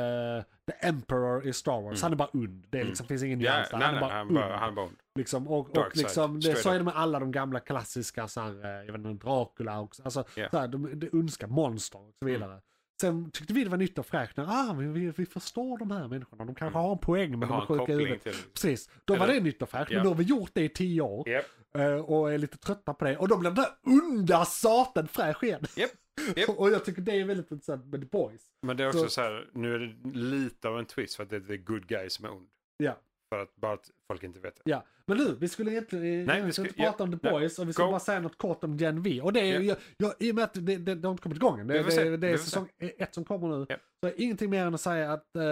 Speaker 2: the emperor i Star Wars. Han är bara ond, det är liksom, finns ingen
Speaker 3: Mm. Ja,
Speaker 2: nyans där.
Speaker 3: nej,
Speaker 2: Han är
Speaker 3: nej,
Speaker 2: bara
Speaker 3: han
Speaker 2: ond.
Speaker 3: bara- han är bara ond.
Speaker 2: liksom, och, och
Speaker 3: Dark side,
Speaker 2: liksom, det, så
Speaker 3: straight
Speaker 2: är det med alla de gamla klassiska, så här, eh, jag vet inte, Dracula och alltså,
Speaker 3: Ja. Mm.
Speaker 2: så här, de, de ondska monster och så vidare. Sen tyckte vi det var nytt och fräckt, när, ah, vi, vi, vi förstår de här människorna, de kanske har en poäng men de
Speaker 3: Mm. Har
Speaker 2: är
Speaker 3: en
Speaker 2: sjuka i
Speaker 3: koppling
Speaker 2: huvudet.
Speaker 3: till-
Speaker 2: Precis, då var
Speaker 3: Eller-
Speaker 2: det nytt och fräckt, men
Speaker 3: Ja.
Speaker 2: då har vi gjort det i tio år.
Speaker 3: Japp,
Speaker 2: Eh, och är lite trötta på det. Och då blir den där onda satan fräsch igen.
Speaker 3: japp. Japp.
Speaker 2: och jag tycker det är väldigt intressant med The Boys.
Speaker 3: Men det är också
Speaker 2: Så-
Speaker 3: så, här, nu är det lite av en twist för att det är the good guy som är ond.
Speaker 2: Ja,
Speaker 3: För att bara att folk inte vet det.
Speaker 2: ja. Men nu, vi skulle egentligen eh, egentligen
Speaker 3: vi skulle-
Speaker 2: inte prata
Speaker 3: ja,
Speaker 2: om The
Speaker 3: nej.
Speaker 2: Boys och vi skulle
Speaker 3: Go.
Speaker 2: bara säga något kort om Gen V. Och det är,
Speaker 3: Ja.
Speaker 2: jag, jag, i och med att det, det, det har inte kommit igång än. Det,
Speaker 3: Vi får se,
Speaker 2: det, det är
Speaker 3: vi får se.
Speaker 2: säsong ett som kommer nu.
Speaker 3: Ja.
Speaker 2: Så ingenting mer än att säga att eh,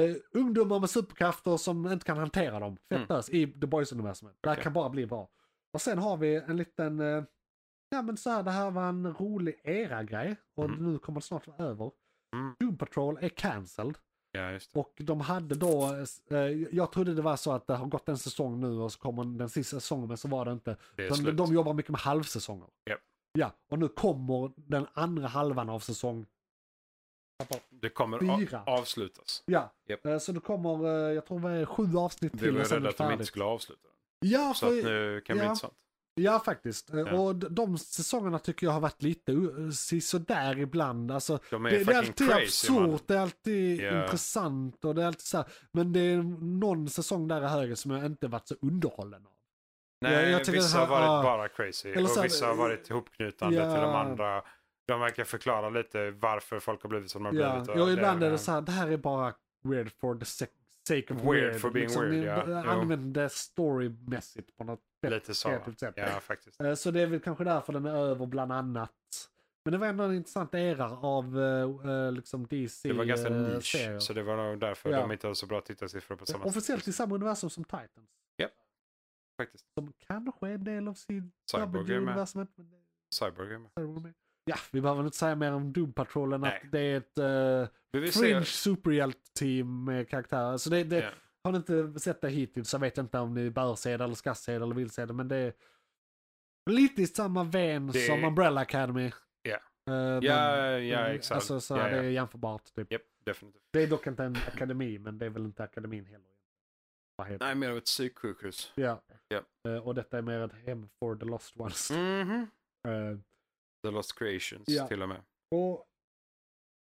Speaker 2: eh, ungdomar med superkrafter som inte kan hantera dem,
Speaker 3: Mm.
Speaker 2: fett ös i The Boys-universumet. Det här
Speaker 3: Okej.
Speaker 2: kan bara bli bra. Och sen har vi en liten, eh, ja men så här, det här var en rolig era-grej och
Speaker 3: Mm.
Speaker 2: nu kommer det snart vara över.
Speaker 3: Mm.
Speaker 2: Doom Patrol är cancelled
Speaker 3: Ja, just det.
Speaker 2: och de hade då, eh, jag trodde det var så att det har gått en säsong nu och så kommer den sista säsongen men så var det inte.
Speaker 3: Det är
Speaker 2: Utan
Speaker 3: slut.
Speaker 2: de jobbar mycket med halvsäsonger.
Speaker 3: Japp.
Speaker 2: Ja, och nu kommer den andra halvan av säsong
Speaker 3: Det kommer
Speaker 2: Fyra.
Speaker 3: a- avslutas.
Speaker 2: Ja,
Speaker 3: Japp.
Speaker 2: eh, så det kommer, eh, jag tror det är sju avsnitt
Speaker 3: Vi
Speaker 2: till
Speaker 3: var
Speaker 2: och sen är
Speaker 3: rädda
Speaker 2: det
Speaker 3: att de inte
Speaker 2: färdigt.
Speaker 3: skulle avsluta den.
Speaker 2: Ja,
Speaker 3: Så att
Speaker 2: för,
Speaker 3: nu kan det
Speaker 2: ja.
Speaker 3: bli intressant.
Speaker 2: ja, faktiskt. Eh,
Speaker 3: Ja.
Speaker 2: Och d- de säsongerna tycker jag har varit lite uh, sådär ibland. Alltså,
Speaker 3: De är
Speaker 2: det, det är
Speaker 3: fucking
Speaker 2: alltid
Speaker 3: crazy, mannen.
Speaker 2: absurt, det är alltid
Speaker 3: Ja.
Speaker 2: intressant och det är alltid så här. Men det är någon säsong där i höger som jag inte varit så underhållen av.
Speaker 3: Nej,
Speaker 2: jag tycker
Speaker 3: vissa
Speaker 2: det
Speaker 3: har
Speaker 2: här-
Speaker 3: varit
Speaker 2: ah.
Speaker 3: bara crazy.
Speaker 2: Eller så här-
Speaker 3: och vissa har varit ihopknutande
Speaker 2: Ja.
Speaker 3: till de andra. De verkar förklara lite varför folk har blivit som de har
Speaker 2: Ja,
Speaker 3: blivit. och
Speaker 2: ja ibland
Speaker 3: det-
Speaker 2: är det så här, det här är bara weird for the sec- sake of weird.
Speaker 3: Weird for being weird, ja.
Speaker 2: det-
Speaker 3: Jo.
Speaker 2: Använd det storymässigt på något
Speaker 3: Lite så.
Speaker 2: kreativt sätt.
Speaker 3: Ja, faktiskt.
Speaker 2: Eh, Så det är väl kanske därför den är över bland annat. Men det var ändå en intressant era av eh, eh, liksom DC.
Speaker 3: Det var ganska
Speaker 2: eh,
Speaker 3: nisch,
Speaker 2: serier.
Speaker 3: så det var nog därför
Speaker 2: Ja.
Speaker 3: de inte hade så bra tittarsiffror på samma
Speaker 2: Officiellt i samma universum som Titans.
Speaker 3: faktiskt.
Speaker 2: Som kanske är en del av
Speaker 3: Cyborg är med.
Speaker 2: CW-universumet. men det
Speaker 3: Cyborg är med.
Speaker 2: är väl med. Ja, vi behöver väl inte säga mer om Doom Patrol än att
Speaker 3: Nej.
Speaker 2: det är ett eh,
Speaker 3: Vi vill
Speaker 2: fringe
Speaker 3: se...
Speaker 2: superhjälte-team med karaktärer. Så det, det,
Speaker 3: Ja.
Speaker 2: Har ni inte sett det hittills så vet jag inte om ni bör se det eller ska se det eller vill se det. Men det är lite i samma ven
Speaker 3: Det-
Speaker 2: som Umbrella Academy.
Speaker 3: Ja.
Speaker 2: Eh,
Speaker 3: Ja,
Speaker 2: men-
Speaker 3: ja, exakt.
Speaker 2: Alltså så
Speaker 3: Ja,
Speaker 2: här,
Speaker 3: ja.
Speaker 2: det är jämförbart. Typ.
Speaker 3: Japp, definitivt.
Speaker 2: Det är dock inte en akademi, men det är väl inte akademin heller. Vad heter
Speaker 3: Nej, mer av ett psyksjukhus.
Speaker 2: det? Ja.
Speaker 3: Ja.
Speaker 2: Eh, och detta är mer ett hem for the lost ones.
Speaker 3: Mhm.
Speaker 2: Eh,
Speaker 3: The Lost Creations
Speaker 2: Ja.
Speaker 3: till och med.
Speaker 2: och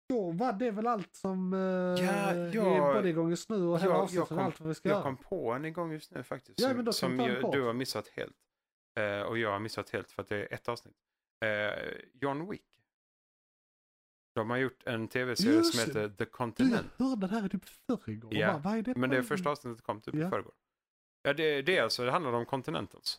Speaker 2: då var det väl allt som eh,
Speaker 3: Ja,
Speaker 2: är
Speaker 3: jag-
Speaker 2: både igång just nu och hela
Speaker 3: jag-
Speaker 2: avsnittet
Speaker 3: jag
Speaker 2: och
Speaker 3: kom-
Speaker 2: allt vad vi ska
Speaker 3: Jag
Speaker 2: göra.
Speaker 3: kom på en igång just nu faktiskt.
Speaker 2: Ja,
Speaker 3: som-
Speaker 2: men då kan vi
Speaker 3: som
Speaker 2: ta den
Speaker 3: jag-
Speaker 2: kort.
Speaker 3: du har missat helt. Eh, och jag har missat helt för att det är ett avsnitt. Eh, John Wick. De har gjort en tv-serie
Speaker 2: Just
Speaker 3: som
Speaker 2: det.
Speaker 3: heter The
Speaker 2: Du, jag
Speaker 3: Continent.
Speaker 2: hörde det här typ förrgår.
Speaker 3: Ja,
Speaker 2: Vad är detta?
Speaker 3: Men det första avsnittet kom typ
Speaker 2: Ja.
Speaker 3: i förrgår. Ja, det, det, är alltså, det handlar om Continentals.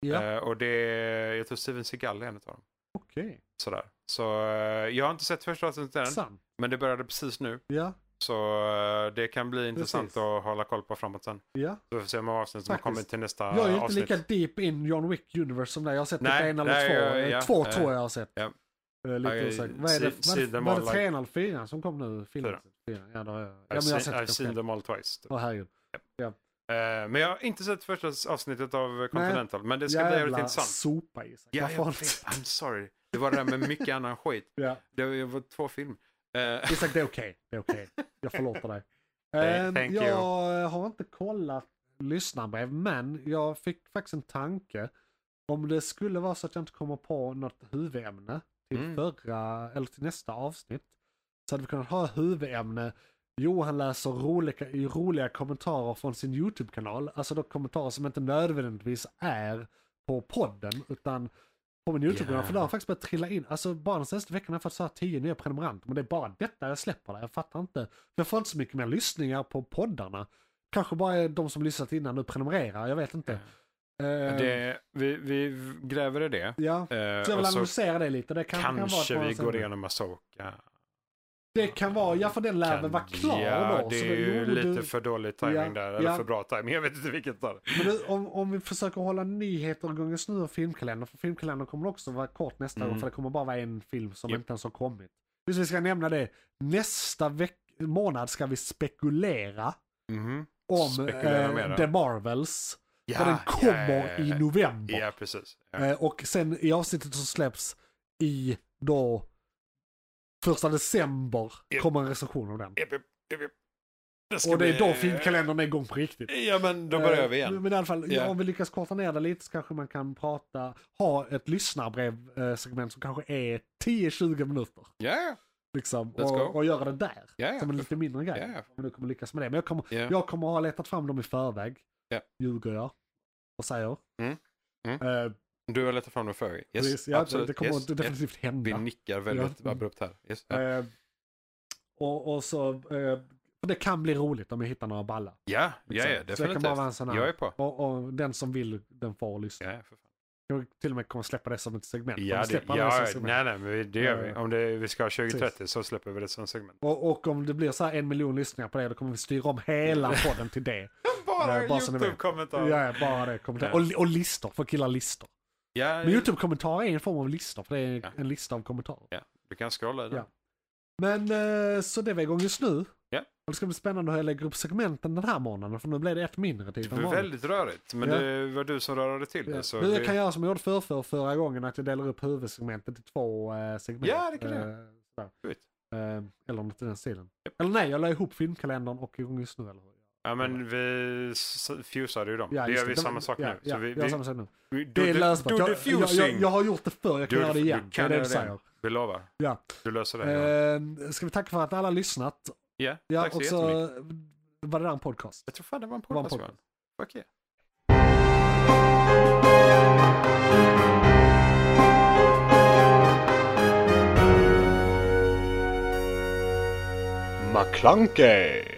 Speaker 2: Ja.
Speaker 3: Eh, och det är, jag tror Steven Seagal är en av dem.
Speaker 2: Okej.
Speaker 3: Sådär. Så eh, jag har inte sett första avsnittet än,
Speaker 2: Intressant.
Speaker 3: men det började precis nu.
Speaker 2: Ja,
Speaker 3: Så eh, det kan bli intressant
Speaker 2: Precis.
Speaker 3: att hålla koll på framåt sen.
Speaker 2: ja.
Speaker 3: Så vi får se hur många avsnitt som
Speaker 2: Faktiskt.
Speaker 3: kommer till nästa
Speaker 2: Jag är ju inte
Speaker 3: avsnitt.
Speaker 2: lika deep in John Wick Universe som dig. Jag har sett
Speaker 3: Nej,
Speaker 2: typ en eller
Speaker 3: nej,
Speaker 2: två.
Speaker 3: ja,
Speaker 2: Eh,
Speaker 3: ja,
Speaker 2: två
Speaker 3: eh,
Speaker 2: tror jag jag har sett.
Speaker 3: ja.
Speaker 2: Eh, Lite
Speaker 3: I-
Speaker 2: osäker. Vad är det?
Speaker 3: see-
Speaker 2: Var
Speaker 3: see
Speaker 2: det,
Speaker 3: them
Speaker 2: var
Speaker 3: all,
Speaker 2: det
Speaker 3: like-
Speaker 2: trean eller fyran som kom nu? Filmen?
Speaker 3: Fyran.
Speaker 2: Fyran. Ja, då har jag, ja, men jag
Speaker 3: I've,
Speaker 2: har
Speaker 3: seen,
Speaker 2: sett
Speaker 3: I've
Speaker 2: den
Speaker 3: seen
Speaker 2: själv.
Speaker 3: them all twice. typ.
Speaker 2: Åh herregud.
Speaker 3: Eh, men jag har inte sett första avsnittet av eh, Continental, men det ska bli
Speaker 2: Jävla
Speaker 3: jävligt intressant.
Speaker 2: sopa Isak.
Speaker 3: Ja,
Speaker 2: Varför
Speaker 3: jag
Speaker 2: har
Speaker 3: vet.
Speaker 2: inte-
Speaker 3: I'm sorry. Det var det där med mycket annan skit.
Speaker 2: Ja.
Speaker 3: Det var, det var två film. Eh,
Speaker 2: Isak, det är okej. Det är okej. Jag förlåter dig.
Speaker 3: Hey,
Speaker 2: Ehm,
Speaker 3: thank you.
Speaker 2: jag har inte kollat lyssnarbrev, men jag fick faktiskt en tanke. Om det skulle vara så att jag inte kommer på något huvudämne till
Speaker 3: Mm.
Speaker 2: förra, eller till nästa avsnitt. Så hade vi kunnat ha huvudämne Johan läser roliga, i roliga kommentarer från sin YouTube-kanal. Alltså då kommentarer som inte nödvändigtvis är på podden, utan på min YouTube-kanal.
Speaker 3: Ja.
Speaker 2: För där har faktiskt börjat trilla in. Alltså bara den senaste veckan har jag fått så här 10 nya prenumeranter. Men det är bara detta jag släpper där. Jag fattar inte. Jag får inte så mycket mer lyssningar på poddarna. Kanske bara är de som lyssnat innan nu prenumererar. Jag vet inte. Eh,
Speaker 3: det, vi, vi gräver i det.
Speaker 2: Ja.
Speaker 3: Eh,
Speaker 2: Så jag vill
Speaker 3: och så
Speaker 2: analysera det lite. Det kan, kan vara ett
Speaker 3: kanske
Speaker 2: par
Speaker 3: vi
Speaker 2: avsnitt.
Speaker 3: går igenom Asoka.
Speaker 2: Det kan vara, ja för den lär väl vara klar
Speaker 3: ja,
Speaker 2: då.
Speaker 3: det
Speaker 2: så
Speaker 3: är
Speaker 2: då-
Speaker 3: ju
Speaker 2: jo,
Speaker 3: lite
Speaker 2: du-
Speaker 3: för dålig timing
Speaker 2: Ja,
Speaker 3: där. Eller
Speaker 2: ja.
Speaker 3: för bra timing. Jag vet inte vilket där.
Speaker 2: Men nu, om, om vi försöker hålla nyheter igång just nu och filmkalendern, för filmkalendern kommer också vara kort nästa
Speaker 3: Mm.
Speaker 2: gång, för det kommer bara vara en film som
Speaker 3: Japp.
Speaker 2: inte ens har kommit. Just vi ska nämna det, nästa veck- månad ska vi spekulera
Speaker 3: Mhm.
Speaker 2: om
Speaker 3: Spekulera mera.
Speaker 2: eh, The Marvels.
Speaker 3: Ja,
Speaker 2: för den kommer
Speaker 3: ja,
Speaker 2: i
Speaker 3: ja,
Speaker 2: november.
Speaker 3: Ja, precis. Ja.
Speaker 2: Eh, och sen i avsnittet som släpps i då första december
Speaker 3: Japp.
Speaker 2: kommer en recension av den.
Speaker 3: Japp, japp, japp, japp. ska
Speaker 2: Och det är
Speaker 3: bli-
Speaker 2: då filmkalendern är igång på riktigt.
Speaker 3: Ja, men då börjar
Speaker 2: Eh,
Speaker 3: vi igen.
Speaker 2: Men i alla fall,
Speaker 3: Ja.
Speaker 2: ja, om vi lyckas korta ner det lite så kanske man kan prata, ha ett lyssnarbrev-segment som kanske är 10-20 minuter.
Speaker 3: Ja, ja.
Speaker 2: Liksom,
Speaker 3: Let's go.
Speaker 2: och, och göra det där.
Speaker 3: Ja, ja.
Speaker 2: Som en lite mindre grej.
Speaker 3: Ja, ja.
Speaker 2: Om du kommer lyckas med det. Men jag kommer,
Speaker 3: Ja.
Speaker 2: jag kommer ha letat fram dem i förväg.
Speaker 3: Ja.
Speaker 2: Ljuger jag. Och säger.
Speaker 3: Mm. Mm.
Speaker 2: Eh,
Speaker 3: Du har letat fram den för. Yes,
Speaker 2: precis. ja, det,
Speaker 3: absolut.
Speaker 2: det kommer
Speaker 3: yes, yes.
Speaker 2: definitivt
Speaker 3: Vi
Speaker 2: hända.
Speaker 3: nickar väldigt
Speaker 2: Ja.
Speaker 3: abrupt här. Yes. Ja.
Speaker 2: Eh, och, och så, eh, och det kan bli roligt om jag hittar några balla.
Speaker 3: Ja, ja, ja,
Speaker 2: Liksom. Så det kan
Speaker 3: definitivt.
Speaker 2: bara vara en sån här.
Speaker 3: Jag är på.
Speaker 2: Och, och den som vill, den får lyssna.
Speaker 3: Ja, för fan.
Speaker 2: Jag till och med kommer släppa det som ett segment. Kommer
Speaker 3: ja, det,
Speaker 2: släppa det som
Speaker 3: ja
Speaker 2: ett segment.
Speaker 3: nej, nej, men vi- det gör vi.
Speaker 2: Ja.
Speaker 3: Om det, vi ska ha 2030
Speaker 2: Precis.
Speaker 3: så släpper vi det som segment.
Speaker 2: Och, och om det blir så här en miljon lyssningar på det, då kommer vi styra om hela podden till det.
Speaker 3: Bara
Speaker 2: Ja, bara så ni vet.
Speaker 3: YouTube-kommentarer. Ja,
Speaker 2: Ja, bara det. Kommer
Speaker 3: Ja.
Speaker 2: Och, och listor, för killar listor.
Speaker 3: ja,
Speaker 2: Men YouTube-kommentarer är en form av listor, för det är
Speaker 3: Ja.
Speaker 2: en lista av kommentarer.
Speaker 3: ja, du kan scrolla i den.
Speaker 2: Ja. Men eh, så det var igång just nu.
Speaker 3: Ja.
Speaker 2: Och det ska bli spännande hur jag lägger upp segmenten den här månaden, för nu blir det ett mindre
Speaker 3: Det
Speaker 2: typ än
Speaker 3: var
Speaker 2: vanligt.
Speaker 3: väldigt rörigt, men
Speaker 2: Ja.
Speaker 3: det var du som rörde till Alltså, det. Så
Speaker 2: nu
Speaker 3: vi-
Speaker 2: jag kan göra som jag gjorde för, för förra gången, att jag delar upp huvudsegmentet i två eh, segment.
Speaker 3: Ja, det kan du
Speaker 2: Eh,
Speaker 3: göra.
Speaker 2: sådär.
Speaker 3: Skit.
Speaker 2: Eh, eller något i den stilen. Eller nej, jag la ihop filmkalendern och igång just nu. Eller hur?
Speaker 3: Ja, men vi s- fusade ju dem.
Speaker 2: Ja,
Speaker 3: det
Speaker 2: just
Speaker 3: gör vi
Speaker 2: Det var-
Speaker 3: samma sak
Speaker 2: ja,
Speaker 3: nu.
Speaker 2: Ja,
Speaker 3: så vi,
Speaker 2: vi gör
Speaker 3: vi,
Speaker 2: samma sak nu.
Speaker 3: vi,
Speaker 2: Det
Speaker 3: do
Speaker 2: är
Speaker 3: the-
Speaker 2: lösbart.
Speaker 3: do
Speaker 2: Jag,
Speaker 3: the
Speaker 2: jag, jag,
Speaker 3: fusing.
Speaker 2: jag har gjort det förr, jag kan
Speaker 3: Du-
Speaker 2: göra det
Speaker 3: du
Speaker 2: igen. Det
Speaker 3: kan
Speaker 2: är det
Speaker 3: göra
Speaker 2: du
Speaker 3: det
Speaker 2: säger.
Speaker 3: igen. Vi lovar.
Speaker 2: Ja.
Speaker 3: Du löser det. Johan.
Speaker 2: Eh, ska vi tacka för att alla har lyssnat?
Speaker 3: Ja,
Speaker 2: Ja,
Speaker 3: tack så
Speaker 2: och så
Speaker 3: jättemycket.
Speaker 2: var det där en podcast.
Speaker 3: Jag tror fan det var en
Speaker 2: var en
Speaker 3: podcast. Johan.
Speaker 2: podcast.
Speaker 3: Fuck yeah.
Speaker 4: McClunkey!